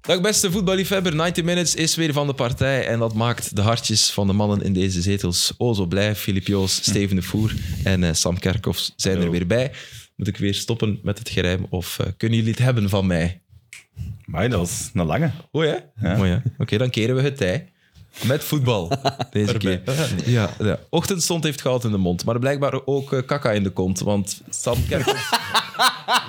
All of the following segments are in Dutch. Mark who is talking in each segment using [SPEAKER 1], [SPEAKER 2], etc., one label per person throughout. [SPEAKER 1] Dag beste voetballiefhebber, 90 Minutes is weer van de partij. En dat maakt de hartjes van de mannen in deze zetels o zo blij. Filip Joos, Steven de Voer en eh, Sam Kerkhoff zijn er
[SPEAKER 2] Hm. Hallo.
[SPEAKER 1] weer bij. Moet ik weer stoppen met het gerijm of eh, kunnen jullie het hebben van mij?
[SPEAKER 2] Maar dat was een lange.
[SPEAKER 1] O ja? Mooi, hè? Oké, dan keren we het tij. Met voetbal. Deze keer. Ja, ja. Ochtendstond heeft goud in de mond, maar blijkbaar ook eh, kaka in de kont, want Sam Kerkhoff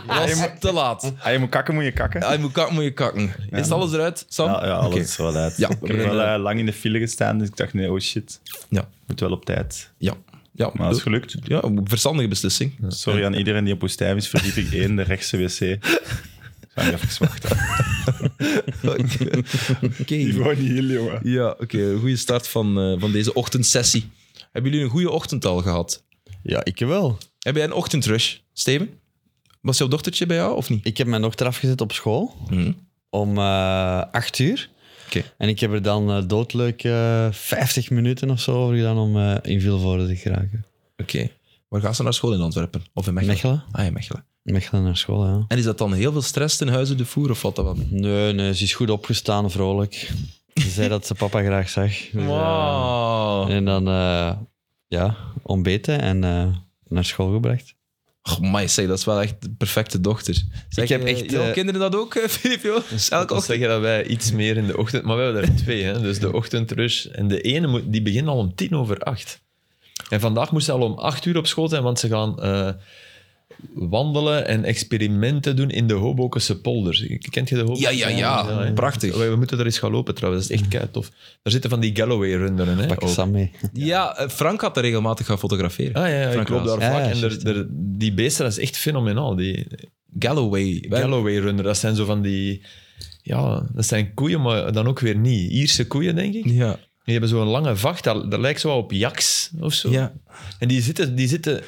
[SPEAKER 1] was te laat.
[SPEAKER 2] Ah, je moet kakken, moet je kakken.
[SPEAKER 1] Hij moet kakken, moet je kakken. Is alles eruit, Sam?
[SPEAKER 2] Ja, ja alles
[SPEAKER 1] Oké.
[SPEAKER 2] is wel uit.
[SPEAKER 1] Ja,
[SPEAKER 2] ik
[SPEAKER 1] we
[SPEAKER 2] heb
[SPEAKER 1] beginnen.
[SPEAKER 2] wel eh, lang in de file gestaan, dus ik dacht, nee, oh shit,
[SPEAKER 1] Ja,
[SPEAKER 2] moet wel op tijd.
[SPEAKER 1] ja. ja.
[SPEAKER 2] Maar dat is gelukt.
[SPEAKER 1] Ja, een verstandige beslissing.
[SPEAKER 2] Sorry aan iedereen die op Woestijn is, verdieping 1, de rechtse wc. Zou je even wachten.
[SPEAKER 1] Oké.
[SPEAKER 2] gewoon niet heel, jongen.
[SPEAKER 1] Ja, oké. Een goede start van, eh, van deze ochtendsessie. Hebben jullie een goede ochtend al gehad?
[SPEAKER 3] Ja, ik wel.
[SPEAKER 1] Heb jij een ochtendrush, Steven? Was jouw dochtertje bij jou of niet?
[SPEAKER 3] Ik heb mijn dochter afgezet op school
[SPEAKER 1] Mhm.
[SPEAKER 3] om eh acht uur.
[SPEAKER 1] Oké.
[SPEAKER 3] En ik heb er dan eh, doodleuk eh 50 minuten of zo over gedaan om eh, in Vilvoorde te geraken.
[SPEAKER 1] Oké. Waar gaan ze naar school in Antwerpen? Of in Mechelen?
[SPEAKER 3] Mechelen?
[SPEAKER 1] Ah, in Mechelen.
[SPEAKER 3] Mechelen naar school, ja.
[SPEAKER 1] En is dat dan heel veel stress ten huize de voer of wat dat dan?
[SPEAKER 3] Nee, nee, ze is goed opgestaan, vrolijk. Ze zei dat ze papa graag zag. Dus, eh,
[SPEAKER 1] Wow.
[SPEAKER 3] en dan, eh, ja, ontbeten en eh, naar school gebracht.
[SPEAKER 1] Och, my, zeg, dat is wel echt de perfecte dochter. Zeg,
[SPEAKER 4] heb
[SPEAKER 1] eh,
[SPEAKER 4] echt,
[SPEAKER 1] jouw
[SPEAKER 4] eh,
[SPEAKER 1] kinderen dat ook, eh, Filip? joh? Elke
[SPEAKER 4] Dan
[SPEAKER 1] ochtend?
[SPEAKER 4] zeg je dat wij iets meer in de ochtend... Maar we hebben er twee, hè. Dus de ochtendrush. En de ene moet, die begint al om tien over acht. En vandaag moest ze al om acht uur op school zijn, want ze gaan eh, wandelen en experimenten doen in de Hobokense polder. Kent je de
[SPEAKER 1] Ja,
[SPEAKER 4] Hobokense
[SPEAKER 1] ja,
[SPEAKER 4] polder?
[SPEAKER 1] ja.
[SPEAKER 4] hè.
[SPEAKER 1] Prachtig.
[SPEAKER 4] We, we moeten er eens gaan lopen trouwens, dat is echt kei tof. Daar zitten van die Galloway-runderen, hè.
[SPEAKER 3] Pak
[SPEAKER 4] ook.
[SPEAKER 3] Sam mee.
[SPEAKER 1] Ja, eh, Frank had er regelmatig gaan fotograferen.
[SPEAKER 4] Ah ja, ja,
[SPEAKER 1] Frank
[SPEAKER 4] ik loop daar
[SPEAKER 3] Raas.
[SPEAKER 4] vaak.
[SPEAKER 3] Ja, ja,
[SPEAKER 4] en er-
[SPEAKER 3] juist.
[SPEAKER 4] er- die beesten, dat is echt fenomenaal. Die
[SPEAKER 1] Galloway. Wij-
[SPEAKER 4] Galloway-runner, dat zijn zo van die... Ja, dat zijn koeien, maar dan ook weer niet. Ierse koeien, denk ik.
[SPEAKER 1] Ja,
[SPEAKER 4] Die hebben zo'n lange vacht, dat, dat lijkt zo wel op jaks of zo.
[SPEAKER 1] ja.
[SPEAKER 4] En die zitten, die zitten,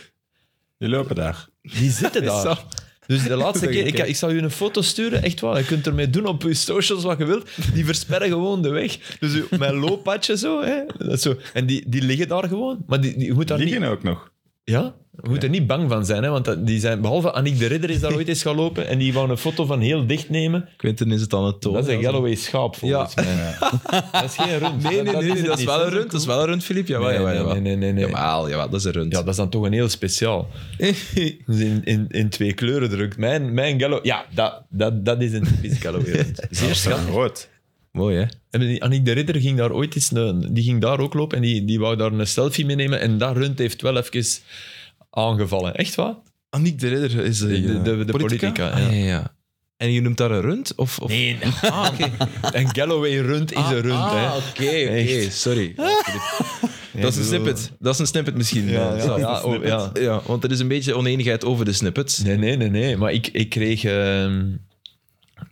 [SPEAKER 2] Die lopen daar.
[SPEAKER 4] die zitten
[SPEAKER 1] Sam.
[SPEAKER 4] daar. Dus de laatste
[SPEAKER 1] Dat
[SPEAKER 4] keer, ik,
[SPEAKER 1] gekeken.
[SPEAKER 4] ik zal u een foto sturen, echt waar. Je kunt ermee doen op uw socials wat je wilt. Die versperren gewoon de weg. Dus uw- mijn looppadje zo, hè. Dat is zo. En die, die liggen daar gewoon. Maar die, die, je moet daar niet,
[SPEAKER 2] Liggen ook nog.
[SPEAKER 4] ja, je moet er niet bang van zijn, hè. Want dat- die zijn, behalve Annick de Ridder is daar ooit eens gaan lopen en die wou een foto van heel dicht nemen.
[SPEAKER 1] Quinten is het aan het tonen.
[SPEAKER 4] Dat is een Galloway schaap, volgens mij.
[SPEAKER 2] Ja.
[SPEAKER 4] Dat is geen rund.
[SPEAKER 1] Nee, nee,
[SPEAKER 4] Dat-
[SPEAKER 1] nee,
[SPEAKER 4] is
[SPEAKER 1] nee,
[SPEAKER 4] het
[SPEAKER 1] dat is
[SPEAKER 4] niet,
[SPEAKER 1] wel
[SPEAKER 4] hè.
[SPEAKER 1] een rund. Dat is wel een rund, Filip. Jawel,
[SPEAKER 4] Nee,
[SPEAKER 1] jawel,
[SPEAKER 4] nee,
[SPEAKER 1] jawel.
[SPEAKER 4] nee, nee, nee, nee.
[SPEAKER 1] Jawel, jawel, dat is een rund.
[SPEAKER 4] Ja, dat is dan toch een heel speciaal. Dus in, in, in twee kleuren drukt. Mijn, mijn gallo... Ja, dat, dat, dat is een typisch gallo Zeer schattig.
[SPEAKER 2] Rood.
[SPEAKER 1] Mooi, hè?
[SPEAKER 4] En die Annick de Ridder ging daar ooit eens... Een, die ging daar ook lopen en die, die wou daar een selfie mee nemen. En dat rund heeft wel even aangevallen. Echt waar?
[SPEAKER 1] Annick de Ridder is eh, de,
[SPEAKER 4] de- de- de politica,
[SPEAKER 1] Ah, ja. ja, ja. En je noemt daar een rund? Of, of... Nee. Ah, oké.
[SPEAKER 4] Een Galloway rund is
[SPEAKER 1] Ah,
[SPEAKER 4] een rund, hè.
[SPEAKER 1] Ah, oké, oké.
[SPEAKER 4] Echt.
[SPEAKER 1] Sorry. Ja, Filip. dat is een snippet. Dat is een snippet misschien. eh,
[SPEAKER 4] Ja,
[SPEAKER 1] Sam.
[SPEAKER 4] ja, ja, oh, ja.
[SPEAKER 1] Ja, want er is een beetje oneenigheid over de snippets.
[SPEAKER 4] Nee, nee, nee, nee. Maar ik, ik kreeg... ehm,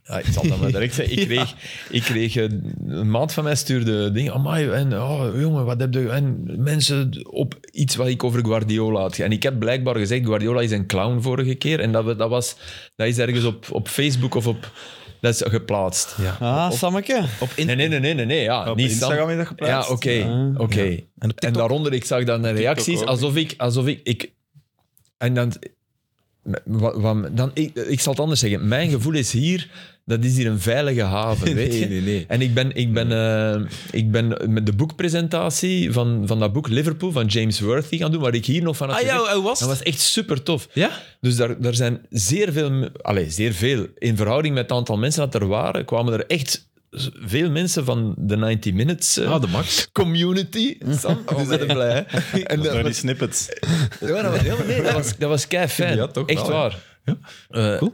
[SPEAKER 4] ja, ik zal dat maar direct zeggen. Ik kreeg, ik kreeg eh, een maand van mij stuurde dingen. Amai, en, oh, jongen, wat heb je... En mensen op iets wat ik over Guardiola had. ge- En ik heb blijkbaar gezegd, Guardiola is een clown vorige keer. En dat, we- dat, was, dat is ergens op, op Facebook of op... Dat is geplaatst.
[SPEAKER 3] Ah, Sammeke.
[SPEAKER 1] Op in...
[SPEAKER 4] Nee, nee, nee, nee, nee, nee. Ja,
[SPEAKER 2] Op
[SPEAKER 4] niet
[SPEAKER 2] Instagram is dat
[SPEAKER 4] Ja,
[SPEAKER 2] geplaatst.
[SPEAKER 4] oké.
[SPEAKER 3] Ah.
[SPEAKER 4] oké. En, daaronder, ik zag dan de reacties
[SPEAKER 2] ook.
[SPEAKER 4] alsof ik, alsof ik, ik. En dan. wa- wa- dan ik, ik zal het anders zeggen. Mijn gevoel is hier, dat is hier een veilige haven. Weet je?
[SPEAKER 1] Nee, nee, nee.
[SPEAKER 4] En ik ben, ik ben, eh, ik ben met de boekpresentatie van, van dat boek Liverpool van James Worthy gaan doen, waar ik hier nog van had
[SPEAKER 1] Ah ja,
[SPEAKER 4] gezegd.
[SPEAKER 1] hoe was
[SPEAKER 4] Dat
[SPEAKER 1] het?
[SPEAKER 4] was echt super tof.
[SPEAKER 1] Ja?
[SPEAKER 4] Dus daar, daar zijn zeer veel, m- allee, zeer veel, in verhouding met het aantal mensen dat er waren, kwamen er echt z- veel mensen van de 90 Minutes eh,
[SPEAKER 1] Ah, de Max.
[SPEAKER 4] community. Sam,
[SPEAKER 1] Oh,
[SPEAKER 4] we zijn er blij. hè? En
[SPEAKER 2] Door
[SPEAKER 4] dat,
[SPEAKER 2] die snippets.
[SPEAKER 4] ja, dat was, ja, maar nee, dat was, dat was kei fijn.
[SPEAKER 1] Ja, toch
[SPEAKER 4] echt
[SPEAKER 1] wel, hè?
[SPEAKER 4] waar. Eh,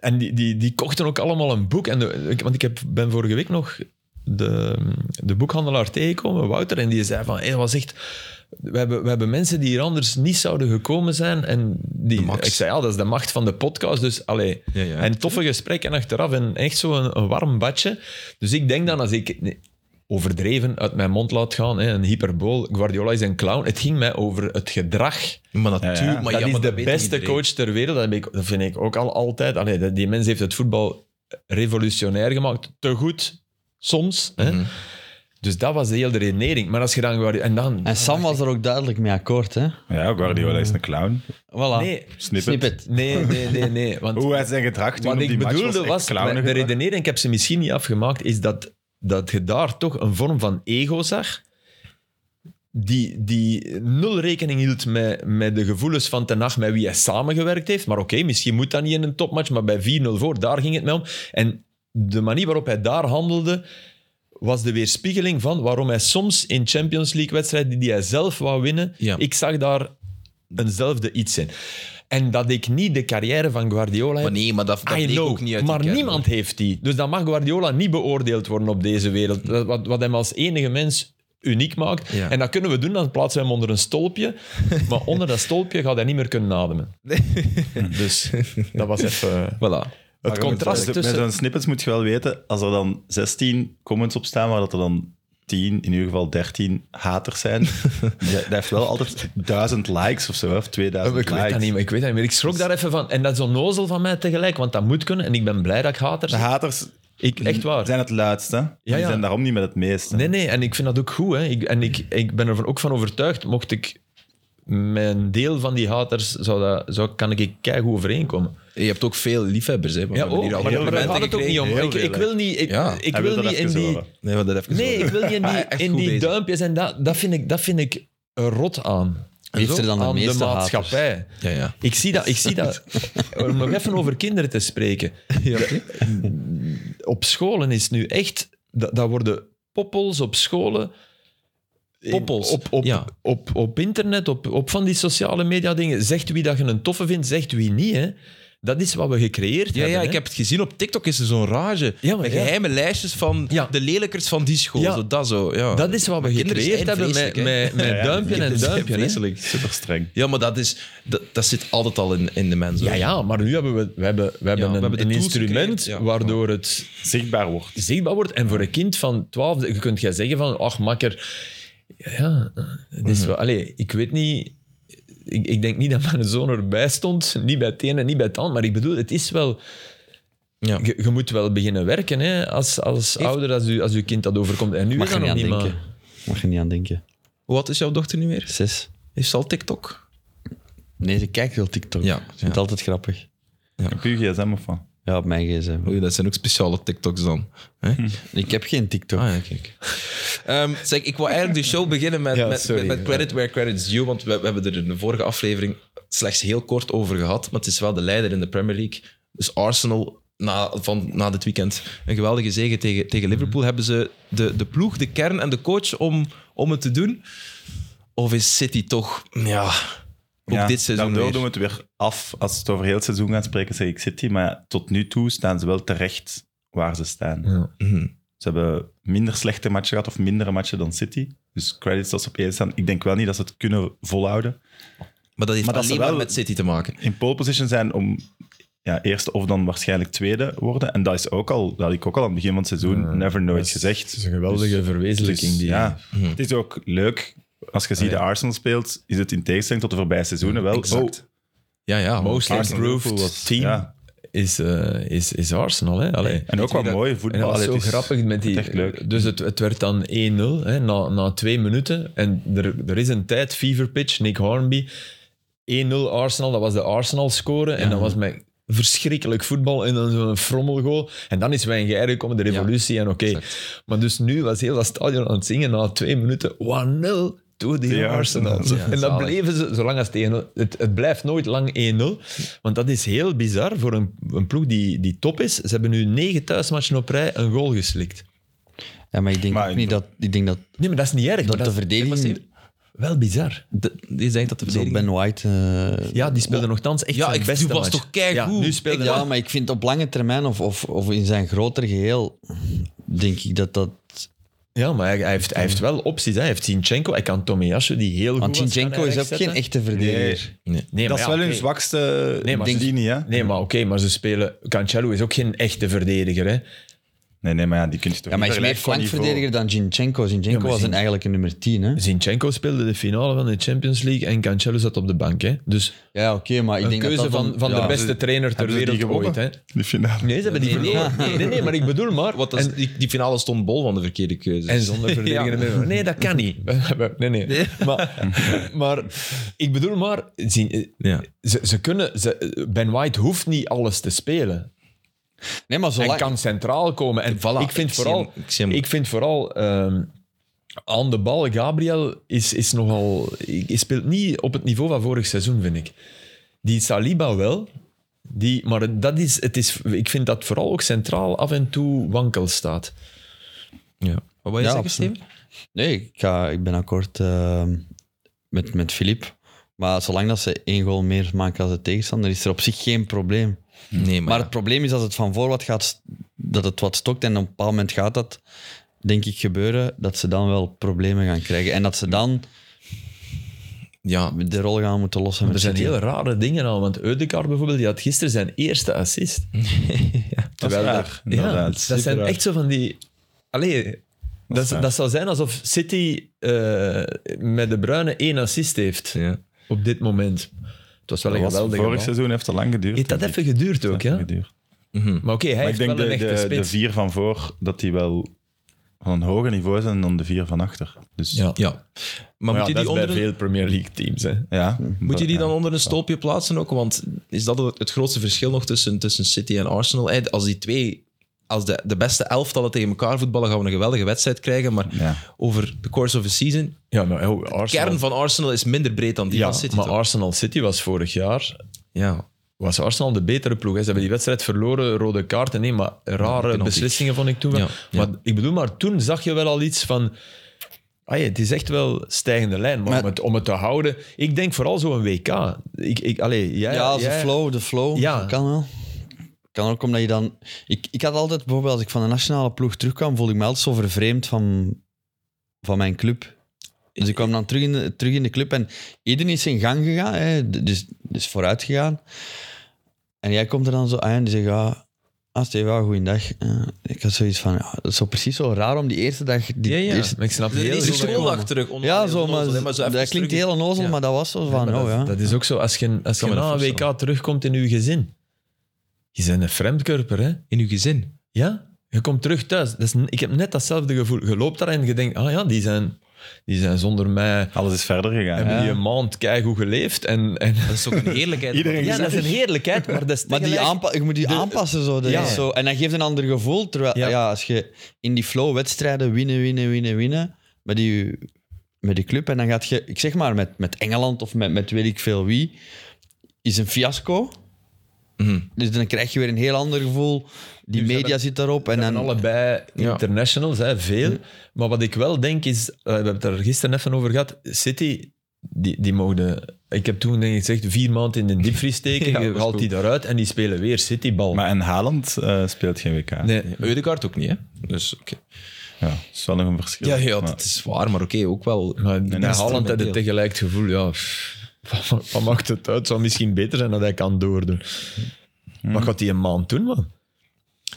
[SPEAKER 4] En die, die, die kochten ook allemaal een boek. En de- ik- want ik heb, ben vorige week nog de, de boekhandelaar tegengekomen, Wouter, en die zei van, hé, dat was echt... We hebben, we hebben mensen die hier anders niet zouden gekomen zijn. En die,
[SPEAKER 1] max.
[SPEAKER 4] ik zei, ja, dat is de macht van de podcast. Dus, allee.
[SPEAKER 1] Ja, ja.
[SPEAKER 4] En toffe gesprekken achteraf en echt zo'n een, warm badje. Dus ik denk dan, als ik overdreven uit mijn mond laat gaan, hè, een hyperbool, Guardiola is een clown. Het ging mij over het gedrag
[SPEAKER 1] Maar natuurlijk.
[SPEAKER 2] Ja, ja.
[SPEAKER 1] Maar
[SPEAKER 4] dat
[SPEAKER 1] ja,
[SPEAKER 4] is
[SPEAKER 1] maar
[SPEAKER 4] de
[SPEAKER 1] weet
[SPEAKER 4] beste
[SPEAKER 1] iedereen.
[SPEAKER 4] coach ter wereld. Dat, heb ik, dat vind ik ook al altijd. Allee, dat- die mens heeft het voetbal revolutionair gemaakt. Te goed, soms. Hè? Dus dat was de hele redenering. Maar als je dan... En dan
[SPEAKER 3] En Sam was er ook duidelijk mee akkoord, hè?
[SPEAKER 2] Ja, Guardiola is een clown.
[SPEAKER 3] Voilà.
[SPEAKER 4] Nee,
[SPEAKER 2] Snippet.
[SPEAKER 4] nee, nee, nee. nee want
[SPEAKER 2] Hoe hij zijn gedrag toen
[SPEAKER 4] Wat
[SPEAKER 2] op die
[SPEAKER 4] ik
[SPEAKER 2] match
[SPEAKER 4] bedoelde
[SPEAKER 2] echt
[SPEAKER 4] was,
[SPEAKER 2] clownig
[SPEAKER 4] de de redenering, ik heb ze misschien niet afgemaakt, is dat, dat je daar toch een vorm van ego zag die, die nul rekening hield met, met de gevoelens van ten Hag, met wie hij samengewerkt heeft. Maar oké, misschien moet dat niet in een topmatch, maar bij 4-0 voor, daar ging het mij om. En de manier waarop hij daar handelde, was de weerspiegeling van waarom hij soms in Champions League-wedstrijden die hij zelf wou winnen,
[SPEAKER 1] Ja.
[SPEAKER 4] ik zag daar eenzelfde iets in. En dat ik niet de carrière van Guardiola
[SPEAKER 1] Maar
[SPEAKER 4] heb
[SPEAKER 1] nee, maar dat, dat
[SPEAKER 4] I
[SPEAKER 1] deed ik
[SPEAKER 4] know,
[SPEAKER 1] ook niet uit die
[SPEAKER 4] maar
[SPEAKER 1] kern,
[SPEAKER 4] niemand
[SPEAKER 1] hoor.
[SPEAKER 4] heeft die. Dus dan mag Guardiola niet beoordeeld worden op deze wereld. Dat- Wat, wat hem als enige mens uniek maakt.
[SPEAKER 1] Ja.
[SPEAKER 4] En dat kunnen we doen, dan plaatsen we hem onder een stolpje. maar onder dat stolpje gaat hij niet meer kunnen ademen. Dus dat was even...
[SPEAKER 1] Voilà.
[SPEAKER 4] Het
[SPEAKER 2] Met
[SPEAKER 4] contrast
[SPEAKER 2] zo'n-
[SPEAKER 4] tussen...
[SPEAKER 2] Met zo'n snippets moet je wel weten, als er dan 16 comments op staan, maar dat er dan 10, in ieder geval 13 haters zijn, dat, dat heeft wel altijd 1000 likes of zo, of 2000
[SPEAKER 4] Ik weet, dat
[SPEAKER 2] likes.
[SPEAKER 4] niet, meer, ik weet dat niet meer. Ik schrok daar even van. En dat is onnozel van mij tegelijk, want dat moet kunnen. En ik ben blij dat ik haters
[SPEAKER 2] De
[SPEAKER 4] heb.
[SPEAKER 2] haters
[SPEAKER 4] Ik, echt waar.
[SPEAKER 2] zijn het luidste. Die
[SPEAKER 4] ja.
[SPEAKER 2] zijn daarom niet met het meeste.
[SPEAKER 4] Nee, nee, en ik vind dat ook goed. Hè. Ik, en ik, ik ben er ook van overtuigd, mocht ik mijn deel van die haters, zou dat, zou, kan ik keigoed overeenkomen.
[SPEAKER 1] Je hebt ook veel liefhebbers, hè? want oh, we
[SPEAKER 4] Ja,
[SPEAKER 1] hebben
[SPEAKER 4] ook,
[SPEAKER 1] hier al
[SPEAKER 4] maar daar
[SPEAKER 1] complimenten
[SPEAKER 4] gaat het ook niet
[SPEAKER 1] gekregen.
[SPEAKER 2] Heel
[SPEAKER 4] om. Ik, ik
[SPEAKER 2] veel,
[SPEAKER 4] wil niet, ik,
[SPEAKER 1] Ja.
[SPEAKER 4] ik
[SPEAKER 2] Hij
[SPEAKER 4] wil
[SPEAKER 2] wil dat
[SPEAKER 4] niet in
[SPEAKER 2] even zo
[SPEAKER 4] die...
[SPEAKER 2] hebben.
[SPEAKER 1] Nee, want dat even
[SPEAKER 4] Nee,
[SPEAKER 1] zo.
[SPEAKER 4] ik wil niet in
[SPEAKER 1] Ah,
[SPEAKER 4] die,
[SPEAKER 1] echt
[SPEAKER 4] in
[SPEAKER 1] goed
[SPEAKER 4] die
[SPEAKER 1] bezig.
[SPEAKER 4] duimpjes en dat, dat, vind ik, dat vind ik een rot aan.
[SPEAKER 3] Heeft
[SPEAKER 4] Zo,
[SPEAKER 3] er dan de
[SPEAKER 4] aan
[SPEAKER 3] meeste
[SPEAKER 4] de
[SPEAKER 3] haters?
[SPEAKER 4] maatschappij.
[SPEAKER 1] Ja, ja.
[SPEAKER 4] Ik zie dat, ik zie dat. Om nog even over kinderen te spreken. Op scholen is nu echt, dat, dat worden poppels op scholen. in-
[SPEAKER 1] Poppels,
[SPEAKER 4] Op, op,
[SPEAKER 1] ja.
[SPEAKER 4] op, op internet, op, op van die sociale media dingen. Zegt wie dat je een toffe vindt, zegt wie niet. Hè. Dat is wat we gecreëerd
[SPEAKER 1] Ja,
[SPEAKER 4] hebben.
[SPEAKER 1] ja,
[SPEAKER 4] hè.
[SPEAKER 1] ik heb het gezien op TikTok. Is er zo'n rage.
[SPEAKER 4] Ja, maar
[SPEAKER 1] met
[SPEAKER 4] ja.
[SPEAKER 1] geheime lijstjes van
[SPEAKER 4] Ja.
[SPEAKER 1] de lelijkers van die school.
[SPEAKER 4] Ja.
[SPEAKER 1] Zo, dat zo. Ja.
[SPEAKER 4] Dat is wat we
[SPEAKER 1] kinderen
[SPEAKER 4] gecreëerd
[SPEAKER 1] zijn
[SPEAKER 4] hebben met,
[SPEAKER 1] vreselijk, hè.
[SPEAKER 4] met, met
[SPEAKER 2] Ja, ja,
[SPEAKER 4] duimpje
[SPEAKER 2] die
[SPEAKER 4] en
[SPEAKER 1] kinderen zijn
[SPEAKER 4] duimpje. hè.
[SPEAKER 1] vreselijk.
[SPEAKER 2] Super streng.
[SPEAKER 1] ja, maar dat, is, dat, dat zit altijd al in, in de mens. hoor.
[SPEAKER 4] Ja, ja, maar nu hebben we, we hebben, we hebben
[SPEAKER 1] Dus- we
[SPEAKER 4] een,
[SPEAKER 1] hebben de
[SPEAKER 4] een
[SPEAKER 1] tools
[SPEAKER 4] instrument
[SPEAKER 1] gecreëerd, ja.
[SPEAKER 4] waardoor het
[SPEAKER 2] Zichtbaar wordt.
[SPEAKER 4] zichtbaar wordt. En voor een kind van 12, je kunt jij zeggen van, ach makker, ja, het is wel, allee, ik weet niet, ik, ik denk niet dat mijn zoon erbij stond, niet bij het ene, niet bij het ander, maar ik bedoel, het is wel,
[SPEAKER 1] Ja.
[SPEAKER 4] je, je moet wel beginnen werken hè, als, als ouder, als je, als je kind dat overkomt. En nu
[SPEAKER 3] Mag
[SPEAKER 4] is
[SPEAKER 3] je
[SPEAKER 4] dat
[SPEAKER 3] niet
[SPEAKER 4] nog
[SPEAKER 3] aan
[SPEAKER 4] niet,
[SPEAKER 3] denken.
[SPEAKER 4] maar...
[SPEAKER 3] Mag je niet aan denken.
[SPEAKER 1] Hoe oud is jouw dochter nu weer?
[SPEAKER 3] Zes.
[SPEAKER 1] Heeft ze al TikTok?
[SPEAKER 3] Nee, ze kijkt wel TikTok.
[SPEAKER 1] Ja,
[SPEAKER 3] Ik vind het
[SPEAKER 1] ja.
[SPEAKER 3] altijd grappig.
[SPEAKER 2] Op uw gsm of wat?
[SPEAKER 3] Ja, op mijn gsm.
[SPEAKER 1] Oei, dat zijn ook speciale TikToks dan. hè?
[SPEAKER 2] Hm.
[SPEAKER 3] Ik heb geen TikTok.
[SPEAKER 1] Ah ja, kijk. Ehm, zeg, ik wil eigenlijk de show beginnen met,
[SPEAKER 4] Ja,
[SPEAKER 1] met, met,
[SPEAKER 4] sorry.
[SPEAKER 1] met Credit Where Credit's Due, want we, we hebben er in de vorige aflevering slechts heel kort over gehad, maar het is wel de leider in de Premier League. Dus Arsenal, na, van, na dit weekend, een geweldige zege tegen, tegen Liverpool. Hebben ze de, de ploeg, de kern en de coach om, om het te doen? Of is City toch, ja, ook
[SPEAKER 2] Ja,
[SPEAKER 1] dit seizoen
[SPEAKER 2] Daardoor
[SPEAKER 1] weer?
[SPEAKER 2] doen we het weer af. Als we het over heel het seizoen gaan spreken, zeg ik City. Maar tot nu toe staan ze wel terecht waar ze staan.
[SPEAKER 4] Ja.
[SPEAKER 1] Mhm.
[SPEAKER 2] Ze hebben minder slechte matchen gehad of mindere matchen dan City. Dus credits dat ze op één staan. Ik denk wel niet dat ze het kunnen volhouden.
[SPEAKER 1] Maar dat heeft
[SPEAKER 2] Maar dat ze
[SPEAKER 1] alleen maar
[SPEAKER 2] wel-
[SPEAKER 1] met City te maken.
[SPEAKER 2] In pole position zijn om ja, eerste of dan waarschijnlijk tweede worden. En dat is ook al, dat had ik ook al aan het begin van het seizoen never nooit gezegd.
[SPEAKER 4] Het is een geweldige verwezenlijking.
[SPEAKER 2] Dus,
[SPEAKER 4] die, Mhm. Oh,
[SPEAKER 2] ja, Het is ook leuk. Als je ziet de Arsenal speelt, is het in tegenstelling tot de voorbije seizoenen wel.
[SPEAKER 1] Exact.
[SPEAKER 2] Oh,
[SPEAKER 1] Ja, ja.
[SPEAKER 4] Most
[SPEAKER 1] maar-
[SPEAKER 2] Arsenal
[SPEAKER 4] improved
[SPEAKER 2] Liverpool was-
[SPEAKER 4] team
[SPEAKER 2] ja.
[SPEAKER 4] is, eh, is, is Arsenal. Hè? Allee.
[SPEAKER 2] en ook
[SPEAKER 1] wie
[SPEAKER 2] wat
[SPEAKER 1] dat-
[SPEAKER 2] mooi
[SPEAKER 4] En dat
[SPEAKER 2] voetbal.
[SPEAKER 4] was zo
[SPEAKER 2] Het is-
[SPEAKER 4] grappig met die...
[SPEAKER 2] echt leuk.
[SPEAKER 4] Dus het, het werd dan 1-0 hè, na, na twee minuten. En er, er is een tijd, fever pitch, Nick Hornby. 1-0 Arsenal, dat was de Arsenal-score. En dat was met verschrikkelijk voetbal en dan zo'n frommelgoal. En dan is Wenger gekomen, de revolutie en oké. Maar dus nu was heel dat stadion aan het zingen na twee minuten. 1-0 to the
[SPEAKER 2] Ja,
[SPEAKER 4] Arsenal.
[SPEAKER 2] Arsenal.
[SPEAKER 4] en dat
[SPEAKER 1] zalig.
[SPEAKER 4] bleven ze, zolang als het 1-0... Het, het blijft nooit lang 1-0. Want dat is heel bizar voor een, een ploeg die, die top is. Ze hebben nu negen thuismatchen op rij een goal geslikt.
[SPEAKER 3] Ja, maar ik denk
[SPEAKER 2] Maar-
[SPEAKER 3] ook niet dat... Ik denk dat,
[SPEAKER 4] Nee, maar dat is niet erg. maar
[SPEAKER 3] dat de
[SPEAKER 4] dat is
[SPEAKER 3] verdediging...
[SPEAKER 4] wel bizar.
[SPEAKER 1] De- die denkt dat de
[SPEAKER 3] Zo
[SPEAKER 1] verdediging...
[SPEAKER 3] Ben White... eh,
[SPEAKER 4] Ja, die speelde nogthans echt
[SPEAKER 1] Ja,
[SPEAKER 4] zijn
[SPEAKER 1] ik-
[SPEAKER 4] beste
[SPEAKER 1] die was
[SPEAKER 4] match.
[SPEAKER 1] toch keigoed?
[SPEAKER 4] Ja, nu speelde
[SPEAKER 3] ja,
[SPEAKER 4] hij-
[SPEAKER 3] maar ik vind op lange termijn of, of, of in zijn groter geheel... Denk ik dat dat...
[SPEAKER 4] Ja, maar hij, hij heeft, hij heeft wel opties. Hè. Hij heeft Zinchenko, hij kan Tomiyasu, die heel goed
[SPEAKER 3] Want
[SPEAKER 4] was, kan
[SPEAKER 3] Zinchenko
[SPEAKER 4] hij
[SPEAKER 3] is ook
[SPEAKER 4] rechtzetten.
[SPEAKER 3] geen echte verdediger.
[SPEAKER 1] Nee.
[SPEAKER 2] Dat
[SPEAKER 4] Nee, maar
[SPEAKER 2] is
[SPEAKER 4] ja,
[SPEAKER 2] wel hun
[SPEAKER 4] oké.
[SPEAKER 2] zwakste
[SPEAKER 4] Nee, maar
[SPEAKER 2] linie, hè?
[SPEAKER 4] Nee, maar oké, maar ze spelen... Cancelo is ook geen echte verdediger, hè.
[SPEAKER 2] Nee, nee, maar ja, die kun je toch
[SPEAKER 3] Ja, maar hij is
[SPEAKER 2] niet
[SPEAKER 3] meer
[SPEAKER 2] vergelijken qua
[SPEAKER 3] flankverdediger dan Zinchenko. Zinchenko was een, eigenlijk een nummer 10, hè?
[SPEAKER 4] Zinchenko speelde de finale van de Champions League en Cancelo zat op de bank. Hè? Dus
[SPEAKER 3] Ja, oké, maar ik
[SPEAKER 4] een
[SPEAKER 3] denk dat
[SPEAKER 4] keuze
[SPEAKER 3] dat dan-
[SPEAKER 4] van, van
[SPEAKER 3] ja.
[SPEAKER 4] de beste trainer ter
[SPEAKER 2] hebben ze die
[SPEAKER 4] wereld ooit. Hè?
[SPEAKER 2] gewonnen? niveau. Die finale.
[SPEAKER 4] Nee, ze hebben die
[SPEAKER 1] Nee,
[SPEAKER 4] verloren. Nee, nee, nee, maar ik bedoel maar...
[SPEAKER 1] Wat, dat is-
[SPEAKER 4] en,
[SPEAKER 1] die, die finale stond bol van de verkeerde keuzes.
[SPEAKER 4] en zonder verdedigende middenvelder. Nee, dat kan niet. Nee, nee. Maar, maar ik bedoel maar... Zin-
[SPEAKER 1] Ja.
[SPEAKER 4] Ze, ze kunnen, ze- ben White hoeft niet alles te spelen.
[SPEAKER 3] Nee, maar
[SPEAKER 4] Hij
[SPEAKER 3] zolang...
[SPEAKER 4] kan centraal komen. En
[SPEAKER 1] Voilà,
[SPEAKER 4] ik, vind
[SPEAKER 1] ik zie
[SPEAKER 4] vooral,
[SPEAKER 1] hem- ik
[SPEAKER 4] ik,
[SPEAKER 1] zie hem.
[SPEAKER 4] vind vooral ehm, aan de bal, Gabriel is, is nogal. Hij speelt niet op het niveau van vorig seizoen, vind ik. Die Saliba wel. Die, maar dat is, het is, ik vind dat vooral ook centraal af en toe wankel staat.
[SPEAKER 1] Ja. Wat wil je
[SPEAKER 3] Ja,
[SPEAKER 1] zeggen,
[SPEAKER 3] absoluut.
[SPEAKER 1] Steven?
[SPEAKER 3] Nee, ik, ga, ik ben akkoord ehm, met, met Filip. Maar zolang dat ze één goal meer maken als de tegenstander, is er op zich geen probleem.
[SPEAKER 1] Nee, maar,
[SPEAKER 3] Maar het probleem is als het van voor wat gaat, dat het wat stokt en op een bepaald moment gaat dat, denk ik, gebeuren, dat ze dan wel problemen gaan krijgen. En dat ze dan
[SPEAKER 1] ja,
[SPEAKER 3] de rol gaan moeten lossen.
[SPEAKER 4] Er
[SPEAKER 3] met
[SPEAKER 4] zijn
[SPEAKER 3] City.
[SPEAKER 4] hele rare dingen al. Want Eudegaard bijvoorbeeld, die had gisteren zijn eerste assist.
[SPEAKER 2] Dat is
[SPEAKER 4] Terwijl
[SPEAKER 2] raar,
[SPEAKER 4] Ja,
[SPEAKER 2] inderdaad.
[SPEAKER 4] dat zijn
[SPEAKER 1] raar.
[SPEAKER 4] echt zo van die. Allee, dat,
[SPEAKER 2] is
[SPEAKER 4] dat,
[SPEAKER 2] waar.
[SPEAKER 4] zou zijn alsof City eh, met de Bruine één assist heeft
[SPEAKER 1] ja.
[SPEAKER 4] op dit moment. Het was wel
[SPEAKER 2] Dat
[SPEAKER 4] een
[SPEAKER 2] was-
[SPEAKER 4] geweldige
[SPEAKER 2] vorig
[SPEAKER 4] bal.
[SPEAKER 2] seizoen heeft dat lang geduurd.
[SPEAKER 4] Heeft dat
[SPEAKER 2] denk
[SPEAKER 4] even
[SPEAKER 2] ik.
[SPEAKER 4] geduurd ook,
[SPEAKER 2] Dat
[SPEAKER 4] ja?
[SPEAKER 2] heeft geduurd.
[SPEAKER 4] Maar oké, hij
[SPEAKER 2] Maar ik
[SPEAKER 4] heeft
[SPEAKER 2] denk
[SPEAKER 4] wel
[SPEAKER 2] de,
[SPEAKER 4] een echte
[SPEAKER 2] de, de
[SPEAKER 4] spits.
[SPEAKER 2] vier van voor, dat die wel van een hoger niveau zijn dan de vier van achter. Dus ja,
[SPEAKER 4] ja.
[SPEAKER 1] ja. Maar,
[SPEAKER 4] Maar
[SPEAKER 1] moet, je
[SPEAKER 4] ja, dat
[SPEAKER 1] die
[SPEAKER 4] is bij
[SPEAKER 1] onder een,
[SPEAKER 4] veel Premier League teams. Hè.
[SPEAKER 1] moet je die
[SPEAKER 2] Ja.
[SPEAKER 1] dan onder een stolpje plaatsen ook? Want is dat het- het grootste verschil nog tussen, tussen City en Arsenal? Eh, Als die twee, als de, de beste elftallen tegen elkaar voetballen, gaan we een geweldige wedstrijd krijgen. Maar
[SPEAKER 2] Ja.
[SPEAKER 1] over de course of a season,
[SPEAKER 4] Ja, maar oh, Arsenal,
[SPEAKER 1] kern van Arsenal is minder breed dan die
[SPEAKER 4] ja,
[SPEAKER 1] van City.
[SPEAKER 4] maar
[SPEAKER 1] toch?
[SPEAKER 4] Arsenal City was vorig jaar
[SPEAKER 1] ja.
[SPEAKER 4] was Arsenal de betere ploeg. hè. Ze hebben die wedstrijd verloren, rode kaarten. Nee, maar rare
[SPEAKER 1] penalty.
[SPEAKER 4] beslissingen vond ik toen wel.
[SPEAKER 1] Ja, ja.
[SPEAKER 4] Maar ik bedoel, maar toen zag je wel al iets van... Ah ja, het is echt wel stijgende lijn. Maar,
[SPEAKER 3] Maar-
[SPEAKER 4] om, het, om het te houden... Ik denk vooral zo'n WK. Ik, ik, allee, jij,
[SPEAKER 3] Ja, de
[SPEAKER 4] jij-
[SPEAKER 3] flow, de flow.
[SPEAKER 4] Ja.
[SPEAKER 3] Kan wel. Kan ook omdat je dan... Ik, ik had altijd, bijvoorbeeld als ik van de nationale ploeg terugkwam, voelde ik me altijd zo vervreemd van, van mijn club. Dus ik kwam dan terug in de, terug in de club en iedereen is zijn gang gegaan, hè, d- dus, dus vooruit gegaan. En jij komt er dan zo aan en die zegt, ja, ah, Steven, ja, goeiedag. Eh, ik had zoiets van, ja, dat is zo precies zo raar om die eerste dag... Die,
[SPEAKER 1] Ja, ja.
[SPEAKER 3] eerste-
[SPEAKER 4] Maar ik snap
[SPEAKER 1] De
[SPEAKER 4] heel
[SPEAKER 1] eerste
[SPEAKER 4] goed-
[SPEAKER 1] schooldag terug. onder-
[SPEAKER 3] ja, zo,
[SPEAKER 1] onder-
[SPEAKER 3] maar,
[SPEAKER 1] onder- zo even
[SPEAKER 3] dat klinkt
[SPEAKER 1] terug-
[SPEAKER 3] heel onnozel,
[SPEAKER 1] Ja.
[SPEAKER 3] maar dat was zo van,
[SPEAKER 4] Maar
[SPEAKER 3] oh
[SPEAKER 4] dat,
[SPEAKER 3] ja.
[SPEAKER 4] dat is ook zo. Als je, als je
[SPEAKER 1] me nou, dat
[SPEAKER 4] na een
[SPEAKER 1] voorstellen.
[SPEAKER 4] WK terugkomt in je gezin... Je bent een vreemdkörper, hè?
[SPEAKER 1] In uw gezin.
[SPEAKER 4] Ja, je komt terug thuis. Dat is, ik heb net datzelfde gevoel. Je loopt daar en je denkt... Ah ja, die zijn, die zijn zonder mij...
[SPEAKER 2] Alles is verder gegaan.
[SPEAKER 4] Hebben
[SPEAKER 2] Ja.
[SPEAKER 4] die een maand keigoed geleefd en... en
[SPEAKER 1] Dat is ook een heerlijkheid.
[SPEAKER 2] Iedereen
[SPEAKER 4] Ja, dat is een heerlijkheid, maar dat is
[SPEAKER 3] Maar die
[SPEAKER 4] tegelijk-
[SPEAKER 3] aanpa- je moet die aanpassen zo, dat
[SPEAKER 4] Ja.
[SPEAKER 3] is zo. En dat geeft een ander gevoel. Terwijl ja.
[SPEAKER 4] Ja.
[SPEAKER 3] als je in die flow wedstrijden winnen, winnen, winnen, winnen. Met die, met die club. En dan gaat je, ik zeg maar, met, met Engeland of met, met weet ik veel wie. Is een fiasco.
[SPEAKER 1] Mhm.
[SPEAKER 3] Dus dan krijg je weer een heel ander gevoel. Die media zit daarop. En
[SPEAKER 4] en
[SPEAKER 3] dan,
[SPEAKER 4] allebei
[SPEAKER 1] Ja.
[SPEAKER 4] internationals, hè, veel. Maar wat ik wel denk is, eh, we hebben het er gisteren even over gehad, City, die, die mogen, ik heb toen denk ik gezegd, vier maanden in de diepvries steken,
[SPEAKER 1] Ja,
[SPEAKER 4] je
[SPEAKER 1] dat is
[SPEAKER 4] haalt
[SPEAKER 1] goed.
[SPEAKER 4] die daaruit en die spelen weer Citybal.
[SPEAKER 2] Maar en Haaland eh, speelt geen WK.
[SPEAKER 4] nee. eh,
[SPEAKER 1] Eudegaard ook niet, hè? Dus oké.
[SPEAKER 2] Ja, dat is wel nog een verschil.
[SPEAKER 1] Ja, ja,
[SPEAKER 2] Maar-
[SPEAKER 1] dat is waar, maar oké, ook wel.
[SPEAKER 4] Maar
[SPEAKER 2] dat
[SPEAKER 4] bij
[SPEAKER 2] is
[SPEAKER 4] Haaland
[SPEAKER 1] toch
[SPEAKER 4] had het
[SPEAKER 1] deel.
[SPEAKER 4] tegelijk het gevoel, ja, pff, wat, wat maakt het uit? Het zou misschien beter zijn dat hij kan doordoen. Wat gaat hij een maand doen, man?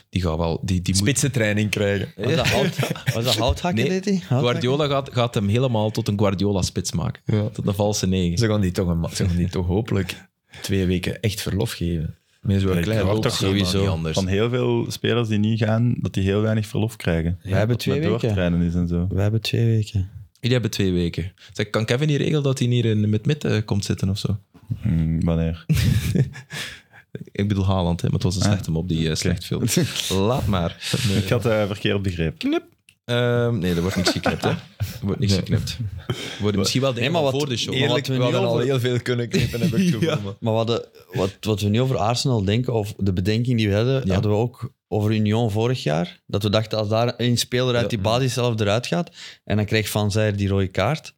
[SPEAKER 1] Die gaat wel. Die, die moet...
[SPEAKER 4] Spitsentraining krijgen.
[SPEAKER 3] was, dat hout, was dat houthakken,
[SPEAKER 1] Nee,
[SPEAKER 3] deed hij? Houthakken?
[SPEAKER 1] Guardiola gaat, gaat hem helemaal tot een Guardiola-spits maken. Tot een valse negen.
[SPEAKER 4] Ze gaan die toch, een, ma- ze gaan die toch hopelijk twee weken echt verlof geven. Met zo'n
[SPEAKER 2] ik
[SPEAKER 4] klein
[SPEAKER 2] verwacht
[SPEAKER 4] hoofd.
[SPEAKER 2] toch helemaal
[SPEAKER 1] Sowieso. niet anders.
[SPEAKER 2] Van heel veel spelers die niet gaan, dat die heel weinig verlof krijgen.
[SPEAKER 3] Wij hebben
[SPEAKER 2] Dat
[SPEAKER 3] twee
[SPEAKER 2] met
[SPEAKER 3] weken.
[SPEAKER 2] doortrainen is en zo.
[SPEAKER 3] Wij hebben twee weken.
[SPEAKER 1] Jullie hebben twee weken. Zeg, kan Kevin hier regelen dat hij hier in met midden komt zitten of zo?
[SPEAKER 2] Hmm, wanneer?
[SPEAKER 1] Ik bedoel Haaland, hè, maar het was een slechte mop, die eh, slecht film. Laat maar.
[SPEAKER 2] Ik had eh verkeerd begrepen.
[SPEAKER 1] Knip. Ehm, nee, er wordt niks geknipt, hè? Er wordt niks geknipt. Er worden misschien wel dingen
[SPEAKER 3] Nee, maar wat-
[SPEAKER 1] voor de show.
[SPEAKER 3] Eer-
[SPEAKER 4] Eerlijk,
[SPEAKER 3] we
[SPEAKER 4] we,
[SPEAKER 3] nu
[SPEAKER 4] hadden
[SPEAKER 3] over-
[SPEAKER 4] al heel veel kunnen knippen, heb ik het gevoel. maar-
[SPEAKER 3] Maar wat, de- wat, wat we nu over Arsenal denken, of de bedenking die we hadden,
[SPEAKER 1] Ja.
[SPEAKER 3] hadden we ook over Union vorig jaar. Dat we dachten, als daar een speler uit die basis zelf eruit gaat, en dan krijgt Van Zijr die rode kaart.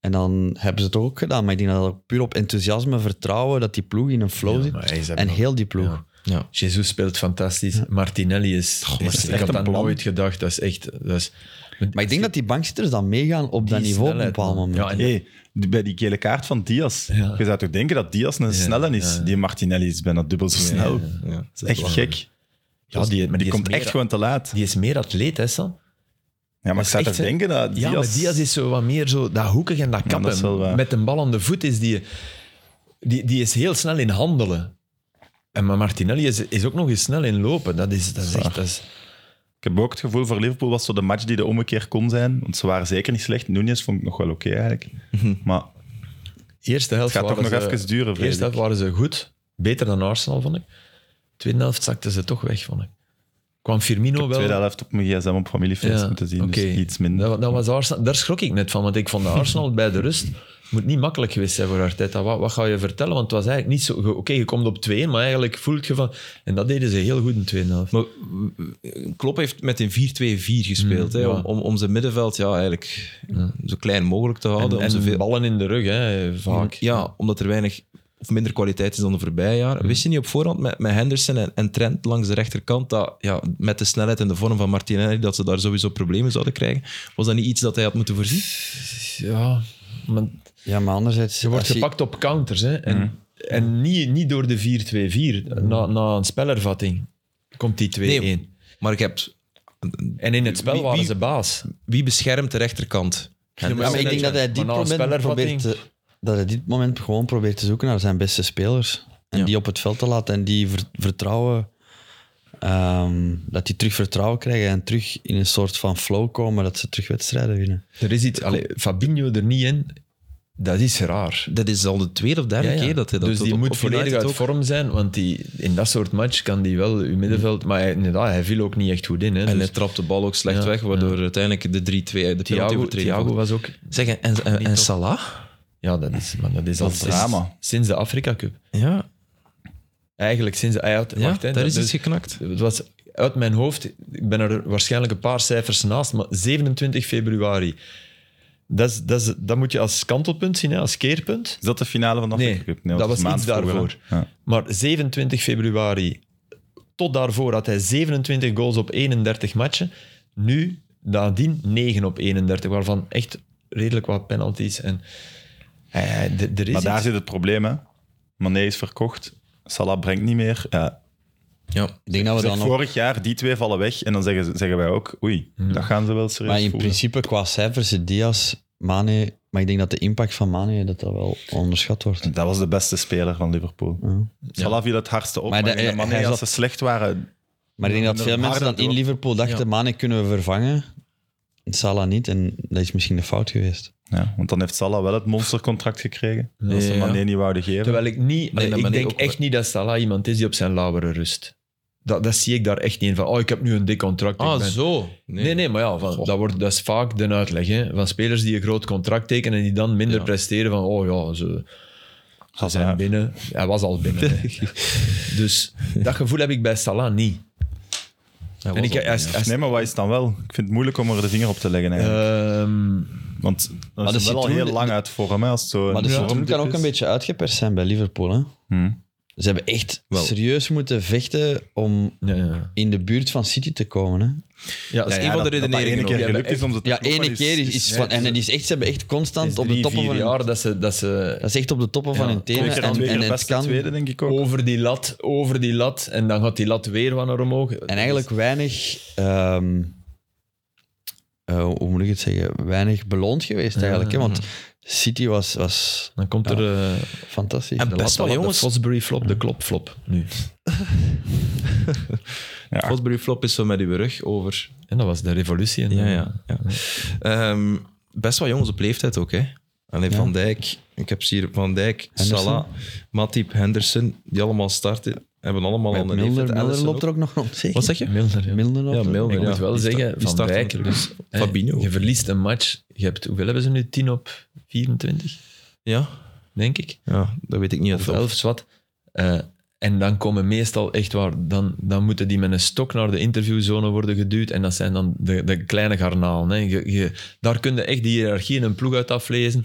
[SPEAKER 3] En dan hebben ze het ook gedaan. Maar ik denk dat dat ook puur op enthousiasme, vertrouwen, dat die ploeg in een flow
[SPEAKER 4] Ja,
[SPEAKER 3] zit.
[SPEAKER 4] maar hey, ze hebben
[SPEAKER 3] En
[SPEAKER 4] nog-
[SPEAKER 3] heel die ploeg.
[SPEAKER 4] Ja.
[SPEAKER 1] Ja.
[SPEAKER 4] Jesus speelt fantastisch. Martinelli is... is-
[SPEAKER 2] is
[SPEAKER 4] ik
[SPEAKER 2] echt
[SPEAKER 4] had
[SPEAKER 2] een
[SPEAKER 4] dat
[SPEAKER 2] plan.
[SPEAKER 4] nooit gedacht. Dat is echt... Dat is,
[SPEAKER 3] Maar ik denk dat die bankzitters dan meegaan op dat niveau op een
[SPEAKER 4] snelheid,
[SPEAKER 3] bepaald
[SPEAKER 4] man.
[SPEAKER 3] moment.
[SPEAKER 4] Ja, en-
[SPEAKER 2] Hey, die- bij die gele kaart van Diaz.
[SPEAKER 4] Ja.
[SPEAKER 2] Je zou toch denken dat Diaz een snelle is?
[SPEAKER 4] ja, ja.
[SPEAKER 2] Die Martinelli is bijna dubbel zo snel.
[SPEAKER 1] Ja.
[SPEAKER 2] Dat is echt gek.
[SPEAKER 4] Ja, die, maar
[SPEAKER 2] Die,
[SPEAKER 4] die, is
[SPEAKER 2] komt
[SPEAKER 4] meer-
[SPEAKER 2] echt gewoon te laat.
[SPEAKER 4] Die is meer atleet, hè, Sam?
[SPEAKER 2] Ja, maar
[SPEAKER 4] dat
[SPEAKER 2] ik
[SPEAKER 4] is
[SPEAKER 2] zou
[SPEAKER 4] echt,
[SPEAKER 2] te
[SPEAKER 4] hè.
[SPEAKER 2] denken dat
[SPEAKER 4] Ja, maar Diaz is zo wat meer zo dat hoekig en dat kappen.
[SPEAKER 2] dat is wel waar.
[SPEAKER 4] Met een bal aan de voet is die, die, die is heel snel in handelen. En maar Martinelli is, is ook nog eens snel in lopen. Dat is, dat is echt... Dat is,
[SPEAKER 2] Ik heb ook het gevoel voor Liverpool was zo de match die de ommekeer kon zijn. Want ze waren zeker niet slecht. Nunes vond ik nog wel oké eigenlijk.
[SPEAKER 4] Mhm.
[SPEAKER 2] Maar
[SPEAKER 4] eerste helft
[SPEAKER 2] gaat toch
[SPEAKER 4] waren
[SPEAKER 2] nog
[SPEAKER 4] ze-
[SPEAKER 2] even duren, vrees
[SPEAKER 4] Eerste helft
[SPEAKER 2] ik.
[SPEAKER 4] waren ze goed. Beter dan Arsenal, vond ik. Tweede helft zakten ze toch weg, vond ik. Kwam Firmino
[SPEAKER 2] de
[SPEAKER 4] wel...
[SPEAKER 2] tweede helft op mijn gsm op familiefeest moeten zien.
[SPEAKER 4] oké.
[SPEAKER 2] Dus iets minder.
[SPEAKER 4] Dat, dat was Arsenal, daar schrok ik net van, want ik vond dat Arsenal bij de rust moet niet makkelijk geweest zijn voor Arteta. Wat, wat ga je vertellen? Want het was eigenlijk niet zo... ge- Oké, je komt op 2, maar eigenlijk voelt je van... En dat deden ze heel goed in de tweede helft.
[SPEAKER 1] Maar eh, Klopp heeft met een 4-2-4 gespeeld. hè,
[SPEAKER 4] Mm, ja.
[SPEAKER 1] om, om, om zijn middenveld ja, eigenlijk zo klein mogelijk te
[SPEAKER 4] En,
[SPEAKER 1] houden. om
[SPEAKER 4] en
[SPEAKER 1] zoveel-
[SPEAKER 4] ballen in de rug, hè, vaak.
[SPEAKER 1] Ja, omdat er weinig of minder kwaliteit is dan de voorbije
[SPEAKER 4] Mm.
[SPEAKER 1] jaren. Wist je niet op voorhand met, met Henderson en, en Trent langs de rechterkant dat ja, met de snelheid en de vorm van Martinelli dat ze daar sowieso problemen zouden krijgen? Was dat niet iets dat hij had moeten voorzien?
[SPEAKER 4] Ja, maar
[SPEAKER 3] Ja, maar anderzijds...
[SPEAKER 4] je wordt
[SPEAKER 3] als je-
[SPEAKER 4] gepakt op counters, hè. En,
[SPEAKER 1] Mm-hmm.
[SPEAKER 4] en niet, niet door de 4-2-4. Na, na een spelervatting komt die 2-1.
[SPEAKER 1] maar ik heb...
[SPEAKER 4] En in het spel
[SPEAKER 1] Wie-
[SPEAKER 4] waren
[SPEAKER 1] wie-
[SPEAKER 4] ze baas.
[SPEAKER 1] Wie beschermt de rechterkant?
[SPEAKER 3] Ja, maar ik denk dat hij dit
[SPEAKER 4] Maar na een
[SPEAKER 3] moment probeert
[SPEAKER 4] spelervatting-
[SPEAKER 3] te, dat hij dit moment gewoon probeert te zoeken naar zijn beste spelers. En
[SPEAKER 1] Ja.
[SPEAKER 3] die op het veld te laten en die ver- vertrouwen... ehm, dat die terug vertrouwen krijgen en terug in een soort van flow komen, dat ze terug wedstrijden winnen.
[SPEAKER 4] Er is iets, allee, Fabinho er niet in, dat is raar.
[SPEAKER 1] Dat is al de tweede of derde
[SPEAKER 4] Ja, ja.
[SPEAKER 1] keer dat hij dat
[SPEAKER 4] dus
[SPEAKER 1] doet.
[SPEAKER 4] die
[SPEAKER 1] Op-
[SPEAKER 4] moet
[SPEAKER 1] op
[SPEAKER 4] volledig
[SPEAKER 1] United
[SPEAKER 4] uit
[SPEAKER 1] ook.
[SPEAKER 4] vorm zijn, want die, in dat soort match kan die wel uw middenveld. Maar hij, inderdaad, hij viel ook niet echt goed in. Hè,
[SPEAKER 1] En
[SPEAKER 4] Dus
[SPEAKER 1] Mm. hij trapt de bal ook slecht
[SPEAKER 4] Ja,
[SPEAKER 1] weg, waardoor uiteindelijk de 3-2 uit de penalty
[SPEAKER 4] Thiago,
[SPEAKER 1] overtreding
[SPEAKER 4] Thiago
[SPEAKER 1] volgt.
[SPEAKER 4] was ook.
[SPEAKER 1] Zeg, en, en, en Salah?
[SPEAKER 4] Ja, dat is, maar dat is al
[SPEAKER 2] Dat is
[SPEAKER 4] sinds-
[SPEAKER 2] drama.
[SPEAKER 4] sinds de Afrika Cup.
[SPEAKER 1] Ja,
[SPEAKER 4] Eigenlijk sinds hij had.
[SPEAKER 1] ja
[SPEAKER 4] wacht, hè,
[SPEAKER 1] daar is
[SPEAKER 4] dus-
[SPEAKER 1] iets geknakt.
[SPEAKER 4] Het was uit mijn hoofd, ik ben er waarschijnlijk een paar cijfers naast, maar 27 februari. Dat, is, dat, is, dat moet je als kantelpunt zien, hè, als keerpunt.
[SPEAKER 2] Is dat de finale van de
[SPEAKER 4] Nee,
[SPEAKER 2] Afrika Cup?
[SPEAKER 4] dat
[SPEAKER 2] is
[SPEAKER 4] was
[SPEAKER 2] maand
[SPEAKER 4] iets daarvoor.
[SPEAKER 2] vroeger, hè. Ja.
[SPEAKER 4] Maar 27 februari, tot daarvoor had hij 27 goals op 31 matchen. Nu, nadien, 9 op 31, waarvan echt redelijk wat penalties. En, hij- hij- d- er is
[SPEAKER 2] Maar daar
[SPEAKER 4] iets.
[SPEAKER 2] zit het probleem, hè. Mané is verkocht. Salah brengt niet meer. Ja.
[SPEAKER 1] Ja.
[SPEAKER 3] Ik denk dat we
[SPEAKER 2] Zeg,
[SPEAKER 3] dan ook...
[SPEAKER 2] vorig jaar, die twee vallen weg. En dan zeggen, ze- zeggen wij ook, oei, dat gaan ze wel serieus
[SPEAKER 3] Maar in
[SPEAKER 2] voelen.
[SPEAKER 3] principe, qua cijfers, zit Diaz, Mane... Maar ik denk dat de impact van Mane dat dat wel onderschat wordt.
[SPEAKER 2] Dat was de beste speler van Liverpool.
[SPEAKER 3] Ja.
[SPEAKER 2] Salah viel het hardste op. Maar,
[SPEAKER 3] Maar de-
[SPEAKER 2] ik denk dat
[SPEAKER 3] hij-
[SPEAKER 2] Mané,
[SPEAKER 3] hij
[SPEAKER 2] als ze
[SPEAKER 3] zat-
[SPEAKER 2] slecht waren...
[SPEAKER 3] Maar ik denk
[SPEAKER 2] Minder
[SPEAKER 3] dat veel mensen
[SPEAKER 2] harder
[SPEAKER 3] dan in
[SPEAKER 2] door.
[SPEAKER 3] Liverpool dachten,
[SPEAKER 1] Ja.
[SPEAKER 3] Mane kunnen we vervangen. Salah niet, en dat is misschien de fout geweest.
[SPEAKER 2] Ja, want dan heeft Salah wel het monstercontract gekregen. Als ze
[SPEAKER 1] Ja.
[SPEAKER 2] Mané niet wouden geven.
[SPEAKER 4] Terwijl ik
[SPEAKER 1] Nee,
[SPEAKER 4] niet,
[SPEAKER 1] dat
[SPEAKER 4] ik
[SPEAKER 1] ben ik
[SPEAKER 4] denk
[SPEAKER 1] ook
[SPEAKER 4] echt niet dat Salah iemand is die op zijn lauweren rust. Dat, dat zie ik daar echt niet in van. Oh, ik heb nu een dik contract. ik ben-
[SPEAKER 1] Ah, zo. Nee,
[SPEAKER 4] Nee, nee, maar ja, van, dat, wordt, dat is vaak de uitleg. Hè, van spelers die een groot contract tekenen en die dan minder
[SPEAKER 1] Ja.
[SPEAKER 4] presteren. Van, oh ja, ze, ze
[SPEAKER 2] Hazard.
[SPEAKER 4] zijn binnen. Hij was al binnen. hè. dus dat gevoel heb ik bij Salah niet.
[SPEAKER 1] Hij
[SPEAKER 4] En
[SPEAKER 1] was
[SPEAKER 4] ik,
[SPEAKER 1] al-
[SPEAKER 4] hij is- hij is-
[SPEAKER 2] Dus Nee, maar wat is het dan wel? Ik vind het moeilijk om er de vinger op te leggen eigenlijk.
[SPEAKER 4] ehm,
[SPEAKER 2] Want dan
[SPEAKER 3] de
[SPEAKER 2] is het wel al
[SPEAKER 3] citroen-
[SPEAKER 2] heel lang uit vorm. hè, Als het zo
[SPEAKER 3] Maar de
[SPEAKER 2] Ja.
[SPEAKER 3] citroen kan ook een beetje uitgeperst zijn bij Liverpool. Hè?
[SPEAKER 2] Hm.
[SPEAKER 3] Ze hebben echt
[SPEAKER 1] Wel.
[SPEAKER 3] serieus moeten vechten om
[SPEAKER 4] ja, ja.
[SPEAKER 3] in de buurt van City te komen. Hè?
[SPEAKER 4] Ja,
[SPEAKER 1] Dat is
[SPEAKER 2] Ja,
[SPEAKER 1] een van de
[SPEAKER 2] dat- dat dat
[SPEAKER 1] redeneringen
[SPEAKER 2] ene
[SPEAKER 1] ook.
[SPEAKER 2] keer
[SPEAKER 1] Ja,
[SPEAKER 2] gelukt
[SPEAKER 4] maar
[SPEAKER 2] is om ze te
[SPEAKER 3] Ja,
[SPEAKER 2] kloppen,
[SPEAKER 3] ene keer is, is van... En die is echt, ze hebben echt constant op de
[SPEAKER 4] drie,
[SPEAKER 3] toppen
[SPEAKER 4] vier
[SPEAKER 3] van hun,
[SPEAKER 4] jaar dat ze, dat ze
[SPEAKER 3] Dat is echt op de toppen van
[SPEAKER 4] Ja,
[SPEAKER 3] hun
[SPEAKER 2] Twee
[SPEAKER 3] tenen.
[SPEAKER 2] keer dan
[SPEAKER 3] En,
[SPEAKER 2] twee
[SPEAKER 3] en
[SPEAKER 2] keer
[SPEAKER 3] het
[SPEAKER 2] beste
[SPEAKER 3] kan...
[SPEAKER 2] tweede, denk ik ook.
[SPEAKER 4] over die lat, over die lat. En dan gaat die lat weer van naar omhoog.
[SPEAKER 3] En eigenlijk weinig... ehm, eh, hoe moet ik het zeggen? Weinig beloond geweest eigenlijk. Hè? Want City was, was
[SPEAKER 4] Dan komt er... eh,
[SPEAKER 3] fantastisch.
[SPEAKER 1] En
[SPEAKER 4] de
[SPEAKER 1] best wel
[SPEAKER 4] lat- de
[SPEAKER 1] jongens.
[SPEAKER 4] Fosbury flop, de klop flop nu.
[SPEAKER 2] Ja.
[SPEAKER 1] Fosbury flop is zo met uw rug over.
[SPEAKER 4] En dat was de revolutie. En
[SPEAKER 1] Ja, ja. ja. Ehm, best wel jongens op leeftijd ook, hè? Alleen Van Dijk, ik heb ze hier Van Dijk,
[SPEAKER 3] Henderson.
[SPEAKER 1] Salah, Matip, Henderson, die allemaal starten, hebben allemaal al een
[SPEAKER 3] Milner,
[SPEAKER 1] leeftijd.
[SPEAKER 3] Milner
[SPEAKER 1] Alisson
[SPEAKER 3] loopt er
[SPEAKER 1] ook.
[SPEAKER 3] ook nog rond, zeker?
[SPEAKER 1] Wat zeg je?
[SPEAKER 4] Milner, ja.
[SPEAKER 3] Milner loopt
[SPEAKER 1] Ja,
[SPEAKER 3] er ook
[SPEAKER 1] Milner,
[SPEAKER 4] Ik moet
[SPEAKER 1] ja.
[SPEAKER 4] wel
[SPEAKER 1] Die
[SPEAKER 4] zeggen,
[SPEAKER 1] sta- die
[SPEAKER 4] Van
[SPEAKER 1] start
[SPEAKER 4] Dijk,
[SPEAKER 1] natuurlijk.
[SPEAKER 4] dus, hè,
[SPEAKER 1] Fabinho.
[SPEAKER 4] Je verliest een match. Je hebt, hoeveel hebben ze nu? 10 op 24,
[SPEAKER 1] Ja?
[SPEAKER 4] denk ik.
[SPEAKER 1] ja, dat weet ik niet. uit
[SPEAKER 4] Of
[SPEAKER 1] het hoofd.
[SPEAKER 4] 11, zwart. Eh, en dan komen meestal echt waar, dan, dan moeten die met een stok naar de interviewzone worden geduwd. En dat zijn dan de, de kleine garnalen. Hè. Je, je- daar kun je echt die hiërarchie in een ploeg uit aflezen.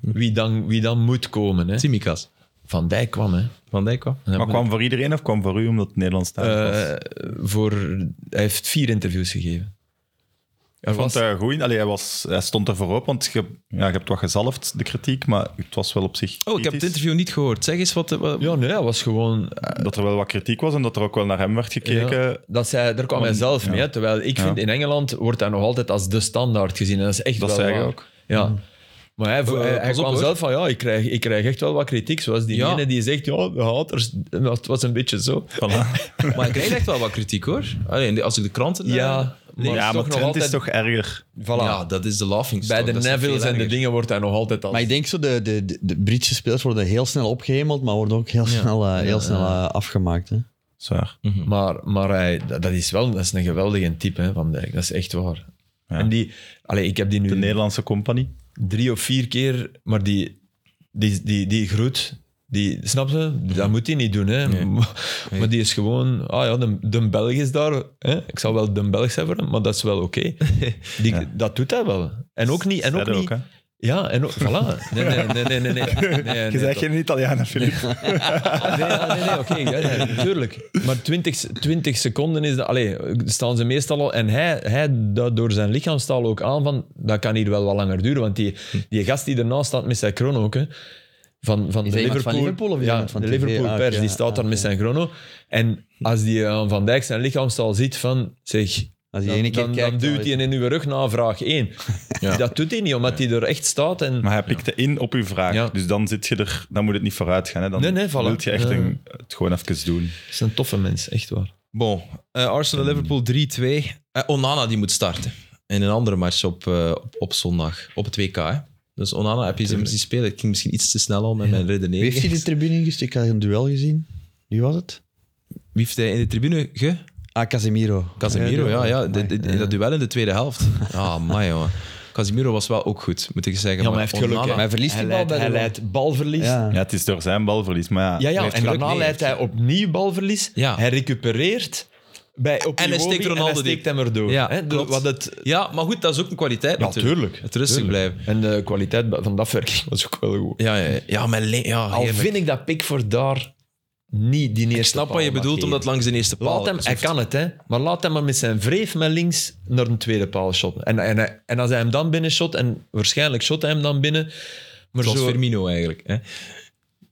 [SPEAKER 4] Wie dan, wie dan moet komen. Hè.
[SPEAKER 1] Tsimikas.
[SPEAKER 4] Van Dijk kwam, hè.
[SPEAKER 1] Van Dijk wel.
[SPEAKER 2] Maar kwam voor iedereen of kwam voor
[SPEAKER 3] Eh,
[SPEAKER 2] u omdat het Nederlands taal was?
[SPEAKER 4] Eh, voor, hij heeft vier interviews gegeven.
[SPEAKER 2] Ik vond
[SPEAKER 4] was-
[SPEAKER 2] het goed. Allee, hij, was, hij stond er voorop, want je, ja, je hebt wat gezalfd, de kritiek, maar het was wel op zich
[SPEAKER 1] Oh, ik heb het
[SPEAKER 2] kritisch.
[SPEAKER 1] interview niet gehoord. Zeg eens wat... wat
[SPEAKER 4] Ja, nee, dat was gewoon... eh,
[SPEAKER 2] Dat er wel wat kritiek was en dat er ook wel naar hem werd gekeken.
[SPEAKER 4] Ja, dat zij, daar kwam hij zelf mee. hè. Terwijl ik vind, in Engeland wordt hij nog altijd als de standaard gezien. En dat is echt
[SPEAKER 2] Dat
[SPEAKER 4] wel
[SPEAKER 2] zei
[SPEAKER 4] waar.
[SPEAKER 2] hij ook. Mm.
[SPEAKER 4] Ja. Maar hij,
[SPEAKER 1] Eh,
[SPEAKER 4] hij, hij
[SPEAKER 1] pas op,
[SPEAKER 4] kwam
[SPEAKER 1] hoor.
[SPEAKER 4] zelf van, ja, ik krijg, ik krijg echt wel wat kritiek. Zoals die
[SPEAKER 1] Ja.
[SPEAKER 4] ene die zegt, ja, de haters, dat was een beetje zo.
[SPEAKER 2] Voilà.
[SPEAKER 1] Maar ik krijg echt wel wat kritiek, hoor. Alleen als ik de kranten... eh,
[SPEAKER 4] Ja,
[SPEAKER 1] lees.
[SPEAKER 2] Ja,
[SPEAKER 4] maar- is
[SPEAKER 2] maar
[SPEAKER 4] toch nog
[SPEAKER 2] Trent is
[SPEAKER 4] altijd-
[SPEAKER 2] toch erger.
[SPEAKER 4] Voilà.
[SPEAKER 1] Ja, dat is de laughing
[SPEAKER 4] Bij de Neville's en de dingen wordt hij nog altijd als...
[SPEAKER 3] Maar ik denk zo, de, de, de- de Britse spelers worden heel snel opgehemeld, maar worden ook heel snel, eh, heel snel eh, afgemaakt. Hè.
[SPEAKER 2] Zwaar.
[SPEAKER 4] Maar, maar hij, dat, dat is wel dat is een geweldige type hè, van Dijk. Dat is echt waar. En die, allee, ik heb die
[SPEAKER 2] De
[SPEAKER 4] nu
[SPEAKER 2] Nederlandse compagnie.
[SPEAKER 4] drie of vier keer, maar die, die, die, die groet, die, snap je?
[SPEAKER 2] Mhm.
[SPEAKER 4] Dat moet hij niet doen. Hè? Maar, maar die is gewoon, ah ja, de, de Belg is daar. Hè? Ik zou wel de Belg zijn voor hem, maar dat is wel oké. Die- Dat doet hij wel. En ook niet. En ook
[SPEAKER 2] Verder
[SPEAKER 4] niet
[SPEAKER 2] hè.
[SPEAKER 4] ja, en ook, voilà. Nee, nee, nee, nee. nee, nee, nee, nee,
[SPEAKER 2] Je
[SPEAKER 4] nee,
[SPEAKER 2] bent geen Italianer, Filip.
[SPEAKER 4] Nee, ja, nee, nee, oké, ja, ja, tuurlijk. Maar 20, se- 20 seconden is dat. Allee, staan ze meestal al. En hij, hij duidt door zijn lichaamstaal ook aan van. Dat kan hier wel wat langer duren. Want die, die gast die ernaast staat met zijn chrono ook. Hè, van, van, de
[SPEAKER 3] dat iemand
[SPEAKER 4] Liverpool,
[SPEAKER 3] van Liverpool of is
[SPEAKER 4] ja,
[SPEAKER 3] iemand van
[SPEAKER 4] de
[SPEAKER 3] TV? Ah,
[SPEAKER 4] Liverpool
[SPEAKER 3] oké,
[SPEAKER 4] pers, die
[SPEAKER 3] ja,
[SPEAKER 4] staat daar
[SPEAKER 3] ah,
[SPEAKER 4] met zijn chrono. En als die aan Van Dijk zijn lichaamstaal ziet van, zeg,
[SPEAKER 3] Als je
[SPEAKER 4] dan,
[SPEAKER 3] ene keer
[SPEAKER 4] dan,
[SPEAKER 3] kijkt,
[SPEAKER 4] dan
[SPEAKER 3] dan
[SPEAKER 4] duwt
[SPEAKER 3] weet
[SPEAKER 4] hij in uw rug na vraag 1.
[SPEAKER 1] Ja.
[SPEAKER 4] Dat doet hij niet, omdat hij er echt staat. En,
[SPEAKER 2] Maar hij pikte in op uw vraag.
[SPEAKER 4] Ja.
[SPEAKER 2] Dus dan, zit je er, dan moet het niet vooruit gaan. Hè. Dan
[SPEAKER 4] Nee, nee, voilà.
[SPEAKER 2] wil je echt
[SPEAKER 4] Ja.
[SPEAKER 2] een, het gewoon even doen.
[SPEAKER 4] het is een toffe mens, echt waar.
[SPEAKER 1] Bon, eh, Arsenal-Liverpool 3-2. Eh, Onana die moet starten. In een andere match op, eh, op, op zondag. Op het WK, hè. Dus Onana heb je ze zien spelen. Ik ging misschien iets te snel al met mijn
[SPEAKER 3] Wie
[SPEAKER 1] redenering.
[SPEAKER 3] heeft hij de tribune ingestuurd? Ik had een duel gezien. Wie was het?
[SPEAKER 1] Wie heeft hij in de tribune ge...
[SPEAKER 3] Ah, Casemiro.
[SPEAKER 1] Casemiro, ja, ja.
[SPEAKER 3] Amai.
[SPEAKER 1] De- de- in dat duel in de tweede helft. Ah, man, jongen. Casemiro was wel ook goed, moet ik zeggen.
[SPEAKER 4] Ja, maar hij heeft geluk.
[SPEAKER 1] Onana-
[SPEAKER 4] hè.
[SPEAKER 3] Maar hij verliest die bal bij de
[SPEAKER 4] Hij
[SPEAKER 3] bal.
[SPEAKER 4] leidt balverlies.
[SPEAKER 3] Ja.
[SPEAKER 2] Ja, het is door zijn balverlies. Maar ja,
[SPEAKER 4] Ja,
[SPEAKER 1] Hij
[SPEAKER 4] ja
[SPEAKER 1] heeft
[SPEAKER 4] en
[SPEAKER 1] geluk
[SPEAKER 4] daarna
[SPEAKER 1] mee,
[SPEAKER 4] leidt hij opnieuw balverlies.
[SPEAKER 1] Ja.
[SPEAKER 4] Hij recupereert bij op
[SPEAKER 1] En hij steekt
[SPEAKER 4] en
[SPEAKER 1] Ronaldo
[SPEAKER 4] hij steekt
[SPEAKER 1] diep.
[SPEAKER 4] hem erdoor.
[SPEAKER 1] Ja,
[SPEAKER 4] hè, de-
[SPEAKER 1] klopt.
[SPEAKER 4] wat het,
[SPEAKER 1] Ja, maar goed, dat is ook een kwaliteit natuurlijk.
[SPEAKER 4] tuurlijk.
[SPEAKER 1] Het rustig
[SPEAKER 4] Tuurlijk.
[SPEAKER 1] blijven.
[SPEAKER 4] En de kwaliteit van dat verking was ook wel goed.
[SPEAKER 1] Ja, ja, ja. ja, maar le- ja,
[SPEAKER 4] Al
[SPEAKER 1] heerlijk.
[SPEAKER 4] vind ik dat Pickford daar niet die eerste
[SPEAKER 1] Ik snap wat je bedoelt, omdat langs de eerste paal...
[SPEAKER 4] Laat hem, hij kan het, hè. Maar laat hem maar met zijn wreef met links naar een tweede paal shotten. En, en, hij- en als hij hem dan binnen shot, en waarschijnlijk shot hij hem dan binnen... Maar
[SPEAKER 1] Zoals
[SPEAKER 4] zo,
[SPEAKER 1] Firmino eigenlijk. Hè.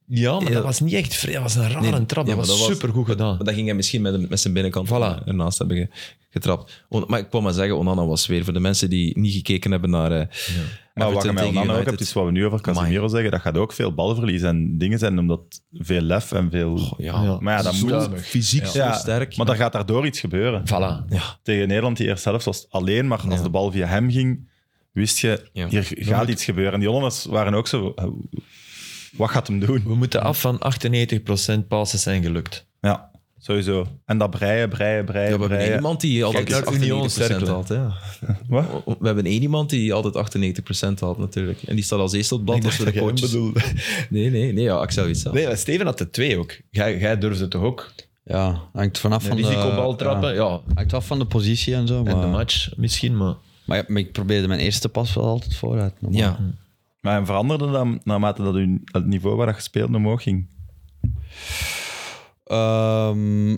[SPEAKER 4] ja, maar
[SPEAKER 1] Ja.
[SPEAKER 4] dat was niet echt vreemd. Dat was een rare
[SPEAKER 1] Nee,
[SPEAKER 4] trap.
[SPEAKER 1] ja,
[SPEAKER 4] Dat
[SPEAKER 1] maar
[SPEAKER 4] was
[SPEAKER 1] dat was-
[SPEAKER 4] supergoed gedaan.
[SPEAKER 1] Maar dat ging hij misschien met, met zijn binnenkant
[SPEAKER 4] Voilà.
[SPEAKER 1] ernaast hebben ge- getrapt. On- maar ik kwam maar zeggen, Onana was weer, voor de mensen die niet gekeken hebben naar... eh,
[SPEAKER 2] maar wat je
[SPEAKER 1] Everton
[SPEAKER 2] met
[SPEAKER 1] tegen
[SPEAKER 2] Onana
[SPEAKER 1] United.
[SPEAKER 2] ook hebt, is wat we nu over Casemiro zeggen. Dat gaat ook veel balverlies en dingen zijn, omdat veel lef en veel...
[SPEAKER 1] Oh, ja.
[SPEAKER 2] maar ja, dat
[SPEAKER 1] Zo
[SPEAKER 2] moet...
[SPEAKER 1] fysiek
[SPEAKER 2] Ja,
[SPEAKER 1] zo sterk.
[SPEAKER 2] Maar dan gaat daardoor iets gebeuren.
[SPEAKER 4] Voilà.
[SPEAKER 2] Tegen Nederland, die eerst zelf was het alleen, maar als de bal via hem ging, wist je,
[SPEAKER 1] Ja.
[SPEAKER 2] hier gaat iets gebeuren. En die Hollanders waren ook zo, eh, wat gaat hem doen?
[SPEAKER 4] We moeten af van 98% passes zijn gelukt.
[SPEAKER 2] Ja, sowieso. En dat breien, breien, breien,
[SPEAKER 1] Ja, we hebben één
[SPEAKER 2] breien.
[SPEAKER 1] iemand die altijd
[SPEAKER 4] naar Union
[SPEAKER 1] 98%
[SPEAKER 4] Cercle.
[SPEAKER 1] had. Ja.
[SPEAKER 2] Wat?
[SPEAKER 1] We hebben één iemand die altijd 98% had, natuurlijk. En die staat als eerste op het blad als we de coaches... Nee, nee, nee, ja, Axel Witsa.
[SPEAKER 4] Nee, maar Steven had de twee ook. Jij, jij durfde toch ook?
[SPEAKER 3] Ja, hangt vanaf van de...
[SPEAKER 4] Risicobal
[SPEAKER 3] ja.
[SPEAKER 4] trappen, ja.
[SPEAKER 3] Hangt af van de positie en zo. Maar,
[SPEAKER 4] En de match misschien, maar...
[SPEAKER 3] maar, ja, maar ik probeerde mijn eerste pas wel altijd vooruit. normaal.
[SPEAKER 1] Ja,
[SPEAKER 2] Maar hem veranderde dan naarmate dat hun, het niveau waar dat gespeeld omhoog ging.
[SPEAKER 3] Ehm,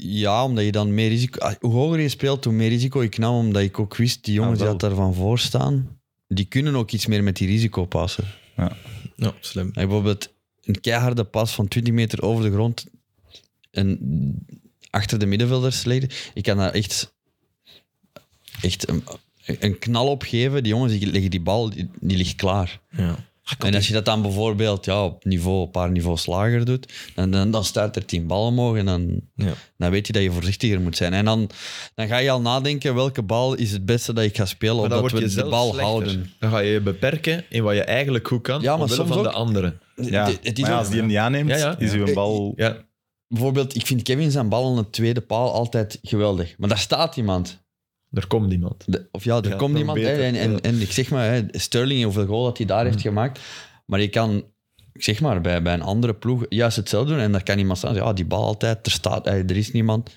[SPEAKER 3] ja, omdat je dan meer risico... ah, Hoe hoger je speelt, hoe meer risico ik nam. Omdat ik ook wist, die jongens
[SPEAKER 2] Ah, wel.
[SPEAKER 3] die dat daarvan voor staan, die kunnen ook iets meer met die risicopassen.
[SPEAKER 1] ja slim.
[SPEAKER 3] Ja, bijvoorbeeld een keiharde pas van 20 meter over de grond en achter de middenvelders liggen. Ik kan daar echt, echt een, een knal op geven. Die jongens die leggen die bal, die, die ligt klaar.
[SPEAKER 1] Ja.
[SPEAKER 3] En als je dat dan bijvoorbeeld ja, op niveau, een paar niveaus lager doet, dan, dan, dan staat er 10 ballen omhoog en dan,
[SPEAKER 1] Ja.
[SPEAKER 3] dan weet je dat je voorzichtiger moet zijn. En dan, dan ga je al nadenken welke bal is het beste dat ik ga spelen,
[SPEAKER 4] Maar
[SPEAKER 3] omdat
[SPEAKER 4] dan word
[SPEAKER 3] we
[SPEAKER 4] je
[SPEAKER 3] de
[SPEAKER 4] zelf
[SPEAKER 3] bal
[SPEAKER 4] slechter.
[SPEAKER 3] houden.
[SPEAKER 4] Dan ga je je beperken in wat je eigenlijk goed kan,
[SPEAKER 3] Ja, maar
[SPEAKER 4] omwille
[SPEAKER 3] soms
[SPEAKER 4] van de
[SPEAKER 3] ook-
[SPEAKER 4] anderen.
[SPEAKER 2] Ja.
[SPEAKER 3] Het- het is
[SPEAKER 2] maar ja,
[SPEAKER 3] ook-
[SPEAKER 2] als die hem niet aanneemt,
[SPEAKER 4] Ja, ja. Eh,
[SPEAKER 2] is uw bal...
[SPEAKER 4] Ja.
[SPEAKER 3] bijvoorbeeld, ik vind Kevin zijn bal aan de tweede paal altijd geweldig. Maar daar staat iemand.
[SPEAKER 4] Er komt iemand.
[SPEAKER 3] De- of ja, er
[SPEAKER 4] Ja,
[SPEAKER 3] komt
[SPEAKER 4] nog
[SPEAKER 3] iemand. hè,
[SPEAKER 4] beter,
[SPEAKER 3] en, en,
[SPEAKER 4] ja.
[SPEAKER 3] en ik zeg maar, hè, Sterling, hoeveel goal dat hij daar
[SPEAKER 2] Mhm.
[SPEAKER 3] heeft gemaakt. Maar je kan, ik zeg maar, bij, bij een andere ploeg juist hetzelfde doen. En daar kan iemand staan. Ja, die bal altijd, er staat, hè, er is niemand.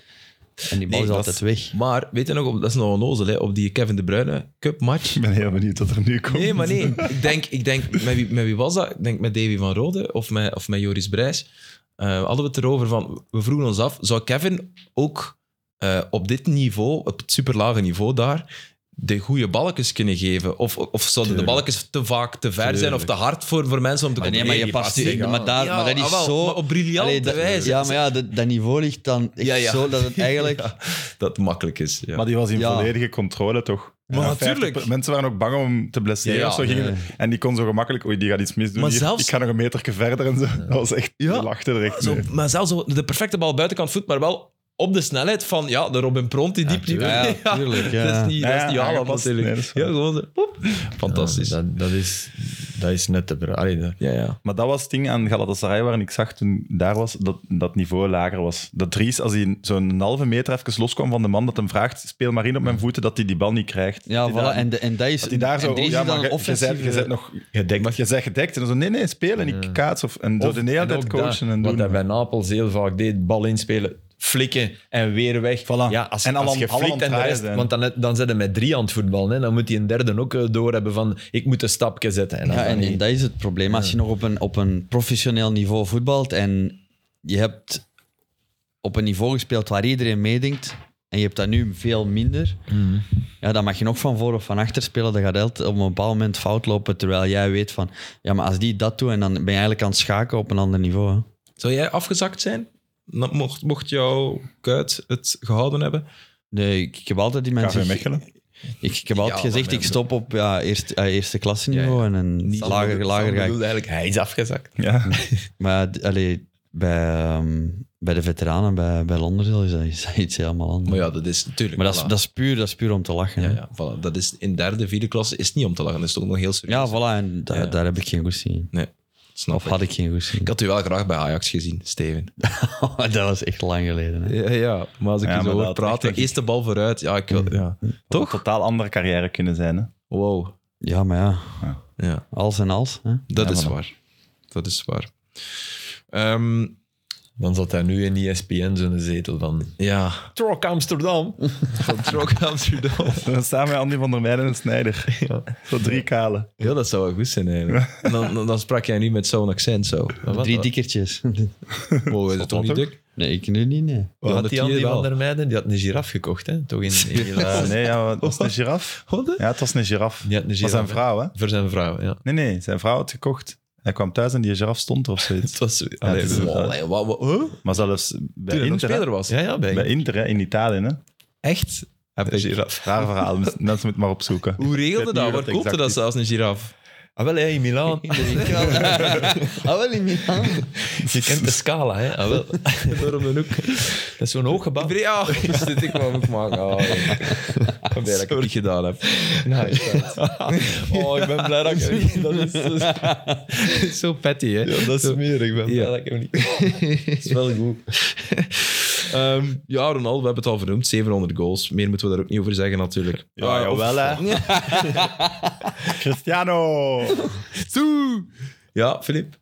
[SPEAKER 3] En die bal
[SPEAKER 1] Nee,
[SPEAKER 3] is
[SPEAKER 1] dat
[SPEAKER 3] altijd
[SPEAKER 1] is-
[SPEAKER 3] weg.
[SPEAKER 1] Maar, weet je nog, op- dat is nog onnozel, hè, op die Kevin De Bruyne Cup match.
[SPEAKER 2] Ik ben heel benieuwd wat er nu komt.
[SPEAKER 1] Nee, maar nee. Ik denk, ik denk met, wie, met wie was dat? Ik denk met Davy van Rode of met, of met Joris Brijs. Eh, hadden we het erover van... We vroegen ons af, zou Kevin ook eh, eh, op dit niveau, op het superlage niveau daar, de goede balkjes kunnen geven. Of, of zouden de balkjes te vaak te ver zijn of te hard voor, voor mensen om te
[SPEAKER 3] Ah, nee,
[SPEAKER 1] komen?
[SPEAKER 3] maar je
[SPEAKER 4] die
[SPEAKER 3] past
[SPEAKER 4] past
[SPEAKER 3] die-
[SPEAKER 4] zich
[SPEAKER 3] maar,
[SPEAKER 4] aan.
[SPEAKER 3] daar,
[SPEAKER 1] Ja,
[SPEAKER 3] maar dat is
[SPEAKER 1] jawel,
[SPEAKER 3] zo...
[SPEAKER 1] maar op briljante
[SPEAKER 3] Allee, dat-
[SPEAKER 1] wijze.
[SPEAKER 3] Ja, maar ja, dat, dat niveau ligt dan echt
[SPEAKER 1] Ja, ja.
[SPEAKER 3] zo dat het eigenlijk...
[SPEAKER 1] Dat makkelijk is. Ja.
[SPEAKER 2] Maar die was in
[SPEAKER 3] Ja.
[SPEAKER 2] volledige controle, toch?
[SPEAKER 1] Maar natuurlijk.
[SPEAKER 2] 50 mensen waren ook bang om te blesseren.
[SPEAKER 1] Ja,
[SPEAKER 2] of zo gingen-
[SPEAKER 3] nee.
[SPEAKER 2] En die kon zo gemakkelijk... Oei, die gaat iets misdoen
[SPEAKER 1] Maar
[SPEAKER 2] hier.
[SPEAKER 1] zelfs-
[SPEAKER 2] Ik ga nog een meterke verder en zo. Dat was echt...
[SPEAKER 1] Ja.
[SPEAKER 2] Die lachte er echt
[SPEAKER 1] Zo,
[SPEAKER 2] mee.
[SPEAKER 1] maar zelfs zo de perfecte bal buitenkant voet, maar wel op de snelheid van ja, de Robin Pront die diep.
[SPEAKER 3] Ja, ja, tuurlijk, ja.
[SPEAKER 1] Dat is niet, dat is
[SPEAKER 2] Ja,
[SPEAKER 1] niet
[SPEAKER 2] ja,
[SPEAKER 1] halen
[SPEAKER 2] aangepast.
[SPEAKER 1] natuurlijk.
[SPEAKER 2] Nee, dat is
[SPEAKER 1] ja,
[SPEAKER 2] waar.
[SPEAKER 1] gewoon zo, poep. Fantastisch. Ja,
[SPEAKER 4] Ah, dat, dat, is, dat is net te... bra- Allee, dat-
[SPEAKER 1] ja,
[SPEAKER 2] Maar dat was het ding aan Galatasaray waarin ik zag toen ik daar was, dat dat niveau lager was. Dat Dries, als hij zo'n halve meter even loskwam van de man, dat hem vraagt, speel maar in op mijn voeten, dat hij die bal niet krijgt.
[SPEAKER 3] Ja,
[SPEAKER 2] Dat
[SPEAKER 3] voilà.
[SPEAKER 2] hij daar-
[SPEAKER 3] en, de, en dat is...
[SPEAKER 2] dat hij daar
[SPEAKER 3] en
[SPEAKER 2] zo,
[SPEAKER 3] deze
[SPEAKER 2] oh, ja,
[SPEAKER 3] is
[SPEAKER 2] maar
[SPEAKER 3] dan
[SPEAKER 2] je, je,
[SPEAKER 3] offensief.
[SPEAKER 2] zegt- je zegt nog...
[SPEAKER 4] Gedekt.
[SPEAKER 2] Maar je zegt gedekt. En dan zo, nee, nee, spelen, ik kaats. Of, en zo
[SPEAKER 4] Of-
[SPEAKER 2] de hele
[SPEAKER 4] en
[SPEAKER 2] tijd
[SPEAKER 4] ook
[SPEAKER 2] coachen
[SPEAKER 4] dat,
[SPEAKER 2] en doen.
[SPEAKER 4] Wat hij bij Napels heel vaak deed, bal inspelen, flikken en weer weg.
[SPEAKER 2] Voilà.
[SPEAKER 4] Ja, als,
[SPEAKER 2] En
[SPEAKER 4] en
[SPEAKER 2] al
[SPEAKER 4] als
[SPEAKER 2] aan-
[SPEAKER 4] je
[SPEAKER 2] al aan
[SPEAKER 4] flikt en de
[SPEAKER 2] draaien
[SPEAKER 4] rest...
[SPEAKER 2] zijn.
[SPEAKER 4] Want dan, dan zit hij met drie aan het voetbal. Hè. Dan moet hij een derde ook eh, doorhebben van ik moet een stapje zetten. En als
[SPEAKER 3] Ja,
[SPEAKER 4] dat
[SPEAKER 3] en,
[SPEAKER 4] niet-
[SPEAKER 3] en dat is het probleem. Als je nog op een, op een professioneel niveau voetbalt en je hebt op een niveau gespeeld waar iedereen meedenkt en je hebt dat nu veel minder, ja, dan mag je nog van voor of van achter spelen. Dat gaat altijd op een bepaald moment fout lopen, terwijl jij weet van, ja, maar als die dat doet, en dan ben je eigenlijk aan het schaken op een ander niveau. Hè.
[SPEAKER 1] Zou jij afgezakt zijn? Nou, Mocht, mocht jouw kuit het gehouden hebben?
[SPEAKER 3] Nee, ik, ik heb altijd die mensen...
[SPEAKER 2] KV Mechelen.
[SPEAKER 3] Ik, ik heb altijd
[SPEAKER 1] Ja,
[SPEAKER 3] gezegd,
[SPEAKER 1] maar-
[SPEAKER 3] ik stop op ja, eerste, eh, eerste klasse niveau en een
[SPEAKER 1] Sam
[SPEAKER 3] lager,
[SPEAKER 1] bedoel-
[SPEAKER 3] lager
[SPEAKER 1] Sam
[SPEAKER 3] ga ik.
[SPEAKER 1] bedoelde eigenlijk, hij is afgezakt.
[SPEAKER 2] Ja.
[SPEAKER 3] Maar d- allee, bij, ehm, bij de veteranen, bij, bij Londerzeel, is dat, is dat iets helemaal anders.
[SPEAKER 1] Maar
[SPEAKER 3] Maar,
[SPEAKER 1] ja, dat is natuurlijk...
[SPEAKER 3] dat, is,
[SPEAKER 1] voilà.
[SPEAKER 3] dat, is puur, dat is puur om te lachen.
[SPEAKER 1] Ja,
[SPEAKER 3] hè.
[SPEAKER 1] ja, voilà. dat is in derde, vierde klasse is niet om te lachen. Dat is toch nog heel serieus.
[SPEAKER 3] Ja, voilà, en da-
[SPEAKER 1] Ja.
[SPEAKER 3] daar heb ik geen goesting in.
[SPEAKER 1] Nee, snap
[SPEAKER 3] Of
[SPEAKER 1] ik.
[SPEAKER 3] had ik geen goesting
[SPEAKER 1] Ik had u wel graag bij Ajax gezien, Steven.
[SPEAKER 3] dat was echt lang geleden. Hè.
[SPEAKER 1] Ja, ja maar als ik
[SPEAKER 2] Ja,
[SPEAKER 1] je
[SPEAKER 2] maar
[SPEAKER 1] zo hoor
[SPEAKER 2] dat-
[SPEAKER 1] praten,
[SPEAKER 2] echt, ik-
[SPEAKER 1] eerst de bal vooruit. Ja, ik wil... Ja.
[SPEAKER 2] Toch?
[SPEAKER 1] Toch?
[SPEAKER 2] totaal andere carrière kunnen zijn, hè.
[SPEAKER 1] Wow.
[SPEAKER 3] Ja, maar ja,
[SPEAKER 1] Ja.
[SPEAKER 3] als en als. Hè.
[SPEAKER 1] Dat
[SPEAKER 2] Ja,
[SPEAKER 1] is
[SPEAKER 2] voilà.
[SPEAKER 1] waar. Dat is waar. Ehm,
[SPEAKER 4] Dan zat hij nu in ESPN zo'n zetel van...
[SPEAKER 1] ja,
[SPEAKER 4] Trok Amsterdam.
[SPEAKER 1] van Trok Amsterdam.
[SPEAKER 2] Samen met Andy van der Meijden en Snijder. Zo drie kalen.
[SPEAKER 1] Ja, dat zou wel goed zijn eigenlijk. En dan, dan, dan sprak jij niet met zo'n accent zo.
[SPEAKER 3] Drie dikkertjes.
[SPEAKER 1] Wow, is het toch niet dik?
[SPEAKER 3] nee, ik nu niet, nee.
[SPEAKER 4] Wat had
[SPEAKER 1] dat
[SPEAKER 4] die
[SPEAKER 1] hier
[SPEAKER 4] Andy
[SPEAKER 1] wel.
[SPEAKER 4] van der Meijden? Die had een giraf gekocht, hè? Toch in, in
[SPEAKER 2] Ja,
[SPEAKER 4] Ierland.
[SPEAKER 2] nee, ja, het was een giraf.
[SPEAKER 1] Wat?
[SPEAKER 2] Ja, het was een giraf.
[SPEAKER 4] Die had een
[SPEAKER 2] Maar
[SPEAKER 4] giraf.
[SPEAKER 2] zijn
[SPEAKER 4] hè.
[SPEAKER 2] vrouw, hè?
[SPEAKER 4] Voor zijn vrouw, ja.
[SPEAKER 2] Nee, nee, zijn vrouw had gekocht. Hij kwam thuis en die giraf stond er of zoiets.
[SPEAKER 4] Het was...
[SPEAKER 2] het
[SPEAKER 4] allee,
[SPEAKER 2] is
[SPEAKER 4] zo-
[SPEAKER 2] wel-
[SPEAKER 1] Allee, wat, wat, huh?
[SPEAKER 2] Maar zelfs bij
[SPEAKER 1] Toen hij nog
[SPEAKER 2] Inter,
[SPEAKER 1] speler
[SPEAKER 2] hè?
[SPEAKER 1] was.
[SPEAKER 4] ja, ja, bij,
[SPEAKER 2] bij Inter hè, in Italië. Hè?
[SPEAKER 1] Echt?
[SPEAKER 4] een giraf.
[SPEAKER 2] Raar verhaal, mensen moeten het maar opzoeken.
[SPEAKER 1] Hoe
[SPEAKER 2] Ik
[SPEAKER 1] regelde
[SPEAKER 2] weet niet
[SPEAKER 1] dat?
[SPEAKER 2] hoe
[SPEAKER 1] Waar
[SPEAKER 2] dat
[SPEAKER 1] koopte
[SPEAKER 2] exact
[SPEAKER 1] dat
[SPEAKER 2] is.
[SPEAKER 1] zelfs een giraf?
[SPEAKER 4] Ah, wel, hè, in
[SPEAKER 3] ah,
[SPEAKER 4] Milaan.
[SPEAKER 3] wel in Milaan.
[SPEAKER 4] Je kent de scala, hè? Ah, wel.
[SPEAKER 1] Door om de hoek.
[SPEAKER 4] Dat is zo'n hoog gebouw.
[SPEAKER 1] Ja, dus dit ik wou ook maken. Oh, ik ben blij dat ik het niet gedaan heb.
[SPEAKER 4] Oh, ik ben blij dat ik... Dat is,
[SPEAKER 1] Zo petty, hè?
[SPEAKER 4] dat is smerig. Ik ben blij
[SPEAKER 1] Ja.
[SPEAKER 4] dat ik hem niet...
[SPEAKER 1] Dat is wel goed. Ehm, ja, Ronaldo, we hebben het al vernoemd. 700 goals. Meer moeten we daar ook niet over zeggen, natuurlijk.
[SPEAKER 2] Ja,
[SPEAKER 1] Ah, of-
[SPEAKER 2] jawel, hè. Cristiano!
[SPEAKER 1] Toe! Ja, Filip.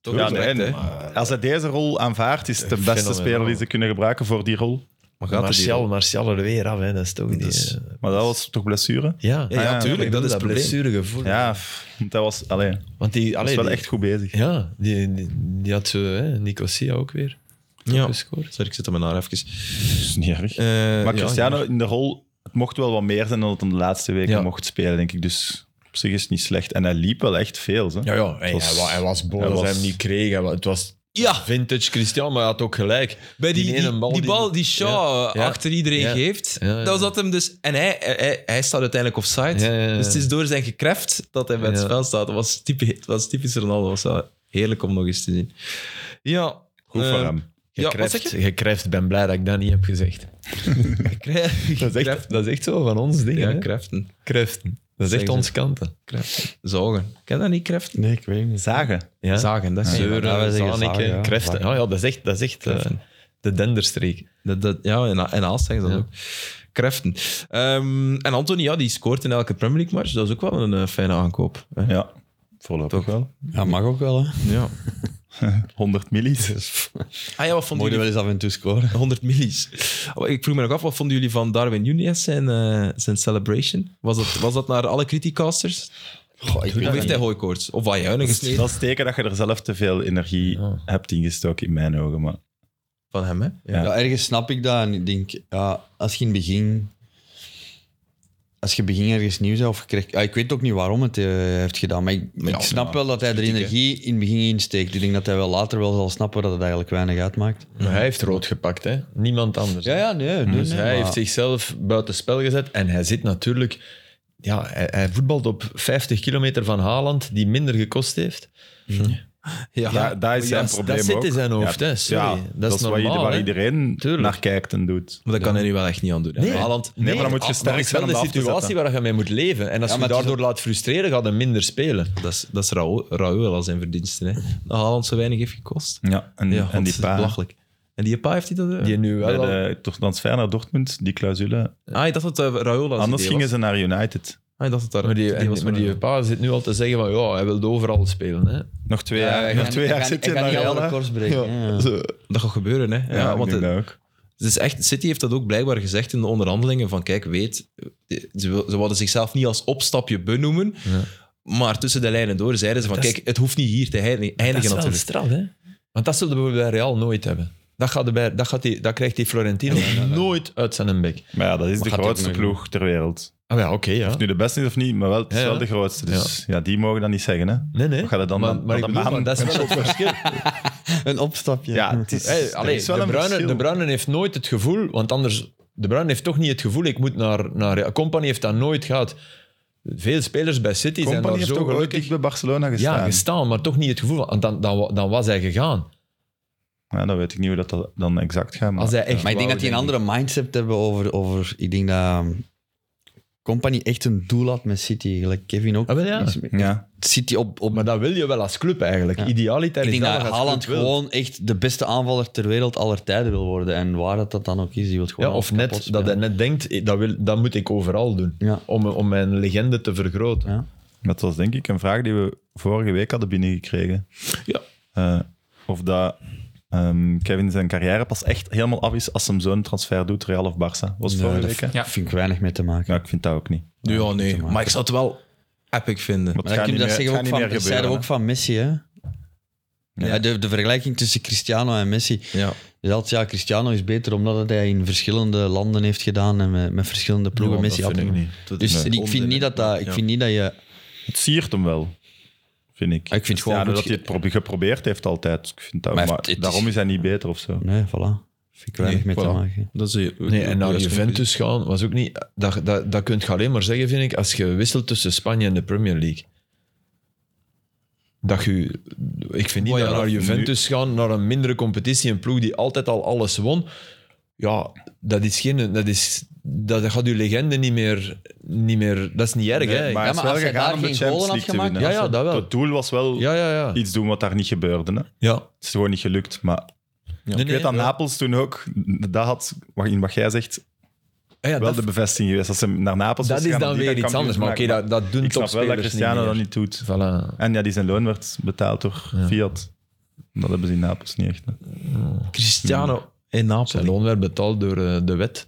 [SPEAKER 1] Toch
[SPEAKER 2] Ja,
[SPEAKER 1] respect,
[SPEAKER 2] nee,
[SPEAKER 1] hè?
[SPEAKER 2] maar als hij deze rol aanvaardt, is het de beste
[SPEAKER 4] Fenomenaal.
[SPEAKER 2] speler die ze kunnen gebruiken voor die rol.
[SPEAKER 1] Maar gaat het hier
[SPEAKER 4] Martial,
[SPEAKER 1] om?
[SPEAKER 4] Martial er weer af, hè? Dat is toch niet... eh,
[SPEAKER 2] Maar dat was toch blessure?
[SPEAKER 4] Ja,
[SPEAKER 1] Ja, ja,
[SPEAKER 2] Ah,
[SPEAKER 1] tuurlijk. Dat is het probleem.
[SPEAKER 4] blessuregevoel.
[SPEAKER 2] Ja, pff, want dat was, allee, dat
[SPEAKER 4] Want die...
[SPEAKER 2] was
[SPEAKER 4] Allee,
[SPEAKER 2] wel
[SPEAKER 4] die-
[SPEAKER 2] echt goed bezig.
[SPEAKER 4] Ja, die, die, die had zo, hè, Nicosia ook weer
[SPEAKER 1] Ja.
[SPEAKER 4] gescoord.
[SPEAKER 1] Sorry, ik zit op mijn haar even.
[SPEAKER 2] is niet erg.
[SPEAKER 1] Eh,
[SPEAKER 2] Maar
[SPEAKER 1] ja,
[SPEAKER 2] Cristiano in de rol, het mocht wel wat meer zijn dan het in de laatste weken
[SPEAKER 4] Ja.
[SPEAKER 2] mocht spelen, denk ik. Dus op zich is het niet slecht. En hij liep wel echt veel. Zo.
[SPEAKER 4] Ja, ja. Hij,
[SPEAKER 2] Het was-
[SPEAKER 4] hij, wa- hij was boos
[SPEAKER 2] hij
[SPEAKER 4] dat
[SPEAKER 2] was-
[SPEAKER 4] hij hem niet kreeg. Hij wa- het was
[SPEAKER 1] Ja.
[SPEAKER 4] vintage Christian, maar hij had ook gelijk.
[SPEAKER 1] Bij die, die,
[SPEAKER 4] ene
[SPEAKER 1] die bal, die, Shaw eh,
[SPEAKER 4] Ja.
[SPEAKER 1] achter iedereen
[SPEAKER 4] Ja.
[SPEAKER 1] geeft,
[SPEAKER 4] Ja, ja.
[SPEAKER 1] dat was dat hem dus... En hij, hij, hij staat uiteindelijk offside.
[SPEAKER 4] Ja, ja, ja.
[SPEAKER 1] Dus het is door zijn gekreft dat hij bij het
[SPEAKER 4] Ja.
[SPEAKER 1] spel staat. Dat was, typisch, het was typisch Ronaldo. Dat was wel heerlijk om nog eens te zien. Ja.
[SPEAKER 2] Goed voor
[SPEAKER 1] eh,
[SPEAKER 2] hem.
[SPEAKER 1] Ja, wat
[SPEAKER 4] Gekreft,
[SPEAKER 1] zeg je?
[SPEAKER 4] gekreft, ben blij dat ik dat niet heb gezegd.
[SPEAKER 1] Dat
[SPEAKER 4] Dat is echt, dat is echt zo van ons ding.
[SPEAKER 1] Ja,
[SPEAKER 4] hè?
[SPEAKER 1] kreften.
[SPEAKER 4] Kreften. Dat is
[SPEAKER 1] Zeggen
[SPEAKER 4] echt
[SPEAKER 1] ze.
[SPEAKER 4] ons kanten.
[SPEAKER 1] Kreften. Zagen. Ken je dat niet, kreften?
[SPEAKER 3] Nee, ik weet niet.
[SPEAKER 2] Zagen.
[SPEAKER 4] Ja.
[SPEAKER 1] Zagen, dat is
[SPEAKER 4] Zeuren,
[SPEAKER 3] Ja, wij zeggen
[SPEAKER 4] Zaneke,
[SPEAKER 3] zagen, ja.
[SPEAKER 4] Kreften. Ja, ja, dat is echt, dat is echt eh,
[SPEAKER 1] Kreften.
[SPEAKER 4] de denderstreek.
[SPEAKER 1] Dat, dat, ja, en, en Haas zeggen ze dat
[SPEAKER 4] Ja.
[SPEAKER 1] ook. Kreften. Ehm, en Anthony, ja, die scoort in elke Premier League match. Dat is ook wel een eh, fijne aankoop. hè.
[SPEAKER 2] Ja, voorlopig
[SPEAKER 1] Toch?
[SPEAKER 2] wel.
[SPEAKER 3] Ja, mag ook wel, hè.
[SPEAKER 1] Ja.
[SPEAKER 2] 100 millies.
[SPEAKER 1] Ah ja, wat vonden
[SPEAKER 3] Mogen we
[SPEAKER 1] jullie...
[SPEAKER 3] wel eens af en toe scoren.
[SPEAKER 1] 100 millies. Oh, Ik vroeg me nog af, wat vonden jullie van Darwin Nunez zijn, eh, zijn celebration? Was dat, was dat naar alle criticasters?
[SPEAKER 3] Goh, ik
[SPEAKER 1] Of
[SPEAKER 3] weet dat
[SPEAKER 1] heeft hij
[SPEAKER 3] niet.
[SPEAKER 1] hooikoorts? Of wat juinen
[SPEAKER 2] Dat is
[SPEAKER 1] gesneden?
[SPEAKER 2] dat is teken dat je er zelf te veel energie
[SPEAKER 4] Ja.
[SPEAKER 2] hebt ingestoken, in mijn ogen. Maar
[SPEAKER 1] van hem, hè?
[SPEAKER 3] Ja. ergens snap ik dat. En ik denk, ja, als je in het begin... Als je begin ergens nieuw bent, of je krijgt- ja, ik weet ook niet waarom het eh, heeft gedaan, maar ik, ik snap wel dat hij er energie in het begin insteekt. Ik denk dat hij wel later wel zal snappen dat het eigenlijk weinig uitmaakt.
[SPEAKER 4] Maar hij heeft rood gepakt, hè? niemand anders.
[SPEAKER 3] Ja,
[SPEAKER 4] hè.
[SPEAKER 3] ja, nee.
[SPEAKER 4] Dus hij heeft zichzelf buitenspel gezet en hij zit natuurlijk... Ja, hij, hij voetbalt op 50 kilometer van Haaland, die minder gekost heeft.
[SPEAKER 2] Ja, daar is
[SPEAKER 4] Ja,
[SPEAKER 2] zijn
[SPEAKER 4] dat
[SPEAKER 2] probleem
[SPEAKER 4] zit in
[SPEAKER 2] ook.
[SPEAKER 4] zijn hoofd,
[SPEAKER 2] ja,
[SPEAKER 4] hè. Sorry.
[SPEAKER 2] ja,
[SPEAKER 4] Dat is
[SPEAKER 2] dat is waar,
[SPEAKER 4] normaal,
[SPEAKER 2] ieder- waar
[SPEAKER 4] hè.
[SPEAKER 2] iedereen
[SPEAKER 4] Tuurlijk.
[SPEAKER 2] naar kijkt en doet.
[SPEAKER 1] Maar dat kan hij nu wel echt niet aan doen. hè.
[SPEAKER 4] Nee.
[SPEAKER 1] Haaland,
[SPEAKER 2] Nee, maar dan moet je sterk
[SPEAKER 4] dat is
[SPEAKER 2] zijn om
[SPEAKER 4] wel de
[SPEAKER 2] dat af te
[SPEAKER 4] situatie
[SPEAKER 2] zetten.
[SPEAKER 4] waar je mee moet leven. En als
[SPEAKER 3] Ja,
[SPEAKER 4] je
[SPEAKER 3] maar het is
[SPEAKER 4] daardoor laat frustreren, gaat hij minder spelen.
[SPEAKER 1] dat is, dat is Raoul, Raoul al zijn verdiensten. Hè? Dat Haaland zo weinig heeft gekost.
[SPEAKER 2] Ja, en,
[SPEAKER 1] Ja,
[SPEAKER 2] en
[SPEAKER 1] dat
[SPEAKER 2] die
[SPEAKER 1] is
[SPEAKER 2] paar
[SPEAKER 1] belachelijk. En die pa heeft hij dat... eh?
[SPEAKER 4] Die nu
[SPEAKER 2] bij
[SPEAKER 4] wel al-
[SPEAKER 2] de toch transfer naar Dortmund, die clausule.
[SPEAKER 1] Ah, ik dacht dat het Raoul als
[SPEAKER 2] Anders
[SPEAKER 1] idee
[SPEAKER 2] gingen
[SPEAKER 1] was.
[SPEAKER 2] ze naar United.
[SPEAKER 1] Ah, ik dacht dat daar...
[SPEAKER 4] Maar die,
[SPEAKER 1] het idee was
[SPEAKER 4] en, maar
[SPEAKER 1] van
[SPEAKER 4] die
[SPEAKER 1] Raoul.
[SPEAKER 4] pa zit nu al te zeggen van ja, hij wil overal spelen. Hè.
[SPEAKER 2] Nog twee jaar, nog twee jaar zit hij
[SPEAKER 3] naar
[SPEAKER 2] naar
[SPEAKER 3] alle
[SPEAKER 2] Real.
[SPEAKER 3] records breken. Ja.
[SPEAKER 2] hè. Zo.
[SPEAKER 1] Dat gaat gebeuren, hè. Ja,
[SPEAKER 2] Ja,
[SPEAKER 1] want
[SPEAKER 2] ik denk
[SPEAKER 1] het-
[SPEAKER 2] dat ook.
[SPEAKER 1] Dus Het is echt, City heeft dat ook blijkbaar gezegd in de onderhandelingen. Van kijk, weet, ze, wil- ze wilden zichzelf niet als opstapje benoemen. Maar tussen de lijnen door zeiden ze van
[SPEAKER 4] Dat is-
[SPEAKER 1] kijk, het hoeft niet hier te heini-
[SPEAKER 4] Dat
[SPEAKER 1] eindigen
[SPEAKER 4] is wel
[SPEAKER 1] natuurlijk.
[SPEAKER 4] straf, hè. Want dat zullen we bij Real nooit hebben. Dat, gaat er bij, dat, gaat die, dat krijgt die Florentino nooit uit zijn bek.
[SPEAKER 2] Maar ja, dat is de
[SPEAKER 3] gaat die ook
[SPEAKER 2] grootste
[SPEAKER 3] nog
[SPEAKER 2] ploeg ter wereld.
[SPEAKER 4] Ah ja, oké, ja.
[SPEAKER 2] Of nu de beste is of niet, maar wel, het is
[SPEAKER 4] Ja, ja.
[SPEAKER 2] wel de grootste. Dus ja. die mogen dat niet zeggen, hè.
[SPEAKER 4] Nee, nee.
[SPEAKER 2] Wat gaat het dan-
[SPEAKER 4] maar,
[SPEAKER 2] dan-
[SPEAKER 4] maar
[SPEAKER 2] dan
[SPEAKER 4] ik bedoel,
[SPEAKER 2] aan-
[SPEAKER 4] maar dat is wel het verschil.
[SPEAKER 3] Een opstapje.
[SPEAKER 2] Ja, het is,
[SPEAKER 4] Hey,
[SPEAKER 2] er
[SPEAKER 4] allee,
[SPEAKER 2] is wel
[SPEAKER 4] de,
[SPEAKER 2] een
[SPEAKER 4] Bruyne,
[SPEAKER 2] verschil.
[SPEAKER 4] de Bruyne heeft nooit het gevoel, want anders... De Bruyne heeft toch niet het gevoel, ik moet naar... naar Real. Company heeft dat nooit gehad. Veel spelers bij City zijn
[SPEAKER 2] Company
[SPEAKER 4] daar
[SPEAKER 2] heeft
[SPEAKER 4] zo
[SPEAKER 2] toch ooit
[SPEAKER 4] gelukkig...
[SPEAKER 2] dik bij Barcelona gestaan.
[SPEAKER 4] Ja, gestaan, maar toch niet het gevoel. van- Dan, dan, dan was hij gegaan.
[SPEAKER 2] Ja, dan weet ik niet hoe dat dan- dan exact gaat. Maar
[SPEAKER 4] Als hij echt
[SPEAKER 3] Maar ik denk
[SPEAKER 4] wou,
[SPEAKER 3] dat die een andere mindset hebben over, over... Ik denk dat um, Company echt een doel had met City. Gelijk Kevin ook.
[SPEAKER 4] Ah, wel, ja.
[SPEAKER 3] Is met-
[SPEAKER 2] ja.
[SPEAKER 3] City op...
[SPEAKER 4] ik.
[SPEAKER 3] op
[SPEAKER 4] Maar dat wil je wel als club eigenlijk.
[SPEAKER 3] Ja.
[SPEAKER 4] Idealiter
[SPEAKER 3] ik
[SPEAKER 4] is
[SPEAKER 3] denk
[SPEAKER 4] dat
[SPEAKER 3] dat
[SPEAKER 4] je als
[SPEAKER 3] Haaland
[SPEAKER 4] club wil.
[SPEAKER 3] gewoon echt de beste aanvaller ter wereld aller tijden wil worden. En waar dat, dat dan ook is, die wil gewoon
[SPEAKER 4] Ja, of
[SPEAKER 3] alles
[SPEAKER 4] net,
[SPEAKER 3] kapot
[SPEAKER 4] dat hij
[SPEAKER 3] spelen.
[SPEAKER 4] net denkt, eh, dat, wil, dat moet ik overal doen.
[SPEAKER 3] Ja.
[SPEAKER 4] Om, om mijn legende te vergroten.
[SPEAKER 3] Ja.
[SPEAKER 2] Dat was denk ik een vraag die we vorige week hadden binnengekregen.
[SPEAKER 1] Ja.
[SPEAKER 2] Eh, of dat ehm, Kevin zijn carrière pas echt helemaal af is als hem zo'n transfer doet, Real of Barça. Was het
[SPEAKER 3] Nee,
[SPEAKER 2] vorige week,
[SPEAKER 3] dat
[SPEAKER 2] hè?
[SPEAKER 3] ja. vind ik weinig mee te maken.
[SPEAKER 2] Ja, ik vind dat ook niet.
[SPEAKER 1] Nu ja, nee. Maar ik zou het wel epic vinden.
[SPEAKER 2] Want het
[SPEAKER 3] Maar dat,
[SPEAKER 2] gaat
[SPEAKER 3] kun je
[SPEAKER 2] niet
[SPEAKER 3] dat
[SPEAKER 2] meer-
[SPEAKER 3] zeggen
[SPEAKER 2] het gaat
[SPEAKER 3] we ook
[SPEAKER 2] niet
[SPEAKER 3] van,
[SPEAKER 2] meer gebeuren,
[SPEAKER 3] dat zeiden we ook
[SPEAKER 2] hè.
[SPEAKER 3] van Messi, hè? Ja, de, de vergelijking tussen Cristiano en Messi.
[SPEAKER 1] Ja.
[SPEAKER 3] Dus altijd, ja, Cristiano is beter omdat het hij in verschillende landen heeft gedaan en met, met verschillende ploegen.
[SPEAKER 4] Ja,
[SPEAKER 3] Messi
[SPEAKER 4] dat
[SPEAKER 3] had
[SPEAKER 4] vind ik
[SPEAKER 3] hem-
[SPEAKER 4] niet.
[SPEAKER 1] Dat
[SPEAKER 3] Dus
[SPEAKER 1] is
[SPEAKER 3] ik,
[SPEAKER 1] onzin,
[SPEAKER 3] vind niet
[SPEAKER 1] hè.
[SPEAKER 3] dat dat, ik
[SPEAKER 1] Ja.
[SPEAKER 3] vind niet dat je...
[SPEAKER 2] Het siert hem wel, vind ik.
[SPEAKER 3] Ah, ik vind het gewoon
[SPEAKER 2] ja,
[SPEAKER 3] goed
[SPEAKER 2] dat hij het probe- geprobeerd heeft altijd. Ik vind dat,
[SPEAKER 3] Maar
[SPEAKER 2] maar
[SPEAKER 3] het- het is-
[SPEAKER 2] daarom is hij niet beter of zo.
[SPEAKER 3] Nee, voilà. Vind ik weinig
[SPEAKER 1] Nee,
[SPEAKER 3] mee
[SPEAKER 1] voilà.
[SPEAKER 3] te maken.
[SPEAKER 1] Dat is een-
[SPEAKER 4] Nee, en naar
[SPEAKER 1] juist-
[SPEAKER 4] Juventus gaan was ook niet... Dat, dat, dat kun je alleen maar zeggen, vind ik, als je wisselt tussen Spanje en de Premier League. Dat je... Ik vind niet
[SPEAKER 1] Oh ja,
[SPEAKER 4] dat naar
[SPEAKER 1] dat-
[SPEAKER 4] Juventus gaan, naar een mindere competitie, een ploeg die altijd al alles won. Ja, dat is geen... Dat, is, dat gaat je legende niet meer... Niet meer dat is niet erg,
[SPEAKER 2] Nee,
[SPEAKER 4] hè.
[SPEAKER 2] maar
[SPEAKER 3] Ja,
[SPEAKER 2] het is
[SPEAKER 3] maar
[SPEAKER 2] wel
[SPEAKER 3] als hij
[SPEAKER 2] gegaan
[SPEAKER 3] daar
[SPEAKER 2] om de
[SPEAKER 3] geen
[SPEAKER 2] Champions
[SPEAKER 3] golen had
[SPEAKER 2] League te
[SPEAKER 3] gemaakt,
[SPEAKER 2] winnen.
[SPEAKER 4] ja, ja, dat wel.
[SPEAKER 2] Het doel was wel
[SPEAKER 4] Ja, ja, ja.
[SPEAKER 2] iets doen wat daar niet gebeurde. Hè?
[SPEAKER 4] ja.
[SPEAKER 2] Het is gewoon niet gelukt. Maar
[SPEAKER 4] Nee,
[SPEAKER 2] ik
[SPEAKER 4] nee,
[SPEAKER 2] weet dat
[SPEAKER 4] ja.
[SPEAKER 2] Napels toen ook, dat had, wat- in wat jij zegt,
[SPEAKER 4] Ah ja,
[SPEAKER 2] wel
[SPEAKER 4] dat-
[SPEAKER 2] de bevestiging geweest. Als ze naar Napels
[SPEAKER 4] Dat
[SPEAKER 2] was
[SPEAKER 4] is
[SPEAKER 2] gegaan,
[SPEAKER 4] dan
[SPEAKER 2] die
[SPEAKER 4] weer
[SPEAKER 2] dan
[SPEAKER 4] iets
[SPEAKER 2] kampioen
[SPEAKER 4] anders. Maar oké,
[SPEAKER 2] gemaakt.
[SPEAKER 4] dat, dat doen
[SPEAKER 2] Ik snap wel dat
[SPEAKER 4] topspelers
[SPEAKER 2] Cristiano
[SPEAKER 4] niet
[SPEAKER 2] dat
[SPEAKER 4] meer.
[SPEAKER 2] niet doet.
[SPEAKER 4] Voilà.
[SPEAKER 2] En ja, die zijn loon werd betaald door Fiat. Dat hebben ze in Napels niet echt. hè.
[SPEAKER 1] Cristiano
[SPEAKER 3] Hmm.
[SPEAKER 1] in
[SPEAKER 4] Zijn
[SPEAKER 1] Napoli.
[SPEAKER 4] loon werd betaald door eh, de wet.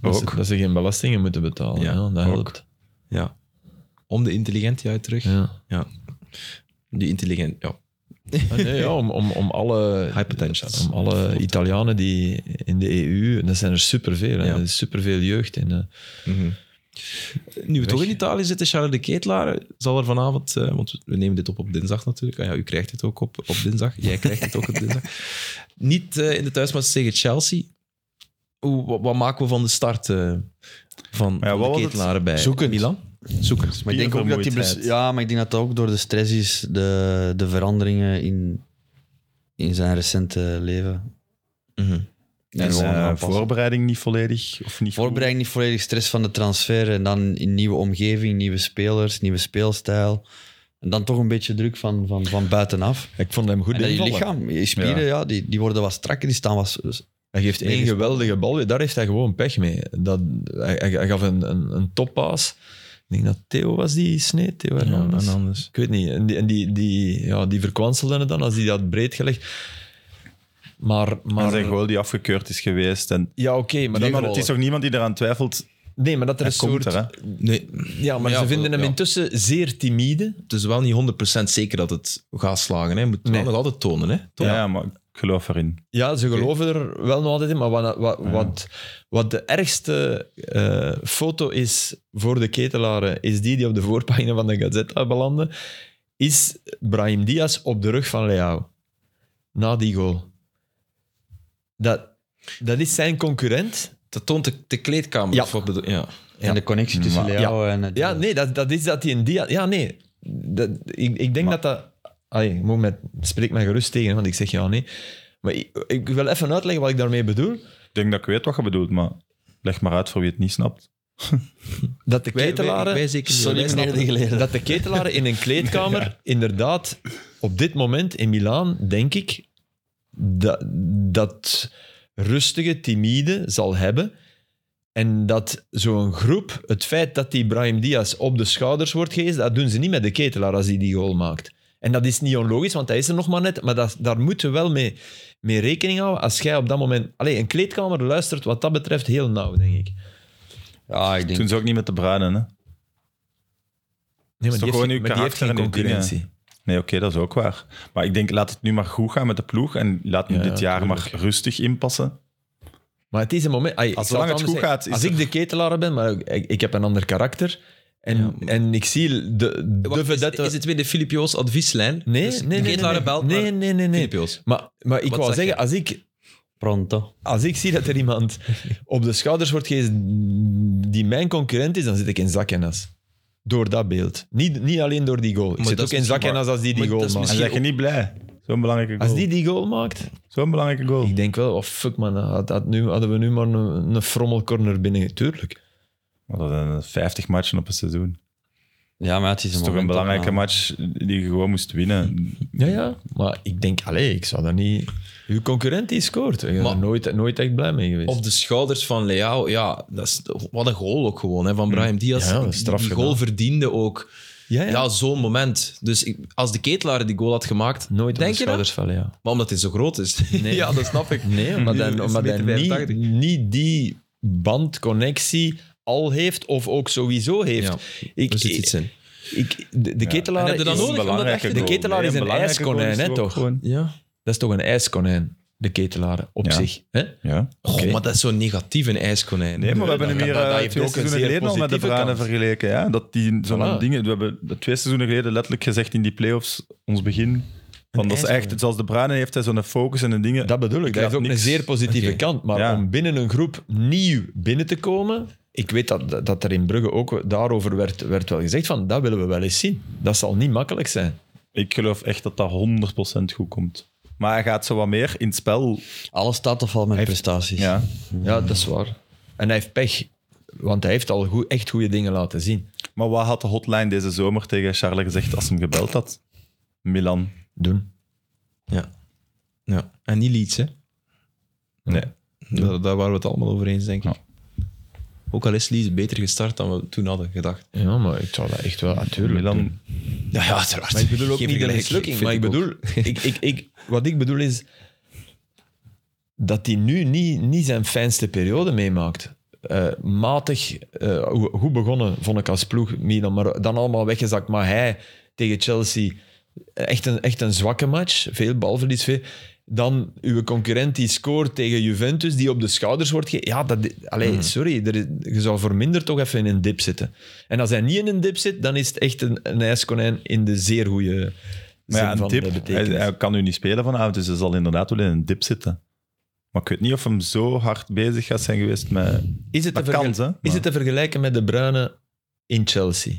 [SPEAKER 4] Dat ze,
[SPEAKER 2] Ook.
[SPEAKER 4] dat ze geen belastingen moeten betalen. Ja,
[SPEAKER 1] Ja,
[SPEAKER 4] dat
[SPEAKER 2] ook.
[SPEAKER 4] helpt.
[SPEAKER 1] Ja. Om de intelligentie uit terug.
[SPEAKER 4] Ja.
[SPEAKER 1] Die intelligent, ja.
[SPEAKER 4] Ah, nee, ja, om, om, om alle...
[SPEAKER 1] High potentials.
[SPEAKER 4] Om alle Italianen die in de EU, dat zijn er superveel. hè.
[SPEAKER 1] Ja.
[SPEAKER 4] Er is superveel jeugd in. eh. hè.
[SPEAKER 1] Eh, Nu we toch in Italië zitten, Charles de Ketelaar zal er vanavond, eh, want we nemen dit op op dinsdag natuurlijk. Ah ja, u krijgt het ook op, op dinsdag. Jij krijgt het ook op dinsdag. Niet eh, in de thuismatch tegen Chelsea. Hoe, wat, wat maken we van de start eh, van,
[SPEAKER 2] Ja,
[SPEAKER 1] van de
[SPEAKER 2] wat was
[SPEAKER 1] Ketelaar bij
[SPEAKER 3] Zoekend.
[SPEAKER 1] Milan? Zoeken.
[SPEAKER 3] Dus Maar ik denk ook dat die bless-
[SPEAKER 2] Spiervermoeidheid.
[SPEAKER 3] ja, maar ik denk dat dat ook door de stress is, de, de veranderingen in, in zijn recente leven. En
[SPEAKER 2] En,
[SPEAKER 3] gewoon
[SPEAKER 2] eh,
[SPEAKER 3] aanpassen.
[SPEAKER 2] voorbereiding niet volledig of niet goed.
[SPEAKER 3] Voorbereiding niet volledig stress van de transfer en dan in nieuwe omgeving, nieuwe spelers, nieuwe speelstijl. En dan toch een beetje druk van, van, van buitenaf.
[SPEAKER 4] Ik vond hem goed
[SPEAKER 3] En dat je
[SPEAKER 4] invallen.
[SPEAKER 3] lichaam, je spieren, ja. die, die worden wat strakker, die staan wat...
[SPEAKER 4] Hij geeft één geweldige bal. Daar heeft hij gewoon pech mee. Dat, hij, hij- hij gaf een, een, een toppaas. Ik denk dat Theo was die sneed. Theo Hernandez.
[SPEAKER 1] anders.
[SPEAKER 4] Ik weet niet. En die, en die, die, ja, die verkwanselden het dan als die dat breed gelegd. Maar,
[SPEAKER 2] Maar
[SPEAKER 4] maar
[SPEAKER 2] zijn goal die afgekeurd is geweest. En
[SPEAKER 4] ja, oké, maar
[SPEAKER 2] niemand,
[SPEAKER 4] dat
[SPEAKER 2] het is toch niemand die eraan twijfelt
[SPEAKER 4] Nee, maar dat er
[SPEAKER 2] Hij
[SPEAKER 4] een soort...
[SPEAKER 2] komt er, hè.
[SPEAKER 1] Nee,
[SPEAKER 4] Ja, maar
[SPEAKER 1] Ja,
[SPEAKER 4] ze vinden hem
[SPEAKER 1] ja.
[SPEAKER 4] intussen zeer timide.
[SPEAKER 1] het is wel niet 100% zeker dat het gaat slagen. Hè. Je moet het
[SPEAKER 4] Nee.
[SPEAKER 1] wel nog altijd tonen. Hè. Toch?
[SPEAKER 2] Ja, maar ik geloof erin.
[SPEAKER 4] Ja, ze geloven er wel nog altijd in, maar wat, wat, wat, wat de ergste eh, foto is voor de ketelaren, is die die op de voorpagina van de Gazette belandde, is Brahim Diaz op de rug van Leao. Na die goal. Dat, dat is zijn concurrent.
[SPEAKER 1] Dat toont de, de kleedkamer.
[SPEAKER 4] Ja.
[SPEAKER 1] of wat bedoel- ja.
[SPEAKER 3] En de connectie tussen
[SPEAKER 2] Maar-
[SPEAKER 3] Leao en... het-
[SPEAKER 4] Ja, nee, dat, dat is dat hij een Diaz... Ja, nee. Dat, ik, ik denk dat dat... Allee, ik moet met, spreek mij gerust tegen, want ik zeg ja, nee. Maar ik, ik wil even uitleggen wat ik daarmee bedoel.
[SPEAKER 2] Ik denk dat ik weet wat je bedoelt, maar leg maar uit voor wie het niet snapt.
[SPEAKER 4] Dat de
[SPEAKER 1] Wij- wij-
[SPEAKER 4] ketelaren...
[SPEAKER 1] wij zeker niet,
[SPEAKER 3] Sorry,
[SPEAKER 1] wij snappen
[SPEAKER 3] meneer de geleerde.
[SPEAKER 4] dat de ketelaren in een kleedkamer inderdaad op dit moment in Milaan, denk ik, dat, dat rustige, timide zal hebben. En dat zo'n groep, het feit dat die Brahim Diaz op de schouders wordt gehezen, dat doen ze niet met de ketelaar als hij die goal maakt. En dat is niet onlogisch, want hij is er nog maar net. Maar dat, daar moeten we wel mee, mee rekening houden. Als jij op dat moment... Allee, een kleedkamer luistert wat dat betreft heel nauw, denk ik.
[SPEAKER 3] Ja, ik denk...
[SPEAKER 2] Toen ze ook niet met de bruinen, hè?
[SPEAKER 4] Nee,
[SPEAKER 2] Is
[SPEAKER 4] maar
[SPEAKER 2] toch
[SPEAKER 4] die
[SPEAKER 2] gewoon
[SPEAKER 4] heeft,
[SPEAKER 2] uw
[SPEAKER 4] maar die heeft
[SPEAKER 2] karakter en
[SPEAKER 4] geen
[SPEAKER 2] uw dingen.
[SPEAKER 4] concurrentie.
[SPEAKER 2] Nee, oké, dat is ook waar. Maar ik denk, laat het nu maar goed gaan met de ploeg en laat nu
[SPEAKER 4] Ja,
[SPEAKER 2] dit jaar
[SPEAKER 4] tuurlijk.
[SPEAKER 2] maar rustig inpassen.
[SPEAKER 4] Maar het is een moment... Ay,
[SPEAKER 2] Als
[SPEAKER 4] ik zal
[SPEAKER 2] zolang het
[SPEAKER 4] anders
[SPEAKER 2] goed
[SPEAKER 4] zeggen.
[SPEAKER 2] gaat, is
[SPEAKER 4] als
[SPEAKER 2] er-
[SPEAKER 4] ik de ketelaar ben, maar ook- ik, ik heb een ander karakter. En, en ik zie de, de
[SPEAKER 1] Wacht, is,
[SPEAKER 4] vedette...
[SPEAKER 1] is het weer de Filip Joos advieslijn?
[SPEAKER 4] nee,
[SPEAKER 1] Dus
[SPEAKER 4] nee, nee,
[SPEAKER 1] Geert
[SPEAKER 4] nee, nee.
[SPEAKER 1] Larebelt, maar
[SPEAKER 4] nee, nee, nee, nee.
[SPEAKER 1] Filip Joos.
[SPEAKER 4] Maar, maar ik
[SPEAKER 1] Wat
[SPEAKER 4] wou
[SPEAKER 1] zeg
[SPEAKER 4] zeggen, als ik,
[SPEAKER 3] Pronto.
[SPEAKER 4] als ik zie dat er iemand op de schouders wordt gegeven die mijn concurrent is, dan zit ik in zak en as. Door dat beeld. Niet, niet alleen door die goal. Ik
[SPEAKER 1] Maar
[SPEAKER 4] zit
[SPEAKER 1] dat
[SPEAKER 4] ook
[SPEAKER 1] is
[SPEAKER 4] in zak en
[SPEAKER 1] misschien-
[SPEAKER 4] as als die die
[SPEAKER 1] maar
[SPEAKER 4] goal
[SPEAKER 1] dat is
[SPEAKER 4] maakt.
[SPEAKER 2] En
[SPEAKER 1] Misschien
[SPEAKER 2] zeg je niet blij. Zo'n belangrijke
[SPEAKER 4] Als
[SPEAKER 2] goal.
[SPEAKER 4] die die goal maakt,
[SPEAKER 2] Zo'n belangrijke goal.
[SPEAKER 4] ik denk wel, oh fuck man, had, had nu, hadden we nu maar een, een frommelcorner binnen. Tuurlijk.
[SPEAKER 2] Maar dat zijn 50 matchen op een seizoen.
[SPEAKER 3] Ja, maar het is,
[SPEAKER 2] Dat is toch een belangrijke match die je gewoon moest winnen.
[SPEAKER 4] Ja, ja. Maar ik denk, allee, ik zou dat niet... Uw concurrent die scoort. Ik ben
[SPEAKER 1] Maar-
[SPEAKER 4] er nooit, nooit echt blij mee geweest.
[SPEAKER 1] Op de schouders van Leao, ja, dat is, wat een goal ook gewoon hè, van Brahim Diaz.
[SPEAKER 4] Ja, dat
[SPEAKER 1] Die-
[SPEAKER 4] is straf
[SPEAKER 1] die goal
[SPEAKER 4] gedaan.
[SPEAKER 1] verdiende ook.
[SPEAKER 4] ja,
[SPEAKER 1] Ja, zo'n moment. Dus ik- als de ketelaar die goal had gemaakt, denk
[SPEAKER 4] Nooit op de
[SPEAKER 1] je dat?
[SPEAKER 4] schouders vallen, ja.
[SPEAKER 1] Maar omdat hij zo groot is.
[SPEAKER 4] Nee.
[SPEAKER 1] ja, dat snap ik. Mm.
[SPEAKER 4] Nee, omdat hij,
[SPEAKER 1] Is
[SPEAKER 4] omdat hij
[SPEAKER 1] meter
[SPEAKER 4] niet,
[SPEAKER 1] 85.
[SPEAKER 4] niet die band, connectie al heeft of ook sowieso heeft.
[SPEAKER 1] Ja,
[SPEAKER 4] ik,
[SPEAKER 1] Er zit iets in.
[SPEAKER 4] Ik, de, de ketelaar
[SPEAKER 1] En heb je dat
[SPEAKER 4] is-
[SPEAKER 1] nodig? de
[SPEAKER 4] ketelaar is een ijskonijn, hè, toch?
[SPEAKER 1] Ja.
[SPEAKER 4] Dat is toch een ijskonijn, de ketelaar op
[SPEAKER 2] Ja.
[SPEAKER 4] zich. Hè?
[SPEAKER 2] Ja.
[SPEAKER 1] Goh,
[SPEAKER 4] Oké.
[SPEAKER 1] maar dat is zo negatief, een ijskonijn.
[SPEAKER 2] Nee, maar we hebben hem hier
[SPEAKER 4] dat- dat
[SPEAKER 2] eh,
[SPEAKER 4] heeft
[SPEAKER 2] twee
[SPEAKER 4] ook een
[SPEAKER 2] seizoenen
[SPEAKER 4] zeer
[SPEAKER 2] geleden al met de
[SPEAKER 4] positieve
[SPEAKER 2] Bruinen
[SPEAKER 4] kant.
[SPEAKER 2] vergeleken. Ja? Dat die zo'n
[SPEAKER 4] Voilà.
[SPEAKER 2] dingen... We hebben dat twee seizoenen geleden letterlijk gezegd in die playoffs, ons begin. Van, dat is echt, zoals de Bruinen heeft hij zo'n focus en een dingen.
[SPEAKER 4] Dat bedoel ik. dat
[SPEAKER 2] laat
[SPEAKER 4] heeft ook
[SPEAKER 2] niks-
[SPEAKER 4] een zeer positieve
[SPEAKER 1] Oké.
[SPEAKER 4] kant. Maar
[SPEAKER 2] Ja.
[SPEAKER 4] om binnen een groep nieuw binnen te komen... Ik weet dat, dat er in Brugge ook daarover werd, werd wel gezegd van dat willen we wel eens zien. Dat zal niet makkelijk zijn.
[SPEAKER 2] Ik geloof echt dat dat 100% goed komt. Maar hij gaat zo wat meer in het spel.
[SPEAKER 3] Alles staat of valt met prestaties.
[SPEAKER 2] Ja.
[SPEAKER 4] Ja, dat is waar. En hij heeft pech, want hij heeft al goe- echt goede dingen laten zien.
[SPEAKER 2] Maar wat had de hotline deze zomer tegen Charles gezegd als hij hem gebeld had? Milan.
[SPEAKER 4] Doen.
[SPEAKER 1] Ja. ja. En niet Leeds, hè?
[SPEAKER 2] Nee.
[SPEAKER 1] Daar, daar waren we het allemaal over eens, denk ik.
[SPEAKER 2] Ja.
[SPEAKER 1] Ook al is Leeds beter gestart dan we toen hadden gedacht.
[SPEAKER 4] Ja, maar ik zou dat echt wel natuurlijk doen.
[SPEAKER 2] Milan.
[SPEAKER 1] Ja, ja uiteraard.
[SPEAKER 4] Maar ik bedoel ook
[SPEAKER 1] Geen
[SPEAKER 4] niet de
[SPEAKER 1] vergelijking,
[SPEAKER 4] mislukking.
[SPEAKER 1] vind
[SPEAKER 4] Maar ik
[SPEAKER 1] ook.
[SPEAKER 4] bedoel, ik, ik, ik, wat ik bedoel is dat hij nu niet, niet zijn fijnste periode meemaakt. Eh, matig, eh, hoe goed begonnen vond ik als ploeg Milan, maar dan allemaal weggezakt. Maar hij tegen Chelsea, echt een, echt een zwakke match. Veel balverlies, veel. Dan uw concurrent die scoort tegen Juventus, die op de schouders wordt ge... Ja, dat, allee,
[SPEAKER 1] Mhm.
[SPEAKER 4] sorry, er, is- je zou voor minder toch even in een dip zitten. En als hij niet in een dip zit, dan is het echt een, een ijskonijn in de zeer goede
[SPEAKER 2] Maar
[SPEAKER 4] zin
[SPEAKER 2] ja, een
[SPEAKER 4] van
[SPEAKER 2] dip.
[SPEAKER 4] de
[SPEAKER 2] Hij,
[SPEAKER 4] betekenis.
[SPEAKER 2] hij kan nu niet spelen vanavond, dus hij zal inderdaad wel in een dip zitten. Maar ik weet niet of hem zo hard bezig gaat zijn geweest met...
[SPEAKER 4] is, het te
[SPEAKER 2] Dat
[SPEAKER 4] vergel-
[SPEAKER 2] kan, hè?
[SPEAKER 4] is het te vergelijken met de Bruine in Chelsea?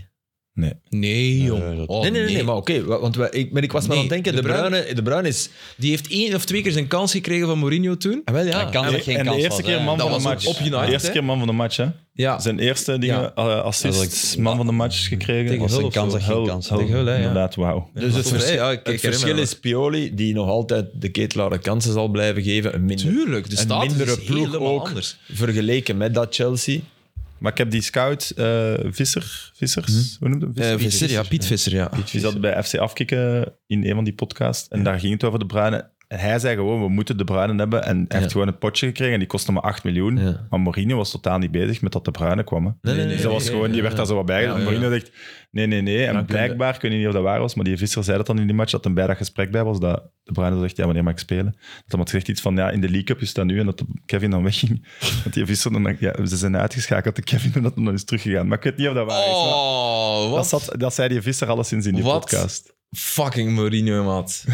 [SPEAKER 2] Eh,
[SPEAKER 1] Nee, jong.
[SPEAKER 3] dat-
[SPEAKER 1] Oh,
[SPEAKER 4] nee, nee, nee, maar oké. wa- want wij- ik, maar ik was maar
[SPEAKER 1] Nee,
[SPEAKER 4] aan het denken,
[SPEAKER 1] De
[SPEAKER 4] de,
[SPEAKER 1] Bruyne-
[SPEAKER 4] Bruyne, de Bruyne is...
[SPEAKER 1] Die heeft één of twee keer zijn kans gekregen van Mourinho toen.
[SPEAKER 4] Ah, wel, ja.
[SPEAKER 3] Hij kan
[SPEAKER 2] En,
[SPEAKER 3] er geen
[SPEAKER 2] en de
[SPEAKER 3] kans
[SPEAKER 2] eerste
[SPEAKER 3] van
[SPEAKER 2] keer
[SPEAKER 3] zijn.
[SPEAKER 2] man
[SPEAKER 1] Dat
[SPEAKER 2] van de
[SPEAKER 1] was ook op
[SPEAKER 2] match.
[SPEAKER 1] United,
[SPEAKER 2] de eerste
[SPEAKER 1] hè?
[SPEAKER 2] keer man van de match, hè?
[SPEAKER 1] Ja,
[SPEAKER 2] Zijn eerste dingen,
[SPEAKER 1] Ja.
[SPEAKER 2] eh,
[SPEAKER 3] Dat is
[SPEAKER 2] assist,
[SPEAKER 3] ook-
[SPEAKER 2] man van de match gekregen.
[SPEAKER 1] Tegen
[SPEAKER 2] Was
[SPEAKER 1] Hull
[SPEAKER 2] een
[SPEAKER 1] of zo.
[SPEAKER 2] kans,
[SPEAKER 3] Hull,
[SPEAKER 2] geen kans.
[SPEAKER 3] Hull,
[SPEAKER 1] tegen Hull, hè, ja.
[SPEAKER 2] Inderdaad, wauw.
[SPEAKER 4] Dus het
[SPEAKER 1] Volgens mij,
[SPEAKER 4] verschil,
[SPEAKER 1] ja, ik- ik
[SPEAKER 4] het
[SPEAKER 1] herinner
[SPEAKER 4] verschil
[SPEAKER 1] me
[SPEAKER 4] is Pioli, die nog altijd de ketelare kansen zal blijven geven. Een minder,
[SPEAKER 1] tuurlijk. De
[SPEAKER 4] een
[SPEAKER 1] status
[SPEAKER 4] mindere
[SPEAKER 1] is
[SPEAKER 4] ploeg
[SPEAKER 1] helemaal
[SPEAKER 4] ook,
[SPEAKER 1] anders.
[SPEAKER 4] vergeleken met dat Chelsea.
[SPEAKER 2] Maar ik heb die scout, eh, Visser, Vissers,
[SPEAKER 4] Hm.
[SPEAKER 2] hoe noemt hem?
[SPEAKER 1] Eh, Visser, ja. Piet Visser, ja.
[SPEAKER 2] Die zat bij FC Afkikken in een van die podcasts. En daar ging het over de Bruine. En hij zei gewoon, we moeten De Bruyne hebben. En hij heeft gewoon een potje gekregen en die kostte maar 8 miljoen.
[SPEAKER 4] Ja.
[SPEAKER 2] Maar Mourinho was totaal niet bezig met dat De Bruyne kwam. hè.
[SPEAKER 4] Nee, nee, nee,
[SPEAKER 2] dus dat
[SPEAKER 4] nee,
[SPEAKER 2] was
[SPEAKER 4] nee,
[SPEAKER 2] gewoon,
[SPEAKER 4] nee,
[SPEAKER 2] die
[SPEAKER 4] nee,
[SPEAKER 2] werd daar zo wat bij.
[SPEAKER 4] Ja, ja. Nou,
[SPEAKER 2] Mourinho dacht, nee, nee, nee. En
[SPEAKER 4] Dan kun je-
[SPEAKER 2] blijkbaar, ik weet niet of dat waar was, maar die visser zei dat dan in die match, dat een bij dat gesprek bij was, dat De Bruyne zegt, ja, wanneer mag ik spelen? Dat hij had gezegd iets van, ja, in de League Cup is dat nu. En dat Kevin dan wegging. Dat die visser dan, dacht, ja, ze zijn uitgeschakeld, de Kevin, en dat hij dan is teruggegaan. Maar ik weet niet of dat waar is. maar
[SPEAKER 1] Oh,
[SPEAKER 2] Dat,
[SPEAKER 1] wat
[SPEAKER 2] zat, dat zei die visser alleszins in die
[SPEAKER 1] Wat?
[SPEAKER 2] podcast.
[SPEAKER 1] fucking Mourinho, maat.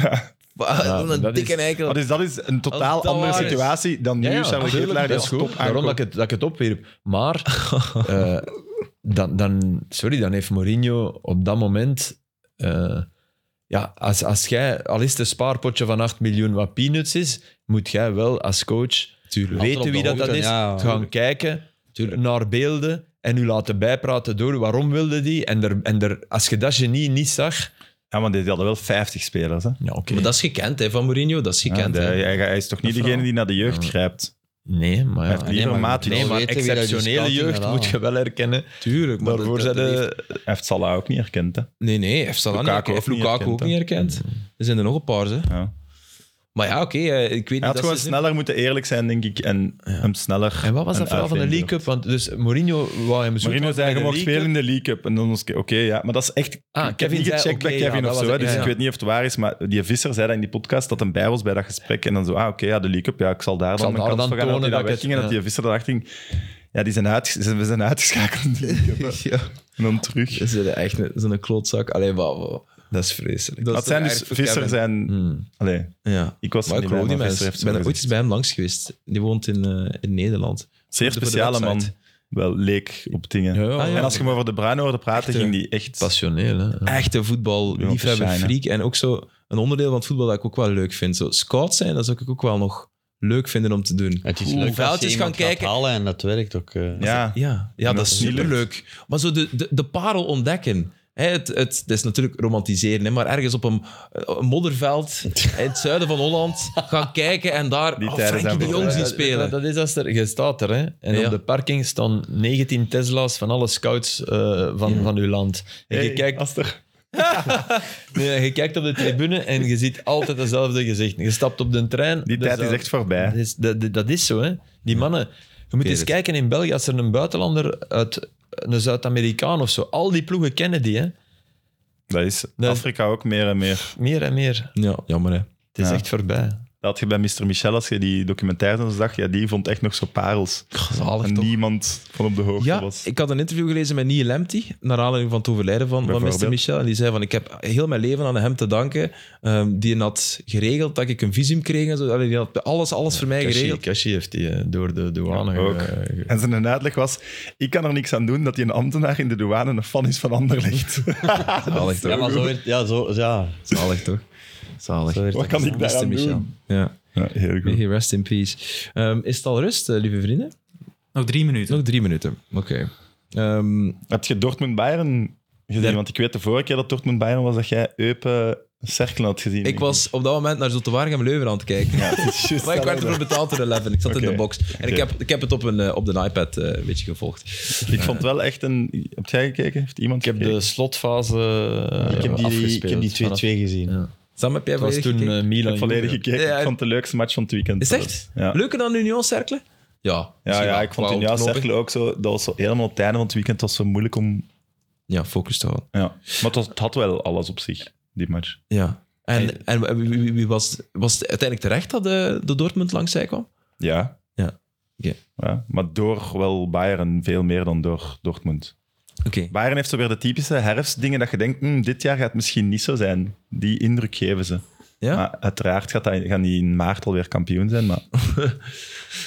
[SPEAKER 1] Wat een
[SPEAKER 4] dat
[SPEAKER 1] dikke
[SPEAKER 4] is-
[SPEAKER 1] eikel.
[SPEAKER 2] Maar dus dat is
[SPEAKER 1] Als
[SPEAKER 2] een totaal
[SPEAKER 1] dat
[SPEAKER 2] andere
[SPEAKER 1] waar is.
[SPEAKER 2] situatie dan nu.
[SPEAKER 4] Ja, ja,
[SPEAKER 2] zijn we
[SPEAKER 4] tuurlijk,
[SPEAKER 2] Keplaar die
[SPEAKER 4] dat is
[SPEAKER 2] als
[SPEAKER 4] goed.
[SPEAKER 2] top
[SPEAKER 4] Daarom dat ik het, dat ik het opwierp. Maar, eh, dan, dan, sorry, dan heeft Mourinho op dat moment... eh, ja, als, als jij, al is het een spaarpotje van 8 miljoen wat peanuts is, moet jij wel als coach
[SPEAKER 1] Tuurlijk.
[SPEAKER 3] Altijd
[SPEAKER 4] weten
[SPEAKER 3] op
[SPEAKER 4] wie
[SPEAKER 3] de
[SPEAKER 4] dat, dat
[SPEAKER 3] hoogte,
[SPEAKER 4] is,
[SPEAKER 3] ja.
[SPEAKER 4] gaan kijken naar beelden en u laten bijpraten door waarom wilde die. En, er, en er, als je dat genie niet zag...
[SPEAKER 2] Ja, want die hadden wel 50 spelers. Hè?
[SPEAKER 4] Ja, oké.
[SPEAKER 1] Maar dat is gekend, hè, van Mourinho. Dat is
[SPEAKER 2] Ja,
[SPEAKER 1] gekend,
[SPEAKER 2] de-
[SPEAKER 1] hè.
[SPEAKER 2] hij, hij is toch niet
[SPEAKER 4] Dat
[SPEAKER 2] degene die naar de jeugd grijpt.
[SPEAKER 4] Nee, maar...
[SPEAKER 2] Hij heeft dus-
[SPEAKER 4] Ja.
[SPEAKER 2] liever
[SPEAKER 3] maar-
[SPEAKER 2] Matic.
[SPEAKER 4] Nee,
[SPEAKER 3] Wel
[SPEAKER 4] maar
[SPEAKER 3] weten wie dat die
[SPEAKER 4] exceptionele
[SPEAKER 3] scouting
[SPEAKER 4] jeugd
[SPEAKER 3] gedaan
[SPEAKER 4] moet je
[SPEAKER 3] heeft.
[SPEAKER 4] wel herkennen.
[SPEAKER 1] Tuurlijk. Maar
[SPEAKER 4] Daarvoor
[SPEAKER 1] dat-
[SPEAKER 4] zijn
[SPEAKER 1] dat heeft-
[SPEAKER 4] de...
[SPEAKER 2] Hij heeft Salah ook niet herkend. Hè?
[SPEAKER 1] Nee, nee, hij heeft Salah niet
[SPEAKER 2] Lukaku
[SPEAKER 1] herkend.
[SPEAKER 2] ook niet
[SPEAKER 1] Lukaku ook niet herkend. Er zijn er nog een paar, hè.
[SPEAKER 2] Ja.
[SPEAKER 1] Maar ja, oké, eh, ik weet
[SPEAKER 2] Hij
[SPEAKER 1] niet...
[SPEAKER 2] had
[SPEAKER 1] dat
[SPEAKER 2] gewoon
[SPEAKER 1] ze-
[SPEAKER 2] sneller moeten eerlijk zijn, denk ik. En hem sneller.
[SPEAKER 4] En wat was dat
[SPEAKER 2] een
[SPEAKER 4] verhaal van de
[SPEAKER 2] uitvinder.
[SPEAKER 4] League Cup? Want dus Mourinho wou hem zoeken.
[SPEAKER 2] Mourinho zei,
[SPEAKER 4] bij
[SPEAKER 2] je
[SPEAKER 4] de
[SPEAKER 2] mocht
[SPEAKER 4] League
[SPEAKER 2] spelen in de League Cup. En dan was ik, oké, ja. Maar dat is echt...
[SPEAKER 4] Ah,
[SPEAKER 2] ik heb
[SPEAKER 4] Kevin
[SPEAKER 2] niet
[SPEAKER 4] zei,
[SPEAKER 2] gecheckt bij
[SPEAKER 4] oké, ja,
[SPEAKER 2] Kevin
[SPEAKER 4] dat
[SPEAKER 2] of
[SPEAKER 4] was
[SPEAKER 2] zo.
[SPEAKER 4] het,
[SPEAKER 2] dus
[SPEAKER 4] ja,
[SPEAKER 2] ik
[SPEAKER 4] ja.
[SPEAKER 2] weet niet of het waar is. Maar die visser zei dat in die podcast, dat hem bij was bij dat gesprek. En dan zo, ah, oké, ja, de League Cup. Ja, ik zal daar
[SPEAKER 4] zal
[SPEAKER 2] dan mijn
[SPEAKER 4] daar
[SPEAKER 2] kans
[SPEAKER 4] dan
[SPEAKER 2] voor gaan. En
[SPEAKER 4] tonen
[SPEAKER 2] dat,
[SPEAKER 4] dat ik
[SPEAKER 2] wegging
[SPEAKER 4] het-
[SPEAKER 2] en dat
[SPEAKER 4] ja.
[SPEAKER 2] die visser erachter ging. Ja, die zijn uit, ze- we zijn uitgeschakeld in de League Cup. hè.
[SPEAKER 1] Ja,
[SPEAKER 2] En dan terug.
[SPEAKER 1] ze zijn echt een- zo'n klootzak. Allee, wauw. Dat is vreselijk.
[SPEAKER 2] Dat
[SPEAKER 1] is
[SPEAKER 2] zijn
[SPEAKER 1] toch
[SPEAKER 2] dus
[SPEAKER 1] erg voor
[SPEAKER 2] visser
[SPEAKER 1] Kevin.
[SPEAKER 2] zijn...
[SPEAKER 4] Hmm.
[SPEAKER 2] Allee,
[SPEAKER 1] Ja.
[SPEAKER 2] ik was er
[SPEAKER 1] Maar ik
[SPEAKER 2] niet bij,
[SPEAKER 1] geloof die
[SPEAKER 2] maar
[SPEAKER 1] mensen.
[SPEAKER 2] visser
[SPEAKER 1] Ik
[SPEAKER 2] heeft
[SPEAKER 1] ben er ooit eens
[SPEAKER 2] zo gezegd.
[SPEAKER 1] bij hem langs geweest. Die woont in, eh, in Nederland.
[SPEAKER 2] Zeer
[SPEAKER 1] Voor de
[SPEAKER 2] speciale man.
[SPEAKER 1] website.
[SPEAKER 2] Wel leek op dingen.
[SPEAKER 4] Ja, ja,
[SPEAKER 1] Ah, ja.
[SPEAKER 2] En als je hem over de Bruin hoorde praten,
[SPEAKER 1] Echt,
[SPEAKER 2] ging die echt...
[SPEAKER 4] Passioneel, hè.
[SPEAKER 1] Echte voetbal,
[SPEAKER 2] Ja,
[SPEAKER 1] liefhebber,
[SPEAKER 2] shine, hè.
[SPEAKER 1] freak. En ook zo een onderdeel van het voetbal dat ik ook wel leuk vind. Zo scout zijn, dat zou ik ook wel nog leuk vinden om te doen.
[SPEAKER 3] Het is
[SPEAKER 1] Hoe
[SPEAKER 3] leuk als je
[SPEAKER 1] veldjes
[SPEAKER 3] iemand
[SPEAKER 1] gaan
[SPEAKER 3] gaat
[SPEAKER 1] kijken.
[SPEAKER 3] halen en dat werkt ook. eh.
[SPEAKER 2] Ja,
[SPEAKER 1] Ja, ja
[SPEAKER 2] En
[SPEAKER 1] dat
[SPEAKER 2] dat
[SPEAKER 1] is
[SPEAKER 2] het niet
[SPEAKER 1] superleuk. Maar zo de, de, de parel ontdekken. Hè, het, het, het is natuurlijk romantiseren, hè, maar ergens op een, een modderveld in het zuiden van Holland gaan kijken en daar
[SPEAKER 2] Die
[SPEAKER 1] oh,
[SPEAKER 2] tijden
[SPEAKER 1] Frenkie
[SPEAKER 2] zijn
[SPEAKER 1] de Jong
[SPEAKER 2] voorbij.
[SPEAKER 1] zien
[SPEAKER 4] Dat- Dat,
[SPEAKER 1] spelen.
[SPEAKER 4] dat is als er... Je staat er, hè. En
[SPEAKER 1] Ja.
[SPEAKER 4] op de parking staan 19 Tesla's van alle scouts eh, van, van uw land. En je,
[SPEAKER 2] Hey,
[SPEAKER 4] kijkt,
[SPEAKER 2] als er-
[SPEAKER 4] nee, je kijkt op de tribune en je ziet altijd dezelfde gezichten. Je stapt op de trein...
[SPEAKER 2] Die tijd is echt
[SPEAKER 4] Dat
[SPEAKER 2] voorbij.
[SPEAKER 4] is, dat, dat- dat is zo, hè. Die mannen... Je moet
[SPEAKER 1] weet
[SPEAKER 4] eens
[SPEAKER 1] het.
[SPEAKER 4] kijken in België, als er een buitenlander uit... Een Zuid-Amerikaan of zo. Al die ploegen kennen die, hè.
[SPEAKER 2] Dat is
[SPEAKER 4] Dat-
[SPEAKER 2] Afrika ook meer en meer.
[SPEAKER 4] Meer en meer.
[SPEAKER 1] Ja, jammer hè.
[SPEAKER 4] Het is
[SPEAKER 2] Ja.
[SPEAKER 4] echt voorbij.
[SPEAKER 2] Dat had je bij Mr. Michel, als je die documentaire dan zag, ja, die vond echt nog zo parels.
[SPEAKER 1] Zalig
[SPEAKER 2] En
[SPEAKER 1] toch?
[SPEAKER 2] niemand van op de hoogte
[SPEAKER 1] Ja,
[SPEAKER 2] was.
[SPEAKER 1] ik had een interview gelezen met Neil Lemty, naar aanleiding van het overlijden van, van
[SPEAKER 2] Bijvoorbeeld.
[SPEAKER 1] Mr. Michel. En die zei van, ik heb heel mijn leven aan hem te danken. Ehm, die had geregeld dat ik een visum kreeg en zo. Allee, die had alles, alles voor mij
[SPEAKER 4] Kashi,
[SPEAKER 1] geregeld.
[SPEAKER 4] Kashi heeft die eh, door de douane
[SPEAKER 2] Ja,
[SPEAKER 1] eh,
[SPEAKER 2] ook.
[SPEAKER 4] ge- ge-
[SPEAKER 2] En zijn uitleg was, ik kan er niks aan doen dat die een ambtenaar in de douane een fan is van Anderlecht.
[SPEAKER 1] Zalig
[SPEAKER 3] Ja,
[SPEAKER 1] toch?
[SPEAKER 3] maar zo werd, ja, zo, ja.
[SPEAKER 1] Zalig toch? Zalig.
[SPEAKER 3] Zo werd
[SPEAKER 2] Wat
[SPEAKER 3] het.
[SPEAKER 2] kan ik
[SPEAKER 1] Mr.
[SPEAKER 2] daaraan
[SPEAKER 1] Michel.
[SPEAKER 2] doen?
[SPEAKER 1] Ja.
[SPEAKER 2] Ja, heel goed.
[SPEAKER 1] Hey, rest in peace. Ehm, is het al rust, eh, lieve vrienden?
[SPEAKER 5] Nog drie minuten.
[SPEAKER 1] Nog drie minuten. Oké. Ehm,
[SPEAKER 2] Heb je Dortmund-Bayern gezien?
[SPEAKER 1] Ja.
[SPEAKER 2] Want ik weet de vorige keer dat Dortmund-Bayern was dat jij Eupen Cerkel had gezien.
[SPEAKER 1] ik was op dat moment naar Zoetewaargem Leuven aan het kijken.
[SPEAKER 2] Ja, het is juist
[SPEAKER 1] Maar ik werd
[SPEAKER 2] hetzelfde.
[SPEAKER 1] ervoor betaald door Eleven. Ik zat in
[SPEAKER 2] Oké.
[SPEAKER 1] de box. En ik, heb, ik heb het op, een, eh, op de iPad eh, een beetje gevolgd.
[SPEAKER 2] Ik vond wel echt een... Heb jij gekeken? Heeft iemand
[SPEAKER 4] Ik heb de
[SPEAKER 2] gekeken?
[SPEAKER 4] slotfase eh,
[SPEAKER 3] Ik heb die-
[SPEAKER 4] afgespeeld.
[SPEAKER 3] ik heb die 2-2
[SPEAKER 4] Vanaf-
[SPEAKER 3] gezien.
[SPEAKER 4] Ja.
[SPEAKER 1] Sam, heb jij
[SPEAKER 4] Het was
[SPEAKER 1] volledig
[SPEAKER 4] toen
[SPEAKER 1] gekeken?
[SPEAKER 4] eh,
[SPEAKER 2] Ik
[SPEAKER 4] Milan.
[SPEAKER 2] heb volledig
[SPEAKER 4] Juve.
[SPEAKER 2] gekeken.
[SPEAKER 1] Ja, ja.
[SPEAKER 2] Ik vond het de leukste match van het weekend.
[SPEAKER 1] Is het echt?
[SPEAKER 2] Ja.
[SPEAKER 1] Leuker dan Union Cercle? Ja.
[SPEAKER 2] Ja,
[SPEAKER 1] misschien
[SPEAKER 2] ja,
[SPEAKER 1] wel.
[SPEAKER 2] ik vond
[SPEAKER 1] Qua
[SPEAKER 2] in jouw
[SPEAKER 1] ontknoping.
[SPEAKER 2] cirkel ook zo. Dat was zo helemaal op het einde van het weekend. Het was zo moeilijk om.
[SPEAKER 1] Ja, focus te houden.
[SPEAKER 2] Ja. Maar het, was- het had wel alles op zich, die match.
[SPEAKER 1] Ja.
[SPEAKER 2] Hey.
[SPEAKER 1] En, en wie, wie- wie was, was het uiteindelijk terecht dat de, de Dortmund langs zij kwam?
[SPEAKER 2] Ja.
[SPEAKER 1] Ja. Oké.
[SPEAKER 2] Ja, maar door wel Bayern veel meer dan door Dortmund.
[SPEAKER 1] Oké.
[SPEAKER 2] Bayern heeft zo weer de typische herfstdingen dat je denkt: "Hmm, dit jaar gaat het misschien niet zo zijn. Die indruk geven ze.
[SPEAKER 1] Ja?
[SPEAKER 2] Maar uiteraard gaat dat, gaan die in maart alweer kampioen zijn. Maar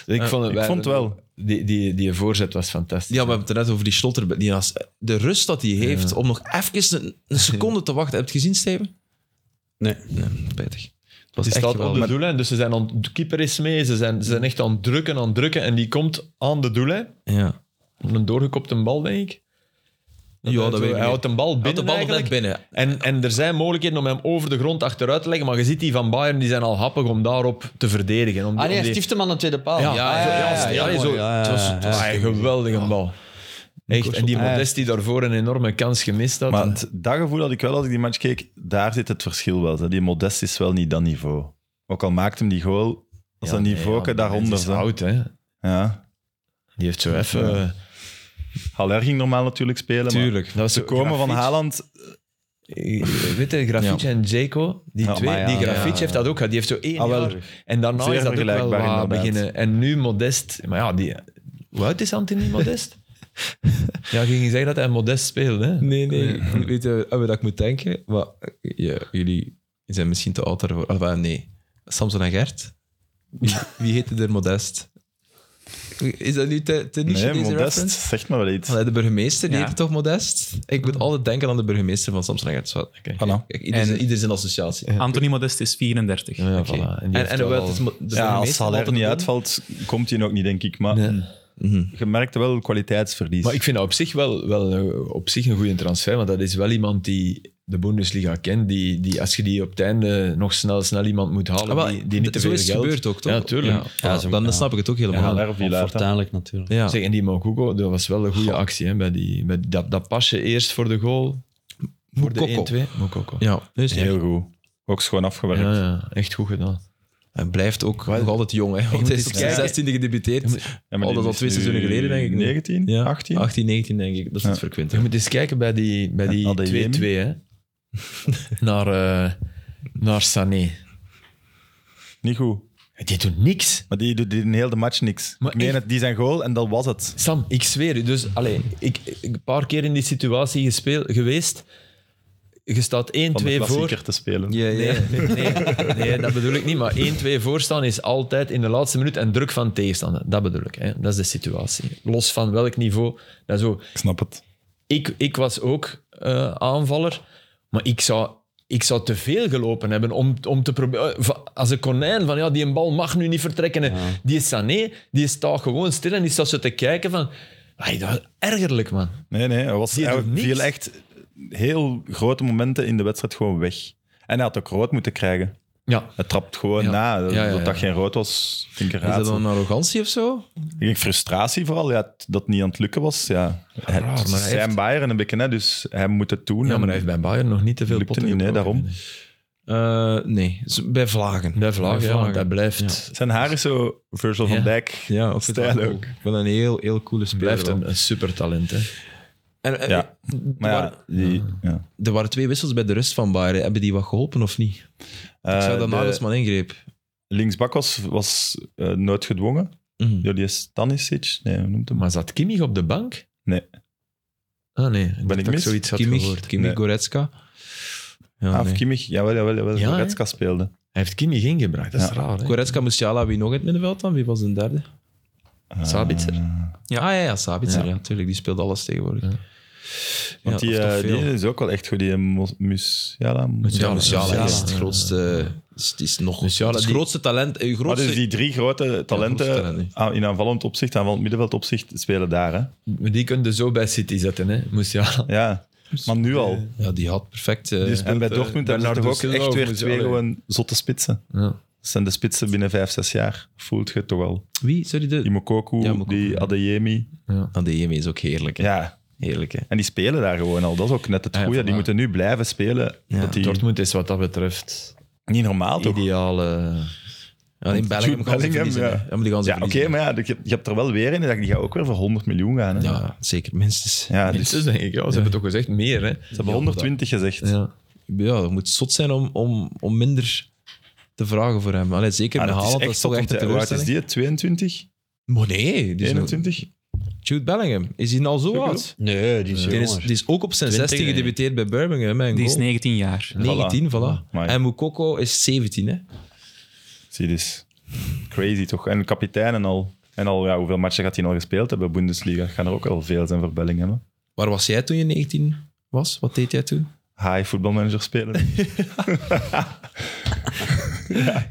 [SPEAKER 4] Ik vond het,
[SPEAKER 2] ik vond het wel.
[SPEAKER 4] Die, die, die voorzet was fantastisch.
[SPEAKER 1] Ja, we hebben het er net over die slotter. Die als- de rust dat hij heeft om nog even een, een seconde te wachten. Heb je het gezien, Steven?
[SPEAKER 3] Nee.
[SPEAKER 1] Nee, spijtig. Het was
[SPEAKER 4] die
[SPEAKER 1] echt
[SPEAKER 4] staat op de
[SPEAKER 1] geweldig.
[SPEAKER 4] doellijn, dus ze zijn aan, de keeper is mee. Ze zijn, ze zijn echt aan het drukken, aan het drukken. En die komt aan de doellijn.
[SPEAKER 1] Ja.
[SPEAKER 4] Een doorgekopte bal, denk ik.
[SPEAKER 1] Ja, dat
[SPEAKER 4] hij-
[SPEAKER 1] weet ik
[SPEAKER 4] Hij
[SPEAKER 1] niet.
[SPEAKER 4] houdt een bal binnen
[SPEAKER 1] Had de bal nog net
[SPEAKER 4] eigenlijk.
[SPEAKER 1] binnen.
[SPEAKER 4] En, en er zijn mogelijkheden om hem over de grond achteruit te leggen, maar je ziet die van Bayern, die zijn al happig om daarop te verdedigen.
[SPEAKER 3] Ah
[SPEAKER 4] Om,
[SPEAKER 3] nee,
[SPEAKER 4] om
[SPEAKER 3] hij
[SPEAKER 4] die-
[SPEAKER 3] stift hem aan de tweede paal.
[SPEAKER 4] Ja,
[SPEAKER 3] Ah,
[SPEAKER 1] ja, ja, ja, Ah,
[SPEAKER 4] ja,
[SPEAKER 3] heel
[SPEAKER 4] ja,
[SPEAKER 3] mooi.
[SPEAKER 4] zo.
[SPEAKER 3] Ja, ja,
[SPEAKER 4] Het was-
[SPEAKER 3] ja.
[SPEAKER 4] het was een geweldige bal. Echt, en die Modesti daarvoor een enorme kans gemist had.
[SPEAKER 2] maar het, dat gevoel had ik wel als ik die match keek. Daar zit het verschil wel. hè. Die Modest is wel niet dat niveau. Ook al maakt hem die goal, als dat niet
[SPEAKER 4] daaronder
[SPEAKER 2] Voken daaronder
[SPEAKER 4] is
[SPEAKER 2] zou.
[SPEAKER 4] oud, hè.
[SPEAKER 2] Ja.
[SPEAKER 4] Die heeft zo even...
[SPEAKER 2] Ja.
[SPEAKER 4] eh,
[SPEAKER 2] Haller ging normaal natuurlijk spelen, maar
[SPEAKER 1] Tuurlijk.
[SPEAKER 4] dat was
[SPEAKER 2] ze komen van Haaland...
[SPEAKER 4] Eh, Weet je, Grafic en Zeko, die
[SPEAKER 2] Ja,
[SPEAKER 4] twee,
[SPEAKER 3] maar ja,
[SPEAKER 4] die Grafic
[SPEAKER 1] ja.
[SPEAKER 4] heeft dat ook gehad. Die heeft zo één
[SPEAKER 2] Ah, wel.
[SPEAKER 4] jaar. En daarna
[SPEAKER 2] Zeer
[SPEAKER 4] is dat ook wel
[SPEAKER 2] vergelijkbaar,
[SPEAKER 4] wat
[SPEAKER 2] inderdaad.
[SPEAKER 4] beginnen. En nu Modest. Maar ja, die, hoe oud is Anthony Modest? ja, ik ging zeggen dat hij Modest speelde. Hè?
[SPEAKER 1] Nee, nee. Weet je aan dat ik moet denken? Maar, eh, ja, jullie zijn misschien te oud daarvoor. Ah, wel, nee. Samson en Gert? Wie, wie heette er Modest? Is dat nu te, te niche,
[SPEAKER 2] Nee,
[SPEAKER 1] deze
[SPEAKER 2] Modest,
[SPEAKER 1] reference?
[SPEAKER 2] zeg maar wel iets.
[SPEAKER 1] Allee, de burgemeester, die
[SPEAKER 4] Ja. Mm-hmm.
[SPEAKER 1] heette toch Modest? Ik moet altijd denken aan de burgemeester van Samson en Gert. Zo,
[SPEAKER 2] Voilà.
[SPEAKER 1] kijk, Ieder,
[SPEAKER 5] En-
[SPEAKER 1] zijn, ieder zijn associatie.
[SPEAKER 5] Anthony Modest is 34.
[SPEAKER 4] Ja,
[SPEAKER 1] Oké.
[SPEAKER 4] voilà. En,
[SPEAKER 1] En,
[SPEAKER 4] die
[SPEAKER 1] en,
[SPEAKER 4] heeft wel
[SPEAKER 1] hoewel
[SPEAKER 4] al-
[SPEAKER 1] het is mo- de
[SPEAKER 2] Ja, als
[SPEAKER 1] burgemeester
[SPEAKER 2] Haller
[SPEAKER 1] altijd
[SPEAKER 2] niet
[SPEAKER 1] een-
[SPEAKER 2] uitvalt, komt hij ook niet, denk ik. Maar hm.
[SPEAKER 4] Nee.
[SPEAKER 1] Mhm.
[SPEAKER 2] je merkte wel kwaliteitsverlies.
[SPEAKER 4] Maar ik vind dat op zich wel, wel eh, op zich een goede transfer. Want dat is wel iemand die de Bundesliga kent. Die, die, als je die op het einde nog snel, snel iemand moet halen,
[SPEAKER 1] Ah, wel,
[SPEAKER 4] die, die niet te
[SPEAKER 1] zo
[SPEAKER 4] veel
[SPEAKER 1] is het
[SPEAKER 4] geld...
[SPEAKER 1] gebeurd ook, toch?
[SPEAKER 4] Ja, tuurlijk.
[SPEAKER 1] Ja,
[SPEAKER 3] zo-
[SPEAKER 1] dan
[SPEAKER 3] ja.
[SPEAKER 1] snap ik het ook helemaal.
[SPEAKER 2] Haller of Villar, hè.
[SPEAKER 3] Fortuinlijk natuurlijk.
[SPEAKER 1] Ja.
[SPEAKER 4] Zeg, en die Mokuko, dat was wel een goede actie. Hè, bij die, bij dat, dat pasje eerst voor de goal. Voor
[SPEAKER 1] Moukoko.
[SPEAKER 4] de 1-2. Moukoko. Ja.
[SPEAKER 1] Ja, dus
[SPEAKER 2] Heel goed. Ook schoon afgewerkt.
[SPEAKER 4] Ja, echt goed gedaan.
[SPEAKER 1] Hij blijft ook nog altijd jong, hè, want
[SPEAKER 4] moet
[SPEAKER 1] hij is
[SPEAKER 4] eens
[SPEAKER 1] op
[SPEAKER 4] kijken.
[SPEAKER 1] zijn 16e gedebuteerd.
[SPEAKER 2] Ja, maar
[SPEAKER 1] Oh,
[SPEAKER 2] die
[SPEAKER 1] dat is al
[SPEAKER 2] is
[SPEAKER 1] twee
[SPEAKER 2] nu
[SPEAKER 1] seizoenen geleden, denk ik, nu.
[SPEAKER 2] 19,
[SPEAKER 1] Ja.
[SPEAKER 2] 18.
[SPEAKER 1] 18, 19 denk ik, dat is
[SPEAKER 2] Ja.
[SPEAKER 1] het voor
[SPEAKER 4] Je
[SPEAKER 1] Quinten.
[SPEAKER 4] moet eens kijken bij die, bij
[SPEAKER 2] En
[SPEAKER 4] die
[SPEAKER 2] Adeyemi?
[SPEAKER 4] 2-2, hè. naar, eh, naar Sané.
[SPEAKER 2] Niet goed.
[SPEAKER 4] Die doet niks.
[SPEAKER 2] Maar die doet in heel de match niks.
[SPEAKER 4] Maar
[SPEAKER 2] ik meen
[SPEAKER 4] echt-
[SPEAKER 2] het, die zijn goal en dat was het.
[SPEAKER 4] Sam, ik zweer u. Dus, allee, ik, ik- een paar keer in die situatie gespeeld, geweest. Je staat 1-2
[SPEAKER 2] Om de
[SPEAKER 4] voor.
[SPEAKER 2] klassieker te spelen.
[SPEAKER 1] Ja, ja.
[SPEAKER 4] Nee, nee, nee, dat bedoel ik niet. Maar 1-2 voorstaan is altijd in de laatste minuut en druk van tegenstander. Dat bedoel ik. Hè. Dat is de situatie. Los van welk niveau. Dat is ook.
[SPEAKER 2] Ik snap het.
[SPEAKER 4] Ik, ik was ook eh, aanvaller, maar ik zou, ik zou te veel gelopen hebben om, om te proberen. eh, va- Als een konijn van ja, die een bal mag nu niet vertrekken. hè. Die is Sané, die staat gewoon stil en die staat zo te kijken van. "Ai, dat is ergerlijk, man.
[SPEAKER 2] Nee, nee, hij, was,
[SPEAKER 4] Die
[SPEAKER 2] hij
[SPEAKER 4] doet niks.
[SPEAKER 2] viel echt heel grote momenten in de wedstrijd gewoon weg. En hij had ook rood moeten krijgen.
[SPEAKER 4] Ja,
[SPEAKER 2] Hij trapt gewoon
[SPEAKER 4] Ja.
[SPEAKER 2] na.
[SPEAKER 4] Ja, ja,
[SPEAKER 2] Dat dat
[SPEAKER 4] ja.
[SPEAKER 2] geen rood was, vind ik een
[SPEAKER 1] Is dat
[SPEAKER 2] raadsel.
[SPEAKER 1] dan arrogantie of zo?
[SPEAKER 2] Ik denk frustratie vooral, ja, t- dat het niet aan het lukken was. Ja. het
[SPEAKER 4] maar hij
[SPEAKER 2] zijn
[SPEAKER 4] heeft-
[SPEAKER 2] Bayern een beetje, hè, dus hij moet het doen.
[SPEAKER 4] ja, maar
[SPEAKER 2] En
[SPEAKER 4] hij heeft bij Bayern nog niet te veel
[SPEAKER 2] lukte
[SPEAKER 4] potten
[SPEAKER 2] niet, nee,
[SPEAKER 4] gebroken.
[SPEAKER 2] daarom.
[SPEAKER 1] Eh, nee, Z- bij vlagen.
[SPEAKER 4] Bij Vlaag, ja, want
[SPEAKER 1] Vlagen.
[SPEAKER 4] dat blijft.
[SPEAKER 2] Zijn haar is zo Virgil
[SPEAKER 4] Ja.
[SPEAKER 2] van Dijk.
[SPEAKER 1] Ja, ook vind ik
[SPEAKER 2] Stijl
[SPEAKER 1] wel cool.
[SPEAKER 2] ook.
[SPEAKER 1] Ik vind dat een heel, heel coole speler.
[SPEAKER 4] Blijft
[SPEAKER 1] wel.
[SPEAKER 4] een, een supertalent, hè.
[SPEAKER 1] En, eh,
[SPEAKER 2] Ja.
[SPEAKER 1] er,
[SPEAKER 2] Maar
[SPEAKER 1] waren,
[SPEAKER 2] ja, die, ja.
[SPEAKER 1] er waren twee wissels bij de rust van Bayern. Hebben die wat geholpen of niet? ik
[SPEAKER 2] Eh,
[SPEAKER 1] zou
[SPEAKER 2] de
[SPEAKER 1] dat Nagelsman ingreep.
[SPEAKER 2] Linksbak was, was eh, noodgedwongen.
[SPEAKER 1] Mhm.
[SPEAKER 2] Ja, die is Stanisic. Nee, hoe noemt hem?
[SPEAKER 4] Maar zat Kimmich op de bank?
[SPEAKER 2] Nee.
[SPEAKER 4] Ah, nee. Ben
[SPEAKER 2] ik
[SPEAKER 4] ik, dacht dat ik
[SPEAKER 2] mis?
[SPEAKER 4] zoiets had
[SPEAKER 1] Kimmich,
[SPEAKER 4] gehoord.
[SPEAKER 1] Kimmich
[SPEAKER 2] Nee.
[SPEAKER 1] Goretzka. Ja,
[SPEAKER 2] Ah, of
[SPEAKER 1] nee.
[SPEAKER 2] Kimmich. Jawel, jawel, jawel.
[SPEAKER 4] Ja,
[SPEAKER 2] Goretzka speelde.
[SPEAKER 4] Hij heeft Kimmich ingebracht, dat is
[SPEAKER 2] Ja.
[SPEAKER 4] raar, hè.
[SPEAKER 1] Goretzka, Musiala, wie nog in het middenveld dan? Wie was de derde?
[SPEAKER 2] Eh,
[SPEAKER 4] Sabitzer.
[SPEAKER 1] Ja, ah, ja, ja Sabitzer, ja. natuurlijk. Die speelt alles tegenwoordig. Ja.
[SPEAKER 2] Want die,
[SPEAKER 1] dat is toch
[SPEAKER 2] eh,
[SPEAKER 1] veel.
[SPEAKER 2] die is ook wel echt goed. Die Mus- Musiala.
[SPEAKER 1] Ja, Musiala
[SPEAKER 4] Musiala.
[SPEAKER 1] is het grootste... is- is nog,
[SPEAKER 4] Musiala,
[SPEAKER 1] het
[SPEAKER 4] die-
[SPEAKER 1] grootste talent. eh,
[SPEAKER 2] Dus Maar
[SPEAKER 1] grootste,
[SPEAKER 2] dus die drie grote talenten
[SPEAKER 1] grootste talent,
[SPEAKER 2] aan- in aanvallend opzicht, aanvallend middenveld opzicht, spelen daar. Hè?
[SPEAKER 4] Maar Die kun je zo bij City zetten, hè. Musiala.
[SPEAKER 2] Ja,
[SPEAKER 1] Dus
[SPEAKER 2] maar nu al.
[SPEAKER 1] ja, die had perfect... eh,
[SPEAKER 2] en bij Dortmund hebben ze
[SPEAKER 4] Bernardo
[SPEAKER 2] toch ook
[SPEAKER 4] Silva
[SPEAKER 2] echt
[SPEAKER 4] of
[SPEAKER 2] weer
[SPEAKER 4] Musiala?
[SPEAKER 2] twee gewoon zotte spitsen.
[SPEAKER 4] Ja.
[SPEAKER 2] Dat zijn de spitsen binnen vijf, zes jaar. Voelt je het toch al.
[SPEAKER 1] Wie? Sorry,
[SPEAKER 2] Die
[SPEAKER 1] de...
[SPEAKER 2] Mokoku,
[SPEAKER 1] Ja, Moukoko, ja.
[SPEAKER 2] die Adeyemi.
[SPEAKER 1] Ah, de EME is ook heerlijk, hè.
[SPEAKER 2] Ja,
[SPEAKER 1] Heerlijk, hè.
[SPEAKER 2] en die spelen daar gewoon al. Dat is ook net het
[SPEAKER 4] Ja,
[SPEAKER 2] goede. Die
[SPEAKER 4] voilà.
[SPEAKER 2] moeten nu blijven spelen.
[SPEAKER 1] Ah Ja,
[SPEAKER 2] dat die...
[SPEAKER 4] Dortmund is wat dat betreft
[SPEAKER 2] Niet normaal toch?
[SPEAKER 4] ideale...
[SPEAKER 1] Ja, in Belgium
[SPEAKER 2] Jude
[SPEAKER 1] gaan ze
[SPEAKER 2] Bellingham,
[SPEAKER 1] verliezen,
[SPEAKER 2] ja.
[SPEAKER 1] hè. ja. maar die gaan ze
[SPEAKER 2] Ja, oké,
[SPEAKER 1] verliezen.
[SPEAKER 2] maar ja, je, je hebt er wel weer in. dat Die gaat ook weer voor 100 miljoen gaan. Hè?
[SPEAKER 1] Ja, zeker, minstens. Ja,
[SPEAKER 2] Ja,
[SPEAKER 4] Ja,
[SPEAKER 2] dus
[SPEAKER 4] dus denk ik, ja, ze hebben toch gezegd meer, hè.
[SPEAKER 2] ze hebben 120 gezegd.
[SPEAKER 4] Ja.
[SPEAKER 1] dat moet zot zijn om, om, om minder te vragen voor hem. Allee, zeker
[SPEAKER 2] Maar
[SPEAKER 1] met
[SPEAKER 2] Ah, dat
[SPEAKER 1] Haaland,
[SPEAKER 2] is
[SPEAKER 1] dat
[SPEAKER 2] echt
[SPEAKER 1] is toch
[SPEAKER 2] zot,
[SPEAKER 1] echt een
[SPEAKER 2] want Hoe oud is
[SPEAKER 1] teleurstelling.
[SPEAKER 2] die? 22?
[SPEAKER 1] Maar nee, die is nog-
[SPEAKER 2] 21?
[SPEAKER 1] Jude Bellingham, is hij al zo
[SPEAKER 2] Zo
[SPEAKER 1] oud?
[SPEAKER 3] Nee, die is
[SPEAKER 1] Die is,
[SPEAKER 3] jonger.
[SPEAKER 1] die is ook op zijn 16
[SPEAKER 4] nee.
[SPEAKER 1] gedebuteerd bij Birmingham. hè, en
[SPEAKER 5] Die is
[SPEAKER 1] goal.
[SPEAKER 5] 19 jaar.
[SPEAKER 1] 19, voilà.
[SPEAKER 2] Amai.
[SPEAKER 1] En Moukoko is 17, hè.
[SPEAKER 2] Zie dus. Crazy toch? En kapitein en al. En al ja, hoeveel matchen gaat hij al gespeeld hebben? Bundesliga. Gaan er ook al veel zijn voor Bellingham.
[SPEAKER 1] Waar was jij toen je 19 was? Wat deed jij toen?
[SPEAKER 2] hè? High voetbalmanager spelen.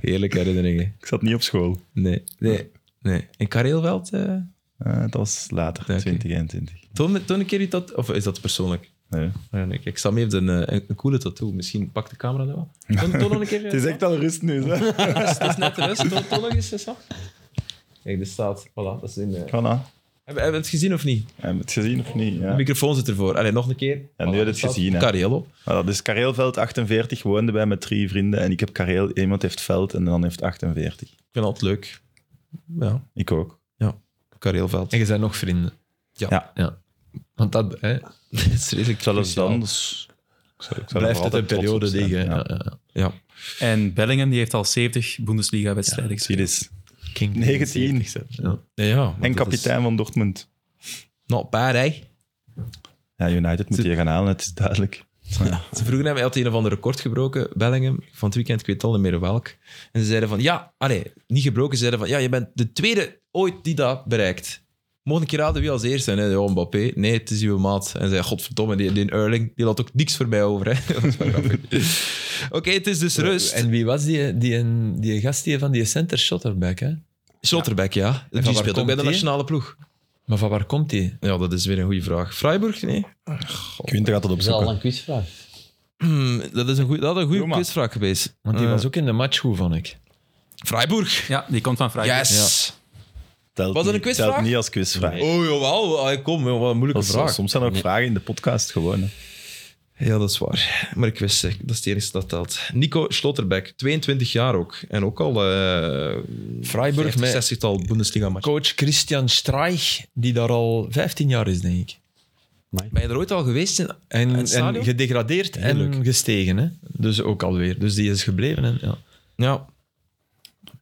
[SPEAKER 1] Heerlijke herinneringen.
[SPEAKER 2] ik zat niet op school.
[SPEAKER 1] Nee, nee, nee. In Kareelveld? eh,
[SPEAKER 2] Eh, dat was later,
[SPEAKER 1] Oké.
[SPEAKER 2] 2021.
[SPEAKER 1] toon, me- toon een keer je dat... Of is dat persoonlijk?
[SPEAKER 2] Nee.
[SPEAKER 1] Ja, nee, kijk, Sam heeft een, eh, een, een coole tattoo. Misschien pakt de camera dat wel. Toon, toon nog een keer. eh, Ah,
[SPEAKER 2] Het is
[SPEAKER 1] Sam.
[SPEAKER 2] echt al rust nu. Hè?
[SPEAKER 1] Het is net rust. Toon, toon nog eens, eh, Sam. Kijk, dit staat... Voilà, dat is in... eh,
[SPEAKER 2] Voilà.
[SPEAKER 1] Hebben hebben we het gezien of niet?
[SPEAKER 2] Heb je het gezien of niet?
[SPEAKER 1] De
[SPEAKER 2] Ja.
[SPEAKER 1] microfoon zit ervoor. Allee, nog een keer.
[SPEAKER 2] En nu heb je het gezien. Hè.
[SPEAKER 1] Carriel op.
[SPEAKER 2] Maar dat is Kareelveld 48, woonde bij met drie vrienden. En ik heb Kareel, iemand heeft Veld en dan heeft 48.
[SPEAKER 1] Ik vind altijd leuk. Ja,
[SPEAKER 2] Ik ook.
[SPEAKER 1] Kareelveld.
[SPEAKER 4] En je zijn nog vrienden.
[SPEAKER 1] Ja.
[SPEAKER 2] Ja.
[SPEAKER 4] Want dat hè,
[SPEAKER 1] Het is redelijk
[SPEAKER 2] Zelfs
[SPEAKER 1] cruciaal.
[SPEAKER 2] dan dus, ik zou- ik zou er
[SPEAKER 4] blijft
[SPEAKER 2] voor
[SPEAKER 4] het
[SPEAKER 2] altijd
[SPEAKER 4] een
[SPEAKER 2] trots op
[SPEAKER 4] periode
[SPEAKER 2] zijn.
[SPEAKER 4] liggen.
[SPEAKER 2] Ja.
[SPEAKER 4] Ja. Ja, ja.
[SPEAKER 1] Ja.
[SPEAKER 5] En Bellingham die heeft al 70 Bundesliga-wedstrijden
[SPEAKER 2] Zie
[SPEAKER 5] gespeeld.
[SPEAKER 2] dit.
[SPEAKER 4] King
[SPEAKER 2] 19.
[SPEAKER 4] Ja.
[SPEAKER 1] Ja, ja, maar dat
[SPEAKER 2] En kapitein van Dortmund.
[SPEAKER 1] Is... Nou, een paar, hè.
[SPEAKER 2] Ja, United moet je gaan halen, het is duidelijk.
[SPEAKER 1] Ze vroegen hem, hij had een of ander record gebroken, Bellingham, van het weekend, ik weet al niet meer welk. En ze zeiden van, ja, allee, niet gebroken, ze zeiden van, ja, je bent de tweede ooit die dat bereikt. Mocht ik je raden wie als eerste? Nee, ja, oh, Mbappé. Nee, het is uw maat. En zei, godverdomme, die, die Erling, die laat ook niks voor mij over. hè. Dat was wel grappig. Oké, het is
[SPEAKER 5] Eh,
[SPEAKER 1] dus rust.
[SPEAKER 4] En wie was die, die, die gast die van die center shotterback? Hè?
[SPEAKER 1] Schotterbeck, ja.
[SPEAKER 4] van
[SPEAKER 1] Die
[SPEAKER 4] waar
[SPEAKER 1] speelt ook
[SPEAKER 4] komt
[SPEAKER 1] bij de
[SPEAKER 4] die?
[SPEAKER 1] nationale ploeg.
[SPEAKER 4] Maar van waar komt die?
[SPEAKER 1] Ja, dat is weer een goede vraag. Freiburg? Nee.
[SPEAKER 2] Quinten gaat dat
[SPEAKER 3] Is dat al
[SPEAKER 2] opzoeken.
[SPEAKER 3] een quizvraag?
[SPEAKER 1] Hmm, dat is een goede, dat is een goede
[SPEAKER 2] Doe maar.
[SPEAKER 1] quizvraag geweest.
[SPEAKER 4] Want die
[SPEAKER 1] Eh,
[SPEAKER 4] was ook in de match goed, vond ik.
[SPEAKER 1] Freiburg.
[SPEAKER 5] Ja, die komt van Freiburg.
[SPEAKER 1] Yes.
[SPEAKER 2] Telt
[SPEAKER 1] Was dat een
[SPEAKER 2] niet-
[SPEAKER 1] quizvraag?
[SPEAKER 2] Telt niet als quizvraag.
[SPEAKER 1] Oh, jawel. Allee, Kom, joh, wat een moeilijke
[SPEAKER 2] Dat is-
[SPEAKER 1] vraag.
[SPEAKER 2] Soms zijn er ook vragen in de podcast gewoon. hè.
[SPEAKER 1] Ja, dat is waar. Maar ik wist, eh, dat is de eerste dat telt. Nico Slotterbeck, 22 jaar ook. En ook al eh
[SPEAKER 4] Freiburg
[SPEAKER 1] 50,
[SPEAKER 4] met
[SPEAKER 1] 60-tal Bundesliga-matchen.
[SPEAKER 4] coach Christian Streich, die daar al 15 jaar is, denk ik.
[SPEAKER 1] Ben je er ooit al geweest? In...
[SPEAKER 4] En,
[SPEAKER 1] het stadion?
[SPEAKER 4] en gedegradeerd
[SPEAKER 1] Heerlijk.
[SPEAKER 4] en gestegen. Hè? Dus ook alweer. Dus die is gebleven. Hè? Ja.
[SPEAKER 1] Ja.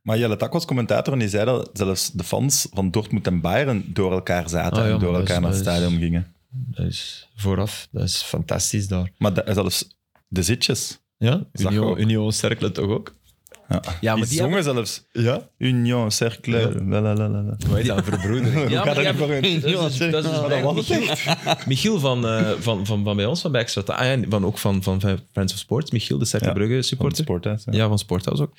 [SPEAKER 2] Maar Jelle Tak was commentator en die zei dat zelfs de fans van Dortmund en Bayern door elkaar zaten
[SPEAKER 4] Ah, ja,
[SPEAKER 2] en door
[SPEAKER 4] maar dat is-
[SPEAKER 2] elkaar naar het
[SPEAKER 4] dat is-
[SPEAKER 2] stadion gingen.
[SPEAKER 4] Dat is vooraf. Dat is fantastisch daar.
[SPEAKER 2] Maar da- zelfs de zitjes.
[SPEAKER 4] Ja?
[SPEAKER 2] Zag je ook.
[SPEAKER 4] Union, Union Cercle toch ook?
[SPEAKER 2] Ja,
[SPEAKER 1] Ja,
[SPEAKER 2] die,
[SPEAKER 1] maar die
[SPEAKER 2] zongen zelfs.
[SPEAKER 4] Ja.
[SPEAKER 2] Union, Cercle, la la la la. la.
[SPEAKER 4] Wij dan verbroedering.
[SPEAKER 1] Ja,
[SPEAKER 2] Hoe
[SPEAKER 1] maar
[SPEAKER 2] gaat dat
[SPEAKER 1] die
[SPEAKER 2] niet voor hun?
[SPEAKER 1] Dat is, dus- dat is dus
[SPEAKER 2] Maar dat
[SPEAKER 1] bij-
[SPEAKER 2] was het echt.
[SPEAKER 1] Michiel van, eh, van, van, van bij ons, van bij Extra Time, ah, ja, van, ook van, van Friends of Sports. Michiel, de Cercle
[SPEAKER 2] Ja,
[SPEAKER 1] Brugge
[SPEAKER 2] Van het
[SPEAKER 1] supporter.
[SPEAKER 2] sporthuis, ja.
[SPEAKER 1] Ja, van Sporthuis ook.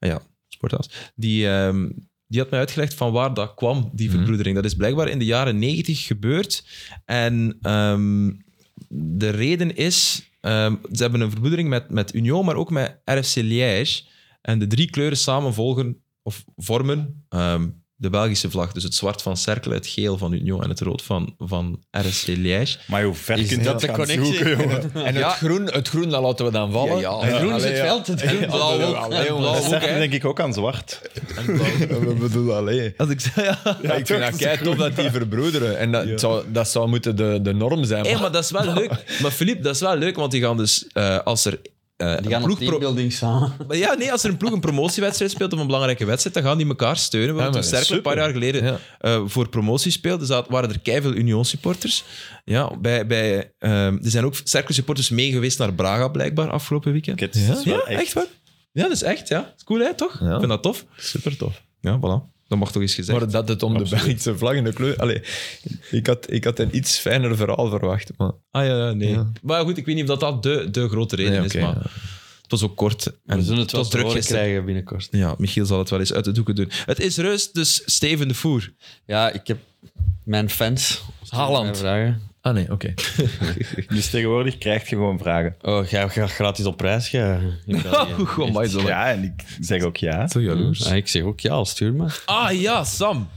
[SPEAKER 1] Ah ja, Sporthuis. Die, ehm, die had mij uitgelegd van waar dat kwam, die verbroedering. Dat is blijkbaar in de jaren negentig gebeurd. En ehm, de reden is... ehm, ze hebben een verbroedering met, met Union, maar ook met RFC Liège. En de drie kleuren samen volgen, of vormen... ehm, de Belgische vlag, dus het zwart van Cercle, het geel van Union en het rood van, van RSC Liège.
[SPEAKER 2] Maar hoe ver kun je
[SPEAKER 4] dat
[SPEAKER 2] dat
[SPEAKER 4] de
[SPEAKER 2] gaan
[SPEAKER 4] connectie?
[SPEAKER 2] zoeken, jongen?
[SPEAKER 4] En het, groen, het groen, dat laten we dan vallen.
[SPEAKER 1] Ja, ja.
[SPEAKER 4] Het groen is
[SPEAKER 2] Allee,
[SPEAKER 4] het
[SPEAKER 2] ja.
[SPEAKER 4] veld. Het groen, blauw ook.
[SPEAKER 1] Allee,
[SPEAKER 4] en
[SPEAKER 1] jongen.
[SPEAKER 4] blauw
[SPEAKER 2] Dat
[SPEAKER 1] ook,
[SPEAKER 2] zegt
[SPEAKER 1] hè?
[SPEAKER 2] denk ik ook aan zwart.
[SPEAKER 4] We bedoelen alleen.
[SPEAKER 1] Als ik zei, ja.
[SPEAKER 2] Ja,
[SPEAKER 4] ik vind dat
[SPEAKER 2] toch?
[SPEAKER 4] kei tof dat die verbroederen. En dat, zou, dat zou moeten de, de norm zijn.
[SPEAKER 1] Hey, maar dat is wel leuk. Maar Philippe, dat is wel leuk, want die gaan dus eh, als er. eh,
[SPEAKER 3] Die
[SPEAKER 1] een
[SPEAKER 3] gaan op
[SPEAKER 1] ploeg pro-
[SPEAKER 3] teambuilding samen.
[SPEAKER 1] Maar ja, nee, als er een ploeg een promotiewedstrijd speelt of een belangrijke wedstrijd, dan gaan die elkaar steunen. We
[SPEAKER 4] Ja,
[SPEAKER 1] hebben
[SPEAKER 4] maar
[SPEAKER 1] toen Cercle een
[SPEAKER 4] super.
[SPEAKER 1] paar jaar geleden
[SPEAKER 4] Ja.
[SPEAKER 1] eh, voor promotie speelde, zat, waren er keiveel Union-supporters. Ja, bij, bij, eh, er zijn ook Cercle-supporters meegeweest naar Braga, blijkbaar, afgelopen weekend.
[SPEAKER 2] Het is wel
[SPEAKER 1] Ja, echt waar? Ja, dat is echt, ja. Dat is cool, hè, toch?
[SPEAKER 4] Ja.
[SPEAKER 1] Ik vind dat tof.
[SPEAKER 4] super tof.
[SPEAKER 1] Ja, voilà. Dat mag toch eens gezegd
[SPEAKER 4] Maar dat het om de Belgische vlag en de kleur... Allee, ik, had, ik had een iets fijner verhaal verwacht. Maar
[SPEAKER 1] Ah ja, ja, nee.
[SPEAKER 4] Ja.
[SPEAKER 1] Maar goed, ik weet niet of dat, dat de, de grote reden
[SPEAKER 4] Nee,
[SPEAKER 1] is,
[SPEAKER 4] oké,
[SPEAKER 1] maar
[SPEAKER 4] ja.
[SPEAKER 1] het was ook kort. En
[SPEAKER 3] We zullen het wel
[SPEAKER 1] was druk
[SPEAKER 3] druk
[SPEAKER 1] gisteren.
[SPEAKER 3] krijgen binnenkort.
[SPEAKER 1] Ja, Michiel zal het wel eens uit de doeken doen. Het is rust, dus Steven de Voer.
[SPEAKER 3] Ja, ik heb mijn fans.
[SPEAKER 4] Haaland.
[SPEAKER 3] Vragen.
[SPEAKER 4] Ah nee, oké.
[SPEAKER 1] Oh,
[SPEAKER 2] Dus tegenwoordig krijg je gewoon vragen.
[SPEAKER 3] Oh, jij gaat gratis op reis, jij. in België.
[SPEAKER 1] Goh, maar zo.
[SPEAKER 2] Ja, en ik zeg ook ja.
[SPEAKER 1] Zo jaloers.
[SPEAKER 3] Ja, Ah, ik zeg ook ja, stuur maar.
[SPEAKER 1] Ah ja, Sam.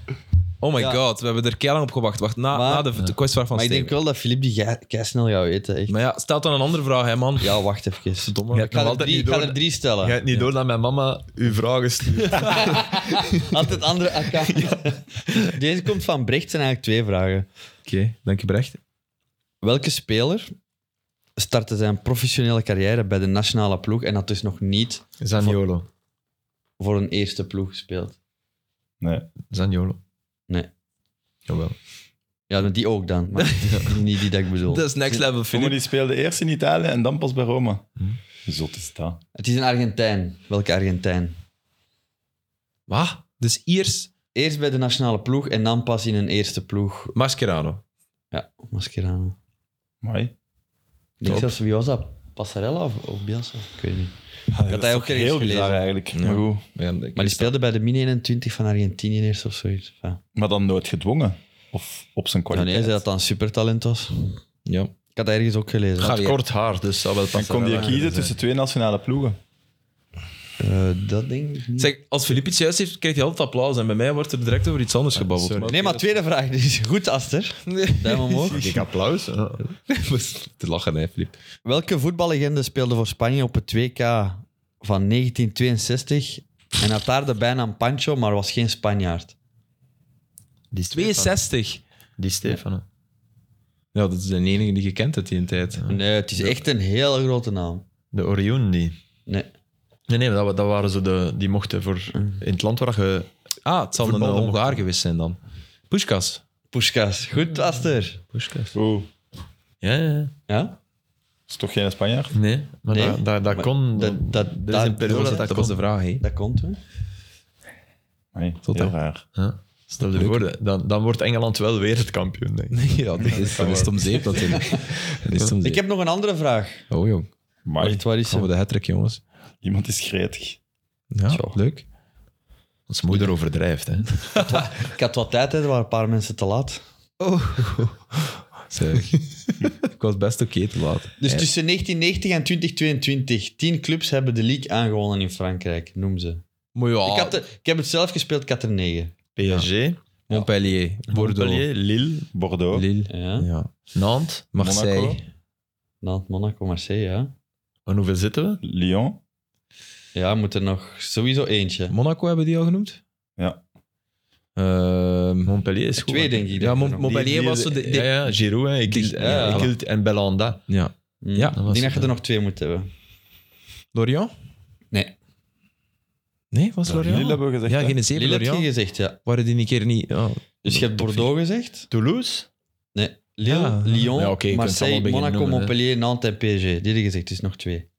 [SPEAKER 1] Oh my
[SPEAKER 3] Ja.
[SPEAKER 1] god, we hebben er keilang op gewacht. Wacht, na,
[SPEAKER 3] Maar-
[SPEAKER 1] na de, de quizvraag van
[SPEAKER 3] Maar ik
[SPEAKER 1] Steven.
[SPEAKER 3] denk wel dat Filip die ge- kei snel gaat weten. Echt.
[SPEAKER 1] Maar ja, stel dan een andere vraag, hè, man.
[SPEAKER 3] Ja, wacht even.
[SPEAKER 1] Domme.
[SPEAKER 3] Ik ga, er drie, ik ga er drie
[SPEAKER 4] Je
[SPEAKER 3] stellen.
[SPEAKER 4] hebt niet door dat mijn mama uw vragen stuurt.
[SPEAKER 3] Altijd andere account. Deze komt van Brecht, zijn eigenlijk twee vragen.
[SPEAKER 1] Oké, dank je, Brecht.
[SPEAKER 3] Welke speler startte zijn professionele carrière bij de nationale ploeg en had dus nog niet
[SPEAKER 4] Zaniolo.
[SPEAKER 3] voor een eerste ploeg gespeeld?
[SPEAKER 2] Nee.
[SPEAKER 4] Zaniolo.
[SPEAKER 3] Nee.
[SPEAKER 4] Jawel.
[SPEAKER 3] Ja, maar die ook dan. Maar niet die dat ik bedoel.
[SPEAKER 1] Dat is next level,
[SPEAKER 2] Filip
[SPEAKER 1] Philippe.
[SPEAKER 2] die speelde eerst in Italië en dan pas bij Roma. Zot is dat.
[SPEAKER 3] Het is een Argentijn. Welke Argentijn?
[SPEAKER 1] Wat? Dus Iers
[SPEAKER 3] Eerst bij de nationale ploeg en dan pas in een eerste ploeg.
[SPEAKER 1] Mascherano.
[SPEAKER 3] Ja, Mascherano.
[SPEAKER 2] Mooi.
[SPEAKER 3] Ik denk
[SPEAKER 1] Top.
[SPEAKER 3] zelfs, wie was dat? Passarella of, of Bielsa? Ik weet niet. had hij ook ergens
[SPEAKER 2] heel bizar
[SPEAKER 3] gelezen.
[SPEAKER 2] eigenlijk. Maar, goed.
[SPEAKER 1] Ja,
[SPEAKER 3] Maar die speelde bij de mini-21 van Argentinië eerst of zoiets. Enfin,
[SPEAKER 2] maar dan nooit gedwongen. Of op zijn
[SPEAKER 3] ja, nee,
[SPEAKER 2] kwaliteit.
[SPEAKER 3] zei dat dan supertalent was.
[SPEAKER 1] Ja.
[SPEAKER 3] Ik had dat ergens ook gelezen.
[SPEAKER 1] Ga-
[SPEAKER 4] Kort haar, dus zou wel passen.
[SPEAKER 2] dan kon je kiezen tussen twee nationale ploegen.
[SPEAKER 3] Eh, dat denk ik niet.
[SPEAKER 1] Zeg, als Filip iets juist heeft, krijgt hij altijd applaus. En bij mij wordt er direct over iets anders gebabbeld.
[SPEAKER 4] Ah, sorry.
[SPEAKER 1] Maar-
[SPEAKER 3] Nee, maar tweede vraag. Die is goed, Aster. Duim omhoog.
[SPEAKER 4] Ik applaus. hè.
[SPEAKER 1] Te lachen, hè, Filip.
[SPEAKER 3] Welke voetballegende speelde voor Spanje op het 2K van 1962 en had daar de bijnaam Pancho, maar was geen Spanjaard?
[SPEAKER 4] Die Stefan.
[SPEAKER 1] 62.
[SPEAKER 4] Die Stefan. hè.
[SPEAKER 1] Ja, dat is de enige die je kent uit die tijd.
[SPEAKER 3] Nee, het is echt een hele grote naam.
[SPEAKER 4] De Orion, die.
[SPEAKER 3] Nee.
[SPEAKER 4] Nee, nee, dat, wa- dat waren ze de, die mochten voor in het land waar je.
[SPEAKER 1] Ah, het zal een
[SPEAKER 4] Voetbalde
[SPEAKER 1] Hongaar geweest zijn dan. Puskas.
[SPEAKER 3] Puskas. Goed, Aster.
[SPEAKER 2] Oeh,
[SPEAKER 4] Ja, ja, ja.
[SPEAKER 3] Ja?
[SPEAKER 2] is toch geen Spanjaard?
[SPEAKER 4] Nee, maar
[SPEAKER 3] Nee,
[SPEAKER 4] dat, dat, dat
[SPEAKER 3] maar
[SPEAKER 4] kon.
[SPEAKER 3] dat- dat-
[SPEAKER 4] er is
[SPEAKER 3] dat-
[SPEAKER 4] een
[SPEAKER 1] Dat
[SPEAKER 4] periode
[SPEAKER 1] was,
[SPEAKER 4] dat
[SPEAKER 1] dat
[SPEAKER 4] dat
[SPEAKER 1] was
[SPEAKER 4] kon.
[SPEAKER 1] de vraag, hè.
[SPEAKER 3] Dat komt, hè?
[SPEAKER 2] Nee,
[SPEAKER 1] Tot
[SPEAKER 2] heel
[SPEAKER 1] dan.
[SPEAKER 2] raar.
[SPEAKER 4] Ja. Stel je voor, hè, dan, dan wordt Engeland wel wereldkampioen. denk ik.
[SPEAKER 1] Ja, dat is, dat is het om zeep natuurlijk. Dat is het om zeep.
[SPEAKER 3] Ik heb nog een andere vraag.
[SPEAKER 1] Oh jong,
[SPEAKER 3] Waar
[SPEAKER 2] Maar
[SPEAKER 3] is, waar is
[SPEAKER 1] gaan we
[SPEAKER 3] hem?
[SPEAKER 1] de hattrick jongens.
[SPEAKER 2] iemand is gretig.
[SPEAKER 1] Ja, leuk.
[SPEAKER 4] Ons moeder overdrijft. Hè.
[SPEAKER 3] Ik had wat tijd, hè. er waren een paar mensen te laat.
[SPEAKER 1] Zeg. ik was best oké te laat.
[SPEAKER 3] Dus tussen 1990 en 2022, tien clubs hebben de league aangewonnen in Frankrijk, noem ze.
[SPEAKER 1] Maar ja,
[SPEAKER 3] Ik, had er- ik heb het zelf gespeeld, ik had er negen.
[SPEAKER 4] PSG,
[SPEAKER 1] Montpellier, Bordeaux,
[SPEAKER 4] Montpellier, Lille,
[SPEAKER 2] Bordeaux.
[SPEAKER 1] Lille,
[SPEAKER 3] Ja.
[SPEAKER 1] ja.
[SPEAKER 4] Nantes.
[SPEAKER 1] Marseille.
[SPEAKER 2] Monaco.
[SPEAKER 3] Nantes, Monaco, Marseille, ja.
[SPEAKER 4] En hoeveel zitten we?
[SPEAKER 2] Lyon.
[SPEAKER 3] Ja, moet er nog sowieso eentje.
[SPEAKER 1] Monaco hebben die al genoemd?
[SPEAKER 2] Ja.
[SPEAKER 1] Ehm,
[SPEAKER 4] Montpellier is goed.
[SPEAKER 3] Twee,
[SPEAKER 4] hè.
[SPEAKER 3] denk ik.
[SPEAKER 1] ja,
[SPEAKER 3] dat
[SPEAKER 1] Mon-
[SPEAKER 3] er nog-
[SPEAKER 1] Montpellier
[SPEAKER 4] Die- die-
[SPEAKER 1] was zo de... de-
[SPEAKER 4] ja, ja, Giroud hè, ik,
[SPEAKER 1] Die-
[SPEAKER 4] ja,
[SPEAKER 1] ja,
[SPEAKER 4] ik hield- en Belanda.
[SPEAKER 1] ja. ja,
[SPEAKER 3] Mm, ik
[SPEAKER 1] dat
[SPEAKER 3] denk
[SPEAKER 1] was-
[SPEAKER 3] dat je er nog twee moet hebben.
[SPEAKER 1] Lorient?
[SPEAKER 3] Nee.
[SPEAKER 1] Nee, was Lorient?
[SPEAKER 2] Lille hebben we gezegd.
[SPEAKER 1] Ja,
[SPEAKER 2] hè?
[SPEAKER 1] geen
[SPEAKER 3] Lille
[SPEAKER 1] zeven
[SPEAKER 3] heb je
[SPEAKER 1] Lorient.
[SPEAKER 3] gezegd, ja.
[SPEAKER 1] Waren die een keer niet... ja.
[SPEAKER 3] Dus je hebt Bordeaux gezegd?
[SPEAKER 4] Toulouse?
[SPEAKER 3] Nee. Lille,
[SPEAKER 1] Ja.
[SPEAKER 3] Lyon,
[SPEAKER 4] Ja, oké, je kunt het allemaal
[SPEAKER 3] Marseille,
[SPEAKER 4] beginnen
[SPEAKER 3] Monaco,
[SPEAKER 4] noemen, hè.
[SPEAKER 3] Montpellier, Nantes en PSG. Die heb je gezegd, dus nog twee.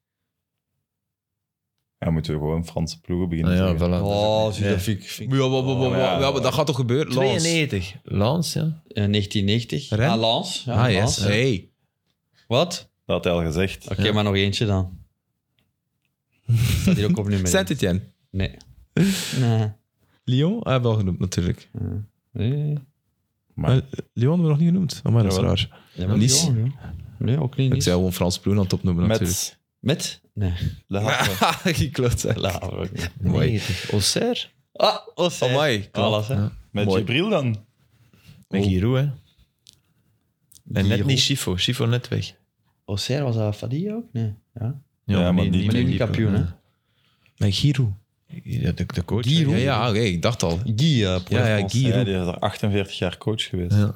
[SPEAKER 2] Ja, moeten we gewoon Franse ploegen beginnen.
[SPEAKER 4] Ah, ja,
[SPEAKER 2] zeggen.
[SPEAKER 4] voilà.
[SPEAKER 3] Oh, zie, dat
[SPEAKER 4] Ja.
[SPEAKER 3] vind ik... vind ik-
[SPEAKER 1] Ja, wa- wa- wa- wa-
[SPEAKER 2] Oh, ja.
[SPEAKER 1] ja, maar dat gaat toch gebeuren? Lens.
[SPEAKER 4] 92. Lens, ja.
[SPEAKER 3] Eh, 1990.
[SPEAKER 1] Rennes?
[SPEAKER 3] Ah, Lens. Ja,
[SPEAKER 1] Ah, yes.
[SPEAKER 3] Lens.
[SPEAKER 1] Hey.
[SPEAKER 3] Wat?
[SPEAKER 2] Dat had hij al gezegd.
[SPEAKER 3] Oké, maar nog eentje dan. Staat hier ook op nummer één.
[SPEAKER 1] Saint-Etienne.
[SPEAKER 3] Nee. Nee.
[SPEAKER 1] Lyon hebben we al genoemd, natuurlijk.
[SPEAKER 3] Nee.
[SPEAKER 2] Maar-
[SPEAKER 1] Eh, Lyon hebben we nog niet genoemd. Amai, dat is
[SPEAKER 2] Jawel.
[SPEAKER 1] raar.
[SPEAKER 3] Ja, maar
[SPEAKER 1] Nice.
[SPEAKER 3] Lyon, ja. Nee, ook niet.
[SPEAKER 1] Ik
[SPEAKER 3] Nice.
[SPEAKER 1] zou gewoon Frans Ploen aan het opnoemen, natuurlijk.
[SPEAKER 2] Met
[SPEAKER 3] Met? Nee.
[SPEAKER 2] de Havre.
[SPEAKER 1] Ik klopt, hè.
[SPEAKER 3] Laat
[SPEAKER 1] Mooi.
[SPEAKER 4] 90. Auxerre?
[SPEAKER 3] Ah, Osei.
[SPEAKER 1] Amai.
[SPEAKER 3] Alles, hè.
[SPEAKER 4] Ja.
[SPEAKER 2] Met
[SPEAKER 1] Mooi.
[SPEAKER 2] Gibril dan.
[SPEAKER 4] Met
[SPEAKER 1] Oh.
[SPEAKER 4] Giroud, hè. En net
[SPEAKER 3] Giroud.
[SPEAKER 4] niet Schifo. Schifo net weg.
[SPEAKER 3] Auxerre, was dat Fadi ook? Nee. Ja.
[SPEAKER 2] Ja, maar die-
[SPEAKER 3] Maar
[SPEAKER 2] die
[SPEAKER 3] nu
[SPEAKER 4] met
[SPEAKER 3] niet kampioen, hè.
[SPEAKER 1] Met Giroud.
[SPEAKER 4] Ja, de, de coach.
[SPEAKER 1] Ja,
[SPEAKER 4] hè.
[SPEAKER 1] ja, oké, ik dacht al.
[SPEAKER 3] Guy, eh, pour
[SPEAKER 1] Ja,
[SPEAKER 3] la
[SPEAKER 1] ja,
[SPEAKER 3] France.
[SPEAKER 2] Ja,
[SPEAKER 1] Giroud.
[SPEAKER 2] die is er 48 jaar coach geweest.
[SPEAKER 4] Ja.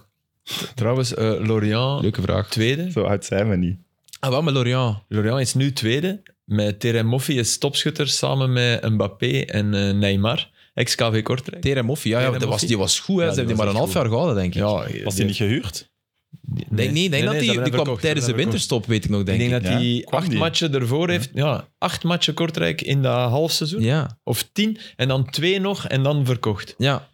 [SPEAKER 4] Trouwens, eh, Lorient
[SPEAKER 1] Leuke vraag.
[SPEAKER 4] tweede.
[SPEAKER 2] Zo oud zijn we niet.
[SPEAKER 1] Ah, wel met Lorient.
[SPEAKER 4] Lorient is nu tweede. Met Terem Moffi is topschutter samen met Mbappé en eh, Neymar. Ex-KV Kortrijk.
[SPEAKER 1] Terem Moffi, ja, ja
[SPEAKER 4] Terem
[SPEAKER 1] dat was,
[SPEAKER 4] Moffi.
[SPEAKER 1] die was goed. Hè. ze
[SPEAKER 4] Ja, die
[SPEAKER 1] hebben die maar
[SPEAKER 4] was
[SPEAKER 1] een half
[SPEAKER 4] echt
[SPEAKER 1] jaar gehouden, denk ik.
[SPEAKER 4] Ja, eh,
[SPEAKER 2] Was hij niet gehuurd?
[SPEAKER 1] Denk, nee, ik denk dat die, die kwam tijdens de
[SPEAKER 4] winterstop.
[SPEAKER 1] winterstop, weet ik nog, denk
[SPEAKER 4] Ik
[SPEAKER 1] ik.
[SPEAKER 4] denk dat
[SPEAKER 2] Ja,
[SPEAKER 4] hij
[SPEAKER 2] kwam
[SPEAKER 4] acht
[SPEAKER 2] die.
[SPEAKER 4] matchen ervoor heeft. Ja, acht matchen Kortrijk in dat halfseizoen.
[SPEAKER 1] Ja,
[SPEAKER 4] Of tien. En dan twee nog en dan verkocht.
[SPEAKER 1] ja.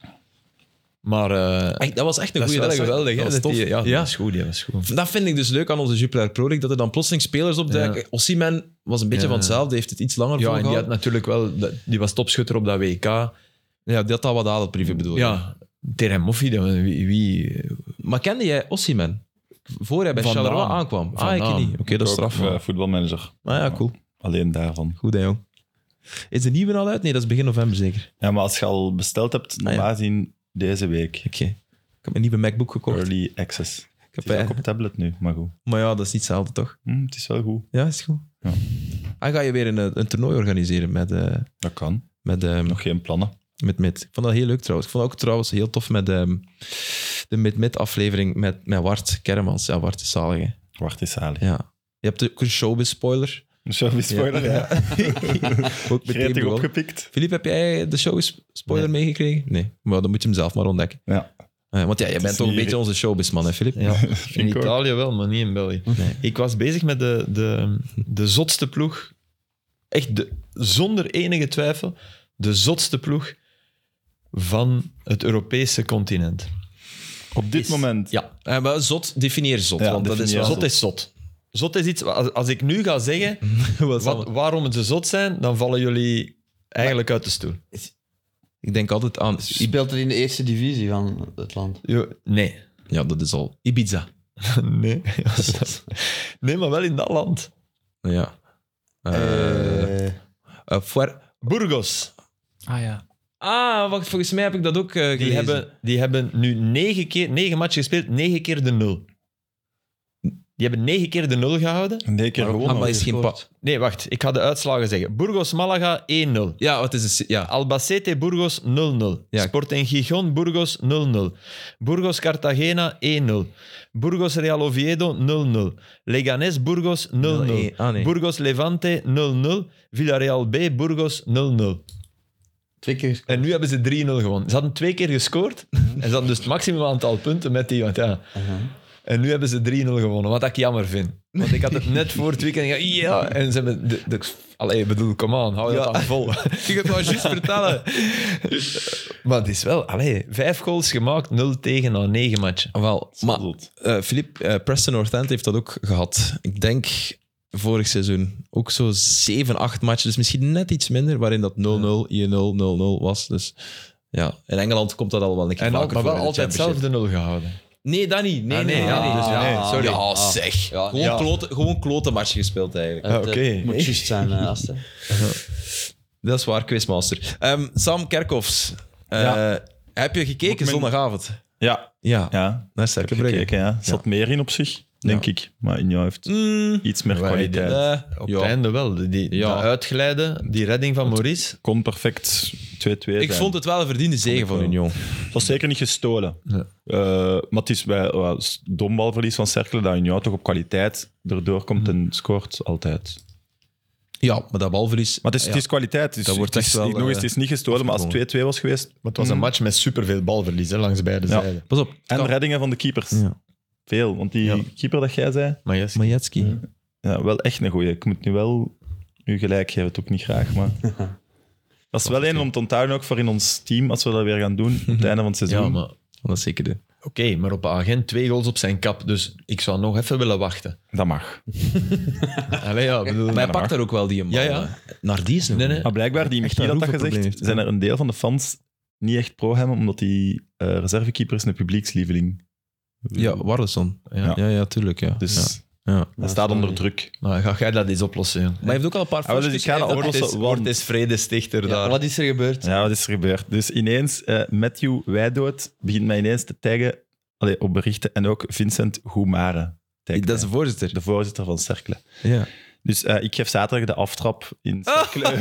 [SPEAKER 4] Maar eh,
[SPEAKER 1] Echt, dat was echt een
[SPEAKER 4] dat is
[SPEAKER 1] goede.
[SPEAKER 4] wel geweldig. hè,
[SPEAKER 1] Dat was
[SPEAKER 4] dat
[SPEAKER 1] tof.
[SPEAKER 4] die- ja,
[SPEAKER 1] Ja.
[SPEAKER 4] dat is goed. Ja, dat is goed.
[SPEAKER 1] Dat vind ik dus leuk aan onze Jupiler Pro League, dat er dan plotseling spelers opduiken.
[SPEAKER 4] Ja.
[SPEAKER 1] Ossiman was een beetje
[SPEAKER 4] Ja.
[SPEAKER 1] van hetzelfde, heeft het iets langer
[SPEAKER 4] Ja, en die had
[SPEAKER 1] volgehouden.
[SPEAKER 4] natuurlijk wel... dat- Die was topschutter op dat WK.
[SPEAKER 1] ja, die had al wat adelbrieven bedoeld.
[SPEAKER 4] Ja, Terem Moffi, dan wie... wie
[SPEAKER 1] Maar kende jij Ossiman? Voor hij bij
[SPEAKER 4] Van
[SPEAKER 1] Charleroi
[SPEAKER 4] Naam.
[SPEAKER 1] aankwam.
[SPEAKER 4] Van
[SPEAKER 1] ah, ik
[SPEAKER 4] Naam.
[SPEAKER 1] niet. Oké, dat is
[SPEAKER 2] Ook,
[SPEAKER 1] straf.
[SPEAKER 2] eh, voetbalmanager.
[SPEAKER 1] Maar ja, cool.
[SPEAKER 2] Alleen daarvan.
[SPEAKER 1] Goed, hè, jong. Is de nieuwe al uit? Nee, dat is begin november zeker.
[SPEAKER 2] Ja, maar als je al besteld hebt, normaal zien deze week.
[SPEAKER 1] Oké. Ik heb mijn nieuwe MacBook gekocht.
[SPEAKER 2] Early access.
[SPEAKER 1] Ik heb,
[SPEAKER 2] Het is ook
[SPEAKER 1] eh,
[SPEAKER 2] op tablet nu, maar goed.
[SPEAKER 1] Maar ja, dat is niet hetzelfde, toch?
[SPEAKER 2] Hm, het is wel goed.
[SPEAKER 1] Ja, is goed.
[SPEAKER 2] Ja.
[SPEAKER 1] En ga je weer een, eh, een toernooi organiseren met... eh,
[SPEAKER 2] Dat kan.
[SPEAKER 1] met, ehm,
[SPEAKER 2] Nog geen plannen.
[SPEAKER 1] Met Mid. Ik vond dat heel leuk trouwens. Ik vond ook trouwens heel tof met ehm, de Mid Mid aflevering met, met Wart Kermans. Ja, Wart is zalig. hè.
[SPEAKER 2] Wacht is Ali.
[SPEAKER 1] Ja. Je hebt ook een showbiz spoiler.
[SPEAKER 2] Zo is spoiler, ja.
[SPEAKER 1] Ook meteen
[SPEAKER 2] Gretig
[SPEAKER 1] begonnen.
[SPEAKER 2] opgepikt.
[SPEAKER 1] Filip, heb jij de showbiz spoiler meegekregen? Nee, maar dan moet je hem zelf maar ontdekken.
[SPEAKER 2] Ja.
[SPEAKER 1] Eh, want ja, jij bent
[SPEAKER 2] is
[SPEAKER 1] toch een
[SPEAKER 2] niet-
[SPEAKER 1] beetje onze showbizman, hè, Filip?
[SPEAKER 4] ja, in
[SPEAKER 2] ik ook.
[SPEAKER 4] Italië wel, maar niet in België. Ik was bezig met de, de, de zotste ploeg. Echt de, zonder enige twijfel de zotste ploeg van het Europese continent.
[SPEAKER 2] Op dit moment.
[SPEAKER 4] Ja,
[SPEAKER 1] Eh, maar zot, definieer zot.
[SPEAKER 2] Ja,
[SPEAKER 1] want dat is
[SPEAKER 2] definieer
[SPEAKER 1] wel
[SPEAKER 4] zot is zot. Zot is iets... Als, als ik nu ga zeggen
[SPEAKER 1] Wat zal
[SPEAKER 4] wat,
[SPEAKER 1] het?
[SPEAKER 4] waarom ze zot zijn, dan vallen jullie eigenlijk uit de stoel.
[SPEAKER 1] Ik denk altijd aan...
[SPEAKER 3] Je speelt er in de eerste divisie van het land.
[SPEAKER 4] Jo- Nee.
[SPEAKER 1] Ja, dat is al Ibiza.
[SPEAKER 4] Nee. Ja, zot. nee, maar wel in dat land.
[SPEAKER 2] Eh,
[SPEAKER 1] Ja. Eh, eh, Fuer-
[SPEAKER 4] Burgos.
[SPEAKER 5] Ah ja.
[SPEAKER 4] Ah, wacht, volgens mij heb ik dat ook eh, gelezen. Die hebben, die hebben nu negen, keer, negen matchen gespeeld, negen keer de nul. Die hebben negen keer de nul gehouden.
[SPEAKER 2] Nee, keer
[SPEAKER 4] Ah,
[SPEAKER 1] Waarom?
[SPEAKER 2] gewonnen.
[SPEAKER 1] Hamba Ah, is geen pa-
[SPEAKER 4] Nee, wacht, ik ga de uitslagen zeggen. Burgos-Malaga 1-0.
[SPEAKER 1] Ja, wat is een... si- Ja.
[SPEAKER 4] Albacete Burgos 0-0.
[SPEAKER 1] Ja.
[SPEAKER 4] Sporting Gijón Burgos 0-0. Burgos Cartagena 1-0. Burgos Real Oviedo 0-0. Leganés Burgos 0-0.
[SPEAKER 1] 0-1. Ah, nee.
[SPEAKER 4] Burgos Levante 0-0. Villarreal B Burgos 0-0.
[SPEAKER 3] Twee keer.
[SPEAKER 4] En nu hebben ze 3-0 gewonnen. Ze hadden twee keer gescoord. en ze hadden dus het maximum aantal punten met die. Want ja. En nu hebben ze 3-0 gewonnen, wat ik jammer vind. Want ik had het net voor het weekend. Ja, ja. En ze hebben. De, de, allee, ik bedoel, come on, hou je dat aan vol.
[SPEAKER 1] Ik heb het wel juist vertellen.
[SPEAKER 4] Maar het is wel, allee, vijf goals gemaakt, nul tegen na negen matchen.
[SPEAKER 1] Wel, maar eh, Filip, eh, Preston North End heeft dat ook gehad. Ik denk vorig seizoen ook zo 7, 8 matchen, dus misschien net iets minder, waarin dat 0-0, 1-0, 0-0 was. Dus ja, in Engeland komt dat al wel een keer
[SPEAKER 4] En al,
[SPEAKER 1] vaker
[SPEAKER 4] maar
[SPEAKER 1] voor
[SPEAKER 4] wel
[SPEAKER 1] in de
[SPEAKER 4] altijd zelf
[SPEAKER 1] Championship.
[SPEAKER 4] de nul gehouden.
[SPEAKER 1] Nee, dat niet. Nee,
[SPEAKER 4] Ah,
[SPEAKER 1] nee,
[SPEAKER 4] nee,
[SPEAKER 1] dat
[SPEAKER 4] ja,
[SPEAKER 1] niet.
[SPEAKER 4] dus ja,
[SPEAKER 1] nee,
[SPEAKER 3] ah,
[SPEAKER 1] sorry.
[SPEAKER 3] ah.
[SPEAKER 1] Ja, zeg.
[SPEAKER 3] Ja,
[SPEAKER 1] gewoon,
[SPEAKER 4] ja.
[SPEAKER 1] Klote, gewoon klote matchen gespeeld eigenlijk.
[SPEAKER 4] Ah,
[SPEAKER 3] Het,
[SPEAKER 4] oké.
[SPEAKER 3] eh, Moet juist zijn, eh, gasten.
[SPEAKER 1] Dat is waar, Quizmaster. Ehm, Sam Kerkhoffs, eh,
[SPEAKER 2] Ja.
[SPEAKER 1] heb je gekeken
[SPEAKER 2] Moet ik mijn-
[SPEAKER 1] zondagavond?
[SPEAKER 2] Ja,
[SPEAKER 1] Ja,
[SPEAKER 2] ja.
[SPEAKER 1] naar Sterke
[SPEAKER 2] Heb
[SPEAKER 1] Brugge.
[SPEAKER 2] gekeken, ja. Er zat meer in op zich, denk ik. Maar in jou heeft
[SPEAKER 1] Mm,
[SPEAKER 2] iets meer
[SPEAKER 4] Wij
[SPEAKER 2] kwaliteit.
[SPEAKER 4] deden-
[SPEAKER 1] eh,
[SPEAKER 4] Op
[SPEAKER 1] ja.
[SPEAKER 4] het einde wel. Die, die,
[SPEAKER 1] Ja.
[SPEAKER 4] dat uitglijden, die redding van Maurice.
[SPEAKER 2] Kon perfect 2-2 zijn.
[SPEAKER 1] Ik vond het wel een verdiende zege van
[SPEAKER 2] wel.
[SPEAKER 1] Union.
[SPEAKER 2] Het was zeker niet gestolen.
[SPEAKER 4] Nee.
[SPEAKER 2] Eh, maar het is bij wel, s- dombalverlies van Cercle dat Union toch op kwaliteit erdoor
[SPEAKER 1] Hm.
[SPEAKER 2] komt en scoort altijd.
[SPEAKER 1] Ja, maar dat balverlies...
[SPEAKER 2] Maar het
[SPEAKER 1] Ah,
[SPEAKER 2] is,
[SPEAKER 1] ja.
[SPEAKER 2] het is kwaliteit. Dus
[SPEAKER 1] Dat wordt
[SPEAKER 2] het is,
[SPEAKER 1] echt wel,
[SPEAKER 2] ik- nog eens,
[SPEAKER 1] eh,
[SPEAKER 2] het is niet gestolen, maar als het 2-2 was geweest...
[SPEAKER 4] Het was een match met superveel balverlies hè, langs beide
[SPEAKER 2] Ja.
[SPEAKER 4] zijden.
[SPEAKER 1] Pas op.
[SPEAKER 2] En
[SPEAKER 1] Kan-
[SPEAKER 2] reddingen van de keepers.
[SPEAKER 1] Ja.
[SPEAKER 2] Veel, want die
[SPEAKER 4] Ja.
[SPEAKER 2] keeper dat jij zei,
[SPEAKER 4] Maar yes.
[SPEAKER 1] Majetski.
[SPEAKER 2] ja, wel echt een goeie. Ik moet nu wel u gelijk geven, het ook niet graag, maar... Dat is wel een om te onthouden ook voor in ons team, als we dat weer gaan doen, op het einde van het seizoen.
[SPEAKER 4] Ja, maar oké,
[SPEAKER 1] Dat is zeker de...
[SPEAKER 4] maar op een agent twee goals op zijn kap. Dus ik zou nog even willen wachten.
[SPEAKER 2] Dat mag.
[SPEAKER 4] Allee, ja, ik bedoel,
[SPEAKER 1] Maar hij pakt daar ook wel die man.
[SPEAKER 4] Ja, ja.
[SPEAKER 1] hè. Naar die is een
[SPEAKER 4] Nee,
[SPEAKER 1] goeie.
[SPEAKER 2] Maar blijkbaar, die Michiel
[SPEAKER 1] een
[SPEAKER 2] had dat
[SPEAKER 1] roevenprobleem
[SPEAKER 2] gezegd,
[SPEAKER 1] heeft, ja.
[SPEAKER 2] zijn er een deel van de fans niet echt pro hem, omdat die eh, reservekeeper is een publiekslieveling.
[SPEAKER 1] Ja, Warleson. Ja.
[SPEAKER 4] Ja.
[SPEAKER 1] ja, tuurlijk. Ja.
[SPEAKER 2] Dus
[SPEAKER 1] Ja. Ja.
[SPEAKER 2] hij staat onder
[SPEAKER 3] sorry.
[SPEAKER 2] druk.
[SPEAKER 4] maar ga jij dat eens oplossen? jong?
[SPEAKER 1] Maar hij heeft ook al een paar
[SPEAKER 2] Ah, wel, dus
[SPEAKER 1] voorstjes
[SPEAKER 2] ik ga dat
[SPEAKER 1] gegeven.
[SPEAKER 2] oplossen.
[SPEAKER 1] Het is-
[SPEAKER 2] want-
[SPEAKER 4] Wordt eens vredestichter
[SPEAKER 3] Ja,
[SPEAKER 4] daar.
[SPEAKER 3] wat is er gebeurd?
[SPEAKER 2] Ja, wat is er gebeurd? Dus ineens, eh, Matthew Wijdood begint mij ineens te taggen allee, op berichten. En ook Vincent Goumare. tagt
[SPEAKER 1] Dat is de
[SPEAKER 2] mij,
[SPEAKER 1] voorzitter.
[SPEAKER 2] de voorzitter van Cercle.
[SPEAKER 1] Ja.
[SPEAKER 2] Dus eh, ik geef zaterdag de aftrap in
[SPEAKER 1] Ah!
[SPEAKER 2] Cercle.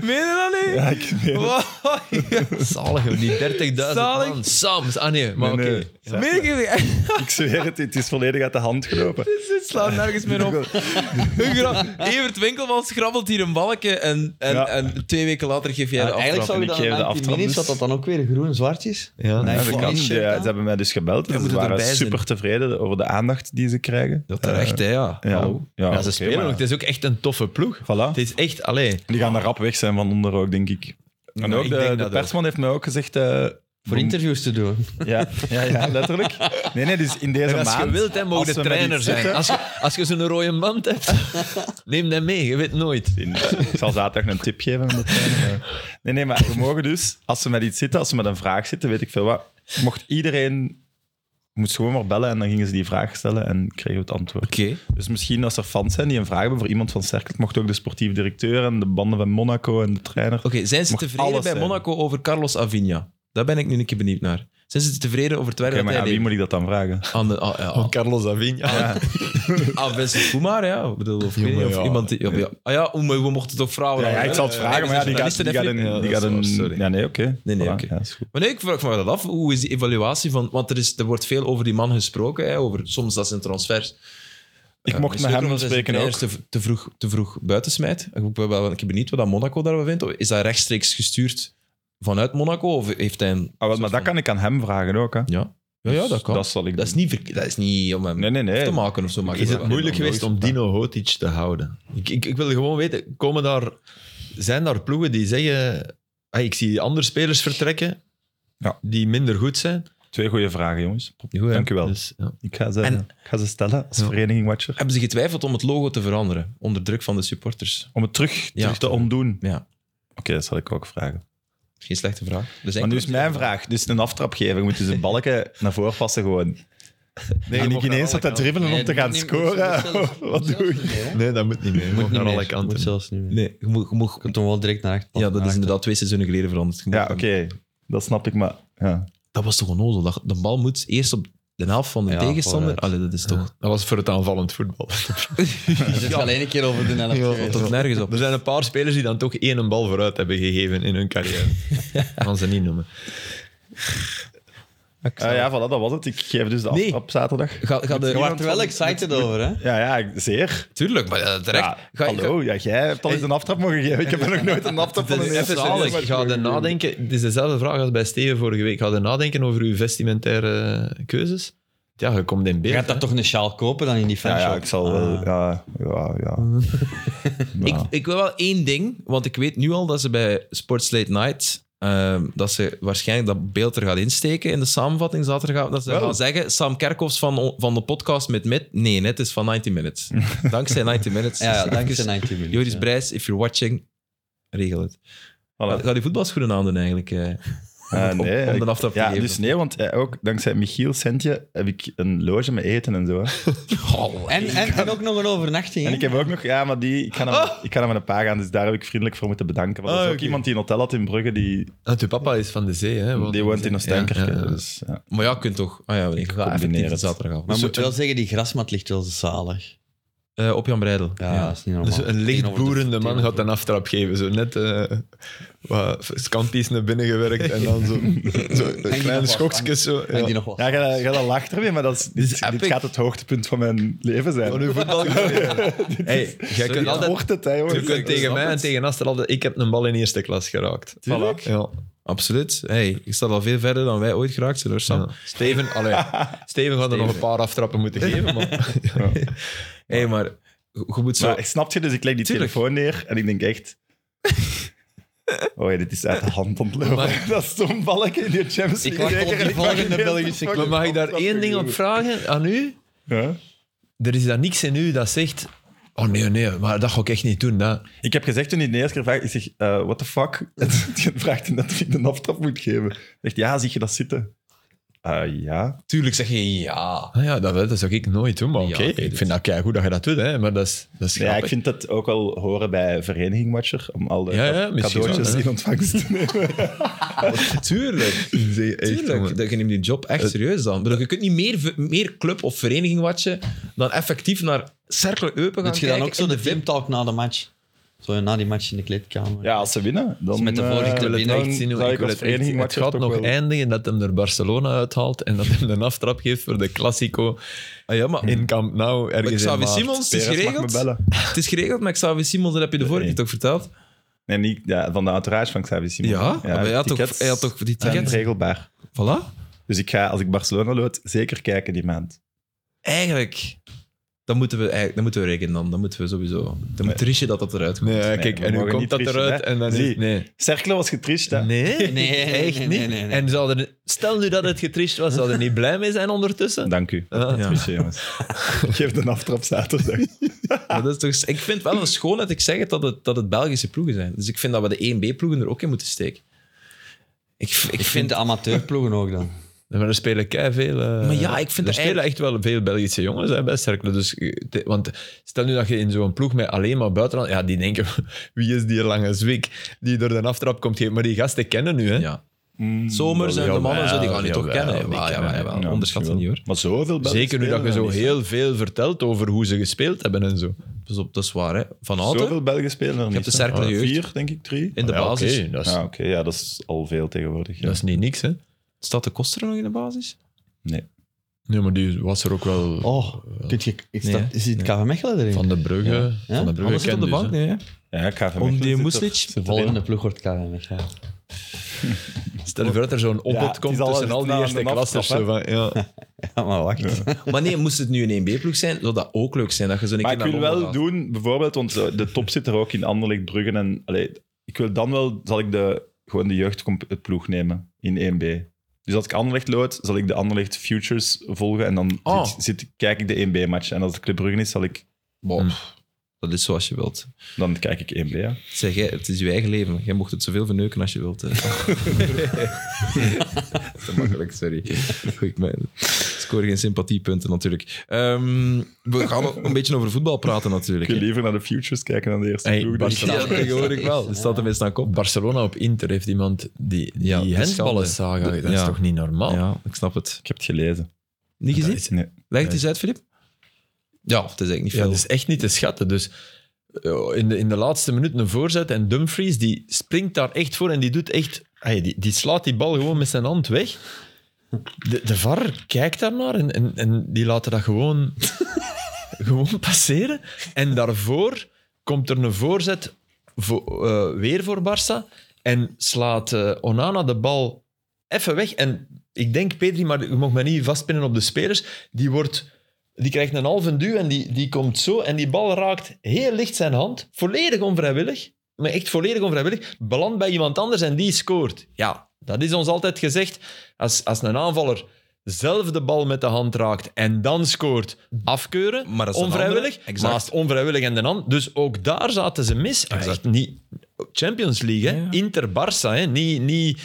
[SPEAKER 1] Meen je dat niet?
[SPEAKER 2] ja, ik weet het.
[SPEAKER 4] Zalig, joh, die 30.000
[SPEAKER 1] Zalig.
[SPEAKER 4] man. Sams. Ah nee, maar
[SPEAKER 2] Nee,
[SPEAKER 4] oké.
[SPEAKER 2] nee. Cercle. Ik zweer het, het is volledig uit de hand gelopen.
[SPEAKER 1] Dit slaat nergens meer op. Hun gra- Evert Winkelmans grabbelt hier een balkje en, en,
[SPEAKER 2] Ja. Ah,
[SPEAKER 1] en twee weken later geef jij
[SPEAKER 3] Ja,
[SPEAKER 1] de aftrap.
[SPEAKER 3] eigenlijk zou je
[SPEAKER 2] en
[SPEAKER 3] dan
[SPEAKER 2] ik geef de
[SPEAKER 3] na 10
[SPEAKER 2] aftrap,
[SPEAKER 3] minutes,
[SPEAKER 2] dus-
[SPEAKER 3] dat dat dan ook weer groen-zwartjes.
[SPEAKER 4] Ja,
[SPEAKER 3] Nee,
[SPEAKER 2] Ja,
[SPEAKER 3] ik
[SPEAKER 2] dat
[SPEAKER 3] vond
[SPEAKER 2] kan.
[SPEAKER 3] die shirt
[SPEAKER 2] Ja,
[SPEAKER 3] aan.
[SPEAKER 2] ze hebben mij dus gebeld. en
[SPEAKER 1] moet
[SPEAKER 2] ze
[SPEAKER 1] er
[SPEAKER 2] waren
[SPEAKER 1] erbij zijn.
[SPEAKER 2] super tevreden over de aandacht die ze krijgen.
[SPEAKER 1] Dat terecht, hè, ja.
[SPEAKER 2] Ja,
[SPEAKER 1] Hallo.
[SPEAKER 2] ja,
[SPEAKER 4] eh, Ja, Ah, ze
[SPEAKER 2] oké,
[SPEAKER 4] spelen
[SPEAKER 2] maar-
[SPEAKER 4] ook. Het is ook echt een toffe ploeg.
[SPEAKER 2] Voilà.
[SPEAKER 4] Het is echt, allee.
[SPEAKER 2] Die gaan daar rap weg zijn van onder ook, denk ik. En
[SPEAKER 4] Nou,
[SPEAKER 2] ook
[SPEAKER 4] ik
[SPEAKER 2] de,
[SPEAKER 4] denk
[SPEAKER 2] de
[SPEAKER 4] dat ook.
[SPEAKER 2] persman heeft mij ook gezegd... eh,
[SPEAKER 3] Voor interviews te doen.
[SPEAKER 2] Ja, ja, ja, letterlijk. Nee, nee, dus in deze
[SPEAKER 4] En als
[SPEAKER 2] maand...
[SPEAKER 4] je wilt, hè,
[SPEAKER 2] als
[SPEAKER 4] mogen de
[SPEAKER 2] we met
[SPEAKER 4] trainer
[SPEAKER 2] iets
[SPEAKER 4] zijn.
[SPEAKER 2] zitten-
[SPEAKER 4] Als je, als je zo'n rode mand hebt, neem dat mee. Je weet nooit.
[SPEAKER 2] In- ik zal zaterdag een tip geven aan de trainer. maar- Nee, nee, maar we mogen dus, als ze met iets zitten, als ze met een vraag zitten, weet ik veel wat, mocht iedereen... Moest gewoon maar bellen en dan gingen ze die vraag stellen en kregen we het antwoord.
[SPEAKER 1] Oké.
[SPEAKER 2] Dus misschien als er fans zijn die een vraag hebben voor iemand van Cercle, het mocht ook de sportief directeur en de banden van Monaco en de trainer.
[SPEAKER 1] Oké, zijn ze
[SPEAKER 2] Mag
[SPEAKER 1] tevreden
[SPEAKER 2] alles
[SPEAKER 1] bij
[SPEAKER 2] zijn.
[SPEAKER 1] Monaco over Carlos Avinia? Daar ben ik nu een keer benieuwd naar. Zijn ze tevreden over het werk
[SPEAKER 2] Oké, maar
[SPEAKER 1] dat
[SPEAKER 2] aan
[SPEAKER 1] hij
[SPEAKER 2] wie
[SPEAKER 1] deed?
[SPEAKER 2] moet ik dat dan vragen?
[SPEAKER 1] Aan de, ah, ja, aan-
[SPEAKER 4] Carlos Avinha. Ja.
[SPEAKER 1] aan Vincent Koemaar, ja. Ik bedoel, of, ik weet
[SPEAKER 4] Jongen,
[SPEAKER 1] niet, of
[SPEAKER 4] ja.
[SPEAKER 1] iemand... Die, ja, ja. Ah ja, oeh, maar we mochten toch vrouwen...
[SPEAKER 2] Ja, ja,
[SPEAKER 1] houden,
[SPEAKER 2] ik zal het
[SPEAKER 1] hè?
[SPEAKER 2] vragen, maar ja, die gaat,
[SPEAKER 1] journalisten
[SPEAKER 2] die gaat
[SPEAKER 1] even-
[SPEAKER 2] een... Die
[SPEAKER 1] Ja,
[SPEAKER 2] gaat
[SPEAKER 1] dat is
[SPEAKER 2] een
[SPEAKER 1] waar, Oh, sorry.
[SPEAKER 2] ja, nee, oké.
[SPEAKER 1] Nee, nee,
[SPEAKER 2] Voilà,
[SPEAKER 1] oké.
[SPEAKER 2] ja, is goed.
[SPEAKER 1] Maar nee, ik vraag me dat af. Hoe is die evaluatie van... Want er, is, er wordt veel over die man gesproken. Hè, over, soms dat zijn transfers.
[SPEAKER 2] Ik
[SPEAKER 1] Ja,
[SPEAKER 2] mocht
[SPEAKER 1] is
[SPEAKER 2] met
[SPEAKER 1] het ook
[SPEAKER 2] hem
[SPEAKER 1] omdat hij zijn
[SPEAKER 2] spreken ook.
[SPEAKER 1] players Te, te, vroeg, te vroeg buiten smijt. Ik ben wel een keer benieuwd wat dat Monaco daarvan vindt. Is dat rechtstreeks gestuurd vanuit Monaco? Of heeft hij een...
[SPEAKER 2] Ah, wel, maar dat kan ik aan hem vragen ook. Hè.
[SPEAKER 1] Ja. Ja, ja, dat kan.
[SPEAKER 2] Dat zal ik
[SPEAKER 1] Dat is niet, verk- dat is niet om hem
[SPEAKER 2] Nee, nee, nee.
[SPEAKER 1] te maken of zo. Maar
[SPEAKER 4] Is
[SPEAKER 1] ik-
[SPEAKER 4] het moeilijk geweest om Dino Hotic te houden? Ik, ik, ik wil gewoon weten, komen daar, zijn daar ploegen die zeggen... "Ah, ik zie andere spelers vertrekken
[SPEAKER 2] Ja.
[SPEAKER 4] die minder goed zijn.
[SPEAKER 2] Twee goede vragen, jongens.
[SPEAKER 1] hè?
[SPEAKER 2] Dank u wel.
[SPEAKER 4] Dus, ja.
[SPEAKER 2] Ik, ga ze,
[SPEAKER 1] En-
[SPEAKER 2] ik ga ze stellen als vereniging Watcher.
[SPEAKER 1] Hebben ze getwijfeld om het logo te veranderen? Onder druk van de supporters?
[SPEAKER 2] Om het terug,
[SPEAKER 1] Ja.
[SPEAKER 2] terug te ontdoen. Oké,
[SPEAKER 1] Ja,
[SPEAKER 2] dat zal ik ook vragen.
[SPEAKER 1] geen slechte vraag. Er zijn
[SPEAKER 2] Maar nu
[SPEAKER 1] clubs
[SPEAKER 2] is
[SPEAKER 1] die
[SPEAKER 2] mijn vraag. Dus een aftrap geven. Je moet dus een balken naar voren passen gewoon.
[SPEAKER 4] Nee,
[SPEAKER 2] en
[SPEAKER 4] je
[SPEAKER 2] die
[SPEAKER 4] mocht naar
[SPEAKER 2] Guineaans
[SPEAKER 4] alle
[SPEAKER 2] staat te
[SPEAKER 4] kanten.
[SPEAKER 2] dribbelen om te gaan scoren. Wat doe je?
[SPEAKER 4] Nee, dat moet niet meer. Je
[SPEAKER 3] Moet
[SPEAKER 4] mocht
[SPEAKER 3] niet
[SPEAKER 4] naar alle
[SPEAKER 3] meer. Moet
[SPEAKER 4] kanten.
[SPEAKER 3] zelfs niet meer.
[SPEAKER 1] Nee, je moet- je moet-
[SPEAKER 3] Je kunt hem wel direct naar achter.
[SPEAKER 1] ja, dat is inderdaad twee seizoenen geleden veranderd. Je
[SPEAKER 2] Ja,
[SPEAKER 1] moet-
[SPEAKER 2] oké. Dat snap ik, maar... Ja.
[SPEAKER 1] Dat was toch onnozel. Dat, de bal moet eerst op de helft van de
[SPEAKER 3] Ja,
[SPEAKER 1] tegenstander.
[SPEAKER 3] vooruit.
[SPEAKER 1] Allee, dat is toch...
[SPEAKER 4] Toch? Dat was voor het aanvallend voetbal.
[SPEAKER 3] Je zit alleen een keer over de helft
[SPEAKER 1] Dat
[SPEAKER 3] geweest.
[SPEAKER 1] tot nergens op.
[SPEAKER 4] Er zijn een paar spelers die dan toch één een bal vooruit hebben gegeven in hun carrière. Dat gaan ze niet noemen.
[SPEAKER 2] Ah, ja, voilà, dat was het. Ik geef dus de af
[SPEAKER 1] Nee.
[SPEAKER 2] op zaterdag.
[SPEAKER 1] Ga, ga de,
[SPEAKER 3] Je wordt er wel excited over, hè?
[SPEAKER 2] Ja, ja, ik- zeer.
[SPEAKER 1] Tuurlijk, maar eh, terecht.
[SPEAKER 2] Ja,
[SPEAKER 1] ga, ga,
[SPEAKER 2] hallo, ja, jij hebt al eens een aftrap mogen geven. Ik heb er nog nooit een aftrap van
[SPEAKER 4] Dat
[SPEAKER 2] een
[SPEAKER 4] is
[SPEAKER 2] eerste
[SPEAKER 4] even zalig.
[SPEAKER 2] match
[SPEAKER 4] Ga
[SPEAKER 2] mogen
[SPEAKER 4] er
[SPEAKER 2] geven.
[SPEAKER 4] nadenken. Het is dezelfde vraag als bij Steven vorige week. Ga er nadenken over uw vestimentaire keuzes. Ja, je komt in
[SPEAKER 3] Je
[SPEAKER 4] beeld.
[SPEAKER 3] gaat daar
[SPEAKER 4] hè.
[SPEAKER 3] toch een sjaal kopen dan in die
[SPEAKER 2] Ja,
[SPEAKER 3] fanshop? Ah.
[SPEAKER 2] ja, ik zal
[SPEAKER 3] eh,
[SPEAKER 2] wel... Ja, ja, ja. Nou.
[SPEAKER 1] Ik, ik wil wel één ding, want ik weet nu al dat ze bij Sports Late Night. ehm, dat ze waarschijnlijk dat beeld er gaat insteken in de samenvatting zaterdag. Dat ze
[SPEAKER 2] Wel.
[SPEAKER 1] gaan zeggen: Sam Kerkhoffs van, van de podcast met Mit. Nee, net is van 90 Minutes. dankzij 90 Minutes.
[SPEAKER 3] Ja, ja, dankzij 19 minuten.
[SPEAKER 1] Joris
[SPEAKER 3] ja.
[SPEAKER 1] Brijs, if you're watching, regel het.
[SPEAKER 2] Voilà.
[SPEAKER 1] Ga die voetbalschoenen aandoen eigenlijk? eh,
[SPEAKER 2] Eh,
[SPEAKER 1] om-
[SPEAKER 2] nee,
[SPEAKER 1] om
[SPEAKER 2] ik-
[SPEAKER 1] de aftrap te
[SPEAKER 2] ja,
[SPEAKER 1] geven.
[SPEAKER 2] dus nee, want eh, ook dankzij Michiel Sentje heb ik een loge met eten en zo. hè.
[SPEAKER 3] En, en, en ook nog een overnachting.
[SPEAKER 2] En
[SPEAKER 3] hè?
[SPEAKER 2] ik heb ook nog, ja, maar die, ik ga naar, ik ga naar mijn pa gaan, dus daar heb ik vriendelijk voor moeten bedanken. Want er is
[SPEAKER 4] Ah,
[SPEAKER 2] ook
[SPEAKER 4] oké.
[SPEAKER 2] iemand die een hotel had in Brugge, die,
[SPEAKER 4] Want uw papa is van de zee. Hè? Want-
[SPEAKER 2] die woont in Oostenkerke.
[SPEAKER 4] Ja, ja, ja.
[SPEAKER 2] Dus, ja.
[SPEAKER 1] Maar ja, kunt toch. Ah ja, ik ga
[SPEAKER 2] Combineer
[SPEAKER 1] even
[SPEAKER 2] het.
[SPEAKER 1] zaterdagavond.
[SPEAKER 3] Maar
[SPEAKER 1] Maar
[SPEAKER 3] ik moet wel zeggen, die grasmat ligt wel zalig.
[SPEAKER 1] Eh, op Jan Breidel.
[SPEAKER 3] Ja, dat is niet normaal.
[SPEAKER 4] Dus een
[SPEAKER 3] Tegenover de-
[SPEAKER 4] lichtboerende man gaat een aftrap geven. Zo net eh wat scanties naar binnen gewerkt en dan zo, zo
[SPEAKER 3] nog
[SPEAKER 4] kleine
[SPEAKER 3] wat
[SPEAKER 4] schokjes. Zo,
[SPEAKER 3] En
[SPEAKER 4] ja.
[SPEAKER 3] die nog wel.
[SPEAKER 2] Ja, ga, ga dat lachen ermee, maar dat is, dit, dit
[SPEAKER 1] epic.
[SPEAKER 2] gaat het hoogtepunt van mijn leven zijn.
[SPEAKER 4] Van uw voetbalcarrière. Hey, jij
[SPEAKER 1] Sorry,
[SPEAKER 4] kunt
[SPEAKER 1] ja.
[SPEAKER 2] dat
[SPEAKER 4] altijd...
[SPEAKER 2] wordt het, hè, jongens.
[SPEAKER 4] Je kunt tegen mij en tegen Aster altijd... Ik heb een bal in eerste klas geraakt.
[SPEAKER 2] Tuurlijk.
[SPEAKER 4] Ja.
[SPEAKER 1] Absoluut. Hey, ik sta al veel verder dan wij ooit geraakt zijn, hoor, Sam.
[SPEAKER 4] Ja. Steven, allee, Steven gaat er nog een paar aftrappen moeten geven. Maar,
[SPEAKER 1] Hey, maar je moet zo.
[SPEAKER 2] Maar, snap je? Dus ik leg die
[SPEAKER 1] Tuurlijk.
[SPEAKER 2] telefoon neer en ik denk echt... Oh ja, dit is uit de hand ontlopen. Dat is zo'n balkje in die Champions League.
[SPEAKER 3] Ik wacht op
[SPEAKER 2] beker en
[SPEAKER 3] die
[SPEAKER 2] ik mag
[SPEAKER 3] volgende
[SPEAKER 2] geen
[SPEAKER 3] Belgische
[SPEAKER 2] fucking
[SPEAKER 4] maar mag ik daar
[SPEAKER 2] aftrap
[SPEAKER 4] één ding op
[SPEAKER 2] geven.
[SPEAKER 4] vragen aan u?
[SPEAKER 2] Ja?
[SPEAKER 4] Er is daar niks in u dat zegt... Oh nee, nee, maar dat ga ik echt niet doen. Dat.
[SPEAKER 2] Ik heb gezegd toen hij de eerste keer vraagt, ik zeg, eh what the fuck? En die vraagt hij dat ik een aftrap moet geven. Zegt, ja, zie je dat zitten? Eh, ja.
[SPEAKER 1] Tuurlijk zeg je ja.
[SPEAKER 4] Ah ja, dat, dat zou ik nooit doen, maar
[SPEAKER 1] Ja,
[SPEAKER 4] oké. dus-
[SPEAKER 1] ik weet
[SPEAKER 4] ik
[SPEAKER 1] het.
[SPEAKER 4] vind dat kei goed dat je dat doet, hè, maar dat is, dat is
[SPEAKER 2] Ja, ik
[SPEAKER 4] grappig.
[SPEAKER 2] vind dat ook wel horen bij Vereniging Watcher, om al de
[SPEAKER 4] Ja, ja,
[SPEAKER 2] ka-
[SPEAKER 4] misschien
[SPEAKER 2] cadeautjes
[SPEAKER 4] wel, hè.
[SPEAKER 2] in ontvangst te nemen.
[SPEAKER 1] Tuurlijk. Tuurlijk. Dat- Je neemt die job echt serieus dan. Ik bedoel, Je kunt niet meer, v- meer club of vereniging watchen dan effectief naar Cercle Eupen gaan
[SPEAKER 3] Doet je dan
[SPEAKER 1] kijken
[SPEAKER 3] ook zo
[SPEAKER 1] in
[SPEAKER 3] de
[SPEAKER 1] VIP.
[SPEAKER 3] filmtalk na de match? Zo na die match in de kleedkamer.
[SPEAKER 2] Ja, als ze winnen, dan...
[SPEAKER 3] met de vorige
[SPEAKER 2] eh,
[SPEAKER 3] te
[SPEAKER 4] wil het
[SPEAKER 3] winnen.
[SPEAKER 2] dan
[SPEAKER 4] echt zien hoe
[SPEAKER 2] zou
[SPEAKER 4] ik wil
[SPEAKER 2] als
[SPEAKER 4] het echt
[SPEAKER 2] Vereniging
[SPEAKER 4] zien. Het
[SPEAKER 2] Watcher
[SPEAKER 4] gaat
[SPEAKER 2] toch
[SPEAKER 4] nog
[SPEAKER 2] wel-
[SPEAKER 4] eindigen dat hem er Barcelona uithaalt en dat hem een aftrap geeft voor de Classico
[SPEAKER 1] Ah, ja, maar
[SPEAKER 4] in Camp Nou ergens
[SPEAKER 1] Maar Xavi
[SPEAKER 4] in maart.
[SPEAKER 1] Simons, het is
[SPEAKER 2] Perez mag me
[SPEAKER 1] geregeld.
[SPEAKER 2] bellen.
[SPEAKER 1] Het is geregeld, maar Xavi Simons, dat heb je de vorige
[SPEAKER 2] Nee.
[SPEAKER 1] keer toch verteld?
[SPEAKER 2] Nee, niet ja, van de entourage van Xavi Simon.
[SPEAKER 1] Ja, maar hij had, toch,
[SPEAKER 2] tickets
[SPEAKER 1] hij had toch die
[SPEAKER 2] zijn
[SPEAKER 1] tickets?
[SPEAKER 2] regelbaar.
[SPEAKER 1] Voilà.
[SPEAKER 2] Dus ik ga, als ik Barcelona lood, zeker kijken die maand.
[SPEAKER 1] Eigenlijk, dan moeten we, eigenlijk- dan moeten we rekenen dan. Dan moeten we sowieso... Dan moet Riche dat dat eruit komt.
[SPEAKER 4] Nee, ja,
[SPEAKER 2] Nee,
[SPEAKER 4] kijk,
[SPEAKER 2] we
[SPEAKER 4] en nu
[SPEAKER 2] mogen
[SPEAKER 4] komt
[SPEAKER 2] niet
[SPEAKER 4] dat
[SPEAKER 2] trichen,
[SPEAKER 4] eruit
[SPEAKER 2] hè.
[SPEAKER 4] en dan is
[SPEAKER 2] Zie.
[SPEAKER 4] Nee.
[SPEAKER 2] Cercle was getrist, hè?
[SPEAKER 4] Nee,
[SPEAKER 3] nee,
[SPEAKER 4] echt
[SPEAKER 3] nee,
[SPEAKER 4] niet.
[SPEAKER 3] nee, nee, nee.
[SPEAKER 4] En zouden, stel nu dat het getrist was, zouden niet blij mee zijn ondertussen?
[SPEAKER 2] Dank u.
[SPEAKER 4] Ah.
[SPEAKER 1] Ja.
[SPEAKER 2] Triche, jongens. Ik geef de aftrap zaterdag.
[SPEAKER 1] Maar dat is toch, ik vind wel een schoonheid, ik zeg het, dat het, dat het Belgische ploegen zijn. Dus ik vind dat we de 1B-ploegen er ook in moeten steken. Ik, v- ik
[SPEAKER 3] Ik vind
[SPEAKER 1] vind...
[SPEAKER 3] de amateurploegen ook dan.
[SPEAKER 4] Maar er spelen kei veel. eh,
[SPEAKER 1] Maar ja, ik vind
[SPEAKER 4] er
[SPEAKER 1] dat
[SPEAKER 4] spelen echt wel veel Belgische jongens hè, bij Cercle. Dus, eh, te- want stel nu dat je in zo'n ploeg met alleen maar buitenland. Ja, die denken: wie is die lange zwik die door de aftrap komt geven? Maar die gasten kennen nu, hè?
[SPEAKER 1] Ja. Zomer zijn de
[SPEAKER 4] jawel,
[SPEAKER 1] mannen, zo, die gaan je toch
[SPEAKER 4] jawel,
[SPEAKER 1] kennen.
[SPEAKER 4] die
[SPEAKER 1] Maar ja,
[SPEAKER 4] kennen,
[SPEAKER 1] maar
[SPEAKER 2] Ja,
[SPEAKER 1] wel, onderschat het
[SPEAKER 2] misschien
[SPEAKER 1] niet
[SPEAKER 2] wel.
[SPEAKER 1] hoor.
[SPEAKER 2] Maar zoveel Belgen
[SPEAKER 4] Zeker nu dat je
[SPEAKER 2] spelen
[SPEAKER 4] zo
[SPEAKER 2] dan niet.
[SPEAKER 4] heel veel vertelt over hoe ze gespeeld hebben en zo.
[SPEAKER 1] Dus op, dat is waar, hè. Van Houten,
[SPEAKER 2] Zoveel Belgen spelen er niet.
[SPEAKER 1] hebt de cirkel
[SPEAKER 2] hè? Ah,
[SPEAKER 1] jeugd.
[SPEAKER 2] Vier, denk ik, drie.
[SPEAKER 1] in de
[SPEAKER 4] Ja,
[SPEAKER 1] basis.
[SPEAKER 4] oké, dat, is,
[SPEAKER 2] Ah, oké. Ja, dat is al veel tegenwoordig. ja.
[SPEAKER 4] dat is niet niks, hè?
[SPEAKER 1] Staat de Koster nog in de basis?
[SPEAKER 2] Nee.
[SPEAKER 4] Nee, maar die was er ook wel.
[SPEAKER 3] Oh, kun je, is
[SPEAKER 1] Nee,
[SPEAKER 3] dat, zit KV Mechelen erin?
[SPEAKER 4] Van de Brugge.
[SPEAKER 3] Ja?
[SPEAKER 4] Van de Brugge
[SPEAKER 1] Anders zit op de
[SPEAKER 4] kent dus,
[SPEAKER 1] bank,
[SPEAKER 4] hè.
[SPEAKER 1] nee. hè.
[SPEAKER 2] Ja, ik ga
[SPEAKER 1] Om die Muslic.
[SPEAKER 3] de volgende ploeg wordt KV Mechelen.
[SPEAKER 4] Stel je voor dat er zo'n opbod
[SPEAKER 2] het is
[SPEAKER 4] komt
[SPEAKER 2] al-
[SPEAKER 4] tussen al die
[SPEAKER 2] nou,
[SPEAKER 4] eerste
[SPEAKER 2] een
[SPEAKER 4] klassers.
[SPEAKER 2] aftrap,
[SPEAKER 4] zo van, Ja.
[SPEAKER 3] Ja, maar wacht.
[SPEAKER 1] Maar nee, moest het nu een 1B-ploeg zijn, zou dat ook leuk zijn. Dat je zo'n
[SPEAKER 2] Maar
[SPEAKER 1] keer
[SPEAKER 2] ik
[SPEAKER 1] naar
[SPEAKER 2] wil
[SPEAKER 1] Londen
[SPEAKER 2] wel
[SPEAKER 1] gaat.
[SPEAKER 2] doen, bijvoorbeeld, want eh, de top zit er ook in Anderlecht, Bruggen en... Allee, ik wil dan wel, zal ik de, gewoon de jeugdploeg nemen in 1B. Dus als ik Anderlecht lood, zal ik de Anderlecht Futures volgen en dan
[SPEAKER 4] Ah.
[SPEAKER 1] Oh.
[SPEAKER 2] zit, zit- kijk ik de 1B-match. En als het Club Bruggen is, zal ik,
[SPEAKER 1] Bon, Dat is zoals je wilt.
[SPEAKER 2] dan kijk ik 1B, ja.
[SPEAKER 1] Zeg, jij, het is je eigen leven. Jij mocht het zoveel verneuken als je wilt. hè. dat is te makkelijk, sorry. Goed, maar... scoor geen sympathiepunten natuurlijk. Ehm, we gaan ook een beetje over voetbal praten natuurlijk.
[SPEAKER 2] Ik wil liever naar de futures kijken dan de eerste
[SPEAKER 4] Hey,
[SPEAKER 2] ploeg. Dus dan
[SPEAKER 4] Barcelona.
[SPEAKER 1] Ja, tegenwoordig wel. Er staat tenminste aan kop.
[SPEAKER 4] Barcelona op Inter heeft iemand die, die
[SPEAKER 1] Ja, dat is
[SPEAKER 4] handballen
[SPEAKER 1] schande.
[SPEAKER 4] zagen. Dat
[SPEAKER 1] Ja.
[SPEAKER 4] is toch niet normaal?
[SPEAKER 1] Ja, ik snap het.
[SPEAKER 2] Ik heb het gelezen.
[SPEAKER 1] Niet gezien?
[SPEAKER 2] is- nee.
[SPEAKER 1] Leg het eens uit, Filip. Ja, het is eigenlijk niet
[SPEAKER 4] Ja,
[SPEAKER 1] veel.
[SPEAKER 4] dat is echt niet te schatten. Dus eh, in de, in de laatste minuut een voorzet en Dumfries die springt daar echt voor en die doet echt... Hey, die, die slaat die bal gewoon met zijn hand weg. De, de VAR kijkt daarnaar en, en, en die laten dat gewoon, gewoon passeren. En daarvoor komt er een voorzet voor, eh, weer voor Barça en slaat eh, Onana de bal even weg. En ik denk, Pedri, maar je mag mij niet vastpinnen op de spelers, die wordt... Die krijgt een halve duw en die, die komt zo. En die bal raakt heel licht zijn hand. Volledig onvrijwillig. Maar echt volledig onvrijwillig. Belandt bij iemand anders en die scoort. Ja, dat is ons altijd gezegd. Als, als een aanvaller zelf de bal met de hand raakt en dan scoort, afkeuren.
[SPEAKER 1] Maar dat is een
[SPEAKER 4] onvrijwillig.
[SPEAKER 1] andere, exact.
[SPEAKER 4] Maar als het onvrijwillig en de hand. Dus ook daar zaten ze mis. Echt niet Champions League, hè.
[SPEAKER 1] Ja, ja.
[SPEAKER 4] Inter-Barça, hè. Niet... niet...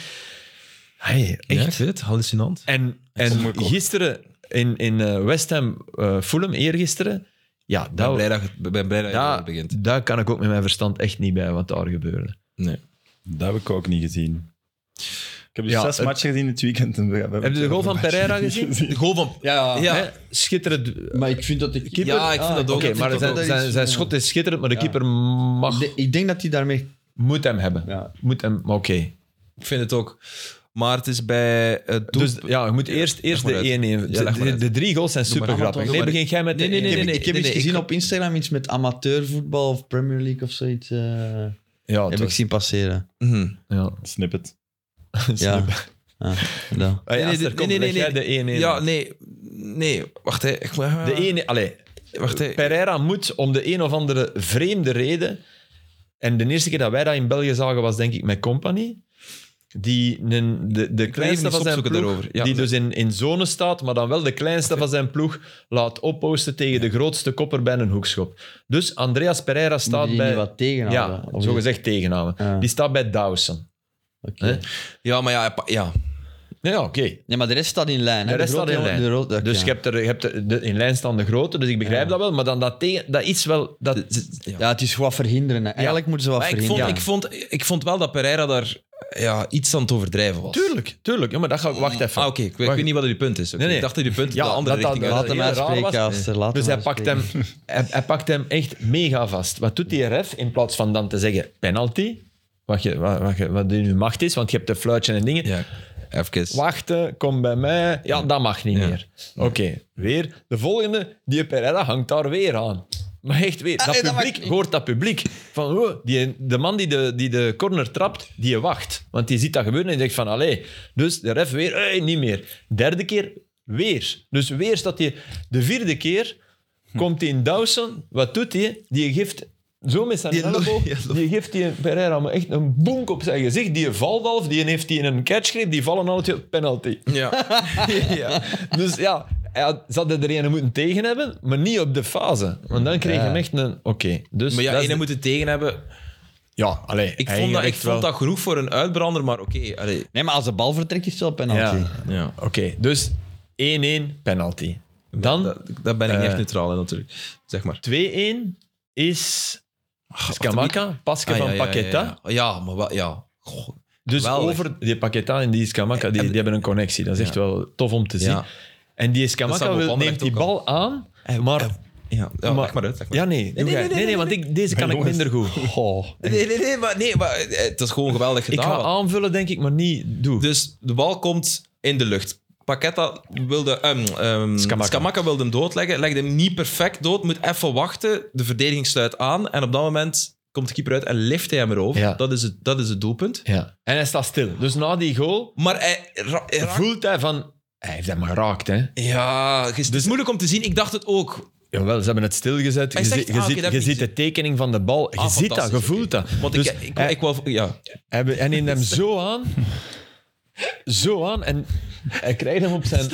[SPEAKER 4] Hey,
[SPEAKER 1] Ja,
[SPEAKER 4] echt.
[SPEAKER 1] ik weet het, hallucinant.
[SPEAKER 4] En, en
[SPEAKER 2] Omgekocht.
[SPEAKER 4] gisteren in, in eh, West Ham, eh, Fulham, eergisteren. Ja,
[SPEAKER 1] Ik ben
[SPEAKER 4] dat,
[SPEAKER 1] blij dat, je- ik ben blij dat je
[SPEAKER 4] daar,
[SPEAKER 1] erover begint.
[SPEAKER 4] daar kan ik ook met mijn verstand echt niet bij wat daar gebeurde.
[SPEAKER 1] Nee.
[SPEAKER 2] Dat heb ik ook niet gezien. Ik heb dus
[SPEAKER 4] Ja,
[SPEAKER 2] zes
[SPEAKER 4] het-
[SPEAKER 2] matchen gezien dit weekend. En we- we hebben
[SPEAKER 4] Heb je de
[SPEAKER 2] het
[SPEAKER 4] goal
[SPEAKER 2] over
[SPEAKER 4] van
[SPEAKER 2] matchen
[SPEAKER 4] Pereira
[SPEAKER 2] niet
[SPEAKER 4] gezien?
[SPEAKER 1] De goal van...
[SPEAKER 3] Ja,
[SPEAKER 1] Ja.
[SPEAKER 4] Hè? Schitterend. Oké,
[SPEAKER 3] maar ik vind dat de keeper...
[SPEAKER 1] Ja, ik vind dat ook.
[SPEAKER 3] Oké,
[SPEAKER 4] maar
[SPEAKER 1] dat
[SPEAKER 4] zijn,
[SPEAKER 3] ook-
[SPEAKER 4] zijn, zijn schot is schitterend, maar de
[SPEAKER 3] Ja.
[SPEAKER 4] keeper mag,
[SPEAKER 3] De- ik denk dat hij daarmee...
[SPEAKER 4] moet hem hebben.
[SPEAKER 3] Ja.
[SPEAKER 4] Moet hem, maar oké.
[SPEAKER 1] Ik vind het ook. Maar het is bij het doel...
[SPEAKER 4] Dus ja, je moet eerst, eerst
[SPEAKER 1] maar
[SPEAKER 4] de
[SPEAKER 1] uit.
[SPEAKER 4] 1-1.
[SPEAKER 1] Ja, leg
[SPEAKER 4] De,
[SPEAKER 1] maar
[SPEAKER 4] de-
[SPEAKER 1] uit.
[SPEAKER 4] de drie goals zijn
[SPEAKER 1] Doe maar.
[SPEAKER 4] super grappig.
[SPEAKER 1] Doe
[SPEAKER 4] Nee,
[SPEAKER 1] maar.
[SPEAKER 4] begin jij met de
[SPEAKER 1] Nee, nee, nee,
[SPEAKER 4] één.
[SPEAKER 1] nee, nee.
[SPEAKER 3] ik heb
[SPEAKER 1] nee,
[SPEAKER 3] iets
[SPEAKER 1] ik
[SPEAKER 3] gezien
[SPEAKER 1] ga-
[SPEAKER 3] op Instagram, iets met amateurvoetbal of Premier League of zoiets. eh,
[SPEAKER 4] Ja,
[SPEAKER 3] heb
[SPEAKER 4] het
[SPEAKER 3] ik
[SPEAKER 4] was-
[SPEAKER 3] zien passeren.
[SPEAKER 1] Mhm.
[SPEAKER 4] ja.
[SPEAKER 2] gezien. Snippet.
[SPEAKER 3] Ja. Ah, ja. ja.
[SPEAKER 4] Hey,
[SPEAKER 1] nee,
[SPEAKER 4] Aster,
[SPEAKER 1] nee,
[SPEAKER 4] kom,
[SPEAKER 1] nee, nee,
[SPEAKER 4] leg jij de 1-1.
[SPEAKER 1] Ja, nee. Nee, wacht hè. Ik,
[SPEAKER 4] De ene, allee,
[SPEAKER 1] Eh. Wacht, hè.
[SPEAKER 4] Pereira moet om de een of andere vreemde reden. En de eerste keer dat wij dat in België zagen was denk ik met Company. Die een, de, de kleinste
[SPEAKER 1] eens
[SPEAKER 4] van zijn
[SPEAKER 1] opzoeken
[SPEAKER 4] ploeg,
[SPEAKER 1] daarover. Ja,
[SPEAKER 4] die
[SPEAKER 1] de-
[SPEAKER 4] dus in, in zone staat, maar dan wel de kleinste van zijn ploeg, laat opposten tegen de grootste kopper bij een hoekschop. Dus Andreas Pereira
[SPEAKER 3] Moet
[SPEAKER 4] staat
[SPEAKER 3] je niet
[SPEAKER 4] bij...
[SPEAKER 3] wat tegenhouden?
[SPEAKER 4] Ja,
[SPEAKER 3] Of-
[SPEAKER 4] zogezegd tegenhouden.
[SPEAKER 3] Ja.
[SPEAKER 4] Die staat bij Dawson.
[SPEAKER 3] Oké.
[SPEAKER 4] Hè?
[SPEAKER 1] Ja, maar ja, pa- ja.
[SPEAKER 4] Ja, oké.
[SPEAKER 3] Nee, maar de rest staat in lijn. hè?
[SPEAKER 4] De rest staat
[SPEAKER 3] grote
[SPEAKER 4] in
[SPEAKER 3] jongen,
[SPEAKER 4] lijn.
[SPEAKER 3] de rood- oké.
[SPEAKER 4] Dus je hebt er, je hebt er de, in lijn staan de grote, dus ik begrijp
[SPEAKER 3] Ja.
[SPEAKER 4] dat wel. Maar dan dat tegen... Dat is wel... Dat,
[SPEAKER 1] ja.
[SPEAKER 3] Ja, het is wat verhinderen. hè. Eigenlijk moeten ze wat
[SPEAKER 1] Maar ik vond,
[SPEAKER 3] verhinderen.
[SPEAKER 1] ik, vond, ik vond wel dat Pereira daar ja, iets aan het overdrijven was.
[SPEAKER 4] Tuurlijk, tuurlijk. Ja, maar dat ga ik... Wacht even.
[SPEAKER 1] Ah, oké. ik weet- Ik,
[SPEAKER 4] Wacht.
[SPEAKER 1] weet niet wat uw punt is. Oké,
[SPEAKER 4] Nee, nee.
[SPEAKER 1] Ik dacht dat uw punt
[SPEAKER 4] Ja,
[SPEAKER 1] de andere
[SPEAKER 4] dat- dat-
[SPEAKER 1] richting
[SPEAKER 4] dat-
[SPEAKER 1] uit.
[SPEAKER 3] Laat hem
[SPEAKER 4] heel raar was.
[SPEAKER 3] uitspreken, Aster. Laat
[SPEAKER 4] Dus
[SPEAKER 3] hem
[SPEAKER 4] hij pakt, hem,
[SPEAKER 3] uitspreken.
[SPEAKER 4] hij, hij pakt hem echt mega vast. Wat doet die ref in plaats van dan te zeggen penalty? Wat, je, wat, wat, je- wat in uw macht is, want je hebt de fluitje en dingen.
[SPEAKER 1] Ja, even.
[SPEAKER 4] Wachten, kom bij mij. Ja, dat mag niet
[SPEAKER 1] Ja.
[SPEAKER 4] meer. Oké, weer. De volgende, die Pereira hangt daar weer aan. Maar echt weer, dat
[SPEAKER 3] Ah, nee, dat
[SPEAKER 4] publiek,
[SPEAKER 3] mag niet.
[SPEAKER 4] hoort dat publiek. Van, oh, die, de man die de, die de corner trapt, die wacht. Want die ziet dat gebeuren en die zegt van, allee. Dus de ref weer, hey, niet meer. Derde keer, weer. Dus weer staat hij... De vierde keer Hm. komt hij in Dawson. Wat doet hij? Die geeft... Zo met zijn
[SPEAKER 1] Die lo-
[SPEAKER 4] elleboog,
[SPEAKER 1] ja, lo-
[SPEAKER 4] die geeft die Pereira maar echt een boenk op zijn gezicht. Die valt half, die heeft die in een catchgreep, die vallen altijd op penalty.
[SPEAKER 1] Ja. ja.
[SPEAKER 4] Dus ja, hij had- ze hadden er een moeten tegen hebben, maar niet op de fase. Want dan kreeg je
[SPEAKER 3] Ja.
[SPEAKER 4] hem echt een... Oké, dus...
[SPEAKER 1] Maar ja,
[SPEAKER 4] dat is
[SPEAKER 1] ene
[SPEAKER 4] de-
[SPEAKER 1] moet het tegen hebben.
[SPEAKER 4] Ja, allee,
[SPEAKER 1] Ik
[SPEAKER 4] hij
[SPEAKER 1] vond, dat,
[SPEAKER 4] ging
[SPEAKER 1] ik
[SPEAKER 4] echt
[SPEAKER 1] vond
[SPEAKER 4] wel-
[SPEAKER 1] dat genoeg voor een uitbrander, maar oké. allee,
[SPEAKER 3] Nee, maar als de bal vertrekt, is het wel penalty.
[SPEAKER 4] Ja.
[SPEAKER 1] ja.
[SPEAKER 4] Oké, dus 1-1, penalty. Dan
[SPEAKER 1] Dat, dat ben ik niet
[SPEAKER 4] Eh.
[SPEAKER 1] echt neutraal in natuurlijk. Zeg maar.
[SPEAKER 4] 2-1 is... Skamaka, Pasca
[SPEAKER 1] Ah,
[SPEAKER 4] van
[SPEAKER 1] ja, ja, ja,
[SPEAKER 4] Paqueta.
[SPEAKER 1] Ja, ja, maar wel, ja. Goh,
[SPEAKER 4] Dus
[SPEAKER 1] Geweldig.
[SPEAKER 4] over die Paqueta en die Skamaka, die,
[SPEAKER 1] En-
[SPEAKER 4] die hebben een connectie. Dat is echt
[SPEAKER 1] Ja.
[SPEAKER 4] wel tof om te zien.
[SPEAKER 1] Ja.
[SPEAKER 4] En die
[SPEAKER 1] Dat
[SPEAKER 4] Skamaka
[SPEAKER 1] zou
[SPEAKER 4] wil-
[SPEAKER 1] Van
[SPEAKER 4] neemt
[SPEAKER 1] Anderlecht
[SPEAKER 4] die
[SPEAKER 1] ook
[SPEAKER 4] bal aan, maar...
[SPEAKER 1] Ja, ja
[SPEAKER 4] maar-
[SPEAKER 1] leg maar uit. leg maar
[SPEAKER 4] Ja, nee, doe
[SPEAKER 1] nee,
[SPEAKER 4] jij.
[SPEAKER 1] nee, nee,
[SPEAKER 4] nee, nee, want ik, deze kan ik
[SPEAKER 2] jongens.
[SPEAKER 4] minder goed.
[SPEAKER 1] uit. Nee, nee, nee, maar, nee, maar eh, het is gewoon geweldig
[SPEAKER 4] Ik
[SPEAKER 1] gedaan.
[SPEAKER 4] ga aanvullen, denk ik, maar niet doe.
[SPEAKER 1] Dus de bal komt in de lucht. Paqueta wilde... ehm ehm,
[SPEAKER 4] Scamacca.
[SPEAKER 1] Scamacca wilde hem doodleggen. Legde hem niet perfect dood. Moet even wachten. De verdediging sluit aan. En op dat moment komt de keeper uit en lift hij hem erover.
[SPEAKER 4] Ja.
[SPEAKER 1] Dat, is het, dat is het doelpunt.
[SPEAKER 4] Ja. En hij staat stil. Dus na die goal
[SPEAKER 1] Maar hij... ra- hij raakt-
[SPEAKER 4] voelt hij van... Hij heeft hem geraakt, hè.
[SPEAKER 1] ja, gis- Dus het is moeilijk om te zien. Ik dacht het ook.
[SPEAKER 4] Jawel, ze hebben het stilgezet.
[SPEAKER 1] Hij
[SPEAKER 4] Je,
[SPEAKER 1] zegt, ah,
[SPEAKER 4] zie- je
[SPEAKER 1] oké,
[SPEAKER 4] ziet,
[SPEAKER 1] dat heb
[SPEAKER 4] je
[SPEAKER 1] ik
[SPEAKER 4] ziet de tekening van de bal. Je
[SPEAKER 1] Ah,
[SPEAKER 4] ziet dat, je
[SPEAKER 1] fantastisch,
[SPEAKER 4] voelt dat.
[SPEAKER 1] Want
[SPEAKER 4] Dus
[SPEAKER 1] ik, ik,
[SPEAKER 4] hij-
[SPEAKER 1] ik wou... Ja.
[SPEAKER 4] Hij be- Hij neemt hem zo aan. Zo aan. En hij krijgt hem op zijn...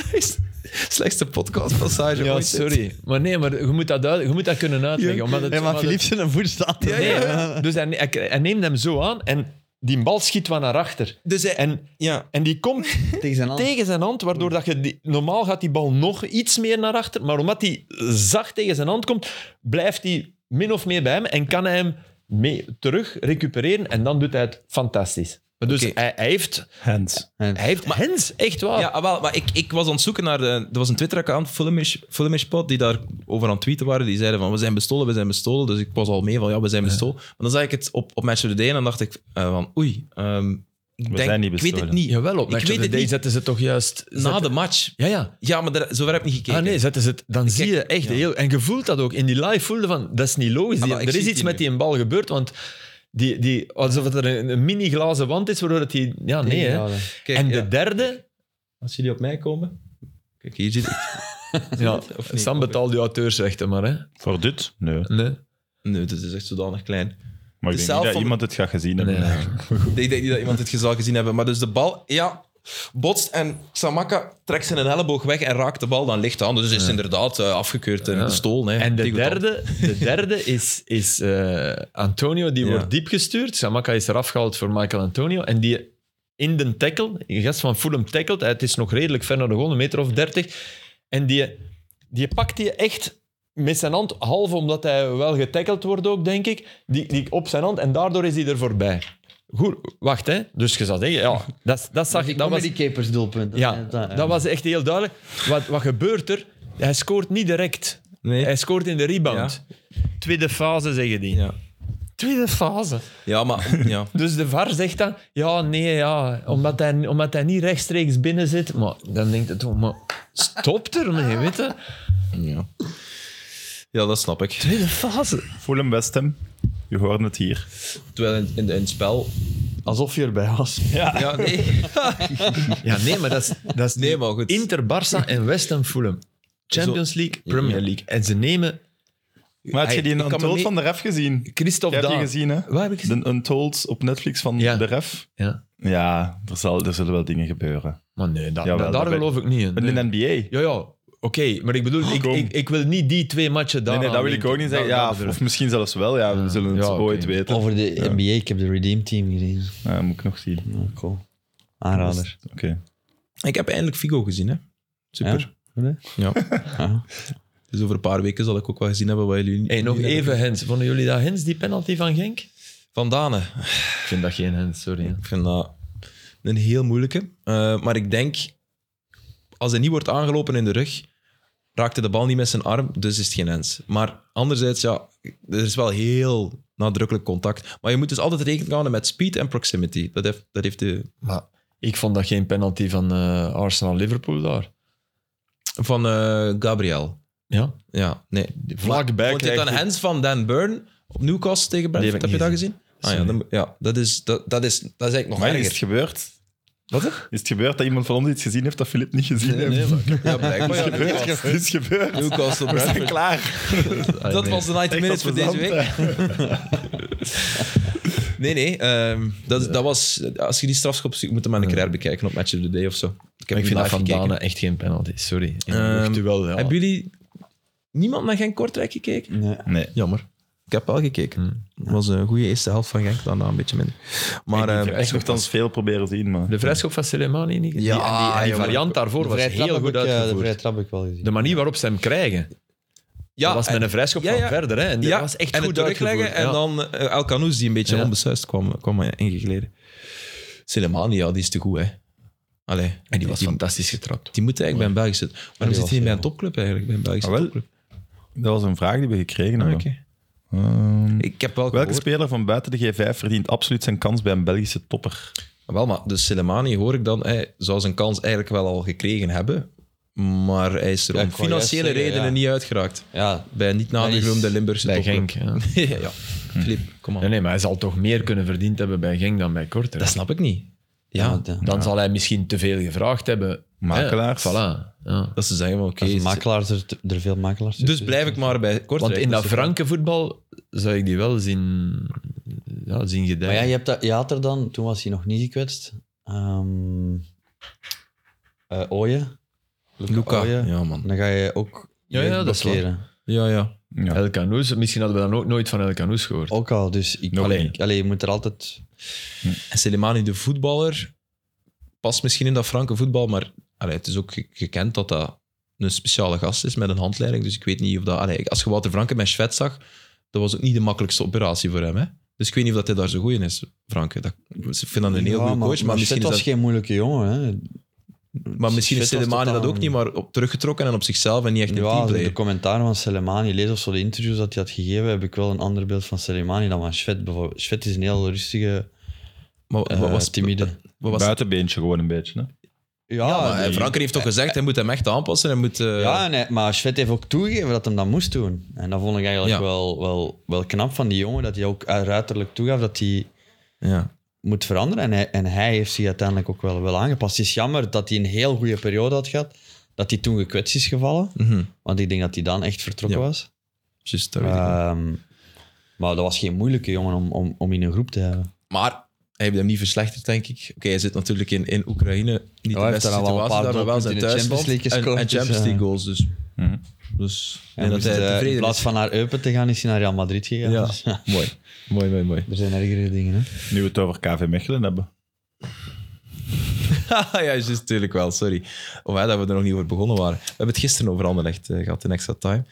[SPEAKER 1] Slechtste podcastpassage
[SPEAKER 4] Ja,
[SPEAKER 1] ooit.
[SPEAKER 4] sorry. Maar nee, maar je moet dat, duid- je moet dat kunnen uitleggen. Omdat het,
[SPEAKER 3] Nee, maar
[SPEAKER 4] omdat het-
[SPEAKER 3] Philippe zijn voet staat er.
[SPEAKER 4] Nee, dus hij, hij, hij neemt hem zo aan en die bal schiet wat naar achter.
[SPEAKER 1] Dus hij,
[SPEAKER 4] En,
[SPEAKER 1] ja,
[SPEAKER 4] en die komt
[SPEAKER 3] Tegen zijn hand.
[SPEAKER 4] tegen zijn hand, waardoor dat je die, normaal gaat die bal nog iets meer naar achter, maar omdat die zacht tegen zijn hand komt, blijft die min of meer bij hem en kan hij hem mee terug recupereren en dan doet hij het fantastisch. Maar Dus
[SPEAKER 1] Oké.
[SPEAKER 4] hij, hij heeft,
[SPEAKER 2] Hands.
[SPEAKER 4] hij heeft hens, echt waar.
[SPEAKER 1] Ja, ah, wel, maar ik, ik was aan het zoeken naar... De, er was een Twitter-account, Fulhamish, Fulhamish Pod, die daar over aan het tweeten waren. Die zeiden van, we zijn bestolen, we zijn bestolen. Dus ik was al mee van, ja, we zijn bestolen. Maar dan zag ik het op, op Match of the Day en dan dacht ik eh, van, oei... ehm, ik
[SPEAKER 2] We
[SPEAKER 1] denk,
[SPEAKER 2] zijn niet
[SPEAKER 1] Ik weet het
[SPEAKER 2] bestolen.
[SPEAKER 1] niet.
[SPEAKER 4] Jawel, op
[SPEAKER 1] Ik
[SPEAKER 4] Match
[SPEAKER 1] weet
[SPEAKER 4] of the
[SPEAKER 1] het
[SPEAKER 4] Day
[SPEAKER 1] niet.
[SPEAKER 4] zetten ze toch juist...
[SPEAKER 1] Na
[SPEAKER 4] zetten-
[SPEAKER 1] de match.
[SPEAKER 4] Ja, ja.
[SPEAKER 1] Ja, maar daar, zover heb ik niet gekeken.
[SPEAKER 4] Ah nee, zetten ze het, dan zie je echt
[SPEAKER 1] ja.
[SPEAKER 4] heel... En je voelt dat ook. In die live voelde van, dat is niet logisch.
[SPEAKER 1] Ah,
[SPEAKER 4] Die-
[SPEAKER 1] maar ik
[SPEAKER 4] er
[SPEAKER 1] zie
[SPEAKER 4] is
[SPEAKER 1] het
[SPEAKER 4] iets
[SPEAKER 1] hier
[SPEAKER 4] met
[SPEAKER 1] nu.
[SPEAKER 4] die een bal gebeurd, want die, die, alsof het er een, een mini glazen wand is, waardoor het die... Ja, nee, hè.
[SPEAKER 1] Kijk,
[SPEAKER 4] en de
[SPEAKER 1] ja.
[SPEAKER 4] derde,
[SPEAKER 1] Als jullie op mij komen... Kijk, hier zit ik.
[SPEAKER 4] ja,
[SPEAKER 1] Of niet?
[SPEAKER 4] Sam betaalt die auteursrechten maar, hè.
[SPEAKER 2] Voor dit? Nee.
[SPEAKER 4] Nee.
[SPEAKER 1] Nee, dit is echt zodanig klein.
[SPEAKER 2] Maar
[SPEAKER 1] De
[SPEAKER 2] ik denk
[SPEAKER 1] zaal
[SPEAKER 2] niet dat
[SPEAKER 1] van-
[SPEAKER 2] iemand het gaat gezien hebben.
[SPEAKER 4] Nee.
[SPEAKER 1] Ik denk niet dat iemand het zal gezien hebben. Maar dus de bal, ja, botst en Samaka trekt zijn elleboog weg en raakt de bal dan licht aan. Dus is inderdaad eh, afgekeurd en
[SPEAKER 4] Ja.
[SPEAKER 1] gestolen. Hè.
[SPEAKER 4] En de
[SPEAKER 1] Tegen het al.
[SPEAKER 4] derde, de derde is, is eh, Antonio, die
[SPEAKER 1] Ja.
[SPEAKER 4] wordt diep gestuurd. Samaka is eraf gehaald voor Michael Antonio. En die in de tackle, een gast van Fulham tackelt, het is nog redelijk ver naar de goal, een meter of dertig. En die, die pakt die echt met zijn hand, half omdat hij wel getackeld wordt ook, denk ik, die, die op zijn hand en daardoor is hij er voorbij. Goed, wacht hè. Dus je zou zeggen, ja, dat, dat zag ik. Dat was,
[SPEAKER 3] die capers doelpunt.
[SPEAKER 4] ja,
[SPEAKER 1] eh,
[SPEAKER 4] dat was echt heel duidelijk. Wat, wat gebeurt er? Hij scoort niet direct.
[SPEAKER 1] Nee.
[SPEAKER 4] Hij scoort in de rebound. Tweede fase, zeggen die.
[SPEAKER 1] Ja.
[SPEAKER 4] Tweede fase.
[SPEAKER 1] Ja, maar ja.
[SPEAKER 4] Dus de VAR zegt dan, ja, nee, ja, omdat hij, omdat hij niet rechtstreeks binnen zit. Maar dan denkt het toch, maar stop ermee, weet je.
[SPEAKER 1] ja. Ja, dat snap ik.
[SPEAKER 4] Tweede fase.
[SPEAKER 2] Fulham West Ham. Je hoorde het hier.
[SPEAKER 1] Terwijl in, in, in het spel...
[SPEAKER 3] Alsof je erbij was.
[SPEAKER 1] Ja, nee.
[SPEAKER 4] Ja, nee, maar dat is, dat is
[SPEAKER 1] Nee, maar goed.
[SPEAKER 4] Inter, Barça en West Ham Fulham. Champions League, Premier League. En ze nemen
[SPEAKER 2] Maar had je die
[SPEAKER 1] Ik kan me
[SPEAKER 2] Untold
[SPEAKER 1] niet-
[SPEAKER 2] van de ref gezien?
[SPEAKER 4] Christophe
[SPEAKER 2] Je hebt die
[SPEAKER 4] Daan.
[SPEAKER 2] gezien, hè?
[SPEAKER 4] Waar heb ik gezien?
[SPEAKER 2] De Untold op Netflix van
[SPEAKER 4] Ja.
[SPEAKER 2] de ref.
[SPEAKER 4] Ja.
[SPEAKER 2] Ja, er, zal, er zullen wel dingen gebeuren.
[SPEAKER 4] Maar nee, dat,
[SPEAKER 2] Jawel,
[SPEAKER 4] dat-
[SPEAKER 2] dat
[SPEAKER 4] daar
[SPEAKER 2] ben-
[SPEAKER 4] geloof ik niet in.
[SPEAKER 2] Maar
[SPEAKER 4] Nee.
[SPEAKER 2] In de NBA.
[SPEAKER 4] Ja, ja. Oké, maar ik bedoel, ik,
[SPEAKER 2] kom.
[SPEAKER 4] ik, ik wil niet die twee matchen daar.
[SPEAKER 2] Nee, nee, dat wil ik ook niet zeggen. Ja, of, of misschien zelfs wel. Ja, we zullen het
[SPEAKER 4] Ja, oké.
[SPEAKER 2] ooit weten.
[SPEAKER 3] Over de NBA, ik heb de Redeem Team gezien.
[SPEAKER 2] Ja, moet ik nog zien.
[SPEAKER 3] Ja, cool. Aanrader.
[SPEAKER 2] Oké.
[SPEAKER 1] Ik heb eindelijk Figo gezien, hè. Super.
[SPEAKER 3] Ja?
[SPEAKER 1] Ja.
[SPEAKER 3] Ja.
[SPEAKER 1] Dus over een paar weken zal ik ook wel gezien hebben wat jullie...
[SPEAKER 4] Hey, nog even Hens. Vonden jullie dat Hens, die penalty van Genk? Ik
[SPEAKER 1] Van Dane.
[SPEAKER 4] vind dat geen Hens, sorry. hè.
[SPEAKER 1] Ik vind dat een heel moeilijke. Eh, maar ik denk, als hij niet wordt aangelopen in de rug, raakt hij de bal niet met zijn arm, dus is het geen hens. Maar anderzijds, ja, er is wel heel nadrukkelijk contact. Maar je moet dus altijd rekening houden met speed en proximity. Dat heeft, dat heeft de...
[SPEAKER 4] Maar ik vond dat geen penalty van eh, Arsenal-Liverpool daar.
[SPEAKER 1] Van eh, Gabriel.
[SPEAKER 4] Ja,
[SPEAKER 1] Ja, nee.
[SPEAKER 4] vlakbij
[SPEAKER 1] Vond je het
[SPEAKER 4] krijgt
[SPEAKER 1] dan
[SPEAKER 4] hij-
[SPEAKER 1] hens van Dan Byrne op Newcastle tegen
[SPEAKER 4] Die heb
[SPEAKER 1] Brentford?
[SPEAKER 4] ik
[SPEAKER 1] Heb je
[SPEAKER 4] niet
[SPEAKER 1] dat gezien? Ah, ja, dan- ja, dat is, dat, dat is, dat is eigenlijk nog
[SPEAKER 2] Maar is het
[SPEAKER 1] erger.
[SPEAKER 2] gebeurd?
[SPEAKER 4] Wat
[SPEAKER 2] Is het gebeurd dat iemand van ons iets gezien heeft dat Filip niet gezien heeft?
[SPEAKER 1] Ja,
[SPEAKER 2] Oh
[SPEAKER 1] blijkbaar. ja,
[SPEAKER 2] Het is gebeurd. Het is gebeurd.
[SPEAKER 1] Newcastle
[SPEAKER 2] We zijn
[SPEAKER 1] Brentford.
[SPEAKER 2] klaar.
[SPEAKER 1] Dat was de 90
[SPEAKER 2] Echt
[SPEAKER 1] minutes voor deze
[SPEAKER 2] plezant,
[SPEAKER 1] week. Nee, nee. ehm, dat, dat was, als je die strafschop ziet, moet je maar een keer herbekijken op Match of the Day of zo. Ik heb
[SPEAKER 4] Ik
[SPEAKER 1] niet
[SPEAKER 4] vind dat
[SPEAKER 1] live
[SPEAKER 4] van
[SPEAKER 1] gekeken.
[SPEAKER 4] Dane echt geen penalty, sorry. In
[SPEAKER 1] Ehm,
[SPEAKER 4] een luchtduel, ja. Mm.
[SPEAKER 1] Hebben jullie niemand naar Genk Kortrijk gekeken?
[SPEAKER 3] Nee.
[SPEAKER 2] Nee.
[SPEAKER 1] Jammer. Ik heb wel gekeken. Het was een goede eerste helft van Genk, daarna een beetje minder. Maar
[SPEAKER 2] Ik
[SPEAKER 1] ehm,
[SPEAKER 2] heb echt nogthans veel proberen zien, maar...
[SPEAKER 4] De vrijschop van Soleimani niet? gezien?
[SPEAKER 1] Ja,
[SPEAKER 4] en die, en die
[SPEAKER 1] jongen.
[SPEAKER 4] variant daarvoor
[SPEAKER 3] De
[SPEAKER 4] was
[SPEAKER 3] vrije trap
[SPEAKER 4] heel
[SPEAKER 3] heb ik,
[SPEAKER 4] goed
[SPEAKER 3] eh, De vrije
[SPEAKER 4] uitgevoerd.
[SPEAKER 3] trap heb ik wel gezien.
[SPEAKER 4] De manier waarop ze hem krijgen,
[SPEAKER 1] ja,
[SPEAKER 4] dat was met een vrijschop
[SPEAKER 1] ja,
[SPEAKER 4] van
[SPEAKER 1] ja.
[SPEAKER 4] verder. Hè. En dat
[SPEAKER 1] ja,
[SPEAKER 4] was echt
[SPEAKER 1] en
[SPEAKER 4] goed
[SPEAKER 1] het terugleggen
[SPEAKER 4] uitgevoerd, ja.
[SPEAKER 1] en dan eh, El Canoes die een beetje
[SPEAKER 4] Ja.
[SPEAKER 1] onbesuist kwam, kwam ingegleden. Selemani, ja, die is te goed, hè. Allee,
[SPEAKER 4] En die was fantastisch getrapt.
[SPEAKER 1] Die moet eigenlijk bij een Belgische... Waarom
[SPEAKER 3] die
[SPEAKER 1] zit
[SPEAKER 3] was
[SPEAKER 1] hij niet bij
[SPEAKER 3] heel
[SPEAKER 1] een topclub eigenlijk? Bij een Belgische
[SPEAKER 2] Ah, wel.
[SPEAKER 1] topclub?
[SPEAKER 2] Dat was een vraag die we gekregen
[SPEAKER 1] Ah,
[SPEAKER 2] hebben.
[SPEAKER 1] oké.
[SPEAKER 2] Ehm,
[SPEAKER 1] Ik heb wel
[SPEAKER 2] welke
[SPEAKER 1] gehoord.
[SPEAKER 2] speler van buiten de G5 verdient absoluut zijn kans bij een Belgische topper?
[SPEAKER 1] Wel, maar dus Selemani hoor ik dan, hij zou zijn kans eigenlijk wel al gekregen hebben, maar hij is er
[SPEAKER 3] Ja,
[SPEAKER 1] om
[SPEAKER 3] ik wou
[SPEAKER 1] financiële
[SPEAKER 3] juist zeggen,
[SPEAKER 1] redenen
[SPEAKER 3] ja.
[SPEAKER 1] niet uitgeraakt.
[SPEAKER 3] Ja,
[SPEAKER 1] Bij niet
[SPEAKER 3] Hij is
[SPEAKER 1] nagenoemde Limburgse
[SPEAKER 4] Bij
[SPEAKER 1] topclub.
[SPEAKER 4] Genk, ja.
[SPEAKER 1] ja, ja. Filip, kom aan.
[SPEAKER 4] Nee, nee, maar hij zal toch meer kunnen verdiend hebben bij Genk dan bij Korter.
[SPEAKER 1] Dat snap ik niet. Ja,
[SPEAKER 3] want, eh,
[SPEAKER 4] Dan zal hij misschien te veel gevraagd hebben.
[SPEAKER 2] Makelaars.
[SPEAKER 4] Hè, voilà. Ja.
[SPEAKER 1] dat ze zeggen van oké,
[SPEAKER 3] als makelaars er, er veel makelaars
[SPEAKER 1] dus
[SPEAKER 3] tussen
[SPEAKER 1] blijf ik maar bij Kortrijk.
[SPEAKER 4] Want in dat
[SPEAKER 1] Dus-
[SPEAKER 4] franke voetbal zou ik die wel zien, ja, zien
[SPEAKER 3] Maar ja,
[SPEAKER 4] gedijen.
[SPEAKER 3] je, hebt dat, je had er dan, toen was hij nog niet gekwetst, ehm eh Ooyen.
[SPEAKER 1] Luca.
[SPEAKER 3] Ooyen.
[SPEAKER 1] Oh, Ja, man.
[SPEAKER 3] Dan ga je ook
[SPEAKER 4] Ja, ja, dat is
[SPEAKER 3] blokkeren.
[SPEAKER 1] Ja, ja.
[SPEAKER 2] Ja.
[SPEAKER 4] El Canoes, misschien hadden we dan ook nooit van El Canoes gehoord.
[SPEAKER 3] Ook al, dus ik,
[SPEAKER 2] Nog
[SPEAKER 3] allee,
[SPEAKER 2] niet.
[SPEAKER 3] ik- allee, je moet er altijd...
[SPEAKER 1] En Selemani, de voetballer, past misschien in dat franke voetbal, maar allee, het is ook ge- gekend dat dat een speciale gast is met een handleiding. Dus ik weet niet of dat... Allee, als je Wouter Franke met Schwed zag, dat was ook niet de makkelijkste operatie voor hem. Hè? Dus ik weet niet of dat hij daar zo goed in is, Franke. Dat, ik vind dat een heel
[SPEAKER 3] Ja,
[SPEAKER 1] goede coach, maar, misschien
[SPEAKER 3] Zet
[SPEAKER 1] is
[SPEAKER 3] was
[SPEAKER 1] dat...
[SPEAKER 3] geen moeilijke jongen. Hè.
[SPEAKER 1] Maar misschien is
[SPEAKER 3] Zet was
[SPEAKER 1] Selemani dat
[SPEAKER 3] totaal-
[SPEAKER 1] ook niet, maar op, teruggetrokken en op zichzelf en niet echt een
[SPEAKER 3] Ja, de,
[SPEAKER 1] teamplayer.
[SPEAKER 3] commentaren van Selemani lees of zo de interviews dat hij had gegeven, heb ik wel een ander beeld van Selemani dan van Schvet. bijvoorbeeld. Schvet is een heel rustige,
[SPEAKER 1] Maar
[SPEAKER 3] eh,
[SPEAKER 1] wat was,
[SPEAKER 3] timide.
[SPEAKER 1] wat was
[SPEAKER 2] Buitenbeentje gewoon een beetje. Hè?
[SPEAKER 3] Ja,
[SPEAKER 1] Maar, eh,
[SPEAKER 3] die-
[SPEAKER 1] Franke heeft toch gezegd, hij moet hem echt aanpassen. Hij moet, eh,
[SPEAKER 3] ja nee, maar Schvet heeft ook toegegeven dat hij dat moest doen. En dat vond ik eigenlijk
[SPEAKER 1] Ja.
[SPEAKER 3] wel, wel, wel knap van die jongen, dat hij ook uiterlijk toegaf dat hij
[SPEAKER 1] ja.
[SPEAKER 3] moet veranderen. En hij, en hij heeft zich uiteindelijk ook wel, wel aangepast. Het is jammer dat hij een heel goede periode had gehad, dat hij toen gekwetst is gevallen.
[SPEAKER 1] Mhm.
[SPEAKER 3] Want ik denk dat hij dan echt vertrokken
[SPEAKER 1] Ja.
[SPEAKER 3] was.
[SPEAKER 1] Juist, dat weet ik niet.
[SPEAKER 3] Ehm, maar dat was geen moeilijke jongen om, om, om in een groep te hebben.
[SPEAKER 1] Maar hij heeft hem niet verslechterd, denk ik. Oké, hij zit natuurlijk in, in Oekraïne. Niet
[SPEAKER 3] hij
[SPEAKER 1] de
[SPEAKER 3] heeft
[SPEAKER 1] beste
[SPEAKER 3] daar al wel
[SPEAKER 1] situatie
[SPEAKER 3] een
[SPEAKER 1] daar,
[SPEAKER 3] paar
[SPEAKER 1] maar wel
[SPEAKER 3] doelpunten
[SPEAKER 1] zijn
[SPEAKER 3] in de
[SPEAKER 1] thuisland.
[SPEAKER 3] Champions League
[SPEAKER 1] en,
[SPEAKER 3] gescoord,
[SPEAKER 1] en
[SPEAKER 3] dus,
[SPEAKER 1] Champions League
[SPEAKER 3] eh.
[SPEAKER 1] goals, dus...
[SPEAKER 2] Mhm.
[SPEAKER 1] Dus ik
[SPEAKER 3] En
[SPEAKER 1] denk dat hij tevreden
[SPEAKER 3] eh, in plaats
[SPEAKER 1] is.
[SPEAKER 3] van naar Eupen te gaan, is hij naar Real Madrid gegaan.
[SPEAKER 1] Ja.
[SPEAKER 3] Dus,
[SPEAKER 1] Mooi, mooi, mooi, mooi.
[SPEAKER 3] er zijn ergere dingen. Hè?
[SPEAKER 2] Nu we het over KV Mechelen hebben.
[SPEAKER 1] ja, juist, natuurlijk wel, sorry. Of hè, dat we er nog niet over begonnen waren. We hebben het gisteren over Anderlecht eh, gehad in Extra Time.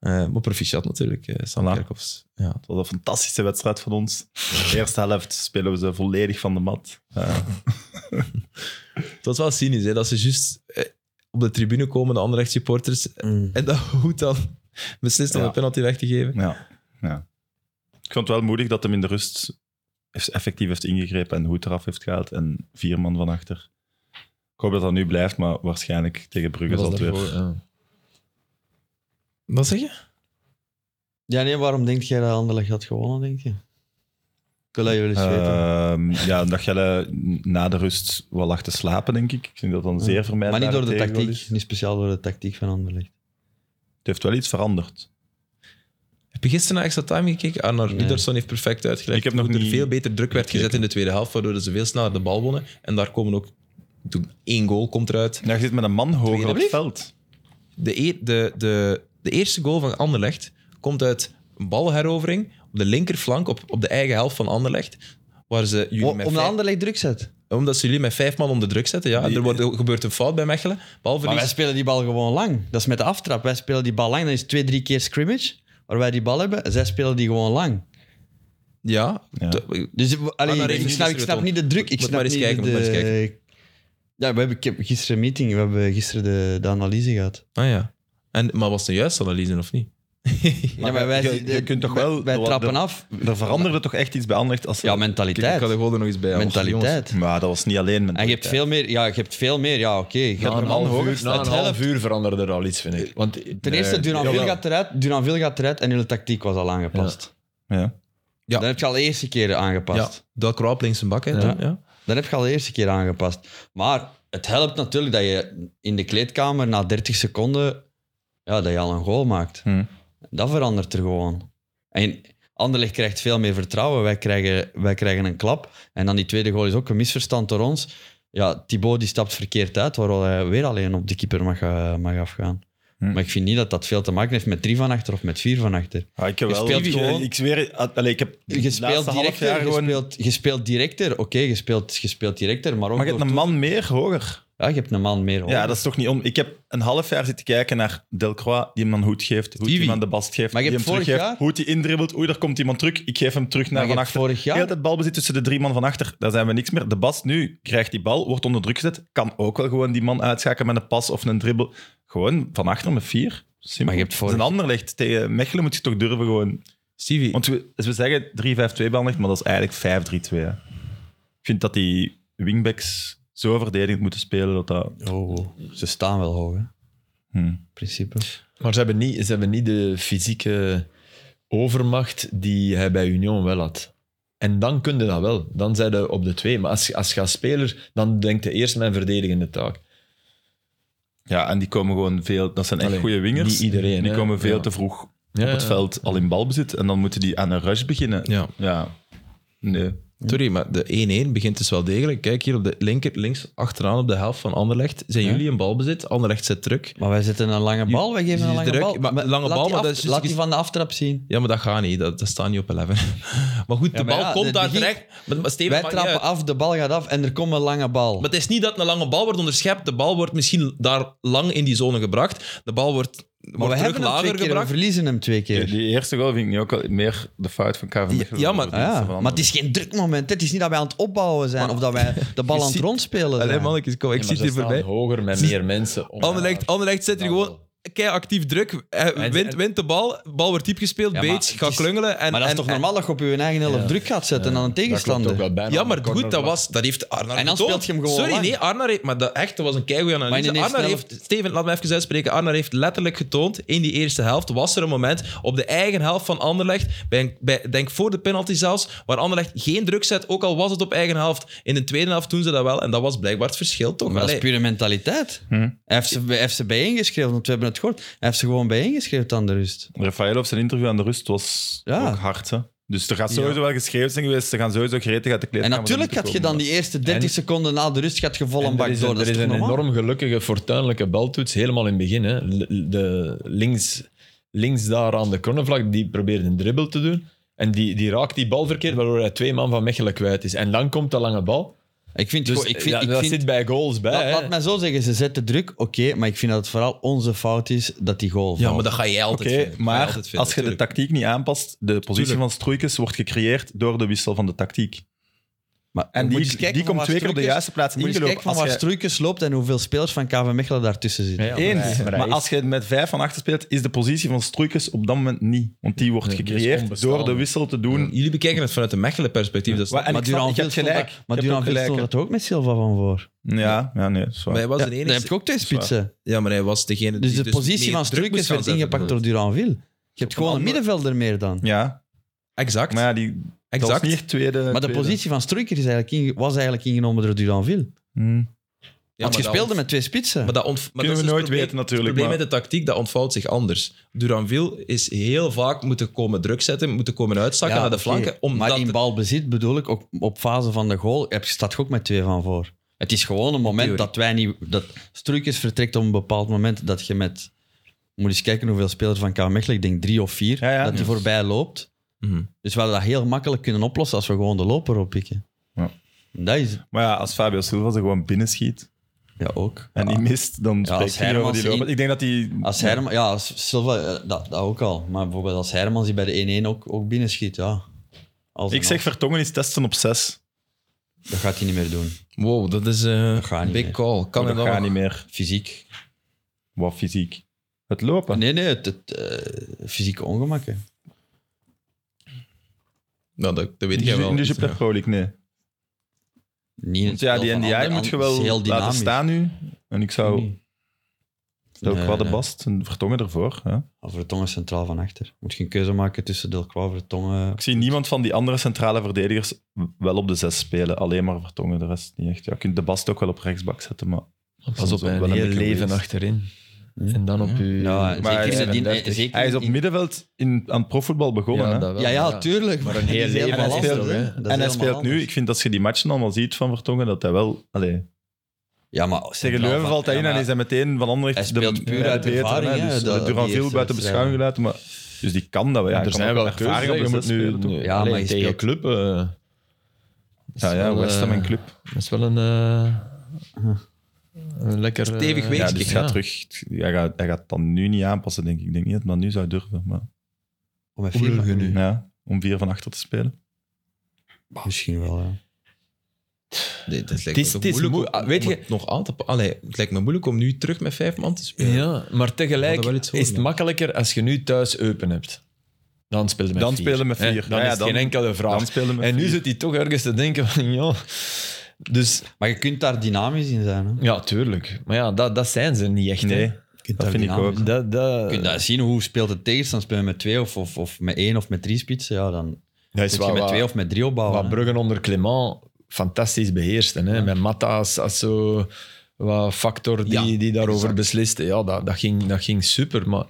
[SPEAKER 1] Eh maar proficiat natuurlijk, eh Sam
[SPEAKER 2] Voilà.
[SPEAKER 1] Kerkhoffs. Ja.
[SPEAKER 2] Het was een fantastische wedstrijd van ons. De eerste helft spelen we ze volledig van de mat. Ja.
[SPEAKER 1] Het was wel cynisch, hè, dat ze juist eh, op de tribune komen, de Anderlecht supporters, en dat goed dan beslist om
[SPEAKER 2] Ja.
[SPEAKER 1] een penalty weg te geven.
[SPEAKER 2] Ja. ja. Ik vond het wel moedig dat hem in de rust heeft- effectief heeft ingegrepen en hoed eraf heeft gehaald en vier man van achter. Ik hoop dat dat nu blijft, maar waarschijnlijk tegen Brugge zal het weer.
[SPEAKER 1] Wat zeg je?
[SPEAKER 3] Ja, nee, waarom denk jij dat Anderlecht had gewonnen, denk je? Ik wil dat jullie eens weten.
[SPEAKER 2] Ehm, ja, dat Jelle na de rust wel lag te slapen, denk ik. Ik vind dat dan zeer
[SPEAKER 3] Maar
[SPEAKER 2] vermijdbaar.
[SPEAKER 3] niet door de tactiek. Niet speciaal door de tactiek van Anderlecht.
[SPEAKER 2] Het heeft wel iets veranderd.
[SPEAKER 1] Heb je gisteren naar extra time gekeken? Arnar
[SPEAKER 3] Nee.
[SPEAKER 1] Uderson heeft perfect uitgelegd.
[SPEAKER 2] Ik heb nog
[SPEAKER 1] hoe er
[SPEAKER 2] niet
[SPEAKER 1] veel beter druk werd gezet
[SPEAKER 2] gekeken.
[SPEAKER 1] in de tweede helft, waardoor ze veel sneller de bal wonnen. En daar komen ook... toen Één goal komt eruit.
[SPEAKER 2] Ja, je zit met een man hoger op het
[SPEAKER 1] Alsjeblieft.
[SPEAKER 2] veld.
[SPEAKER 1] De, eer- de, de, de eerste goal van Anderlecht komt uit een balherovering op de linkerflank, op, op de eigen helft van Anderlecht. Waar ze jullie
[SPEAKER 3] Om
[SPEAKER 1] met
[SPEAKER 3] de
[SPEAKER 1] vijf-
[SPEAKER 3] Anderlecht druk zet.
[SPEAKER 1] omdat ze jullie met vijf man onder druk zetten. Ja. En
[SPEAKER 2] Die-
[SPEAKER 1] er wordt, gebeurt een fout bij Mechelen.
[SPEAKER 3] Maar wij
[SPEAKER 1] Balverlies.
[SPEAKER 3] spelen die bal gewoon lang. Dat is met de aftrap. Wij spelen die bal lang. Dat is twee, drie keer scrimmage waar wij die bal hebben. Zij spelen die gewoon lang.
[SPEAKER 1] Ja.
[SPEAKER 2] Ja.
[SPEAKER 1] De-
[SPEAKER 3] Dus allee,
[SPEAKER 1] naar
[SPEAKER 3] ik,
[SPEAKER 1] Rangers
[SPEAKER 3] snap,
[SPEAKER 1] is
[SPEAKER 3] ik
[SPEAKER 1] er
[SPEAKER 3] snap
[SPEAKER 1] het
[SPEAKER 3] niet de druk. Ik
[SPEAKER 1] Moet
[SPEAKER 3] snap
[SPEAKER 1] maar eens
[SPEAKER 3] niet
[SPEAKER 1] kijken,
[SPEAKER 3] de...
[SPEAKER 1] moet maar eens
[SPEAKER 3] Ja, we hebben, ik heb gisteren een meeting. We hebben gisteren de, de analyse gehad.
[SPEAKER 1] Ah ja. En, maar was het een juiste analyse of niet?
[SPEAKER 3] ja, maar wij,
[SPEAKER 2] je- je kunt toch wel-
[SPEAKER 3] Wij,
[SPEAKER 2] wel-
[SPEAKER 3] trappen
[SPEAKER 2] de-
[SPEAKER 3] af.
[SPEAKER 2] Er veranderde toch echt iets bij Anderlecht. Als ze-
[SPEAKER 3] Ja,
[SPEAKER 1] Kijk, ik
[SPEAKER 3] mentaliteit.
[SPEAKER 1] had er gewoon nog eens bij. hoor. Jongens.
[SPEAKER 3] mentaliteit.
[SPEAKER 2] Maar dat was niet alleen
[SPEAKER 3] En
[SPEAKER 2] mentaliteit.
[SPEAKER 3] je hebt veel meer... Ja, je hebt veel meer. Ja, oké. Je
[SPEAKER 4] Na
[SPEAKER 3] gaat
[SPEAKER 4] een,
[SPEAKER 3] er al-
[SPEAKER 4] half uur, na een
[SPEAKER 3] Het
[SPEAKER 4] half
[SPEAKER 3] helpt.
[SPEAKER 4] uur veranderde er al iets, vind ik. Want, Ten
[SPEAKER 3] Ten eerste, Duranville gaat eruit. Duranville gaat eruit en hun tactiek was al aangepast.
[SPEAKER 2] Ja.
[SPEAKER 1] Ja.
[SPEAKER 3] Dan heb je al de eerste keer
[SPEAKER 1] Ja,
[SPEAKER 3] aangepast.
[SPEAKER 1] dat kroop links een bak. Hè,
[SPEAKER 4] Ja.
[SPEAKER 1] toen, ja.
[SPEAKER 3] Dan heb je al de eerste keer aangepast. Maar het helpt natuurlijk dat je in de kleedkamer na 30 seconden ja, dat je al een goal maakt.
[SPEAKER 2] Hm.
[SPEAKER 3] Dat verandert er gewoon. En Anderlecht krijgt veel meer vertrouwen. Wij krijgen, wij krijgen een klap. En dan die tweede goal is ook een misverstand door ons. Ja, Thibaut die stapt verkeerd uit, waardoor hij weer alleen op de keeper mag, eh, mag afgaan.
[SPEAKER 2] Hm.
[SPEAKER 3] Maar ik vind niet dat dat veel te maken heeft met drie van achter of met vier van achter.
[SPEAKER 2] Ja, Ah, ik heb
[SPEAKER 3] Je
[SPEAKER 2] wel...
[SPEAKER 3] speelt
[SPEAKER 2] ik,
[SPEAKER 3] gewoon-
[SPEAKER 2] ik zweer... ah, Allee, ik heb
[SPEAKER 3] Je
[SPEAKER 2] het laatste
[SPEAKER 3] speelt
[SPEAKER 2] half jaar
[SPEAKER 3] directer, je
[SPEAKER 2] gewoon...
[SPEAKER 3] speelt, je speelt directer. Oké, je, speelt, je speelt directer, maar ook Oh.
[SPEAKER 2] Maar je hebt
[SPEAKER 3] door
[SPEAKER 2] een man meer hoger.
[SPEAKER 3] toe- Ja, je hebt een man meer.
[SPEAKER 2] Ja, dat is toch niet om... Ik heb een half jaar zitten kijken naar Delcroix, die hem dan hoed geeft, hoe die
[SPEAKER 1] Iwi.
[SPEAKER 2] hem aan de bast geeft,
[SPEAKER 3] Maar je
[SPEAKER 2] die hem
[SPEAKER 3] hebt vorig
[SPEAKER 2] teruggeeft,
[SPEAKER 3] jaar-
[SPEAKER 2] hoe die indribbelt. Oei, daar komt iemand terug. Ik geef hem terug naar
[SPEAKER 3] Maar je
[SPEAKER 2] van
[SPEAKER 3] hebt
[SPEAKER 2] achter.
[SPEAKER 3] vorig jaar-
[SPEAKER 2] Heel het balbezit tussen de drie man van achter. Daar zijn we niks meer. De Bast nu krijgt die bal, wordt onder druk gezet, kan ook wel gewoon die man uitschakelen met een pas of een dribbel. Gewoon van achter met vier. Simpel.
[SPEAKER 3] Maar je hebt vorig-
[SPEAKER 2] Als een ander legt tegen Mechelen, moet je toch durven gewoon
[SPEAKER 1] Stevie,
[SPEAKER 2] Want we, als we zeggen 3-5-2 Anderlecht, maar dat is eigenlijk 5-3-2. hè. Ik vind dat die wingbacks zo verdedigend moeten spelen dat dat...
[SPEAKER 3] Oh, ze staan wel hoog, hè, in
[SPEAKER 2] Hm.
[SPEAKER 3] principe.
[SPEAKER 4] Maar ze hebben, niet, ze hebben niet de fysieke overmacht die hij bij Union wel had. En dan kun je dat wel. Dan zijn ze op de twee. Maar als, als je als speler, dan denkt je eerst mijn verdedigende taak.
[SPEAKER 2] Ja, en die komen gewoon veel... Dat zijn echt
[SPEAKER 4] Allee,
[SPEAKER 2] goede wingers.
[SPEAKER 4] niet iedereen,
[SPEAKER 2] Die
[SPEAKER 4] hè.
[SPEAKER 2] komen veel
[SPEAKER 4] Ja.
[SPEAKER 2] te vroeg
[SPEAKER 4] Ja,
[SPEAKER 2] op het
[SPEAKER 4] ja.
[SPEAKER 2] veld al in balbezit en dan moeten die aan een rush beginnen.
[SPEAKER 1] Ja.
[SPEAKER 2] Nee.
[SPEAKER 1] Sorry, maar de 1-1 begint dus wel degelijk. Kijk hier op de linker, links achteraan op de helft van Anderlecht. Zijn
[SPEAKER 3] Ja.
[SPEAKER 1] jullie in balbezit? Anderlecht zet druk.
[SPEAKER 3] Maar wij zetten een lange bal, wij geven
[SPEAKER 1] die
[SPEAKER 3] een lange
[SPEAKER 1] druk,
[SPEAKER 3] bal.
[SPEAKER 1] maar lange
[SPEAKER 3] laat
[SPEAKER 1] bal,
[SPEAKER 3] die
[SPEAKER 1] maar
[SPEAKER 3] af-
[SPEAKER 1] dat is-
[SPEAKER 3] Laat die van de aftrap zien.
[SPEAKER 1] Ja, maar dat gaat niet. Dat, dat staat niet op 11. Maar goed, de
[SPEAKER 3] maar
[SPEAKER 1] bal
[SPEAKER 3] ja,
[SPEAKER 1] komt
[SPEAKER 3] het
[SPEAKER 1] daar
[SPEAKER 3] begin-
[SPEAKER 1] terecht. Maar, maar Steven,
[SPEAKER 3] Wij
[SPEAKER 1] maakt niet
[SPEAKER 3] trappen
[SPEAKER 1] uit.
[SPEAKER 3] af, de bal gaat af en er komt een lange bal.
[SPEAKER 1] Maar het is niet dat een lange bal wordt onderschept. De bal wordt misschien daar lang in die zone gebracht. De bal wordt,
[SPEAKER 3] Maar we
[SPEAKER 1] wordt terug
[SPEAKER 3] hebben hem twee
[SPEAKER 1] lager
[SPEAKER 3] keer, we
[SPEAKER 1] gebracht.
[SPEAKER 3] verliezen hem twee keer.
[SPEAKER 2] Die eerste goal vind ik nu ook al meer de fout van Kevin. Michels
[SPEAKER 1] ja,
[SPEAKER 2] dan
[SPEAKER 1] maar-
[SPEAKER 2] de
[SPEAKER 3] Ah,
[SPEAKER 2] diensten
[SPEAKER 3] ja.
[SPEAKER 2] van
[SPEAKER 3] Maar het is geen drukmoment. hè. Het is niet dat wij aan het opbouwen zijn of dat wij de bal aan het
[SPEAKER 1] ziet-
[SPEAKER 3] rondspelen zijn.
[SPEAKER 1] Allee, mannetjes, kom, ik
[SPEAKER 4] Ja, maar
[SPEAKER 1] zit hier
[SPEAKER 4] ze staan
[SPEAKER 1] voorbij.
[SPEAKER 4] hoger met
[SPEAKER 1] Zie-
[SPEAKER 4] meer mensen. om-
[SPEAKER 1] Anderlecht, Anderlecht zet hier
[SPEAKER 4] Dan
[SPEAKER 1] gewoon kei actief druk. Hij
[SPEAKER 4] En-
[SPEAKER 1] Wint
[SPEAKER 4] en-
[SPEAKER 1] wint de bal, bal wordt diep gespeeld,
[SPEAKER 3] Ja, maar
[SPEAKER 1] Beets
[SPEAKER 3] het
[SPEAKER 1] gaat
[SPEAKER 3] is-
[SPEAKER 1] klungelen. En,
[SPEAKER 3] maar dat is
[SPEAKER 1] en-
[SPEAKER 3] toch normaal dat je op je eigen helft druk gaat zetten aan een
[SPEAKER 4] Dat klopt ook
[SPEAKER 3] tegenstander.
[SPEAKER 4] wel
[SPEAKER 2] Ah,
[SPEAKER 4] bijna.
[SPEAKER 1] Ja, maar goed, dat,
[SPEAKER 4] cornervlag.
[SPEAKER 1] was, dat heeft Arnar
[SPEAKER 3] En dan
[SPEAKER 1] getoond.
[SPEAKER 3] speelt je hem gewoon
[SPEAKER 1] Sorry,
[SPEAKER 3] lang.
[SPEAKER 1] nee, Arnar heeft... Maar dat, echt, dat was een keigoede
[SPEAKER 3] Maar in
[SPEAKER 1] analyse.
[SPEAKER 3] de eerste
[SPEAKER 1] Arnar
[SPEAKER 3] helft-
[SPEAKER 1] heeft... Steven, laat me even uitspreken. Arnar heeft letterlijk getoond, in die eerste helft was er een moment op de eigen helft van Anderlecht, bij, een- bij, denk voor de penalty zelfs, waar Anderlecht geen druk zet, ook al was het op eigen helft. In de tweede helft doen ze dat wel, en dat was blijkbaar het verschil, toch?
[SPEAKER 3] Maar dat is
[SPEAKER 1] Allee. Hm.
[SPEAKER 3] pure mentaliteit. Hij heeft ze, hij heeft ze bijeengeschreven, want we hebben het gehoord. Hij heeft ze gewoon bijeengeschreven aan de rust.
[SPEAKER 2] Rafael op zijn interview aan de rust was
[SPEAKER 3] Ja.
[SPEAKER 2] ook hard. Hè? Dus er gaat sowieso wel geschreven zijn geweest. Ze gaan sowieso gretig uit de
[SPEAKER 3] En
[SPEAKER 2] kleedkamer.
[SPEAKER 3] natuurlijk gaat je
[SPEAKER 2] komen.
[SPEAKER 3] dan die eerste 30 seconden na de rust gaat je vol een
[SPEAKER 4] En er
[SPEAKER 3] bak
[SPEAKER 4] is een,
[SPEAKER 3] door. Dat
[SPEAKER 4] er
[SPEAKER 3] is
[SPEAKER 4] is
[SPEAKER 3] toch
[SPEAKER 4] een
[SPEAKER 3] normaal?
[SPEAKER 4] enorm gelukkige, fortuinlijke baltoets, helemaal in het begin. Hè. L- De links, links daar aan de cornervlak, die probeert een dribbel te doen. En die, die raakt die bal verkeerd, waardoor hij twee man van Mechelen kwijt is. En dan komt de lange bal.
[SPEAKER 3] Ik vind,
[SPEAKER 4] Dus
[SPEAKER 3] gewoon- ik vind,
[SPEAKER 4] ja,
[SPEAKER 3] ik
[SPEAKER 4] dat
[SPEAKER 3] vind-
[SPEAKER 4] zit bij goals bij.
[SPEAKER 3] laat,
[SPEAKER 4] hè.
[SPEAKER 3] laat mij zo zeggen, ze zetten druk, oké, maar ik vind dat het vooral onze fout is dat die goal
[SPEAKER 1] Ja,
[SPEAKER 3] valt.
[SPEAKER 1] maar dat ga jij altijd
[SPEAKER 2] Oké,
[SPEAKER 1] vinden. Ga
[SPEAKER 2] maar
[SPEAKER 1] jij altijd vinden,
[SPEAKER 2] als je de
[SPEAKER 1] tuurlijk.
[SPEAKER 2] tactiek niet aanpast, de positie
[SPEAKER 1] Tuurlijk.
[SPEAKER 2] van Stroeikens wordt gecreëerd door de wissel van de tactiek.
[SPEAKER 3] Maar
[SPEAKER 2] En
[SPEAKER 3] moet je
[SPEAKER 2] die,
[SPEAKER 3] eens kijken
[SPEAKER 2] die
[SPEAKER 3] van
[SPEAKER 2] komt
[SPEAKER 3] waar
[SPEAKER 2] twee keer op de
[SPEAKER 3] Struikens-
[SPEAKER 2] juiste plaats
[SPEAKER 3] Moet je eens kijken
[SPEAKER 2] ingelopen.
[SPEAKER 3] van
[SPEAKER 2] Als
[SPEAKER 3] waar
[SPEAKER 2] je-
[SPEAKER 3] Struikens loopt en hoeveel spelers van KV Mechelen daartussen zitten.
[SPEAKER 4] Ja,
[SPEAKER 2] Eens.
[SPEAKER 4] maar hij-
[SPEAKER 2] Maar,
[SPEAKER 4] hij is-
[SPEAKER 2] als je met vijf van achter speelt, is de positie van Stroeikens op dat moment niet. Want die wordt
[SPEAKER 4] Nee, die is
[SPEAKER 2] gecreëerd
[SPEAKER 4] onbestaande.
[SPEAKER 2] door de wissel te doen.
[SPEAKER 1] Jullie bekijken het vanuit de Mechelen-perspectief. dat snap
[SPEAKER 2] Wa-
[SPEAKER 1] ik.
[SPEAKER 2] en
[SPEAKER 3] maar
[SPEAKER 2] ik snap-
[SPEAKER 3] Duran
[SPEAKER 2] je
[SPEAKER 3] Veel
[SPEAKER 2] hebt
[SPEAKER 3] stond,
[SPEAKER 2] gelijk.
[SPEAKER 3] daar- maar
[SPEAKER 2] Je hebt
[SPEAKER 3] Duran
[SPEAKER 2] ook
[SPEAKER 3] Veel
[SPEAKER 2] gelijk,
[SPEAKER 3] stond dat ook met Silva van voor.
[SPEAKER 2] Ja, ja nee, dat is waar.
[SPEAKER 1] Maar hij was
[SPEAKER 2] Ja.
[SPEAKER 1] de
[SPEAKER 3] Dan heb ik
[SPEAKER 1] enige...
[SPEAKER 3] ook twee spitsen.
[SPEAKER 1] Ja, maar hij was degene
[SPEAKER 3] Dus
[SPEAKER 1] die...
[SPEAKER 3] de positie
[SPEAKER 1] meer druk
[SPEAKER 3] van
[SPEAKER 1] moest
[SPEAKER 3] Struikens
[SPEAKER 1] gaan
[SPEAKER 3] werd
[SPEAKER 1] zetten,
[SPEAKER 3] ingepakt door
[SPEAKER 1] bedoel ik.
[SPEAKER 3] Duran Veel. Je hebt gewoon een
[SPEAKER 1] andere-
[SPEAKER 3] middenvelder meer dan.
[SPEAKER 2] Ja,
[SPEAKER 1] Exact,
[SPEAKER 2] maar ja, die, dat was
[SPEAKER 1] exact.
[SPEAKER 2] niet echt tweede.
[SPEAKER 3] Maar de
[SPEAKER 2] tweede.
[SPEAKER 3] positie van Struikers is eigenlijk inge- was eigenlijk ingenomen door Duranville.
[SPEAKER 1] Ja,
[SPEAKER 2] Hmm.
[SPEAKER 3] Want
[SPEAKER 1] maar
[SPEAKER 3] je
[SPEAKER 1] dat
[SPEAKER 3] speelde met twee spitsen.
[SPEAKER 1] Maar dat ont- maar
[SPEAKER 2] Kunnen
[SPEAKER 1] dat
[SPEAKER 2] we
[SPEAKER 1] is dus
[SPEAKER 2] nooit
[SPEAKER 1] het probleem-
[SPEAKER 2] weten natuurlijk,
[SPEAKER 1] Het probleem met
[SPEAKER 2] maar-
[SPEAKER 1] de tactiek, dat ontvouwt zich anders. Duranville is heel vaak moeten komen druk zetten, moeten komen uitzakken
[SPEAKER 3] Ja,
[SPEAKER 1] naar de
[SPEAKER 3] oké.
[SPEAKER 1] flanken. Omdat
[SPEAKER 3] maar in balbezit bedoel ik, ook op fase van de goal heb je, staat je ook met twee van voor. Het is gewoon een moment
[SPEAKER 1] theorie.
[SPEAKER 3] dat wij niet... Dat Struikens vertrekt op een bepaald moment dat je met... Moet eens kijken hoeveel spelers van KV Mechelen, ik denk drie of vier,
[SPEAKER 2] Ja, ja.
[SPEAKER 3] dat die voorbij loopt.
[SPEAKER 1] Mhm.
[SPEAKER 3] Dus we hadden dat heel makkelijk kunnen oplossen als we gewoon de loper oppikken.
[SPEAKER 2] Ja.
[SPEAKER 3] Dat is het.
[SPEAKER 2] Maar ja, als Fabio Silva ze gewoon binnenschiet
[SPEAKER 3] Ja, ook.
[SPEAKER 2] en die mist, dan spreekt
[SPEAKER 3] als
[SPEAKER 2] hij over
[SPEAKER 3] Hermans
[SPEAKER 2] die lopen.
[SPEAKER 3] in-
[SPEAKER 2] Ik denk dat die...
[SPEAKER 3] Als Herman, ja, als Silva, eh, dat, dat ook al. Maar bijvoorbeeld als Hermans die bij de 1-1 ook, ook binnenschiet, ja. Als
[SPEAKER 2] Ik
[SPEAKER 3] en
[SPEAKER 2] zeg
[SPEAKER 3] als.
[SPEAKER 2] Vertongen is testen op zes.
[SPEAKER 3] Dat gaat hij niet meer doen.
[SPEAKER 1] Wow, dat is eh,
[SPEAKER 3] gaat
[SPEAKER 1] een
[SPEAKER 3] niet
[SPEAKER 1] big
[SPEAKER 3] meer.
[SPEAKER 1] call. Kan
[SPEAKER 2] dat
[SPEAKER 1] het
[SPEAKER 2] gaat
[SPEAKER 1] dan
[SPEAKER 2] niet meer.
[SPEAKER 3] Fysiek.
[SPEAKER 2] Wat fysiek. Het lopen.
[SPEAKER 3] Nee, nee, het, het, eh, fysieke ongemakken.
[SPEAKER 1] Nou, dat, dat weet
[SPEAKER 2] In de-
[SPEAKER 1] jij wel.
[SPEAKER 2] in de Jupiler Pro League, dus nee.
[SPEAKER 3] Niet in
[SPEAKER 2] Want
[SPEAKER 3] het
[SPEAKER 2] ja,
[SPEAKER 3] spel
[SPEAKER 2] die
[SPEAKER 3] van
[SPEAKER 2] NDI
[SPEAKER 3] anderen,
[SPEAKER 2] moet je
[SPEAKER 3] an- is
[SPEAKER 2] wel
[SPEAKER 3] heel
[SPEAKER 2] laten
[SPEAKER 3] dynamisch.
[SPEAKER 2] staan nu. En ik zou... Stel
[SPEAKER 3] Nee,
[SPEAKER 2] qua de
[SPEAKER 3] nee.
[SPEAKER 2] Bast en Vertongen ervoor. Ja.
[SPEAKER 3] Vertongen centraal van achter. Moet je een keuze maken tussen Delcroix, Vertongen...
[SPEAKER 2] Ik zie niemand van die andere centrale verdedigers wel op de zes spelen. Alleen maar Vertongen, de rest niet echt. Ja, je kunt de Bast ook wel op rechtsbak zetten, maar...
[SPEAKER 4] Pas op,
[SPEAKER 2] Wel
[SPEAKER 4] een
[SPEAKER 2] een
[SPEAKER 4] heel
[SPEAKER 2] beetje
[SPEAKER 4] leven
[SPEAKER 2] wees.
[SPEAKER 4] achterin. En dan op uw...
[SPEAKER 3] Ja,
[SPEAKER 2] maar
[SPEAKER 3] zeker in de dien-
[SPEAKER 4] 37.
[SPEAKER 3] eh, zeker
[SPEAKER 2] Hij is op
[SPEAKER 3] in-
[SPEAKER 2] middenveld in, aan profvoetbal begonnen. hè?
[SPEAKER 4] dat wel,
[SPEAKER 3] Ja, ja, tuurlijk.
[SPEAKER 4] Maar een heel
[SPEAKER 3] die is
[SPEAKER 4] leven
[SPEAKER 3] helemaal
[SPEAKER 2] speelt-
[SPEAKER 3] anders, hè. Dat is
[SPEAKER 2] en hij
[SPEAKER 3] helemaal
[SPEAKER 2] speelt nu,
[SPEAKER 3] anders.
[SPEAKER 2] ik vind als je die matchen allemaal ziet van Vertongen, dat hij wel... Allee,
[SPEAKER 3] Ja, maar
[SPEAKER 2] tegen
[SPEAKER 3] centraal
[SPEAKER 2] Leuven
[SPEAKER 3] van-
[SPEAKER 2] valt hij
[SPEAKER 3] ja,
[SPEAKER 2] in en
[SPEAKER 3] maar-
[SPEAKER 2] is hij meteen van Anderlecht...
[SPEAKER 3] Hij speelt
[SPEAKER 2] de-
[SPEAKER 3] puur
[SPEAKER 2] de
[SPEAKER 3] uit
[SPEAKER 2] betere,
[SPEAKER 3] ervaring,
[SPEAKER 2] hè.
[SPEAKER 3] hè,
[SPEAKER 2] Dus
[SPEAKER 3] dat-
[SPEAKER 2] Duran
[SPEAKER 3] die
[SPEAKER 2] veel
[SPEAKER 3] eerste
[SPEAKER 2] buiten beschouwing gelaten, maar... Dus die kan dat wel. Ja,
[SPEAKER 4] er zijn wel keuzes. hè. Je moet nu...
[SPEAKER 3] Ja,
[SPEAKER 4] Allee,
[SPEAKER 3] maar je
[SPEAKER 4] tegen
[SPEAKER 3] speelt-
[SPEAKER 4] club... eh, is
[SPEAKER 2] Ja, ja,
[SPEAKER 4] wel,
[SPEAKER 2] West Ham en
[SPEAKER 4] eh,
[SPEAKER 2] club.
[SPEAKER 4] Dat is wel een, eh, een lekker... eh,
[SPEAKER 1] Stevig weekje.
[SPEAKER 2] Ja, dus hij gaat terug. Hij gaat, hij gaat dat nu niet aanpassen, denk ik. Ik denk niet dat men nu zou durven. Maar,
[SPEAKER 3] Om met vier van-
[SPEAKER 2] ja, om vier van achter te spelen.
[SPEAKER 3] Misschien wel, ja.
[SPEAKER 1] Nee, dat lijkt
[SPEAKER 4] Het is-
[SPEAKER 1] me toch
[SPEAKER 4] het is
[SPEAKER 1] moeilijk
[SPEAKER 4] moe-
[SPEAKER 1] om-
[SPEAKER 4] ah, weet
[SPEAKER 1] om
[SPEAKER 4] je-
[SPEAKER 1] het nog aan te pa- Allee, het lijkt me moeilijk om nu terug met vijf man te spelen.
[SPEAKER 4] Ja, maar
[SPEAKER 1] We
[SPEAKER 4] tegelijk
[SPEAKER 1] hadden wel iets
[SPEAKER 4] is het
[SPEAKER 1] horen.
[SPEAKER 4] makkelijker als je nu thuis open hebt. Dan spelen we met
[SPEAKER 2] Dan
[SPEAKER 4] vier.
[SPEAKER 2] spelen we met
[SPEAKER 4] Hè,
[SPEAKER 2] vier.
[SPEAKER 4] Dan
[SPEAKER 2] Ja,
[SPEAKER 4] is het
[SPEAKER 2] dan-
[SPEAKER 4] geen enkele vraag.
[SPEAKER 2] Dan spelen we met
[SPEAKER 4] en nu
[SPEAKER 2] vier.
[SPEAKER 4] zit hij toch ergens te denken van, ja... Dus
[SPEAKER 3] Maar je kunt daar dynamisch in zijn. Hè?
[SPEAKER 4] ja, tuurlijk. Maar ja, dat, dat zijn ze niet echt. hè.
[SPEAKER 2] Nee, dat vind ik ook.
[SPEAKER 4] Dat, dat,
[SPEAKER 3] Je kunt daar zien hoe speelt de tegenstander. Speel je met twee of, of, of met één of met drie spitsen? Ja, dan
[SPEAKER 4] dat
[SPEAKER 3] moet
[SPEAKER 4] is
[SPEAKER 3] je
[SPEAKER 4] waar,
[SPEAKER 3] met
[SPEAKER 4] waar-
[SPEAKER 3] twee of met drie opbouwen.
[SPEAKER 4] Wat
[SPEAKER 3] hè.
[SPEAKER 4] Bruggen onder Clement fantastisch beheersten. Hè? Met Matta als, als zo wat factor die,
[SPEAKER 1] Ja,
[SPEAKER 4] die daarover besliste. Ja, dat, dat, ging, dat ging super. Maar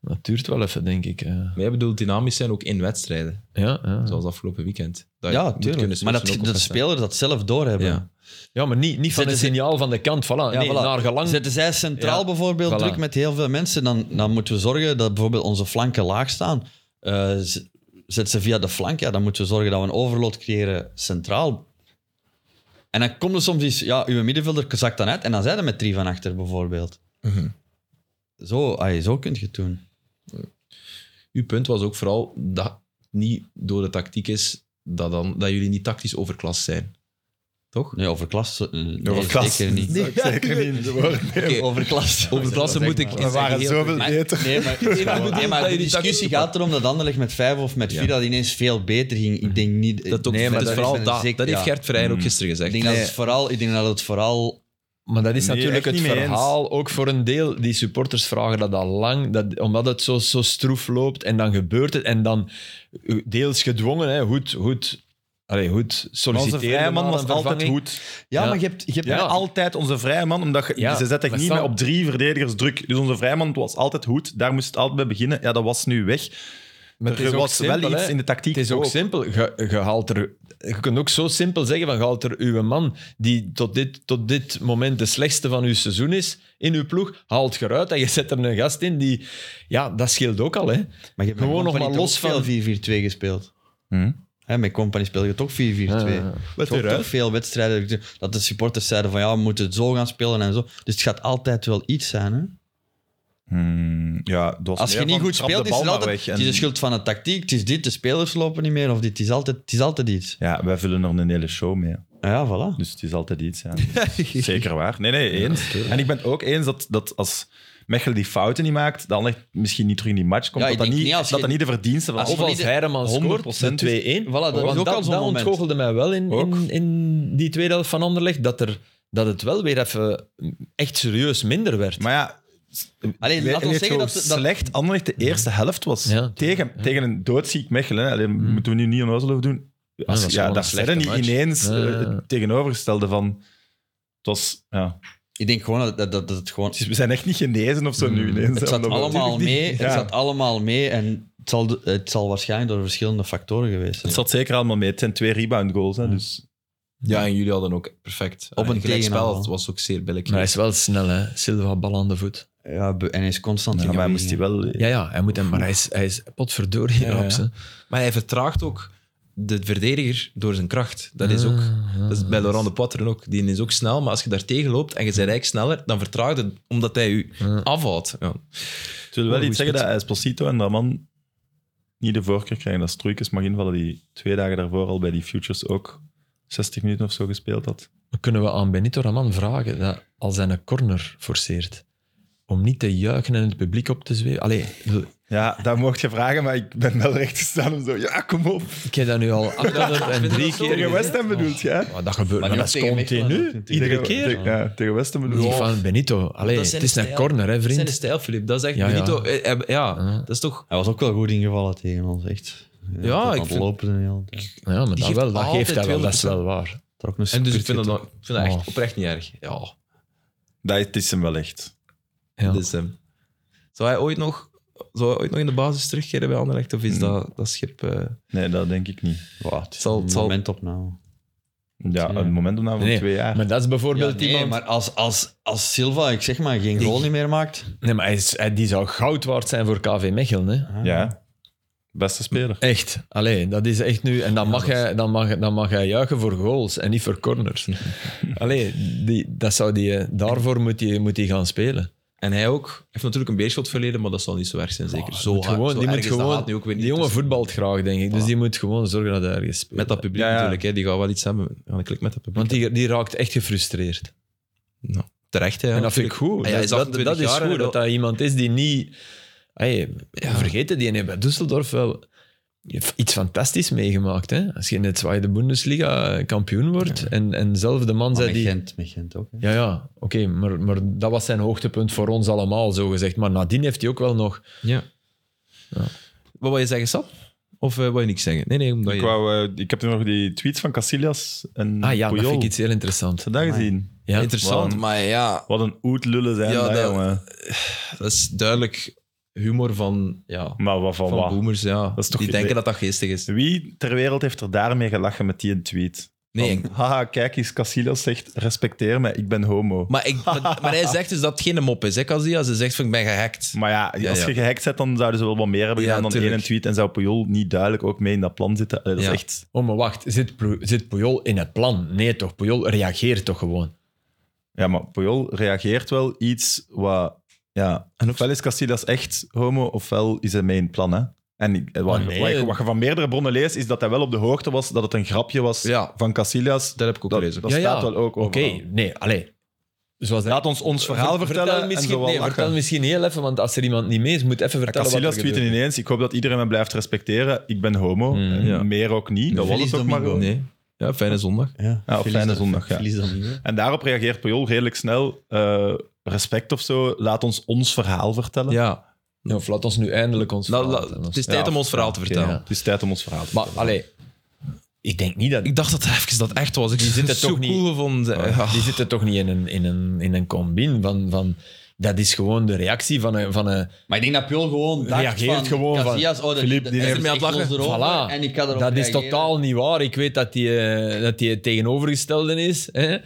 [SPEAKER 4] Dat duurt wel even, denk ik. eh.
[SPEAKER 1] Maar jij bedoelt dynamisch zijn ook in wedstrijden,
[SPEAKER 4] Ja, ja.
[SPEAKER 1] zoals afgelopen weekend. Dat je
[SPEAKER 3] ja,
[SPEAKER 1] moet kunnen
[SPEAKER 3] tuurlijk. Maar
[SPEAKER 1] switchen
[SPEAKER 3] dat,
[SPEAKER 1] ook op
[SPEAKER 3] dat de
[SPEAKER 1] wedstrijden.
[SPEAKER 3] spelers dat zelf doorhebben.
[SPEAKER 1] Ja.
[SPEAKER 4] ja maar niet, niet van
[SPEAKER 3] Zetten
[SPEAKER 4] een
[SPEAKER 3] ze-
[SPEAKER 4] signaal van de kant. Voilà.
[SPEAKER 3] Ja,
[SPEAKER 4] nee,
[SPEAKER 3] voilà.
[SPEAKER 4] naar gelang.
[SPEAKER 3] Zetten zij centraal
[SPEAKER 4] Ja,
[SPEAKER 3] bijvoorbeeld
[SPEAKER 4] voilà.
[SPEAKER 3] druk met heel veel mensen, dan, dan moeten we zorgen dat bijvoorbeeld onze flanken laag staan. Eh, z- zet ze via de flank, ja, dan moeten we zorgen dat we een overload creëren centraal. En dan komt er soms iets, ja, uw middenvelder zakt dan uit en dan zijn er met drie van achter bijvoorbeeld. Zo, ai, zo kun je het doen.
[SPEAKER 1] Uw punt was ook vooral dat het niet door de tactiek is dat, dan, dat jullie niet tactisch overklas zijn. Toch?
[SPEAKER 3] Nee, overklas. eh, Nee,
[SPEAKER 2] Overklas.
[SPEAKER 3] Zeker niet.
[SPEAKER 2] Dat zou ik zeker niet.
[SPEAKER 1] Oké.
[SPEAKER 3] Overklas.
[SPEAKER 1] Overklassen moet ik.
[SPEAKER 2] We waren zoveel
[SPEAKER 3] Maar-
[SPEAKER 2] beter.
[SPEAKER 3] Nee, maar, nee, maar,
[SPEAKER 1] dat
[SPEAKER 3] de
[SPEAKER 1] je die
[SPEAKER 3] discussie
[SPEAKER 1] tactiek-
[SPEAKER 3] gaat erom dat Anderlecht met 5 of met 4
[SPEAKER 1] Ja.
[SPEAKER 3] dat ineens veel beter ging. Ik denk niet...
[SPEAKER 1] Dat, ook,
[SPEAKER 3] nee, maar
[SPEAKER 1] dat, is
[SPEAKER 3] is
[SPEAKER 1] vooral
[SPEAKER 3] een
[SPEAKER 1] dat,
[SPEAKER 3] zeker-
[SPEAKER 1] dat heeft
[SPEAKER 3] ja.
[SPEAKER 1] Gert Verheyen
[SPEAKER 2] Mm.
[SPEAKER 1] ook gisteren
[SPEAKER 3] Ik
[SPEAKER 1] gezegd.
[SPEAKER 3] denk, dat het vooral, ik denk dat het vooral...
[SPEAKER 4] Maar dat is
[SPEAKER 2] Nee,
[SPEAKER 4] natuurlijk
[SPEAKER 2] echt
[SPEAKER 4] het
[SPEAKER 2] niet mee
[SPEAKER 4] verhaal. Ook voor een deel, die supporters vragen dat al lang, dat, omdat het zo, zo stroef loopt. En dan gebeurt het. En dan eh, deels gedwongen, hè, goed, goed, allee, goed
[SPEAKER 2] Maar Onze
[SPEAKER 4] solliciteren.
[SPEAKER 2] vrije man
[SPEAKER 4] naar
[SPEAKER 2] was
[SPEAKER 4] een
[SPEAKER 2] altijd
[SPEAKER 4] vervanging.
[SPEAKER 2] goed.
[SPEAKER 3] Ja,
[SPEAKER 4] Ja.
[SPEAKER 3] maar je hebt... Je hebt
[SPEAKER 2] Ja.
[SPEAKER 3] al-
[SPEAKER 2] Altijd onze vrije man, omdat je-
[SPEAKER 4] Ja,
[SPEAKER 2] ze zetten
[SPEAKER 4] maar
[SPEAKER 2] niet
[SPEAKER 4] Sam-
[SPEAKER 2] meer op drie verdedigers druk. Dus onze vrije man was altijd goed. Daar moest het altijd bij beginnen. Ja, dat was nu weg.
[SPEAKER 4] Maar het is
[SPEAKER 2] er
[SPEAKER 4] ook
[SPEAKER 2] was wel
[SPEAKER 4] simpel,
[SPEAKER 2] iets
[SPEAKER 4] hè.
[SPEAKER 2] in de tactiek.
[SPEAKER 4] Het is ook
[SPEAKER 2] ook.
[SPEAKER 4] simpel. Je, je haalt er, je kunt ook zo simpel zeggen: van, je haalt er uw man, die tot dit, tot dit moment de slechtste van uw seizoen is, in uw ploeg, haalt je eruit en je zet er een gast in die. Ja, dat scheelt ook al. Hè.
[SPEAKER 3] maar je hebt
[SPEAKER 4] Gewoon
[SPEAKER 3] met
[SPEAKER 4] nog
[SPEAKER 3] Company
[SPEAKER 4] maar
[SPEAKER 3] toch
[SPEAKER 4] los van-
[SPEAKER 3] veel 4-4-2 gespeeld.
[SPEAKER 2] Hm.
[SPEAKER 3] Hè, met Company speel je toch 4-4-2.
[SPEAKER 4] Wat
[SPEAKER 3] Toch, toch veel wedstrijden dat de supporters zeiden van ja, we moeten het zo gaan spelen en zo. Dus het gaat altijd wel iets zijn. Hè?
[SPEAKER 2] Hmm, ja, het was
[SPEAKER 3] Als je
[SPEAKER 2] meer
[SPEAKER 3] niet
[SPEAKER 2] van,
[SPEAKER 3] goed
[SPEAKER 2] trap de
[SPEAKER 3] speelt, is
[SPEAKER 2] bal
[SPEAKER 3] het
[SPEAKER 2] maar
[SPEAKER 3] altijd...
[SPEAKER 2] weg.
[SPEAKER 3] Het
[SPEAKER 2] En-
[SPEAKER 3] is de schuld van de tactiek, het is dit, de spelers lopen niet meer, of dit, het is altijd, het is altijd iets.
[SPEAKER 2] Ja, wij vullen er een hele show mee.
[SPEAKER 3] Ah Ja, voilà.
[SPEAKER 2] Dus het is altijd iets. Ja. Zeker waar. Nee, nee, eens. en ik ben het ook eens dat, dat als Mechelen die fouten niet maakt, dan echt misschien niet terug in die match komt.
[SPEAKER 3] Ja, ik
[SPEAKER 2] dat dat,
[SPEAKER 3] denk
[SPEAKER 2] niet,
[SPEAKER 3] niet als
[SPEAKER 2] dat
[SPEAKER 3] je-
[SPEAKER 2] dat niet de verdienste van
[SPEAKER 3] als
[SPEAKER 4] Of
[SPEAKER 2] Of
[SPEAKER 3] je-
[SPEAKER 4] als Heijreman
[SPEAKER 2] 100%
[SPEAKER 4] scoort, de
[SPEAKER 3] Voilà,
[SPEAKER 4] 2-1.
[SPEAKER 3] dat was
[SPEAKER 4] Want
[SPEAKER 3] ook al
[SPEAKER 4] dat,
[SPEAKER 3] zo'n
[SPEAKER 4] dat
[SPEAKER 3] moment.
[SPEAKER 4] ontgoochelde mij wel in,
[SPEAKER 2] Ook.
[SPEAKER 4] in, in die tweede helft van Anderlecht, dat, er, dat het wel weer even echt serieus minder werd.
[SPEAKER 2] Maar ja,
[SPEAKER 3] Alleen,
[SPEAKER 2] we-
[SPEAKER 3] laat
[SPEAKER 2] weet
[SPEAKER 3] ons
[SPEAKER 2] je
[SPEAKER 3] zeggen
[SPEAKER 2] hoe
[SPEAKER 3] dat... dat
[SPEAKER 2] slecht Anderlecht de eerste helft was.
[SPEAKER 4] Ja. Mhm.
[SPEAKER 2] tegen, tegen een doodziek Mechelen. hè. Alleen, Moeten we nu niet onnozel over doen. Als,
[SPEAKER 4] dat was
[SPEAKER 2] ja,
[SPEAKER 4] gewoon
[SPEAKER 2] daar
[SPEAKER 4] een
[SPEAKER 2] zijn er niet
[SPEAKER 4] slechte match.
[SPEAKER 2] ineens
[SPEAKER 4] Ja,
[SPEAKER 2] eh,
[SPEAKER 4] ja, ja.
[SPEAKER 2] het tegenovergestelde van... Het was... Ja.
[SPEAKER 3] Ik denk gewoon dat, dat, dat het gewoon...
[SPEAKER 2] Het is- we zijn echt niet genezen of zo
[SPEAKER 4] Mhm.
[SPEAKER 2] nu ineens. hè,
[SPEAKER 3] Het zat
[SPEAKER 2] omdat we-
[SPEAKER 3] allemaal mee. Het
[SPEAKER 2] Ja.
[SPEAKER 3] zat allemaal mee en het zal, de- het zal waarschijnlijk door verschillende factoren geweest
[SPEAKER 2] Het
[SPEAKER 3] zijn.
[SPEAKER 2] zat zeker allemaal mee. Het zijn twee rebound goals. Hè, dus
[SPEAKER 1] Ja, en jullie hadden ook perfect.
[SPEAKER 3] Op een
[SPEAKER 1] gelijkspel.
[SPEAKER 3] tegenaanval.
[SPEAKER 1] Het was ook zeer billig.
[SPEAKER 4] Maar hij is wel snel, hè? Silva bal aan de voet.
[SPEAKER 3] Ja, be- en hij is constant
[SPEAKER 2] ja,
[SPEAKER 3] in
[SPEAKER 2] maar hij
[SPEAKER 3] beweging.
[SPEAKER 2] moest hij wel...
[SPEAKER 4] Ja, ja hij moet hem, maar hij is, hij is potverdorie
[SPEAKER 1] Ja, ja.
[SPEAKER 4] raps, hè.
[SPEAKER 1] Maar hij vertraagt ook de verdediger door zijn kracht. Dat is ook... Dat is bij Laurent de Poitrin ook. Die is ook snel, maar als je daar tegen loopt en je bent eigenlijk sneller, dan vertraagt het omdat hij u afhoudt. Ja.
[SPEAKER 2] Ik wil wel
[SPEAKER 1] Oh,
[SPEAKER 2] iets
[SPEAKER 1] goeie
[SPEAKER 2] zeggen dat Esposito en Raman niet de voorkeur krijgen dat Struikens mag invallen die twee dagen daarvoor al bij die Futures ook 60 minuten of zo gespeeld had.
[SPEAKER 4] Kunnen we aan Benito Raman vragen dat als hij een corner forceert, om niet te juichen en het publiek op te zweven? Allee, ik bedoel,
[SPEAKER 2] Ja, dat mocht je vragen, maar ik ben wel recht gestaan om zo, ja, kom op.
[SPEAKER 4] ik heb dat nu al 803 keer
[SPEAKER 2] Tegen West Ham
[SPEAKER 4] gezien.
[SPEAKER 2] bedoelt je, hè?
[SPEAKER 4] Maar dat gebeurt, maar,
[SPEAKER 3] nu
[SPEAKER 4] dat
[SPEAKER 3] ook
[SPEAKER 4] is
[SPEAKER 3] tegen Mechelen,
[SPEAKER 4] continu,
[SPEAKER 3] natuurlijk.
[SPEAKER 4] iedere
[SPEAKER 2] Tegen-
[SPEAKER 4] keer.
[SPEAKER 2] tegen- Ja, tegen West Ham bedoel
[SPEAKER 4] Niet
[SPEAKER 2] je.
[SPEAKER 4] van Benito. Allee,
[SPEAKER 1] Dat zijn
[SPEAKER 4] het is
[SPEAKER 1] de
[SPEAKER 4] een
[SPEAKER 1] stijl.
[SPEAKER 4] corner, hè,
[SPEAKER 1] Dat zijn
[SPEAKER 4] vriend.
[SPEAKER 1] de stijl, Filip. Dat is echt...
[SPEAKER 4] Ja, ja.
[SPEAKER 1] Benito, eh, eh, ja, dat is toch...
[SPEAKER 3] Hij was ook wel goed ingevallen tegen ons, echt.
[SPEAKER 1] Ja,
[SPEAKER 3] tot
[SPEAKER 1] ik
[SPEAKER 3] aan het
[SPEAKER 1] vind-
[SPEAKER 3] lopen en heel. Er
[SPEAKER 4] Ja, maar
[SPEAKER 1] Die
[SPEAKER 4] dat,
[SPEAKER 1] geeft
[SPEAKER 4] wel, dat geeft hij wel, dat is
[SPEAKER 1] 200%.
[SPEAKER 4] wel waar.
[SPEAKER 3] ook een
[SPEAKER 1] En dus ik
[SPEAKER 3] spurt
[SPEAKER 1] vind dat,
[SPEAKER 3] getrokken.
[SPEAKER 1] dan- ik vind dat echt
[SPEAKER 4] Oh.
[SPEAKER 1] oprecht niet erg. Ja,
[SPEAKER 2] Dat het is hem wel echt.
[SPEAKER 4] Ja.
[SPEAKER 1] dus, ehm, zou hij ooit nog... Zou hij ooit nog in de basis terugkeren bij Anderlecht? Of is dat, dat schip... eh,
[SPEAKER 2] Nee, dat denk ik niet.
[SPEAKER 3] Wow, het is
[SPEAKER 1] Zal-
[SPEAKER 3] een
[SPEAKER 1] zal-
[SPEAKER 3] momentopname.
[SPEAKER 2] Ja, een momentopname van
[SPEAKER 4] Nee,
[SPEAKER 2] twee jaar.
[SPEAKER 4] Maar dat is bijvoorbeeld
[SPEAKER 3] Ja, nee,
[SPEAKER 4] iemand...
[SPEAKER 3] maar als, als, als Silva, ik zeg maar, geen goal niet meer maakt...
[SPEAKER 4] Nee, maar hij is, hij, die zou goud waard zijn voor KV Mechelen, hè.
[SPEAKER 2] Ja, beste speler.
[SPEAKER 4] Echt. Allee, dat is echt nu... En dan mag, hij, dan, mag, dan mag hij juichen voor goals en niet voor corners. Allee, die, dat zou die, eh, daarvoor moet hij moet die gaan spelen.
[SPEAKER 1] En hij ook. Hij heeft natuurlijk een beerschot verleden, maar dat zal niet zo erg zijn, zeker. zo
[SPEAKER 4] Moet
[SPEAKER 1] hard,
[SPEAKER 4] gewoon,
[SPEAKER 1] zo
[SPEAKER 4] die,
[SPEAKER 1] erg
[SPEAKER 4] moet
[SPEAKER 1] is dat haat
[SPEAKER 4] gewoon,
[SPEAKER 1] nu ook weer
[SPEAKER 4] die
[SPEAKER 1] niet
[SPEAKER 4] jongen
[SPEAKER 1] tussen-
[SPEAKER 4] voetbalt graag, denk ik. Dus die moet gewoon zorgen dat hij ergens speelt.
[SPEAKER 1] Met dat publiek
[SPEAKER 2] Ja, ja.
[SPEAKER 1] natuurlijk, hè. die gaat wel iets hebben. Ja, klik met dat publiek.
[SPEAKER 4] Want die, die raakt echt gefrustreerd.
[SPEAKER 1] Nou, terecht, hè.
[SPEAKER 4] en dat vind ik goed.
[SPEAKER 1] Ah Hij
[SPEAKER 4] Dat-
[SPEAKER 1] is
[SPEAKER 4] dat,
[SPEAKER 1] 28
[SPEAKER 4] dat is
[SPEAKER 1] jaar en
[SPEAKER 4] goed, dat
[SPEAKER 1] wel-
[SPEAKER 4] dat iemand is die niet... Hey, ja, vergeet het, die heeft bij Düsseldorf wel je hebt iets fantastisch meegemaakt. Hè? Als je in de tweede Bundesliga kampioen wordt en, en zelf de man
[SPEAKER 3] Maar
[SPEAKER 4] zei
[SPEAKER 3] met,
[SPEAKER 4] die...
[SPEAKER 3] Gent, met Gent ook. hè.
[SPEAKER 4] Ja, ja, oké, maar, maar dat was zijn hoogtepunt voor ons allemaal, zo gezegd. Maar nadien heeft hij ook wel nog.
[SPEAKER 1] Ja. Wat wil je zeggen, Sam? Of eh wil je niks zeggen? Nee, nee, omdat
[SPEAKER 2] Ik,
[SPEAKER 1] je...
[SPEAKER 2] wou, eh, ik heb nog die tweets van Casillas en
[SPEAKER 4] Ah ja, dat
[SPEAKER 2] Puyol.
[SPEAKER 4] vind ik iets heel interessants.
[SPEAKER 2] Heb je dat gezien?
[SPEAKER 4] Ja,
[SPEAKER 1] Interessant,
[SPEAKER 2] Wow.
[SPEAKER 1] maar ja,
[SPEAKER 2] Wat een oetlullen zijn
[SPEAKER 1] Ja,
[SPEAKER 2] dat,
[SPEAKER 1] dat-
[SPEAKER 2] jongen.
[SPEAKER 1] dat is duidelijk humor van, ja,
[SPEAKER 2] Maar wat van,
[SPEAKER 1] van
[SPEAKER 2] wat?
[SPEAKER 1] boomers. Ja.
[SPEAKER 2] Dat is toch-
[SPEAKER 1] die denken dat dat geestig is.
[SPEAKER 2] Wie ter wereld heeft er daarmee gelachen met die tweet?
[SPEAKER 1] Nee,
[SPEAKER 2] Van, haha, kijk eens, Casillas zegt, respecteer mij, ik ben homo. Maar,
[SPEAKER 1] maar, ik, maar, maar hij zegt dus dat het geen mop is, hè, Kazia? Ze zegt van, ik ben gehackt.
[SPEAKER 2] ja, als
[SPEAKER 1] Ja, ja.
[SPEAKER 2] je gehackt bent, dan zouden ze wel wat meer hebben
[SPEAKER 1] Ja,
[SPEAKER 2] gedaan dan
[SPEAKER 1] tuurlijk.
[SPEAKER 2] één tweet. En zou Puyol niet duidelijk ook mee in dat plan zitten? Allee, dat
[SPEAKER 1] Ja.
[SPEAKER 2] is echt...
[SPEAKER 4] Oh, maar wacht. Zit, Pu- zit Puyol in het plan? Nee, toch? Puyol reageert toch gewoon?
[SPEAKER 2] Ja, maar Puyol reageert wel iets wat... Ja, en ofwel is Casillas echt homo, ofwel is hij mee in het plan, hè? En ik- wat,
[SPEAKER 4] Maar nee.
[SPEAKER 2] wat, je, wat je van meerdere bronnen leest, is dat hij wel op de hoogte was dat het een grapje was
[SPEAKER 1] Ja.
[SPEAKER 2] van Casillas.
[SPEAKER 1] Dat heb ik ook
[SPEAKER 2] Dat,
[SPEAKER 1] gelezen.
[SPEAKER 2] dat
[SPEAKER 4] Ja, ja.
[SPEAKER 2] staat wel ook
[SPEAKER 4] Oké,
[SPEAKER 2] overal.
[SPEAKER 4] nee, allee. Zoals dat-
[SPEAKER 2] Laat ons ons verhaal
[SPEAKER 4] Ver-
[SPEAKER 2] vertellen en
[SPEAKER 4] Vertel misschien,
[SPEAKER 2] zo wel
[SPEAKER 4] nee,
[SPEAKER 2] lachen.
[SPEAKER 4] vertel misschien heel even, want als er iemand niet mee is, moet even vertellen wat
[SPEAKER 2] Casillas
[SPEAKER 4] er gebeurt.
[SPEAKER 2] tweette ineens, ik hoop dat iedereen me blijft respecteren. Ik ben homo.
[SPEAKER 4] Mm,
[SPEAKER 2] En
[SPEAKER 1] Hmm. ja.
[SPEAKER 2] Meer ook niet. Dat was
[SPEAKER 3] Feliz
[SPEAKER 2] het ook maar.
[SPEAKER 3] Domingo.
[SPEAKER 2] gewoon.
[SPEAKER 1] Nee. Ja, fijne zondag.
[SPEAKER 3] Ja,
[SPEAKER 2] Ja, op
[SPEAKER 3] Feliz
[SPEAKER 2] fijne
[SPEAKER 3] Dom-
[SPEAKER 2] zondag, ja.
[SPEAKER 3] Feliz Domingo.
[SPEAKER 2] En daarop reageert Puyol redelijk snel. eh, respect of zo. Laat ons ons verhaal vertellen.
[SPEAKER 1] Ja.
[SPEAKER 4] Ja, of laat ons nu eindelijk ons
[SPEAKER 1] Nou,
[SPEAKER 4] verhaal
[SPEAKER 1] la-
[SPEAKER 4] vertellen.
[SPEAKER 1] het is tijd om ons verhaal te
[SPEAKER 4] oké,
[SPEAKER 1] vertellen.
[SPEAKER 4] ja.
[SPEAKER 2] Het is tijd om ons verhaal te
[SPEAKER 4] Maar, allee, ik denk niet dat...
[SPEAKER 1] Ik dacht dat hij even dat echt was. Ik
[SPEAKER 4] Die
[SPEAKER 1] vind
[SPEAKER 4] zitten
[SPEAKER 1] het zo
[SPEAKER 4] toch niet- Oh,
[SPEAKER 1] cool gevonden. Ja.
[SPEAKER 4] Die zitten toch niet in een, in een, in een combine van... van dat is gewoon de reactie van een... Van een
[SPEAKER 3] Maar ik denk dat Pul gewoon dacht
[SPEAKER 4] Reageert
[SPEAKER 3] van,
[SPEAKER 4] gewoon van,
[SPEAKER 3] Casillas, oh, dat,
[SPEAKER 2] Philippe,
[SPEAKER 3] dat-
[SPEAKER 2] die
[SPEAKER 3] dat
[SPEAKER 2] heeft
[SPEAKER 3] is
[SPEAKER 1] mij
[SPEAKER 3] echt
[SPEAKER 1] aan het
[SPEAKER 3] los
[SPEAKER 1] lachen.
[SPEAKER 3] erover
[SPEAKER 4] Voilà.
[SPEAKER 3] en ik kan erop
[SPEAKER 4] dat is
[SPEAKER 3] reageren.
[SPEAKER 4] totaal niet waar. Ik weet dat die, eh, dat die het tegenovergestelde is. Hè?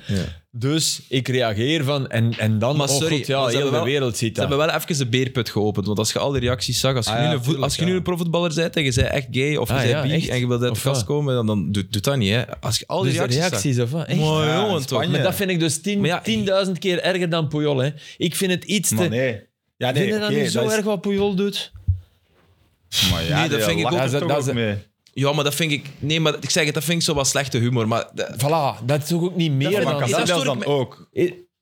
[SPEAKER 4] Dus ik reageer van... En, en dan,
[SPEAKER 1] Maar
[SPEAKER 4] oh,
[SPEAKER 1] sorry,
[SPEAKER 4] goed,
[SPEAKER 1] maar
[SPEAKER 4] ja,
[SPEAKER 1] ze
[SPEAKER 4] heel
[SPEAKER 1] hebben wel-
[SPEAKER 4] de wereld ziet
[SPEAKER 1] Ze
[SPEAKER 4] dat.
[SPEAKER 1] hebben wel even de beerput geopend. Want als je al die reacties zag, als je,
[SPEAKER 3] Ah
[SPEAKER 1] nu,
[SPEAKER 3] ja,
[SPEAKER 1] een vo-
[SPEAKER 3] tuurlijk,
[SPEAKER 1] als je nu
[SPEAKER 3] ja.
[SPEAKER 1] een profvoetballer bent en je bent echt gay of je
[SPEAKER 4] Ah
[SPEAKER 1] bent
[SPEAKER 4] ja,
[SPEAKER 1] bi
[SPEAKER 4] echt?
[SPEAKER 1] en je wilt uit de
[SPEAKER 4] Of
[SPEAKER 1] kast
[SPEAKER 4] wat?
[SPEAKER 1] komen, dan, dan doet, doet dat niet. Hè. Als je al die
[SPEAKER 4] Dus de
[SPEAKER 1] reacties,
[SPEAKER 4] reacties of wat?
[SPEAKER 1] zag...
[SPEAKER 4] Echt?
[SPEAKER 1] Mooi
[SPEAKER 2] Ja,
[SPEAKER 1] Ah, jongen,
[SPEAKER 2] in
[SPEAKER 1] toch?
[SPEAKER 2] Spanje.
[SPEAKER 4] Maar dat vind ik dus
[SPEAKER 1] Maar ja,
[SPEAKER 4] 10.000 keer erger dan Puyol. Hè. Ik vind het iets te...
[SPEAKER 2] Maar nee. Ja, nee,
[SPEAKER 4] vind je dat
[SPEAKER 2] oké,
[SPEAKER 4] niet zo
[SPEAKER 2] dat is-
[SPEAKER 4] erg wat Puyol doet?
[SPEAKER 2] Maar ja,
[SPEAKER 1] Nee, dat
[SPEAKER 2] die
[SPEAKER 1] vind ik
[SPEAKER 2] lachen
[SPEAKER 1] ook-
[SPEAKER 2] er
[SPEAKER 1] dat-
[SPEAKER 2] toch
[SPEAKER 1] dat-
[SPEAKER 2] ook mee.
[SPEAKER 1] Ja, maar dat vind ik... Nee, maar ik zeg het, dat vind ik zo wat slechte humor. Maar dat-
[SPEAKER 4] Voilà, dat is toch ook niet meer
[SPEAKER 2] Maar
[SPEAKER 4] dan...
[SPEAKER 2] Van
[SPEAKER 1] dat
[SPEAKER 4] dat.
[SPEAKER 1] stoor
[SPEAKER 2] Casillas
[SPEAKER 1] ik
[SPEAKER 2] dan
[SPEAKER 1] me-
[SPEAKER 2] ook.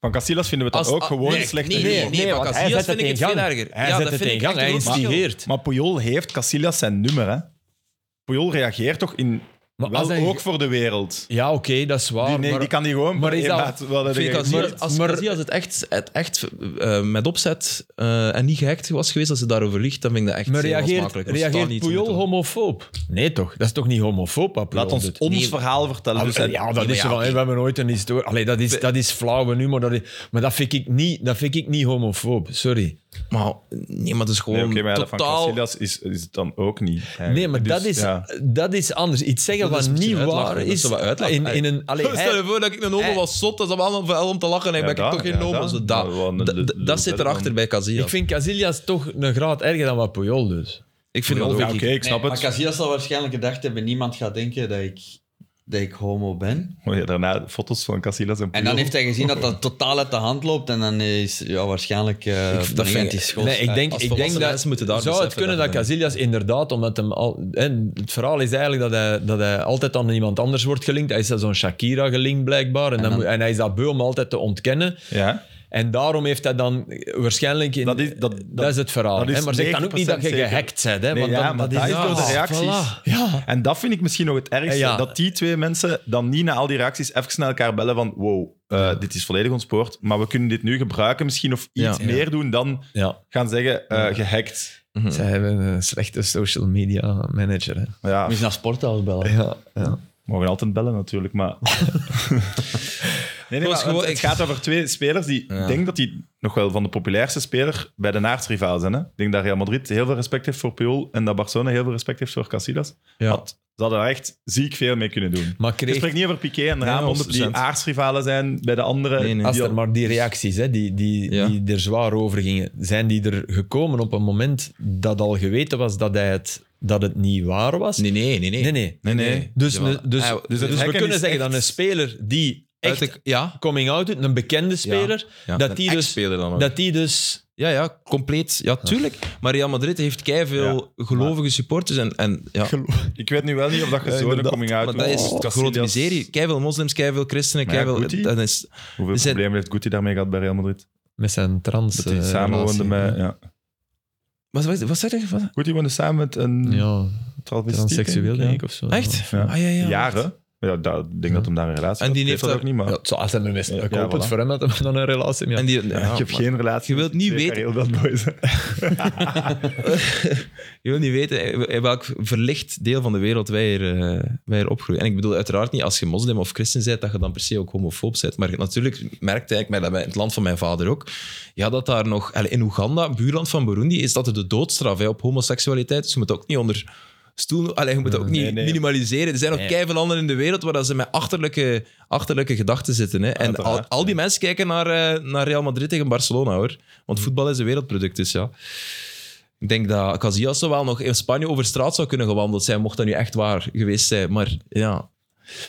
[SPEAKER 2] Van Casillas vinden we dan
[SPEAKER 1] Als-
[SPEAKER 2] ook
[SPEAKER 1] ah,
[SPEAKER 2] gewoon
[SPEAKER 1] nee,
[SPEAKER 2] slechte
[SPEAKER 1] nee,
[SPEAKER 2] humor.
[SPEAKER 1] nee, nee, want Casillas vind ik het veel erger.
[SPEAKER 4] Hij
[SPEAKER 1] Ja,
[SPEAKER 4] zet
[SPEAKER 1] dat
[SPEAKER 4] het
[SPEAKER 1] vind
[SPEAKER 4] in
[SPEAKER 1] ik
[SPEAKER 4] gang,
[SPEAKER 1] echt
[SPEAKER 4] hij
[SPEAKER 1] een groot verschil.
[SPEAKER 4] instigeert.
[SPEAKER 2] Maar Puyol heeft Casillas zijn nummer, hè? Puyol reageert toch in...
[SPEAKER 4] Maar
[SPEAKER 2] wel
[SPEAKER 4] als hij-
[SPEAKER 2] ook voor de wereld.
[SPEAKER 4] Ja, oké, dat is waar.
[SPEAKER 2] Die, nee,
[SPEAKER 4] maar-
[SPEAKER 2] die kan die gewoon...
[SPEAKER 4] maar is
[SPEAKER 2] Hey,
[SPEAKER 4] dat-
[SPEAKER 2] maat, wat heb
[SPEAKER 1] Ik vind
[SPEAKER 2] jij
[SPEAKER 1] dat
[SPEAKER 2] gezien?
[SPEAKER 1] als, als,
[SPEAKER 4] maar-
[SPEAKER 1] als, als het echt, het echt eh, met opzet eh, en niet gehackt was geweest, als ze daarover liegt, dan vind ik dat echt
[SPEAKER 4] Maar
[SPEAKER 1] heel
[SPEAKER 4] reageert,
[SPEAKER 1] afsmakelijk. Dat staat
[SPEAKER 4] reageert
[SPEAKER 1] niet zo
[SPEAKER 4] Puyol
[SPEAKER 1] meteen.
[SPEAKER 4] homofoob? Nee toch, dat is toch niet homofoob wat Puyol
[SPEAKER 2] Laat ons
[SPEAKER 4] doet?
[SPEAKER 2] ons
[SPEAKER 1] Nee.
[SPEAKER 2] verhaal vertellen. Dus
[SPEAKER 4] Ah,
[SPEAKER 2] hij-
[SPEAKER 4] ja,
[SPEAKER 1] Nee,
[SPEAKER 4] dat
[SPEAKER 1] maar
[SPEAKER 4] is zo
[SPEAKER 1] ja,
[SPEAKER 4] van, hey, we hebben nooit een historie. Allee, dat is, dat is flauwe humor. Dat is, maar dat vind, ik niet, dat vind ik niet homofoob, sorry.
[SPEAKER 1] Maar nee, maar dat is gewoon
[SPEAKER 2] Nee, oké, maar ja, dat van
[SPEAKER 1] totaal...
[SPEAKER 2] Casillas is, is het dan ook niet. eigenlijk.
[SPEAKER 4] Nee, maar
[SPEAKER 2] Dus,
[SPEAKER 4] dat, is,
[SPEAKER 2] ja.
[SPEAKER 4] dat is anders. Iets zeggen
[SPEAKER 1] Dat is
[SPEAKER 4] wat niet
[SPEAKER 1] misschien uitlachen, dat
[SPEAKER 4] waar is.
[SPEAKER 1] is wel uitlachen.
[SPEAKER 4] in, in een, allee, hij-
[SPEAKER 1] Stel je voor dat ik een homo
[SPEAKER 4] hij-
[SPEAKER 1] was zot, dat is allemaal wel om te lachen. en
[SPEAKER 2] Ja,
[SPEAKER 1] ben ik
[SPEAKER 2] dat,
[SPEAKER 1] toch geen
[SPEAKER 2] ja,
[SPEAKER 1] homo.
[SPEAKER 2] dat.
[SPEAKER 1] Zo,
[SPEAKER 2] Maar
[SPEAKER 1] Dat,
[SPEAKER 2] gewoon
[SPEAKER 1] dat,
[SPEAKER 2] de- de-
[SPEAKER 1] dat
[SPEAKER 2] de-
[SPEAKER 1] zit
[SPEAKER 2] de-
[SPEAKER 1] erachter bij Casillas.
[SPEAKER 4] ik vind Casillas toch een graad erger dan wat Puyol dus.
[SPEAKER 1] ik vind
[SPEAKER 2] Ja,
[SPEAKER 1] dat ook-
[SPEAKER 2] Oké, ik snap
[SPEAKER 3] Nee,
[SPEAKER 2] het.
[SPEAKER 3] Maar Casillas zal waarschijnlijk gedacht hebben, niemand gaat denken dat ik, dat ik homo ben.
[SPEAKER 2] Oh ja, daarna foto's van Casillas en
[SPEAKER 3] En
[SPEAKER 2] Puyol.
[SPEAKER 3] dan heeft hij gezien dat dat totaal uit de hand loopt en dan is ja, waarschijnlijk eh
[SPEAKER 1] Ik- dat vind ik-
[SPEAKER 4] Nee, ik denk,
[SPEAKER 1] Als
[SPEAKER 4] ik denk
[SPEAKER 1] volwassen
[SPEAKER 4] dat
[SPEAKER 1] mensen moeten daar dus
[SPEAKER 4] zou het
[SPEAKER 1] beseffen
[SPEAKER 4] kunnen
[SPEAKER 1] dat
[SPEAKER 4] dat
[SPEAKER 1] het-
[SPEAKER 4] Casillas inderdaad, omdat hem al, en het verhaal is eigenlijk dat hij, dat hij altijd aan iemand anders wordt gelinkt. Hij is aan zo'n Shakira gelinkt blijkbaar en, dan,
[SPEAKER 3] dan-
[SPEAKER 4] moet- en hij is dat beu om altijd te ontkennen.
[SPEAKER 2] Ja.
[SPEAKER 4] En daarom heeft hij dan eh, waarschijnlijk... In,
[SPEAKER 2] Dat is- dat-
[SPEAKER 4] dat,
[SPEAKER 2] dat-
[SPEAKER 4] is het verhaal.
[SPEAKER 2] dat is
[SPEAKER 4] hè? Maar zeg dan ook niet dat je
[SPEAKER 2] 90% zeker.
[SPEAKER 4] gehackt bent. Hè?
[SPEAKER 2] Nee,
[SPEAKER 4] Want
[SPEAKER 2] ja,
[SPEAKER 4] dan,
[SPEAKER 2] maar dat is door de reacties.
[SPEAKER 4] voilà. Ja.
[SPEAKER 2] En dat vind ik misschien nog het ergste.
[SPEAKER 4] Ja.
[SPEAKER 2] Dat die twee mensen dan niet na al die reacties even naar elkaar bellen van wow, eh, dit is volledig ontspoord, maar we kunnen dit nu gebruiken misschien of iets
[SPEAKER 1] Ja.
[SPEAKER 2] meer doen dan
[SPEAKER 4] ja.
[SPEAKER 2] gaan zeggen eh, gehackt.
[SPEAKER 4] Zij hebben een slechte social media manager. Hè?
[SPEAKER 2] Maar Ja,
[SPEAKER 3] Moet je naar Sporthouse bellen.
[SPEAKER 4] Ja, ja.
[SPEAKER 2] we mogen altijd bellen natuurlijk, maar... nee, nee,
[SPEAKER 1] was
[SPEAKER 2] maar
[SPEAKER 1] gewoon
[SPEAKER 2] het, het
[SPEAKER 1] echt-
[SPEAKER 2] gaat over twee spelers die... Ik denk dat die nog wel van de populairste speler bij de naardsrivaal zijn. Hè? Ik denk dat Real Madrid heel veel respect heeft voor Puyol en dat Barcelona heel veel respect heeft voor Casillas. Had, ze hadden daar echt ziek veel mee kunnen doen.
[SPEAKER 4] Maar
[SPEAKER 2] Ik
[SPEAKER 4] kreeg,
[SPEAKER 2] spreek niet over Piqué en
[SPEAKER 1] Nee,
[SPEAKER 2] Ramos, die
[SPEAKER 1] 100%.
[SPEAKER 2] aarsrivalen zijn bij de andere.
[SPEAKER 1] Nee, nee.
[SPEAKER 4] Als er maar die reacties hè, die, die,
[SPEAKER 1] Ja.
[SPEAKER 4] die er zwaar over gingen, zijn die er gekomen op een moment dat al geweten was dat, hij het, dat het niet waar was?
[SPEAKER 1] Nee, nee, nee. nee.
[SPEAKER 4] nee. nee.
[SPEAKER 1] Nee, nee.
[SPEAKER 4] Dus,
[SPEAKER 1] Jawel.
[SPEAKER 4] ne- dus,
[SPEAKER 1] Hij- dus het
[SPEAKER 4] dus, we
[SPEAKER 2] hacken
[SPEAKER 4] kunnen
[SPEAKER 2] is
[SPEAKER 4] zeggen
[SPEAKER 2] echt-
[SPEAKER 4] dat een speler die
[SPEAKER 1] Uit
[SPEAKER 4] echt
[SPEAKER 1] de- ja,
[SPEAKER 4] coming out doet, een bekende speler,
[SPEAKER 1] ja,
[SPEAKER 4] dat,
[SPEAKER 1] een
[SPEAKER 4] die dus,
[SPEAKER 1] ex-speler dan ook.
[SPEAKER 4] dat die dus...
[SPEAKER 1] Ja, ja, compleet. Ja, tuurlijk. Maar Real Madrid heeft keiveel gelovige supporters. En, en, ja.
[SPEAKER 2] Ik weet nu wel niet of dat je
[SPEAKER 1] Ja,
[SPEAKER 2] zo'n
[SPEAKER 1] inderdaad.
[SPEAKER 2] coming out
[SPEAKER 1] Maar dat
[SPEAKER 2] moet.
[SPEAKER 1] is
[SPEAKER 2] Oh,
[SPEAKER 1] toch grote
[SPEAKER 2] Casillas.
[SPEAKER 1] miserie. Keiveel moslims, keiveel christenen,
[SPEAKER 2] Maar ja,
[SPEAKER 1] keiveel...
[SPEAKER 2] Guti?
[SPEAKER 1] dat is,
[SPEAKER 2] Hoeveel
[SPEAKER 1] Is het-
[SPEAKER 2] problemen heeft Guti daarmee gehad bij Real Madrid?
[SPEAKER 4] Met zijn trans...
[SPEAKER 2] Dat hij
[SPEAKER 4] eh,
[SPEAKER 2] samenwoonde
[SPEAKER 4] relatie.
[SPEAKER 2] met... Ja.
[SPEAKER 1] wat, wat, wat zeg je? Wat?
[SPEAKER 2] Guti woonde samen met een
[SPEAKER 4] Ja,
[SPEAKER 2] transseksueel.
[SPEAKER 4] transseksueel denk ik of zo.
[SPEAKER 1] Echt?
[SPEAKER 2] Ja.
[SPEAKER 1] Ah, ja, ja.
[SPEAKER 2] Jaren. Ja, dat, ik denk dat hem daar een relatie
[SPEAKER 1] En die
[SPEAKER 2] had.
[SPEAKER 1] heeft
[SPEAKER 2] dat
[SPEAKER 1] daar-
[SPEAKER 2] ook niet, maar
[SPEAKER 4] Ja, het zou- als hij een is,
[SPEAKER 2] Ja,
[SPEAKER 4] ik
[SPEAKER 2] ja,
[SPEAKER 4] hoop het
[SPEAKER 2] voilà.
[SPEAKER 4] voor hem dat hij dan een relatie heeft.
[SPEAKER 1] En
[SPEAKER 4] Ja.
[SPEAKER 1] die, ja,
[SPEAKER 2] ik heb
[SPEAKER 1] maar-
[SPEAKER 2] geen relatie.
[SPEAKER 1] Je wilt niet
[SPEAKER 2] Zeker
[SPEAKER 1] weten-
[SPEAKER 2] Heel dat boys.
[SPEAKER 1] Je wil niet weten in welk verlicht deel van de wereld wij hier, eh, wij hier opgroeien. En ik bedoel uiteraard niet als je moslim of christen bent, dat je dan per se ook homofoob bent. Maar natuurlijk merkte ik, maar dat bij- in het land van mijn vader ook, ja, dat daar nog... allee, In Oeganda, buurland van Burundi, is dat de doodstraf hè, op homoseksualiteit. Dus je moet ook niet onder stoel... Allee, je moet dat ook niet
[SPEAKER 2] nee, nee.
[SPEAKER 1] minimaliseren. Er zijn nog
[SPEAKER 4] Nee.
[SPEAKER 1] keiveel landen in de wereld waar dat ze met achterlijke, achterlijke gedachten zitten. Hè. En al,
[SPEAKER 2] Uiteraard,
[SPEAKER 1] al die mensen kijken naar, eh, naar Real Madrid tegen Barcelona, hoor. Want voetbal is een wereldproduct, dus ja. Ik denk dat Casillas zo wel nog in Spanje over straat zou kunnen gewandeld zijn, mocht dat nu echt waar geweest zijn. Maar ja,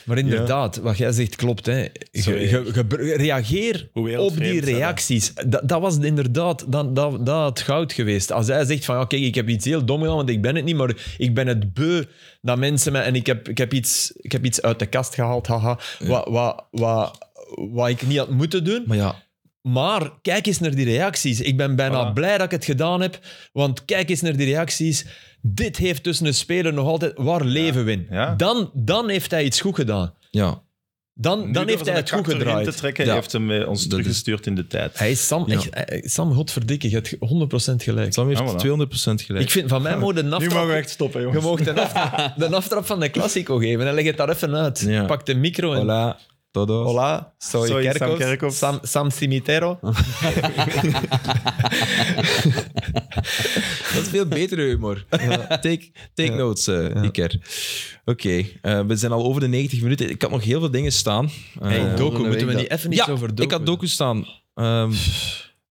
[SPEAKER 4] Maar inderdaad, wat jij zegt klopt. Hè. Ge-
[SPEAKER 2] Sorry.
[SPEAKER 4] ge- ge- reageer
[SPEAKER 2] Hoe
[SPEAKER 4] op
[SPEAKER 2] wereldvreemd
[SPEAKER 4] die
[SPEAKER 2] zijn we.
[SPEAKER 4] reacties. Dat, dat was inderdaad dat, dat, dat het goud geweest. Als hij zegt van, ja, kijk, ik heb iets heel dom gedaan, want ik ben het niet, maar ik ben het beu dat mensen me... En ik heb, ik heb, iets, ik heb iets uit de kast gehaald, haha, wat, wat, wat, wat ik niet had moeten doen.
[SPEAKER 1] maar ja
[SPEAKER 4] Maar kijk eens naar die reacties. Ik ben bijna
[SPEAKER 2] Voilà.
[SPEAKER 4] blij dat ik het gedaan heb. Want kijk eens naar die reacties. Dit heeft tussen een speler nog altijd... Waar leven we in?
[SPEAKER 2] Ja.
[SPEAKER 4] Dan, dan heeft hij iets goed gedaan.
[SPEAKER 1] ja.
[SPEAKER 4] Dan,
[SPEAKER 2] Nu
[SPEAKER 4] dan
[SPEAKER 2] door
[SPEAKER 4] heeft hij
[SPEAKER 2] zijn
[SPEAKER 4] het goed
[SPEAKER 2] kak erin
[SPEAKER 4] gedraaid.
[SPEAKER 2] te trekken,
[SPEAKER 1] Ja.
[SPEAKER 2] heeft hem eh, ons
[SPEAKER 1] Dat
[SPEAKER 2] teruggestuurd in de tijd.
[SPEAKER 4] Hij is Sam...
[SPEAKER 1] Ja.
[SPEAKER 4] Echt, hij- Sam, godverdikke, je hebt 100% gelijk.
[SPEAKER 1] Sam heeft
[SPEAKER 2] Ah,
[SPEAKER 1] 200%
[SPEAKER 2] voilà.
[SPEAKER 1] gelijk.
[SPEAKER 4] Ik vind, van mij moet een
[SPEAKER 2] nu mogen we
[SPEAKER 4] aftrap...
[SPEAKER 2] echt stoppen,
[SPEAKER 4] Je
[SPEAKER 2] jongens.
[SPEAKER 4] mocht een aftrap, de aftrap van de Classico geven. En leg het daar even uit.
[SPEAKER 1] Ja.
[SPEAKER 4] Pak de micro en...
[SPEAKER 1] Hola, todos.
[SPEAKER 4] Hola, soy,
[SPEAKER 2] Soy Sam
[SPEAKER 4] Kerkhoff.
[SPEAKER 2] Kerkhoff.
[SPEAKER 4] Sam, Sam Cimitero.
[SPEAKER 1] Dat is veel betere humor. Take, take notes, eh, Iker. Oké, eh, we zijn al over de 90 minuten. Ik had nog heel veel dingen staan. Eh,
[SPEAKER 4] hey,
[SPEAKER 3] volgende
[SPEAKER 4] docu,
[SPEAKER 3] week
[SPEAKER 4] moeten we
[SPEAKER 3] dat-
[SPEAKER 4] niet even iets
[SPEAKER 1] ja,
[SPEAKER 4] over docu?
[SPEAKER 1] ik had docu staan. Ehm,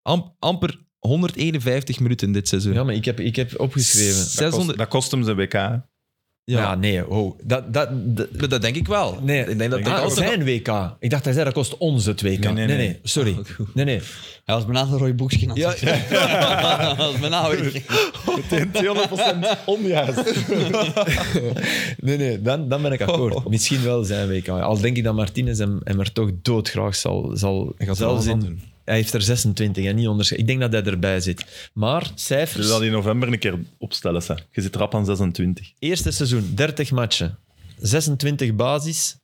[SPEAKER 1] am- amper 151 minuten dit seizoen.
[SPEAKER 4] Ja, maar ik heb, ik heb opgeschreven.
[SPEAKER 2] Dat kost,
[SPEAKER 1] 600...
[SPEAKER 2] dat kost hem zijn WK. hè.
[SPEAKER 1] Ja.
[SPEAKER 4] Ja, nee, wow. Dat, dat, dat,
[SPEAKER 1] Maar Dat denk ik wel.
[SPEAKER 4] nee,
[SPEAKER 1] ik denk dat dit
[SPEAKER 4] Ah,
[SPEAKER 1] altijd-
[SPEAKER 4] zijn WK. Ik dacht, hij zei dat kost ons het WK. Nee, nee,
[SPEAKER 2] nee, Oh, nee.
[SPEAKER 4] sorry. Nee, nee.
[SPEAKER 3] Hij was bijna een rooi boekje aan
[SPEAKER 1] Ja,
[SPEAKER 3] het Hij was bijna weer-
[SPEAKER 2] Meteen 200% onjuist.
[SPEAKER 4] nee, nee dan, dan ben ik akkoord. Misschien wel zijn WK. Al denk ik dat Martinez hem, hem er toch doodgraag zal... zal
[SPEAKER 1] Hij gaat er
[SPEAKER 4] zelfs
[SPEAKER 1] alles aan
[SPEAKER 4] in-
[SPEAKER 1] doen.
[SPEAKER 4] Hij heeft er 26 en niet onder. Ik denk dat hij erbij zit. Maar cijfers...
[SPEAKER 2] Dus dat in november een keer opstellen. Hè. Je zit rap aan 26.
[SPEAKER 4] Eerste seizoen, 30 matchen. 26 basis.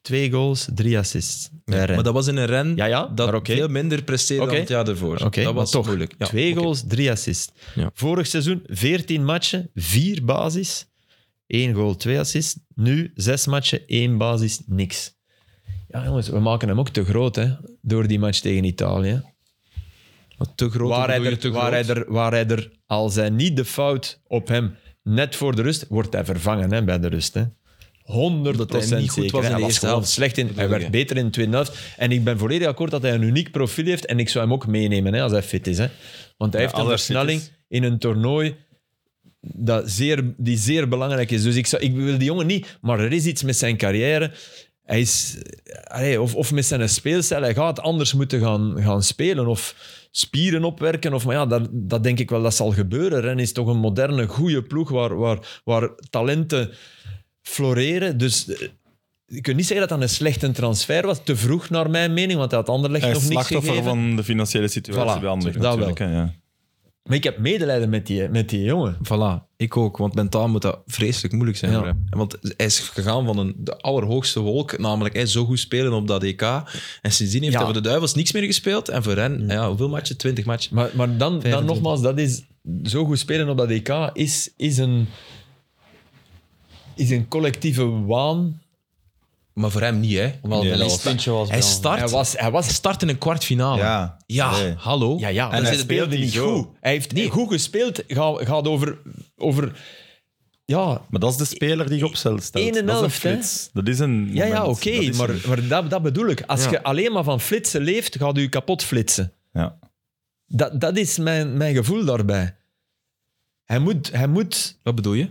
[SPEAKER 4] 2 goals, 3 assists. Bij Rennes.
[SPEAKER 1] Maar dat was in een ren
[SPEAKER 4] Ja, ja,
[SPEAKER 1] dat
[SPEAKER 4] maar oké.
[SPEAKER 1] veel minder presteerde
[SPEAKER 4] Oké.
[SPEAKER 1] dan het jaar ervoor.
[SPEAKER 4] Oké,
[SPEAKER 1] dat
[SPEAKER 4] maar
[SPEAKER 1] was
[SPEAKER 4] toch.
[SPEAKER 1] moeilijk. Ja,
[SPEAKER 4] Twee
[SPEAKER 1] oké.
[SPEAKER 4] goals, drie assists.
[SPEAKER 1] Ja.
[SPEAKER 4] Vorig seizoen 14 matchen, vier basis. één goal, twee assists. Nu zes matchen, één basis, niks. Ja, jongens, we maken hem ook te groot, hè? Door die match tegen Italië.
[SPEAKER 1] Maar te groot.
[SPEAKER 4] Waar hij,
[SPEAKER 1] bedoel je
[SPEAKER 4] er,
[SPEAKER 1] te
[SPEAKER 4] waar,
[SPEAKER 1] groot?
[SPEAKER 4] hij er, waar hij er, als hij niet de fout op hem net voor de rust, wordt hij vervangen hè, bij de rust. Hè. 100
[SPEAKER 1] Omdat hij niet goed
[SPEAKER 4] zeker.
[SPEAKER 1] was in de
[SPEAKER 4] hij was
[SPEAKER 1] eerste
[SPEAKER 4] gewoon
[SPEAKER 1] helft,
[SPEAKER 4] slecht in. Hij
[SPEAKER 1] bedoel
[SPEAKER 4] werd
[SPEAKER 1] je?
[SPEAKER 4] beter in de tweede helft. En ik ben volledig akkoord dat hij een uniek profiel heeft. En ik zou hem ook meenemen hè, als hij fit is. Hè. Want hij
[SPEAKER 2] Ja,
[SPEAKER 4] heeft een
[SPEAKER 2] als hij fit
[SPEAKER 4] versnelling
[SPEAKER 2] is.
[SPEAKER 4] in een toernooi dat zeer, die zeer belangrijk is. Dus ik, zou, ik wil die jongen niet, maar er is iets met zijn carrière. Hij is, allee, of, of met zijn speelstijl, hij gaat anders moeten gaan, gaan spelen of spieren opwerken. Of, maar ja, dat, dat denk ik wel dat zal gebeuren. Ren is toch een moderne, goede ploeg waar, waar, waar talenten floreren. Dus eh, je kunt niet zeggen dat dat een slechte transfer was. Te vroeg naar mijn mening, want hij had Anderlecht
[SPEAKER 2] Hij
[SPEAKER 4] nog
[SPEAKER 2] is
[SPEAKER 4] niks
[SPEAKER 2] slachtoffer
[SPEAKER 4] gegeven.
[SPEAKER 2] van de financiële situatie
[SPEAKER 4] Voilà,
[SPEAKER 2] bij Anderlecht
[SPEAKER 4] dat
[SPEAKER 2] natuurlijk. hè, Ja.
[SPEAKER 4] Maar ik heb medelijden met die, met die jongen.
[SPEAKER 1] Voilà, ik ook. Want mentaal moet dat vreselijk moeilijk zijn.
[SPEAKER 4] Ja.
[SPEAKER 1] voor hem. Want hij is gegaan van een, de allerhoogste wolk, namelijk hij is zo goed spelen op dat EK. En sindsdien heeft
[SPEAKER 4] Ja.
[SPEAKER 1] hij voor de Duivels niks meer gespeeld. En voor hen, ja, hoeveel matchen? 20 matchen.
[SPEAKER 4] Maar, maar dan, dan
[SPEAKER 1] 25.
[SPEAKER 4] nogmaals, dat is, zo goed spelen op dat EK is, is, een, is een collectieve waan.
[SPEAKER 1] Maar voor hem niet, hè.
[SPEAKER 3] Wel,
[SPEAKER 2] Nee, dat
[SPEAKER 3] de least
[SPEAKER 2] was-
[SPEAKER 3] puntje was
[SPEAKER 1] Hij
[SPEAKER 3] wel-
[SPEAKER 1] start,
[SPEAKER 4] Hij was, hij was
[SPEAKER 1] start in een kwartfinale.
[SPEAKER 2] Ja.
[SPEAKER 1] Ja,
[SPEAKER 2] Allee.
[SPEAKER 1] hallo.
[SPEAKER 4] Ja, ja.
[SPEAKER 1] En
[SPEAKER 4] dat
[SPEAKER 1] hij
[SPEAKER 4] is het
[SPEAKER 2] speelt
[SPEAKER 4] beeld
[SPEAKER 2] niet
[SPEAKER 4] niet
[SPEAKER 2] zo.
[SPEAKER 4] goed. Hij heeft niet goed gespeeld. Gaat, gaat over, over... Ja,
[SPEAKER 2] Maar dat is de speler die je opstelt.
[SPEAKER 4] Eén en
[SPEAKER 2] dat is een
[SPEAKER 4] elft, hè?
[SPEAKER 2] flits. Dat is een
[SPEAKER 4] ja, ja
[SPEAKER 2] moment.
[SPEAKER 4] oké.
[SPEAKER 2] Dat is
[SPEAKER 4] Maar,
[SPEAKER 2] een-
[SPEAKER 4] maar dat, dat bedoel ik. Als
[SPEAKER 1] Ja.
[SPEAKER 4] je alleen maar van flitsen leeft, gaat u kapot flitsen.
[SPEAKER 2] Ja.
[SPEAKER 4] Dat, dat is mijn, mijn gevoel daarbij. Hij moet... Hij moet
[SPEAKER 1] Wat bedoel je?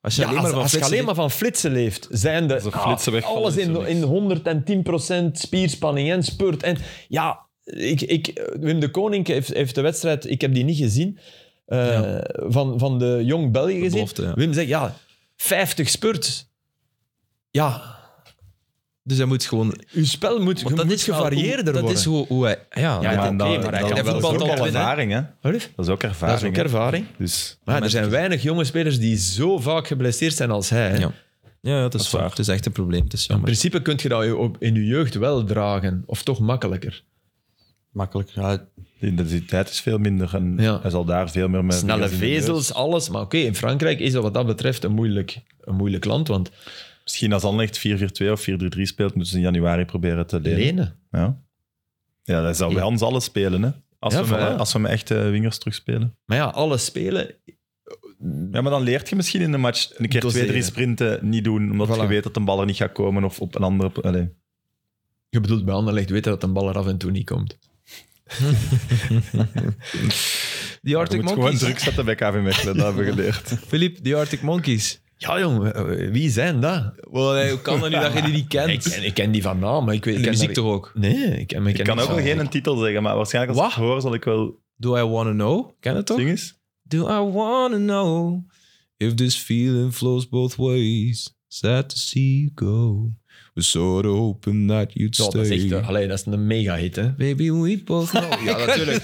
[SPEAKER 1] Als je
[SPEAKER 4] Ja,
[SPEAKER 1] alleen maar
[SPEAKER 4] als,
[SPEAKER 1] van
[SPEAKER 4] als je
[SPEAKER 1] flitsen
[SPEAKER 4] alleen maar van flitsen leeft, zijn de,
[SPEAKER 2] Als de flitsen
[SPEAKER 4] ah,
[SPEAKER 2] wegvallen,
[SPEAKER 4] alles
[SPEAKER 2] is er
[SPEAKER 4] in, in 110% spierspanning en spurt. En ja, ik, ik, Wim de Koning heeft, heeft de wedstrijd, ik heb die niet gezien, eh, van, van de Jong België gezien.
[SPEAKER 1] belofte, ja.
[SPEAKER 4] Wim zegt, ja, 50 spurts. Ja,
[SPEAKER 1] Dus hij moet gewoon
[SPEAKER 4] uw spel moet,
[SPEAKER 1] Want
[SPEAKER 4] moet
[SPEAKER 1] wel
[SPEAKER 4] gevarieerder
[SPEAKER 1] hoe-
[SPEAKER 4] worden.
[SPEAKER 1] Dat is hoe, hoe hij... Ja,
[SPEAKER 4] Ja,
[SPEAKER 1] dat-
[SPEAKER 4] oké,
[SPEAKER 2] dan-
[SPEAKER 4] maar hij
[SPEAKER 2] dan-
[SPEAKER 4] kan
[SPEAKER 2] dat is
[SPEAKER 1] wel
[SPEAKER 2] ook al
[SPEAKER 1] winnen, hè?
[SPEAKER 2] ervaring, hè?
[SPEAKER 4] Allee,
[SPEAKER 2] Dat is ook ervaring.
[SPEAKER 4] dat is ook
[SPEAKER 2] hè.
[SPEAKER 4] ervaring.
[SPEAKER 2] Dus
[SPEAKER 4] Maar er zijn weinig jonge spelers die zo vaak geblesseerd zijn als hij. hè.
[SPEAKER 1] Ja. Ja, ja, het is,
[SPEAKER 2] is
[SPEAKER 1] waar.
[SPEAKER 2] waar.
[SPEAKER 1] Het is echt een probleem. Het is
[SPEAKER 4] In
[SPEAKER 1] jammer.
[SPEAKER 4] principe kun je dat op- in je jeugd wel dragen, of toch makkelijker.
[SPEAKER 3] Makkelijk. Ja,
[SPEAKER 2] De intensiteit is veel minder en
[SPEAKER 4] Ja.
[SPEAKER 2] hij zal daar veel meer mee...
[SPEAKER 4] Snelle
[SPEAKER 2] mee-
[SPEAKER 4] vezels, alles. Maar oké, in Frankrijk is dat wat dat betreft een moeilijk, een moeilijk land, want
[SPEAKER 2] Misschien als Anderlecht 4-4-2 of 4-3-3 speelt, moeten ze in januari proberen te lenen.
[SPEAKER 4] lenen.
[SPEAKER 2] Ja. ja, dat zou bij ons alles spelen, hè. Als,
[SPEAKER 4] Ja,
[SPEAKER 2] we, met-
[SPEAKER 4] voilà.
[SPEAKER 2] als we met echte wingers terugspelen.
[SPEAKER 4] Maar ja, alles spelen.
[SPEAKER 2] Ja, maar dan leert je misschien in de match een keer
[SPEAKER 4] Doseren.
[SPEAKER 2] twee, drie sprinten niet doen, omdat
[SPEAKER 4] Voilà.
[SPEAKER 2] je weet dat de bal er niet gaat komen of op een andere... Allee.
[SPEAKER 4] Je bedoelt bij Anderlecht weten dat een bal er af en toe niet komt.
[SPEAKER 1] Die
[SPEAKER 2] Je
[SPEAKER 1] Arctic
[SPEAKER 2] moet gewoon
[SPEAKER 1] Monkeys.
[SPEAKER 2] druk zetten bij KV Mechelen, dat hebben we geleerd.
[SPEAKER 1] Filip, die Arctic Monkeys.
[SPEAKER 4] Ja, jong, eh, wie zijn dat?
[SPEAKER 1] hoe kan dat nu dat je die niet
[SPEAKER 4] Ik
[SPEAKER 1] kent?
[SPEAKER 4] ken, ik ken die van naam, maar ik weet
[SPEAKER 1] De
[SPEAKER 4] ik ken
[SPEAKER 1] muziek
[SPEAKER 4] daar-
[SPEAKER 1] toch ook?
[SPEAKER 4] Nee, ik ken, maar ik
[SPEAKER 2] Ik kan
[SPEAKER 4] ken die
[SPEAKER 2] ook nog
[SPEAKER 4] van-
[SPEAKER 2] geen titel zeggen, maar waarschijnlijk als ik het hoor zal ik wel...
[SPEAKER 1] Do I Wanna Know? Ken het toch?
[SPEAKER 2] Zing eens.
[SPEAKER 1] Do I wanna know if this feeling flows both ways? Sad to see you go. We sort of hoping that you'd
[SPEAKER 4] Ja,
[SPEAKER 1] stay.
[SPEAKER 4] dat is echt... eh, Allee, dat is een mega-hit, hè.
[SPEAKER 1] Baby, we both know. ja, natuurlijk.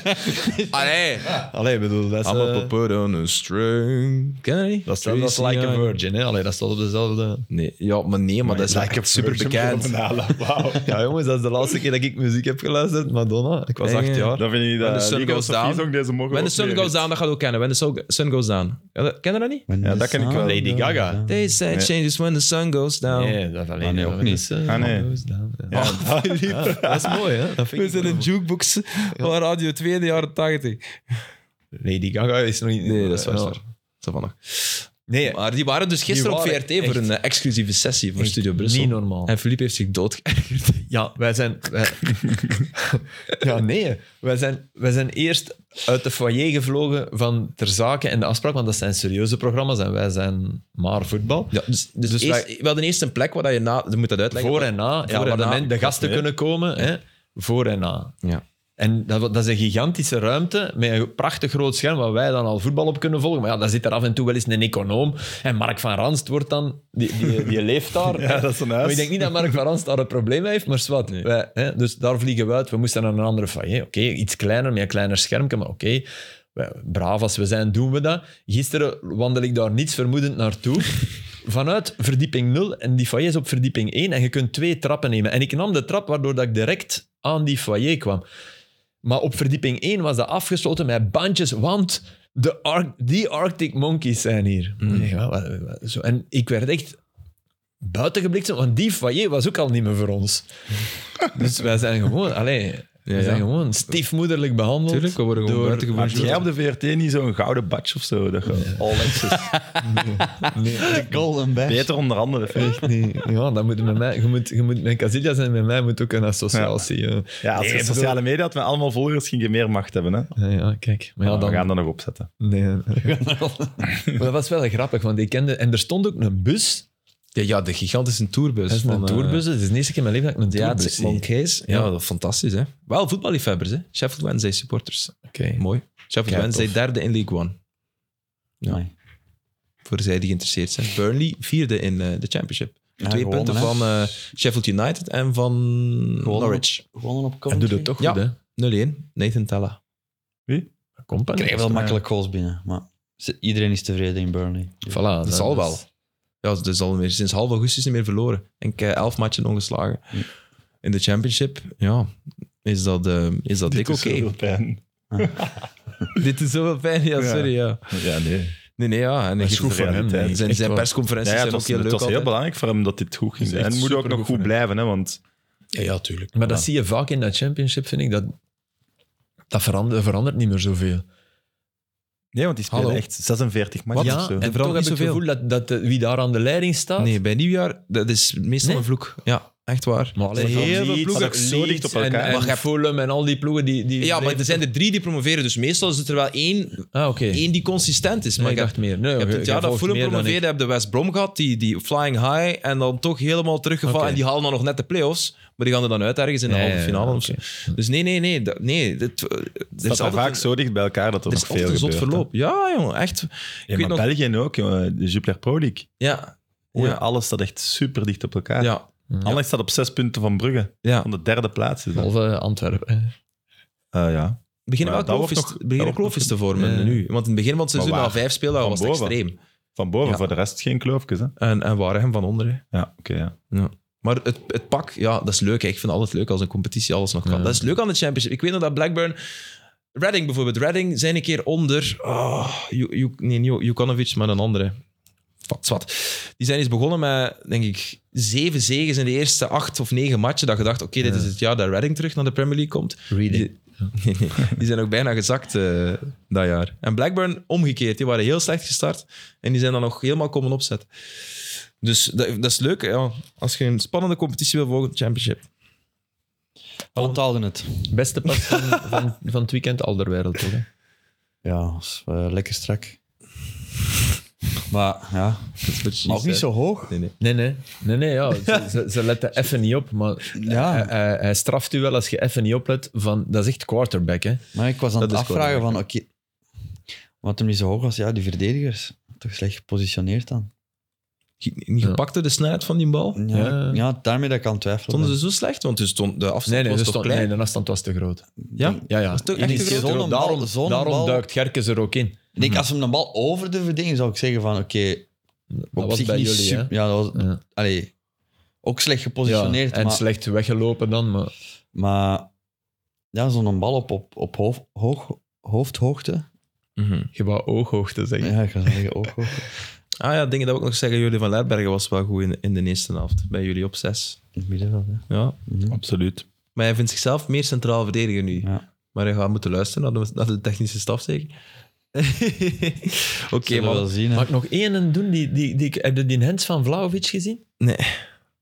[SPEAKER 1] Allee.
[SPEAKER 4] Allee, bedoel, dat is...
[SPEAKER 1] I'm
[SPEAKER 4] eh,
[SPEAKER 1] a puppet on a string. Ken je die?
[SPEAKER 4] dat is eh, dat is
[SPEAKER 1] Tracy
[SPEAKER 4] Like a
[SPEAKER 1] Eyre.
[SPEAKER 4] Virgin, hè. Allee, dat staat op dezelfde...
[SPEAKER 1] Nee, ja, maar nee, maar dat is
[SPEAKER 2] Like a
[SPEAKER 1] like super bekend.
[SPEAKER 2] Virgin van Halen. Wauw.
[SPEAKER 4] Ja, jongens, dat is de laatste keer dat ik muziek heb geluisterd. Madonna, ik was
[SPEAKER 1] Echt,
[SPEAKER 4] acht
[SPEAKER 1] ja.
[SPEAKER 4] jaar.
[SPEAKER 2] Dan vind je
[SPEAKER 1] When
[SPEAKER 2] dat
[SPEAKER 1] the sun
[SPEAKER 2] Legal
[SPEAKER 1] goes
[SPEAKER 2] Sophie
[SPEAKER 1] down.
[SPEAKER 2] song, deze mogen we
[SPEAKER 1] When the
[SPEAKER 2] ook
[SPEAKER 1] sun
[SPEAKER 2] leren.
[SPEAKER 1] goes down, dat gaat ook kennen. When the so- sun goes down. Ja, dat- Ken je dat niet?
[SPEAKER 2] Ja, dat ken ik wel.
[SPEAKER 4] Lady Gaga.
[SPEAKER 1] They said
[SPEAKER 2] Nee.
[SPEAKER 1] changes when the sun goes down.
[SPEAKER 4] Nee, dat alleen
[SPEAKER 3] Ah, nee, ook niet.
[SPEAKER 2] Ah, nee.
[SPEAKER 4] Ja. Ah,
[SPEAKER 2] Ja,
[SPEAKER 4] Dat is mooi, hè? Dat vind
[SPEAKER 1] We
[SPEAKER 4] ik
[SPEAKER 1] zijn
[SPEAKER 4] wel
[SPEAKER 1] een
[SPEAKER 4] mooi.
[SPEAKER 1] jukebox van Radio 2 in de jaren 80.
[SPEAKER 4] Lady Gaga is nog niet...
[SPEAKER 1] Nee, dat is waar.
[SPEAKER 4] Ja.
[SPEAKER 1] dat is waar. Dat is wel nog.
[SPEAKER 4] Nee,
[SPEAKER 1] Maar die waren dus gisteren
[SPEAKER 4] Die
[SPEAKER 1] op
[SPEAKER 4] waren
[SPEAKER 1] VRT voor
[SPEAKER 4] echt-
[SPEAKER 1] een eh, exclusieve sessie voor
[SPEAKER 4] echt
[SPEAKER 1] Studio Brussel.
[SPEAKER 4] niet normaal.
[SPEAKER 1] En Philippe heeft zich doodgeërgerd.
[SPEAKER 4] Ja, wij zijn. wij- ja, nee. Wij zijn, wij zijn eerst uit de foyer gevlogen van Ter Zake en de afspraak, want dat zijn serieuze programma's en wij zijn maar voetbal.
[SPEAKER 1] Ja, dus, dus,
[SPEAKER 4] Dus
[SPEAKER 1] eerst, we hadden eerst een plek waar dat je na... Je moet dat uitleggen.
[SPEAKER 4] Voor en na,
[SPEAKER 1] en
[SPEAKER 4] ja, waar de,
[SPEAKER 1] na.
[SPEAKER 4] men- de gasten kunnen komen. Hè, voor en na.
[SPEAKER 1] Ja.
[SPEAKER 4] En dat, wa- dat is een gigantische ruimte met een prachtig groot scherm waar wij dan al voetbal op kunnen volgen. Maar ja, daar zit er af en toe wel eens een econoom. En Mark van Ranst wordt dan... Die, die, die leeft daar.
[SPEAKER 2] Ja, dat is een
[SPEAKER 4] Maar
[SPEAKER 2] huis.
[SPEAKER 4] ik denk niet dat Mark van Ranst daar een probleem mee heeft, maar zwart. Wij, hè, dus daar vliegen we uit. We moesten naar een andere foyer. Oké, iets kleiner, met een kleiner schermpje, maar oké. Wij- Braaf als we zijn, doen we dat. Gisteren wandel ik daar niets vermoedend naartoe. Vanuit verdieping 0 en die foyer is op verdieping 1 en je kunt twee trappen nemen. En ik nam de trap waardoor dat ik direct aan die foyer kwam. Maar op verdieping 1 was dat afgesloten met bandjes, want de Ar- die Arctic Monkeys zijn hier. Ik dacht, wat- wat- wat- zo. En ik werd echt buiten gebliksemd, want die foyer was ook al niet meer voor ons. dus wij zijn gewoon, allee, wij
[SPEAKER 1] ja.
[SPEAKER 4] zijn gewoon stiefmoederlijk behandeld.
[SPEAKER 1] Tuurlijk, we worden gewoon
[SPEAKER 4] door-
[SPEAKER 1] buitengewoon
[SPEAKER 2] Had jij op de VRT niet zo'n gouden badge of zo? Dat je all access.
[SPEAKER 3] Golden Badge.
[SPEAKER 2] Beter onder andere. vind ik.
[SPEAKER 4] Echt niet. Ja, dat moet met mij, je moet, je moet met Casillas en met mij moet ook een associatie. eh. Ja,
[SPEAKER 2] Ja, als je
[SPEAKER 4] Nee, ik
[SPEAKER 2] sociale media had met allemaal volgers, ging je meer macht hebben. Hè?
[SPEAKER 4] bedoel- Ja, ja, kijk. Maar ja,
[SPEAKER 2] Maar
[SPEAKER 4] dan,
[SPEAKER 2] Oh, We gaan dat nog opzetten.
[SPEAKER 4] nee, maar dat was wel grappig, want ik kende... En er stond ook een bus.
[SPEAKER 1] Ja, ja, de gigantische tourbus.
[SPEAKER 4] Dat is
[SPEAKER 1] van,
[SPEAKER 4] een
[SPEAKER 1] eh,
[SPEAKER 4] tourbus. Het is de eerste keer in mijn leven dat ik
[SPEAKER 1] de
[SPEAKER 4] een tourbus
[SPEAKER 1] Arctic
[SPEAKER 4] zie. Oké.
[SPEAKER 1] Monkeys. Ja, dat is fantastisch, hè. Wel voetballiefhebbers, hè. Sheffield Wednesday supporters. Mooi. Sheffield
[SPEAKER 4] Ja,
[SPEAKER 1] Wednesday
[SPEAKER 4] tof.
[SPEAKER 1] derde in League One.
[SPEAKER 3] Amai.
[SPEAKER 1] Voor zij die geïnteresseerd zijn. Burnley vierde in eh, de Championship.
[SPEAKER 3] Ja,
[SPEAKER 1] Twee
[SPEAKER 3] gewonnen,
[SPEAKER 1] punten
[SPEAKER 3] hè.
[SPEAKER 1] van eh, Sheffield United en van Norwich.
[SPEAKER 3] Gewonnen op
[SPEAKER 4] En
[SPEAKER 3] Coventry.
[SPEAKER 4] doet het toch
[SPEAKER 1] Ja.
[SPEAKER 4] goed, hè?
[SPEAKER 1] 0-1. Nathan Tella.
[SPEAKER 4] Company.
[SPEAKER 3] Ik krijg wel makkelijk goals binnen, maar ze- iedereen is tevreden in Burnley.
[SPEAKER 4] Voilà,
[SPEAKER 1] Dat, zal wel. Ja, dat is alweer sinds half augustus niet meer verloren. Ik heb elf matchen ongeslagen. In de Championship, ja, is dat, eh, is dat dik
[SPEAKER 2] Dit is
[SPEAKER 1] oké.
[SPEAKER 2] zoveel pijn.
[SPEAKER 1] Dit is zoveel pijn, ja,
[SPEAKER 2] Ja.
[SPEAKER 1] sorry. Ja.
[SPEAKER 2] Ja, nee.
[SPEAKER 1] Nee, nee, ja. En
[SPEAKER 4] Dat
[SPEAKER 1] ik-
[SPEAKER 4] is goed voor hem.
[SPEAKER 2] Realiteit.
[SPEAKER 4] nee.
[SPEAKER 1] zijn,
[SPEAKER 4] Echt
[SPEAKER 1] zijn
[SPEAKER 4] waar.
[SPEAKER 1] persconferenties
[SPEAKER 2] Ja, het
[SPEAKER 1] zijn
[SPEAKER 2] was,
[SPEAKER 1] ook heel
[SPEAKER 2] het
[SPEAKER 1] leuk
[SPEAKER 2] was heel
[SPEAKER 1] altijd.
[SPEAKER 2] belangrijk voor hem dat dit goed ging.
[SPEAKER 1] Het is
[SPEAKER 2] zijn. En
[SPEAKER 1] echt
[SPEAKER 2] het moet ook nog
[SPEAKER 1] supergoed
[SPEAKER 2] goed
[SPEAKER 1] voor
[SPEAKER 2] blijven, hè, want
[SPEAKER 1] Ja, ja, tuurlijk.
[SPEAKER 4] Maar dat zie je vaak in dat championship, vind ik. Dat, dat verandert, dat verandert niet meer zoveel.
[SPEAKER 2] Nee, want die spelen
[SPEAKER 1] Hallo.
[SPEAKER 2] echt 46 matchen
[SPEAKER 4] ja,
[SPEAKER 2] of zo.
[SPEAKER 4] en
[SPEAKER 1] verandert niet
[SPEAKER 4] toch heb ik het
[SPEAKER 1] zoveel.
[SPEAKER 4] gevoel dat, dat eh, wie daar aan de leiding staat...
[SPEAKER 1] Nee, bij nieuwjaar, dat is meestal
[SPEAKER 4] Nee?
[SPEAKER 1] een vloek. Ja, echt waar.
[SPEAKER 4] Maar allee,
[SPEAKER 1] Er zijn
[SPEAKER 4] heel
[SPEAKER 1] heel
[SPEAKER 4] veel
[SPEAKER 1] veel
[SPEAKER 4] ploegen,
[SPEAKER 2] dat is zo dicht op
[SPEAKER 4] Leeds en-
[SPEAKER 2] elkaar.
[SPEAKER 4] En,
[SPEAKER 1] Maar je hebt-
[SPEAKER 4] Fulham en al die ploegen die... die
[SPEAKER 1] Ja, maar er zijn er drie die promoveren, dus meestal is het er wel één,
[SPEAKER 4] Ah, oké.
[SPEAKER 1] één die consistent is. Maar
[SPEAKER 4] Nee, ik
[SPEAKER 1] je hebt-
[SPEAKER 4] dacht meer. Nee,
[SPEAKER 1] Je hebt het jaar dat Fulham promoveerde, heb de West Brom gehad, die, die flying high, en dan toch helemaal teruggevallen.
[SPEAKER 4] Oké.
[SPEAKER 1] En die halen dan nog net de play-offs, maar die gaan er dan uit ergens in de
[SPEAKER 4] Ja,
[SPEAKER 1] halve
[SPEAKER 4] ja, ja,
[SPEAKER 1] finale of
[SPEAKER 4] oké.
[SPEAKER 1] zo. Dus nee, nee, nee. dat- nee dit, eh, er is
[SPEAKER 2] Dat staat
[SPEAKER 1] altijd
[SPEAKER 2] vaak
[SPEAKER 1] een-
[SPEAKER 2] zo dicht bij elkaar dat er,
[SPEAKER 1] er
[SPEAKER 2] nog
[SPEAKER 1] is
[SPEAKER 2] veel
[SPEAKER 1] altijd een
[SPEAKER 2] gebeurt.
[SPEAKER 1] zot
[SPEAKER 2] hè.
[SPEAKER 1] verloop. Ja, jongen, echt.
[SPEAKER 2] Ja,
[SPEAKER 1] Ik
[SPEAKER 2] maar
[SPEAKER 1] weet nog...
[SPEAKER 2] België ook, jongen. de Jupiler Pro League.
[SPEAKER 1] Ja,
[SPEAKER 2] Oei,
[SPEAKER 1] Ja.
[SPEAKER 2] Alles staat echt super dicht op elkaar.
[SPEAKER 1] ja,
[SPEAKER 2] Anderlecht staat op zes punten van Brugge.
[SPEAKER 1] ja.
[SPEAKER 2] Van de derde plaats. Is dat.
[SPEAKER 4] Behalve Antwerpen. hè.
[SPEAKER 2] Eh, ja.
[SPEAKER 1] beginnen
[SPEAKER 2] Maar
[SPEAKER 1] wel
[SPEAKER 2] dat wordt
[SPEAKER 1] kloofjes
[SPEAKER 2] nog-
[SPEAKER 1] beginnen
[SPEAKER 2] dat wordt
[SPEAKER 1] kloofjes te vormen
[SPEAKER 4] Ja.
[SPEAKER 1] nu. Want in het begin van het seizoen,
[SPEAKER 2] Maar
[SPEAKER 1] na
[SPEAKER 2] waar?
[SPEAKER 1] vijf speeldagen,
[SPEAKER 2] Van
[SPEAKER 1] was het
[SPEAKER 2] boven?
[SPEAKER 1] extreem.
[SPEAKER 2] Van boven,
[SPEAKER 1] Ja.
[SPEAKER 2] voor de rest geen kloofjes. Hè?
[SPEAKER 1] En, en Waregem van onder. Hè.
[SPEAKER 2] Ja, oké. ja.
[SPEAKER 1] Maar het, het pak, ja, dat is leuk. hè. Ik vind het altijd leuk als een competitie alles nog kan.
[SPEAKER 4] Ja.
[SPEAKER 1] Dat is leuk aan de championship. Ik weet nog dat Blackburn... Reading bijvoorbeeld. Reading zijn een keer onder... Oh, Ju- Ju- nee, niet Ju- Jukanovic, maar een andere. Wat, wat. Die zijn eens begonnen met, denk ik, zeven zegens in de eerste acht of negen matchen. Dat je dacht, oké, dit is het jaar dat Reading terug naar de Premier League komt.
[SPEAKER 4] Reading.
[SPEAKER 1] Die, die zijn ook bijna gezakt eh, dat jaar. En Blackburn omgekeerd. Die waren heel slecht gestart. En die zijn dan nog helemaal komen opzetten. Dus dat, dat is leuk. Ja. Als je een spannende competitie wil volgen, Championship.
[SPEAKER 3] Onthouden het.
[SPEAKER 4] Beste pas van, van, van het weekend Alderwereld, toch? hè?
[SPEAKER 3] Ja, is, eh, lekker strak. Maar ja, ook niet zo hoog.
[SPEAKER 1] Nee, nee.
[SPEAKER 4] Nee, nee. Nee, nee, ja. Ze, ze, ze letten even niet op, maar
[SPEAKER 1] Ah.
[SPEAKER 3] Ja.
[SPEAKER 4] hij, hij- hij straft u wel als je even niet oplet. Van, dat is echt quarterback, hè.
[SPEAKER 3] Maar ik was aan
[SPEAKER 1] Dat
[SPEAKER 3] het
[SPEAKER 1] is gewoon
[SPEAKER 3] afvragen van, oké, wat hem niet zo hoog was, ja, die verdedigers. Toch slecht gepositioneerd dan.
[SPEAKER 1] Niet niet gepakt door de snelheid van die bal.
[SPEAKER 3] Ja,
[SPEAKER 4] Ja.
[SPEAKER 3] ja. daarmee dat ik aan het twijfelen
[SPEAKER 1] Stonden
[SPEAKER 3] ben.
[SPEAKER 1] ze zo slecht? Want dus stond, de afstand
[SPEAKER 4] Nee, nee,
[SPEAKER 1] was
[SPEAKER 4] ze
[SPEAKER 1] toch
[SPEAKER 4] stond,
[SPEAKER 1] klein?
[SPEAKER 4] nee, de afstand was te groot.
[SPEAKER 1] ja?
[SPEAKER 4] Ja, ja.
[SPEAKER 1] Dat is toch
[SPEAKER 4] Die
[SPEAKER 1] echt
[SPEAKER 4] is
[SPEAKER 1] een grote
[SPEAKER 4] daarom
[SPEAKER 3] bal,
[SPEAKER 4] daarom,
[SPEAKER 3] zo'n
[SPEAKER 4] daarom
[SPEAKER 3] bal.
[SPEAKER 4] duikt Gerkes er ook in.
[SPEAKER 3] Ik denk, als hem de bal over de verdediging zou ik zeggen van, oké,
[SPEAKER 4] Dat
[SPEAKER 3] op
[SPEAKER 4] was
[SPEAKER 3] zich
[SPEAKER 4] bij
[SPEAKER 3] niet
[SPEAKER 4] jullie,
[SPEAKER 3] sup- Ja, dat was...
[SPEAKER 4] Ja.
[SPEAKER 3] Allee, ook slecht
[SPEAKER 4] Ja,
[SPEAKER 3] gepositioneerd,
[SPEAKER 4] en
[SPEAKER 3] maar...
[SPEAKER 4] slecht weggelopen dan, maar...
[SPEAKER 3] maar ja, zo'n bal op, op, op hoofd, hoog, hoofdhoogte.
[SPEAKER 1] Mhm.
[SPEAKER 4] Je wou ooghoogte zeggen.
[SPEAKER 3] Ja, ik ga zeggen ooghoogte.
[SPEAKER 1] Ah ja, dingen dat we ook nog zeggen. Jullie van Lerbergen was wel goed in, in de eerste helft. Bij jullie op zes.
[SPEAKER 3] In het middenveld, hè.
[SPEAKER 1] Ja.
[SPEAKER 3] Mhm.
[SPEAKER 2] Absoluut.
[SPEAKER 1] Maar hij vindt zichzelf meer centraal verdediger nu.
[SPEAKER 3] Ja.
[SPEAKER 1] Maar hij gaat moeten luisteren naar de, naar de technische staf, zeker? Oké,
[SPEAKER 3] Zullen we wel
[SPEAKER 1] man.
[SPEAKER 3] zien, hè.
[SPEAKER 4] Mag ik nog één doen? Die, die, die, heb je die Hens van Vlaovic gezien?
[SPEAKER 1] Nee.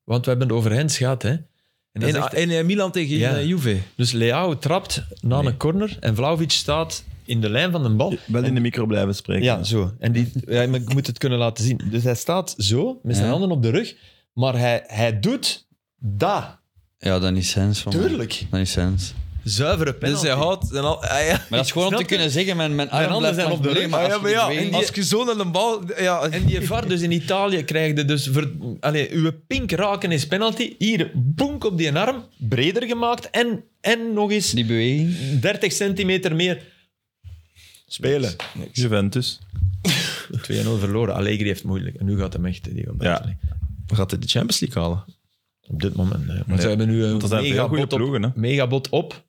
[SPEAKER 4] Want we hebben het over Hens gehad, hè. En dat is
[SPEAKER 1] In,
[SPEAKER 4] echt-
[SPEAKER 1] in, eh, Milan tegen
[SPEAKER 4] Ja.
[SPEAKER 1] eh, Juve.
[SPEAKER 4] Dus Leao trapt na
[SPEAKER 1] Nee.
[SPEAKER 4] een corner en Vlaovic staat in de lijn van de bal.
[SPEAKER 2] Wel in de micro blijven spreken.
[SPEAKER 4] Ja, zo. En die, ja, maar ik moet het kunnen laten zien. Dus hij staat zo, met zijn
[SPEAKER 3] Ja.
[SPEAKER 4] handen op de rug, maar hij, hij doet dat.
[SPEAKER 3] Ja, dan is Sens van mij.
[SPEAKER 4] Tuurlijk.
[SPEAKER 3] Dan is Sens.
[SPEAKER 4] Zuivere penalty.
[SPEAKER 1] Dus hij houdt... En al, ah, ja.
[SPEAKER 3] Maar dat is gewoon om te
[SPEAKER 4] Snap je?
[SPEAKER 3] kunnen zeggen, mijn, mijn arm
[SPEAKER 4] handen
[SPEAKER 3] blijft
[SPEAKER 4] zijn
[SPEAKER 3] nog
[SPEAKER 4] op de
[SPEAKER 3] bewegen,
[SPEAKER 4] rug.
[SPEAKER 3] maar als
[SPEAKER 4] Ah, ja,
[SPEAKER 3] je
[SPEAKER 4] maar ja,
[SPEAKER 3] bewegen-
[SPEAKER 4] en
[SPEAKER 1] als je zo naar een bal... Ja,
[SPEAKER 4] En die VAR dus in Italië krijg je dus... Ver, allee, uw pink raken is penalty. Hier, boenk op die arm. Breder gemaakt. En, en nog eens
[SPEAKER 3] Die beweging.
[SPEAKER 4] 30 centimeter meer.
[SPEAKER 2] Spelen. Juventus.
[SPEAKER 4] 2-0 verloren. Allegri heeft het moeilijk. En nu gaat hem echt... Die gaat
[SPEAKER 2] Ja.
[SPEAKER 4] buiten liggen.
[SPEAKER 1] gaat hij de Champions League halen?
[SPEAKER 4] Op dit moment. nee. Maar
[SPEAKER 2] Nee.
[SPEAKER 4] ze hebben nu
[SPEAKER 1] eh,
[SPEAKER 2] Want
[SPEAKER 4] een
[SPEAKER 2] dat zijn heel goede
[SPEAKER 4] megabot op,
[SPEAKER 2] ploegen. Hè?
[SPEAKER 4] megabot op.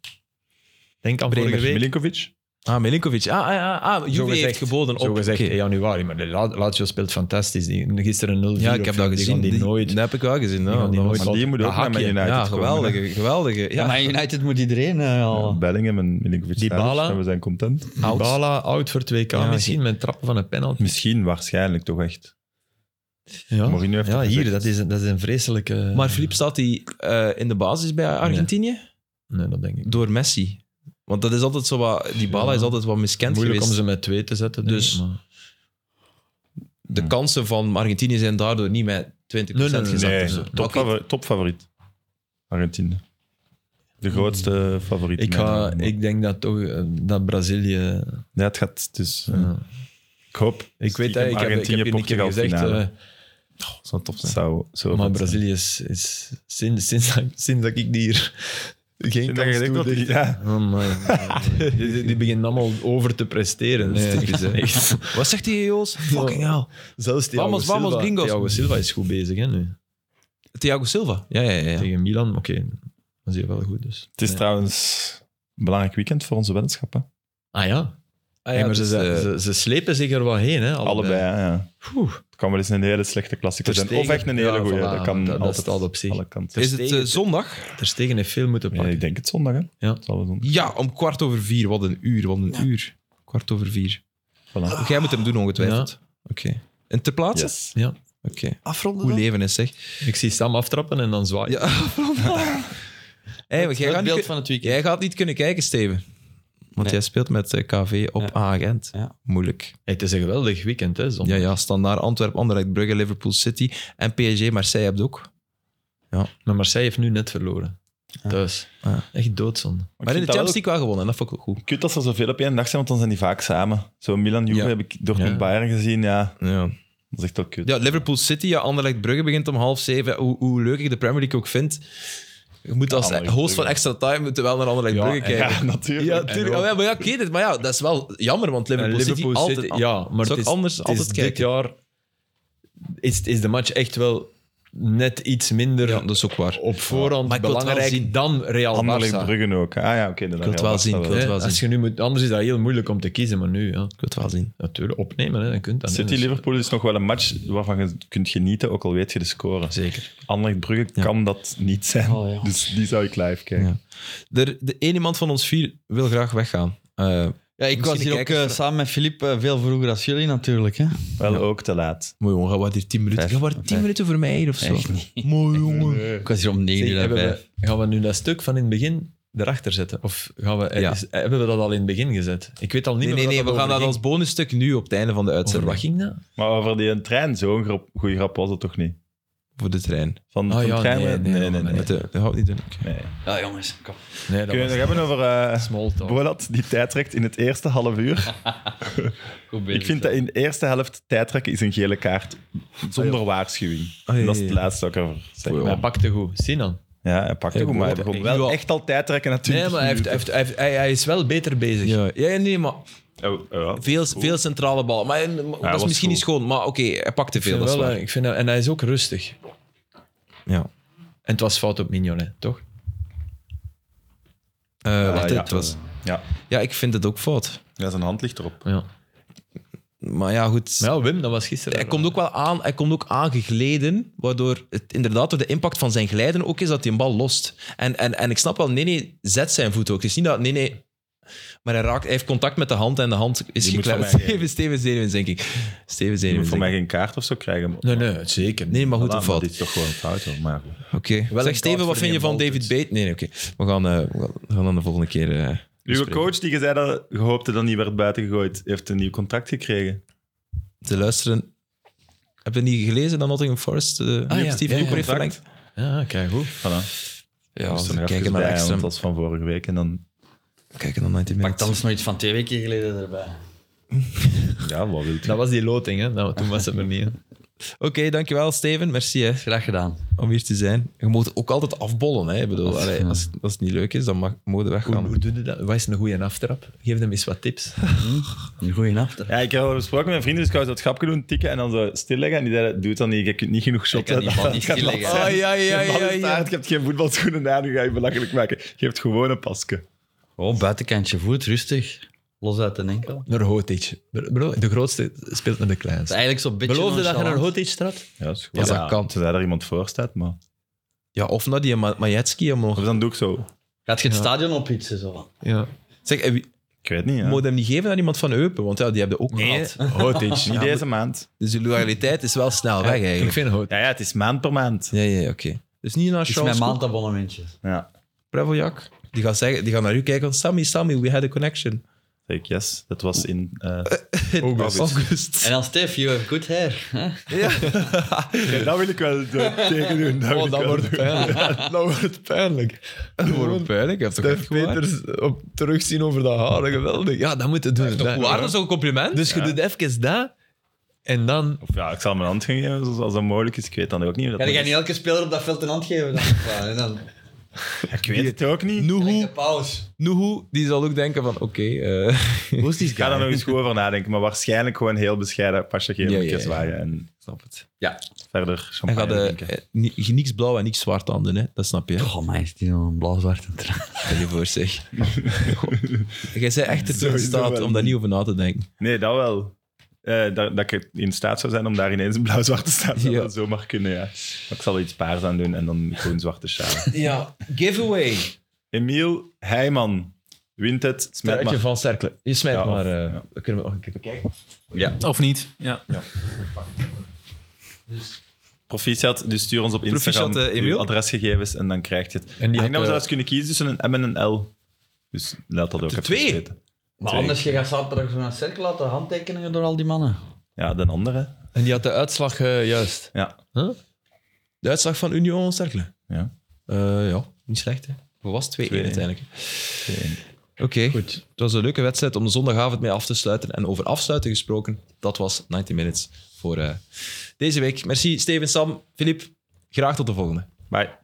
[SPEAKER 4] Denk aan vorige
[SPEAKER 2] Bremer,
[SPEAKER 4] week.
[SPEAKER 2] Milinkovic.
[SPEAKER 1] Ah, Milinkovic. Ah, ah, ah, ah, Juve
[SPEAKER 4] Zo gezegd-
[SPEAKER 1] heeft geboden op...
[SPEAKER 4] Zo gezegd
[SPEAKER 1] Oké.
[SPEAKER 4] in januari, maar de La- Lazio speelt fantastisch. Die, gisteren 0-4.
[SPEAKER 1] Ja,
[SPEAKER 4] of
[SPEAKER 1] ik heb dat
[SPEAKER 4] die
[SPEAKER 1] gezien.
[SPEAKER 4] gaan Die, nooit.
[SPEAKER 1] Dat heb ik wel gezien.
[SPEAKER 4] gaan
[SPEAKER 1] Ja,
[SPEAKER 4] die
[SPEAKER 1] dat
[SPEAKER 4] nooit
[SPEAKER 1] was-
[SPEAKER 2] Maar die moet ook
[SPEAKER 4] dat
[SPEAKER 2] naar Man
[SPEAKER 4] hakje.
[SPEAKER 2] United
[SPEAKER 1] ja
[SPEAKER 2] komen, hè.
[SPEAKER 1] geweldige, geweldige.
[SPEAKER 3] Ja,
[SPEAKER 1] Ja.
[SPEAKER 3] maar United moet iedereen eh,
[SPEAKER 2] Ja,
[SPEAKER 3] al.
[SPEAKER 2] Bellingham en Milinkovic.
[SPEAKER 4] Dybala.
[SPEAKER 2] Savic, en We zijn content.
[SPEAKER 1] Oud.
[SPEAKER 4] Bala oud voor 2K
[SPEAKER 1] Ja,
[SPEAKER 4] misschien, met trappen van een penalty.
[SPEAKER 2] Misschien, waarschijnlijk toch echt.
[SPEAKER 4] Ja,
[SPEAKER 2] Mourinho heeft
[SPEAKER 4] ja
[SPEAKER 2] het
[SPEAKER 4] hier,
[SPEAKER 2] gezegd.
[SPEAKER 4] dat is, een- dat is een vreselijke...
[SPEAKER 1] Maar Filip staat hij eh, in de basis bij Argentinië?
[SPEAKER 4] Nee, dat denk ik.
[SPEAKER 1] Door Messi. Want dat is altijd zo wat... Die Bala
[SPEAKER 4] Ja.
[SPEAKER 1] is altijd wat miskend
[SPEAKER 4] Moeilijk
[SPEAKER 1] geweest.
[SPEAKER 4] om ze met twee te zetten.
[SPEAKER 1] Dus-
[SPEAKER 4] Dus... maar...
[SPEAKER 1] De kansen van Argentinië zijn daardoor niet met 20%
[SPEAKER 4] Nee, nee, nee,
[SPEAKER 1] gezakt.
[SPEAKER 4] nee.
[SPEAKER 1] of zo.
[SPEAKER 4] Nee.
[SPEAKER 1] Maar oké,
[SPEAKER 2] Topfavoriet. topfavoriet. Argentinië. De grootste favoriet.
[SPEAKER 4] ik,
[SPEAKER 2] mijn
[SPEAKER 4] ga,
[SPEAKER 2] mening.
[SPEAKER 4] ik denk dat toch eh, dat Brazilië...
[SPEAKER 2] Ja, het gaat dus... eh,
[SPEAKER 4] ja.
[SPEAKER 2] Ik hoop...
[SPEAKER 4] Ik weet dat, ik heb, ik heb je een keer
[SPEAKER 2] Portugal
[SPEAKER 4] gezegd,
[SPEAKER 2] finale.
[SPEAKER 4] eh,
[SPEAKER 1] zou tof zijn.
[SPEAKER 2] zou, zou
[SPEAKER 4] maar
[SPEAKER 2] vet zijn.
[SPEAKER 4] Brazilië is... is sinds, sinds, dat- sinds dat ik die hier geen
[SPEAKER 2] Sinds dat je
[SPEAKER 4] kans
[SPEAKER 2] gezegd
[SPEAKER 4] toe
[SPEAKER 2] wordt,
[SPEAKER 4] dicht-
[SPEAKER 2] ja.
[SPEAKER 4] Oh my, die, die, die beginnen allemaal over te presteren.
[SPEAKER 1] Nee.
[SPEAKER 4] Dat is typisch, hè. Echt.
[SPEAKER 1] Wat zegt die Joost? Fucking hell.
[SPEAKER 4] Zelfs Thiago
[SPEAKER 1] Vamos, vamos,
[SPEAKER 4] Silva,
[SPEAKER 1] gringos.
[SPEAKER 4] Thiago Silva is goed bezig hè, nu.
[SPEAKER 1] Thiago Silva. Ja, ja, ja.
[SPEAKER 4] Tegen Milan, oké, dat is hier wel goed. Dus.
[SPEAKER 2] Het is trouwens een belangrijk weekend voor onze weddenschappen.
[SPEAKER 4] Ah ja,
[SPEAKER 1] Ah,
[SPEAKER 4] Hey, maar
[SPEAKER 1] dus,
[SPEAKER 4] ze,
[SPEAKER 1] eh,
[SPEAKER 4] ze, ze slepen zich er wel heen. Hè, allebei.
[SPEAKER 2] Allebei, hè, ja.
[SPEAKER 4] Oeh.
[SPEAKER 2] Het kan wel eens een hele slechte klassieker
[SPEAKER 4] Ter
[SPEAKER 2] zijn. Of
[SPEAKER 4] Stegen.
[SPEAKER 2] echt een hele
[SPEAKER 4] Ja,
[SPEAKER 2] goede.
[SPEAKER 4] voilà,
[SPEAKER 2] dat kan
[SPEAKER 4] dat- dat
[SPEAKER 2] altijd
[SPEAKER 4] staat op zich.
[SPEAKER 2] alle kanten.
[SPEAKER 1] is het eh, zondag?
[SPEAKER 4] Ter Stegen heeft veel moeten
[SPEAKER 2] Ja,
[SPEAKER 4] pakken.
[SPEAKER 2] ik denk het zondag, hè.
[SPEAKER 4] Ja.
[SPEAKER 2] Het zal wel zondag.
[SPEAKER 1] Ja, om kwart over vier. Wat een uur, wat een uur. Kwart over vier.
[SPEAKER 2] Voilà.
[SPEAKER 1] Jij moet hem doen, ongetwijfeld. Oké. En ter plaatse?
[SPEAKER 2] Yes.
[SPEAKER 4] Ja.
[SPEAKER 1] Oké.
[SPEAKER 3] Afronden
[SPEAKER 1] Hoe leven is, zeg.
[SPEAKER 4] Ik zie Sam aftrappen en dan zwaaien.
[SPEAKER 1] Ja, hey, want jij,
[SPEAKER 3] Het
[SPEAKER 1] gaat niet
[SPEAKER 3] beeld
[SPEAKER 1] kun-
[SPEAKER 3] van het weekend.
[SPEAKER 1] jij gaat niet kunnen kijken, Steven. Want
[SPEAKER 3] Nee.
[SPEAKER 1] jij speelt met eh, KV op
[SPEAKER 3] Ja.
[SPEAKER 1] A-agent.
[SPEAKER 3] Ja.
[SPEAKER 1] Moeilijk.
[SPEAKER 4] Hey, het is een geweldig weekend, hè, zondag.
[SPEAKER 1] Ja, ja, standaard. Antwerpen, Anderlecht, Brugge, Liverpool City en PSG. Marseille hebt ook.
[SPEAKER 4] Maar Marseille heeft nu net verloren. Thuis.
[SPEAKER 1] Ah.
[SPEAKER 4] Echt doodzonde.
[SPEAKER 1] Maar in de
[SPEAKER 2] Ik vind dat wel
[SPEAKER 1] Champions League wel gewonnen. en Dat vond ik ook goed.
[SPEAKER 2] Kut dat ze zoveel op één dag zijn, want dan zijn die vaak samen. Zo Milan Juve
[SPEAKER 1] Ja.
[SPEAKER 2] heb ik door een
[SPEAKER 4] Ja.
[SPEAKER 2] Bayern gezien, ja.
[SPEAKER 1] Ja.
[SPEAKER 2] Dat is echt wel kut.
[SPEAKER 1] Ja, Liverpool City, ja, Anderlecht Brugge begint om half zeven. Hoe, hoe leuk ik de Premier League ook vind, je moet als
[SPEAKER 2] Anderlecht
[SPEAKER 1] host van
[SPEAKER 2] Brugge.
[SPEAKER 1] extra time moet je wel naar Anderlecht
[SPEAKER 4] Ja,
[SPEAKER 1] Brugge
[SPEAKER 4] en-
[SPEAKER 1] kijken.
[SPEAKER 2] Ja, natuurlijk.
[SPEAKER 1] Ja, tuurlijk.
[SPEAKER 4] en
[SPEAKER 1] Oh, ja, maar ja, ik weet het. Maar ja, dat is wel jammer, want Liverpool,
[SPEAKER 4] En
[SPEAKER 1] City altijd...
[SPEAKER 4] ja, maar
[SPEAKER 1] is ook
[SPEAKER 4] het is,
[SPEAKER 1] anders
[SPEAKER 4] het is
[SPEAKER 1] altijd
[SPEAKER 4] dit
[SPEAKER 1] kijken.
[SPEAKER 4] jaar is, is de match echt wel net iets minder
[SPEAKER 1] Ja, dat is ook waar.
[SPEAKER 4] op voorhand
[SPEAKER 1] Maar ik wil het wel zien.
[SPEAKER 4] belangrijk dan Real
[SPEAKER 2] Anderlecht
[SPEAKER 4] Barça.
[SPEAKER 2] Bruggen ook. Ah ja, oké.
[SPEAKER 1] Ik wil het wel zien, ik wil het
[SPEAKER 4] Hè,
[SPEAKER 1] wel
[SPEAKER 4] Als
[SPEAKER 1] zien.
[SPEAKER 4] je nu moet, anders is dat heel moeilijk om te kiezen, maar nu, ja,
[SPEAKER 1] Ik wil het wel zien.
[SPEAKER 4] natuurlijk, opnemen, hè, dan kunt dat. hè. Dus-
[SPEAKER 2] City-Liverpool is nog wel een match waarvan je kunt genieten, ook al weet je de score.
[SPEAKER 4] Zeker.
[SPEAKER 2] Anderlecht Brugge kan dat niet zijn.
[SPEAKER 3] Oh, ja.
[SPEAKER 2] Dus die zou ik live kijken.
[SPEAKER 1] Ja. Er, de één iemand van ons vier wil graag weggaan. Eh,
[SPEAKER 3] Ja, ik was
[SPEAKER 1] Misschien
[SPEAKER 3] hier
[SPEAKER 1] de
[SPEAKER 3] ook
[SPEAKER 1] kijkers-
[SPEAKER 3] eh, samen met Filip eh, veel vroeger als jullie natuurlijk. Hè?
[SPEAKER 2] Wel ook te laat.
[SPEAKER 1] mooi jongen, wat hier tien minuten.
[SPEAKER 3] Vijf.
[SPEAKER 1] Ga maar tien
[SPEAKER 3] Vijf.
[SPEAKER 1] minuten voor mij hier of zo.
[SPEAKER 3] Echt
[SPEAKER 1] Mooi jongen.
[SPEAKER 3] Ik was hier om negen
[SPEAKER 4] Zeg,
[SPEAKER 3] uur
[SPEAKER 4] hebben
[SPEAKER 3] bij.
[SPEAKER 4] we, gaan we nu dat stuk van in het begin erachter zetten? Of gaan we,
[SPEAKER 1] Ja.
[SPEAKER 4] is- hebben we dat al in het begin gezet? Ik weet al niet
[SPEAKER 1] Nee, nee,
[SPEAKER 4] meer
[SPEAKER 1] nee,
[SPEAKER 4] waar
[SPEAKER 1] we gaan
[SPEAKER 4] over
[SPEAKER 1] dat als
[SPEAKER 4] ging.
[SPEAKER 1] bonusstuk nu op het einde van de
[SPEAKER 4] Over
[SPEAKER 1] uitzending.
[SPEAKER 4] wat ging dat?
[SPEAKER 2] Maar over die trein, zo'n grap- goede grap was het toch niet?
[SPEAKER 1] Voor de trein.
[SPEAKER 2] Van
[SPEAKER 4] Ah,
[SPEAKER 2] van
[SPEAKER 4] ja,
[SPEAKER 2] trein?
[SPEAKER 4] nee, nee, nee, nee.
[SPEAKER 1] Met de, dat houdt niet doen.
[SPEAKER 2] nee.
[SPEAKER 3] Ja, jongens, kom.
[SPEAKER 4] Nee, dat
[SPEAKER 2] Kun je het
[SPEAKER 4] was
[SPEAKER 2] nog hebben over eh
[SPEAKER 4] small talk.
[SPEAKER 2] Bolat, die tijdtrekt in het eerste half uur?
[SPEAKER 3] Goed bezig.
[SPEAKER 2] Ik vind dat in de eerste helft tijdtrekken is een gele kaart zonder waarschuwing.
[SPEAKER 1] Ah, ja,
[SPEAKER 2] En dat is
[SPEAKER 1] ja,
[SPEAKER 2] het
[SPEAKER 1] ja.
[SPEAKER 2] laatste dat ik erover zeg.
[SPEAKER 1] Wow.
[SPEAKER 4] Hij
[SPEAKER 2] Maar-
[SPEAKER 4] pakte goed. Sinan.
[SPEAKER 2] Ja, hij pakt
[SPEAKER 1] Hey,
[SPEAKER 2] ook, maar hij
[SPEAKER 1] Bolat,
[SPEAKER 2] begon
[SPEAKER 1] ik
[SPEAKER 2] wel
[SPEAKER 1] wil-
[SPEAKER 2] echt al tijdtrekken natuurlijk.
[SPEAKER 4] Nee, maar hij, heeft, hij, heeft- hij heeft- hij- hij is wel beter bezig.
[SPEAKER 1] Ja, ja, ja, nee, maar
[SPEAKER 2] Oh,
[SPEAKER 1] veel, veel centrale ballen. Maar, eh, dat is
[SPEAKER 2] was
[SPEAKER 1] misschien
[SPEAKER 2] goed.
[SPEAKER 1] niet schoon, maar oké, hij pakt te
[SPEAKER 4] Ik
[SPEAKER 1] veel.
[SPEAKER 4] vind
[SPEAKER 1] Dat is
[SPEAKER 4] wel,
[SPEAKER 1] waar.
[SPEAKER 4] eh, ik vind dat- en hij is ook rustig.
[SPEAKER 1] Ja.
[SPEAKER 4] En het was fout op Mignon, hè, toch?
[SPEAKER 1] Eh, wacht,
[SPEAKER 2] ja.
[SPEAKER 1] het was...
[SPEAKER 2] Ja,
[SPEAKER 1] ja, ik vind het ook fout.
[SPEAKER 2] ja, zijn hand ligt erop.
[SPEAKER 4] Ja.
[SPEAKER 1] Maar ja, goed.
[SPEAKER 4] Maar ja, Wim, dat was gisteren.
[SPEAKER 1] Hij komt ook wel aan, hij komt ook aangegleden, waardoor het inderdaad door de impact van zijn glijden ook is dat hij een bal lost. En, en, en ik snap wel, nee, nee, zet zijn voet ook. Het is niet dat, nee, nee. Maar hij, raakt, hij heeft contact met de hand en de hand is
[SPEAKER 2] Die moet
[SPEAKER 1] geklemd.
[SPEAKER 2] van mij
[SPEAKER 1] Steven, Steven Zenuwens, denk ik. Steven
[SPEAKER 2] Je moet
[SPEAKER 1] Zenuwens.
[SPEAKER 2] voor
[SPEAKER 1] denk
[SPEAKER 2] mij
[SPEAKER 1] ik.
[SPEAKER 2] geen kaart of zo krijgen.
[SPEAKER 4] Nee, nee, zeker.
[SPEAKER 1] Nee, maar goed,
[SPEAKER 2] Voilà,
[SPEAKER 1] een fout.
[SPEAKER 2] Dit is toch gewoon een fout, hoor. maar goed.
[SPEAKER 1] Oké.
[SPEAKER 4] Wel
[SPEAKER 1] Zeg,
[SPEAKER 4] een
[SPEAKER 1] Steven,
[SPEAKER 4] kaart
[SPEAKER 1] wat
[SPEAKER 4] voor
[SPEAKER 1] vind je
[SPEAKER 4] die
[SPEAKER 1] van
[SPEAKER 4] bal
[SPEAKER 1] David
[SPEAKER 4] doet.
[SPEAKER 1] Bate? Nee, nee, oké. We, gaan, eh, we gaan- we gaan dan de volgende keer... eh,
[SPEAKER 2] Uw
[SPEAKER 1] bespreken.
[SPEAKER 2] coach, die je zei dat gehoopt dat niet werd buitengegooid, heeft een nieuw contract gekregen.
[SPEAKER 1] te luisteren. Heb je niet gelezen dat Nottingham Forest eh
[SPEAKER 4] Ah, ja,
[SPEAKER 1] Steven
[SPEAKER 4] ja,
[SPEAKER 1] Cooper heeft
[SPEAKER 2] contract.
[SPEAKER 1] verlengd?
[SPEAKER 4] Ja, kijk, goed.
[SPEAKER 2] Voilà.
[SPEAKER 1] Ja,
[SPEAKER 2] Dus
[SPEAKER 1] we
[SPEAKER 2] dan even
[SPEAKER 1] kijken naar
[SPEAKER 2] bij,
[SPEAKER 1] extra.
[SPEAKER 2] want dat is van vorige week. En dan,
[SPEAKER 1] Kijken naar 90
[SPEAKER 3] Pak
[SPEAKER 1] minutes.
[SPEAKER 3] dan eens nog iets van twee weken geleden erbij.
[SPEAKER 2] ja, wat wil je?
[SPEAKER 4] Dat was die loting, hè? Nou, toen was het er niet. Hè?
[SPEAKER 1] Oké, dankjewel Steven. Merci hè,
[SPEAKER 3] Graag gedaan.
[SPEAKER 1] om hier te zijn. Je moet ook altijd afbollen. Hè. Ik bedoel,
[SPEAKER 3] Dat is-
[SPEAKER 1] allee, als, als het niet leuk is, dan mag, mogen we
[SPEAKER 4] Hoe,
[SPEAKER 1] weggaan.
[SPEAKER 4] hoe doe je dat? Wat is een goede aftrap? Geef hem eens wat tips.
[SPEAKER 3] Een goeie after.
[SPEAKER 2] Ja, ik heb al besproken met mijn vrienden, dus ik wou zo het grapje doen, tikken en dan zo stilleggen. En die zeiden, doe het dan niet, je kunt niet genoeg shotten.
[SPEAKER 3] kan die bal niet
[SPEAKER 2] Het gaat
[SPEAKER 3] stilleggen.
[SPEAKER 2] laat zijn.
[SPEAKER 1] Oh, ja, ja,
[SPEAKER 2] Je bal
[SPEAKER 1] ja,
[SPEAKER 2] is
[SPEAKER 1] ja.
[SPEAKER 2] taart, je hebt geen voetbalschoenen aan, nu ga je belachelijk maken. Je hebt gewoon een pasje.
[SPEAKER 3] Oh, buitenkantje voet, rustig. Los uit de enkel. Het
[SPEAKER 4] Naar Hotic. Bro, de grootste speelt naar de
[SPEAKER 3] is
[SPEAKER 4] kleinste.
[SPEAKER 3] eigenlijk zo'n beetje
[SPEAKER 4] Beloofde dat je naar
[SPEAKER 3] nonchalant.
[SPEAKER 4] Hotic trapt?
[SPEAKER 2] Ja, dat is
[SPEAKER 1] goed. Ja,
[SPEAKER 2] Terwijl er iemand voor staat, maar...
[SPEAKER 1] Ja, of naar die Ma- Majetski. om
[SPEAKER 2] Of
[SPEAKER 1] nog-
[SPEAKER 2] dan doe ik zo.
[SPEAKER 3] Gaat je het stadion ophitsen? Zo.
[SPEAKER 4] Ja.
[SPEAKER 1] Zeg, eh, wie-
[SPEAKER 2] Ik weet niet, ja.
[SPEAKER 1] moet je hem niet geven aan iemand van Eupen? Want ja, die hebben ook gehad.
[SPEAKER 2] Hotage, niet deze maand.
[SPEAKER 1] Dus de loyaliteit is wel snel weg
[SPEAKER 4] Ik
[SPEAKER 1] eigenlijk.
[SPEAKER 4] vind Hotic.
[SPEAKER 2] Ja, ja, het is maand per maand.
[SPEAKER 1] Ja, ja, ja, oké. Dus niet naar
[SPEAKER 3] Het is mijn
[SPEAKER 1] Charles Cook,
[SPEAKER 3] maandabonnementje.
[SPEAKER 2] Ja,
[SPEAKER 1] Preveljak. Die gaan, zeggen, die gaan naar u kijken. want, Sammy, Sammy, we had a connection.
[SPEAKER 2] zeg ik yes. Dat was in... eh,
[SPEAKER 1] August.
[SPEAKER 3] En dan Stef, you have good hair. hè?
[SPEAKER 2] Ja, dat wil ik wel eh, tegen doen. Dat
[SPEAKER 1] Oh,
[SPEAKER 2] wil ik wel doen.
[SPEAKER 4] pijnlijk. Dan wordt het pijnlijk.
[SPEAKER 1] Waarom pijnlijk? Hij heeft toch echt gewaar?
[SPEAKER 4] Peters op terugzien over dat haar, geweldig. Ja, dat moet het doen.
[SPEAKER 1] Toch
[SPEAKER 4] Dat-
[SPEAKER 1] waar? Dat is ook een compliment?
[SPEAKER 4] Dus je
[SPEAKER 2] Ja.
[SPEAKER 4] doet even dat en dan...
[SPEAKER 2] Of ja, ik zal mijn hand gaan geven zoals- als dat mogelijk is. Ik weet dan ook niet. Of dat
[SPEAKER 3] Kan jij
[SPEAKER 2] dat
[SPEAKER 3] niet elke speler op dat veld een hand geven? Dan? Ja, en dan
[SPEAKER 2] is. Ik weet het ook niet.
[SPEAKER 3] de
[SPEAKER 1] Nuhu,
[SPEAKER 3] pauze.
[SPEAKER 1] Nuhu, die zal ook denken van, oké... eh,
[SPEAKER 2] Ik ga daar nog eens goed over nadenken. Maar waarschijnlijk gewoon heel bescheiden pasje geven.
[SPEAKER 1] Ja,
[SPEAKER 2] een
[SPEAKER 1] ja,
[SPEAKER 2] keer
[SPEAKER 1] ja.
[SPEAKER 2] zwaaien en
[SPEAKER 1] snap het.
[SPEAKER 3] Ja.
[SPEAKER 2] verder
[SPEAKER 1] En
[SPEAKER 2] champagne
[SPEAKER 1] gaat eh,
[SPEAKER 2] drinken.
[SPEAKER 1] eh, ni- niks blauw en niks zwart tanden, hè? dat snap je. hè?
[SPEAKER 3] Oh, mij is die nog een blauw-zwart en traan.
[SPEAKER 1] Stel je voor, zeg. Jij bent echt ertoe in
[SPEAKER 2] Sowieso
[SPEAKER 1] staat
[SPEAKER 2] wel
[SPEAKER 1] om daar
[SPEAKER 2] niet.
[SPEAKER 1] niet over na te denken.
[SPEAKER 2] Nee, dat wel. Eh, dat, dat ik in staat zou zijn om daar ineens een blauw-zwarte staat te
[SPEAKER 1] Ja.
[SPEAKER 2] ja. zo mag kunnen, ja. Maar ik zal er iets paars aan doen en dan gewoon zwarte sjaal.
[SPEAKER 1] Ja, giveaway.
[SPEAKER 2] Emiel Heijman wint het. Smet maar.
[SPEAKER 4] Truitje van Cerkelen. Je smijt
[SPEAKER 2] Ja, of-
[SPEAKER 4] maar. eh,
[SPEAKER 2] ja.
[SPEAKER 4] We kunnen nog een keer bekijken.
[SPEAKER 5] Of niet? Ja.
[SPEAKER 2] Proficiat, dus stuur ons op Instagram
[SPEAKER 1] Proficiat, eh, Emiel.
[SPEAKER 2] uw adresgegevens en dan krijg je het.
[SPEAKER 4] En
[SPEAKER 2] En
[SPEAKER 4] die
[SPEAKER 2] die
[SPEAKER 4] had,
[SPEAKER 2] ik nou
[SPEAKER 4] eh,
[SPEAKER 2] zelfs kunnen kiezen tussen een M en een L. Dus laat dat ook even
[SPEAKER 1] twee?
[SPEAKER 2] weten.
[SPEAKER 3] Maar anders, je gaat zaterdag zo naar cirkel laten handtekeningen door al die mannen.
[SPEAKER 2] Ja, de andere.
[SPEAKER 4] En die had de uitslag eh, juist.
[SPEAKER 2] Ja.
[SPEAKER 1] De uitslag van Union Cercle.
[SPEAKER 2] ja.
[SPEAKER 1] Eh, ja, niet slecht, hè. Hoe was het? 2-1
[SPEAKER 2] 2-1.
[SPEAKER 1] uiteindelijk. Oké, goed. Het was een leuke wedstrijd om de zondagavond mee af te sluiten. En over afsluiten gesproken, dat was 90 Minutes voor eh, deze week. Merci, Steven, Sam, Filip. Graag tot de volgende.
[SPEAKER 2] Bye.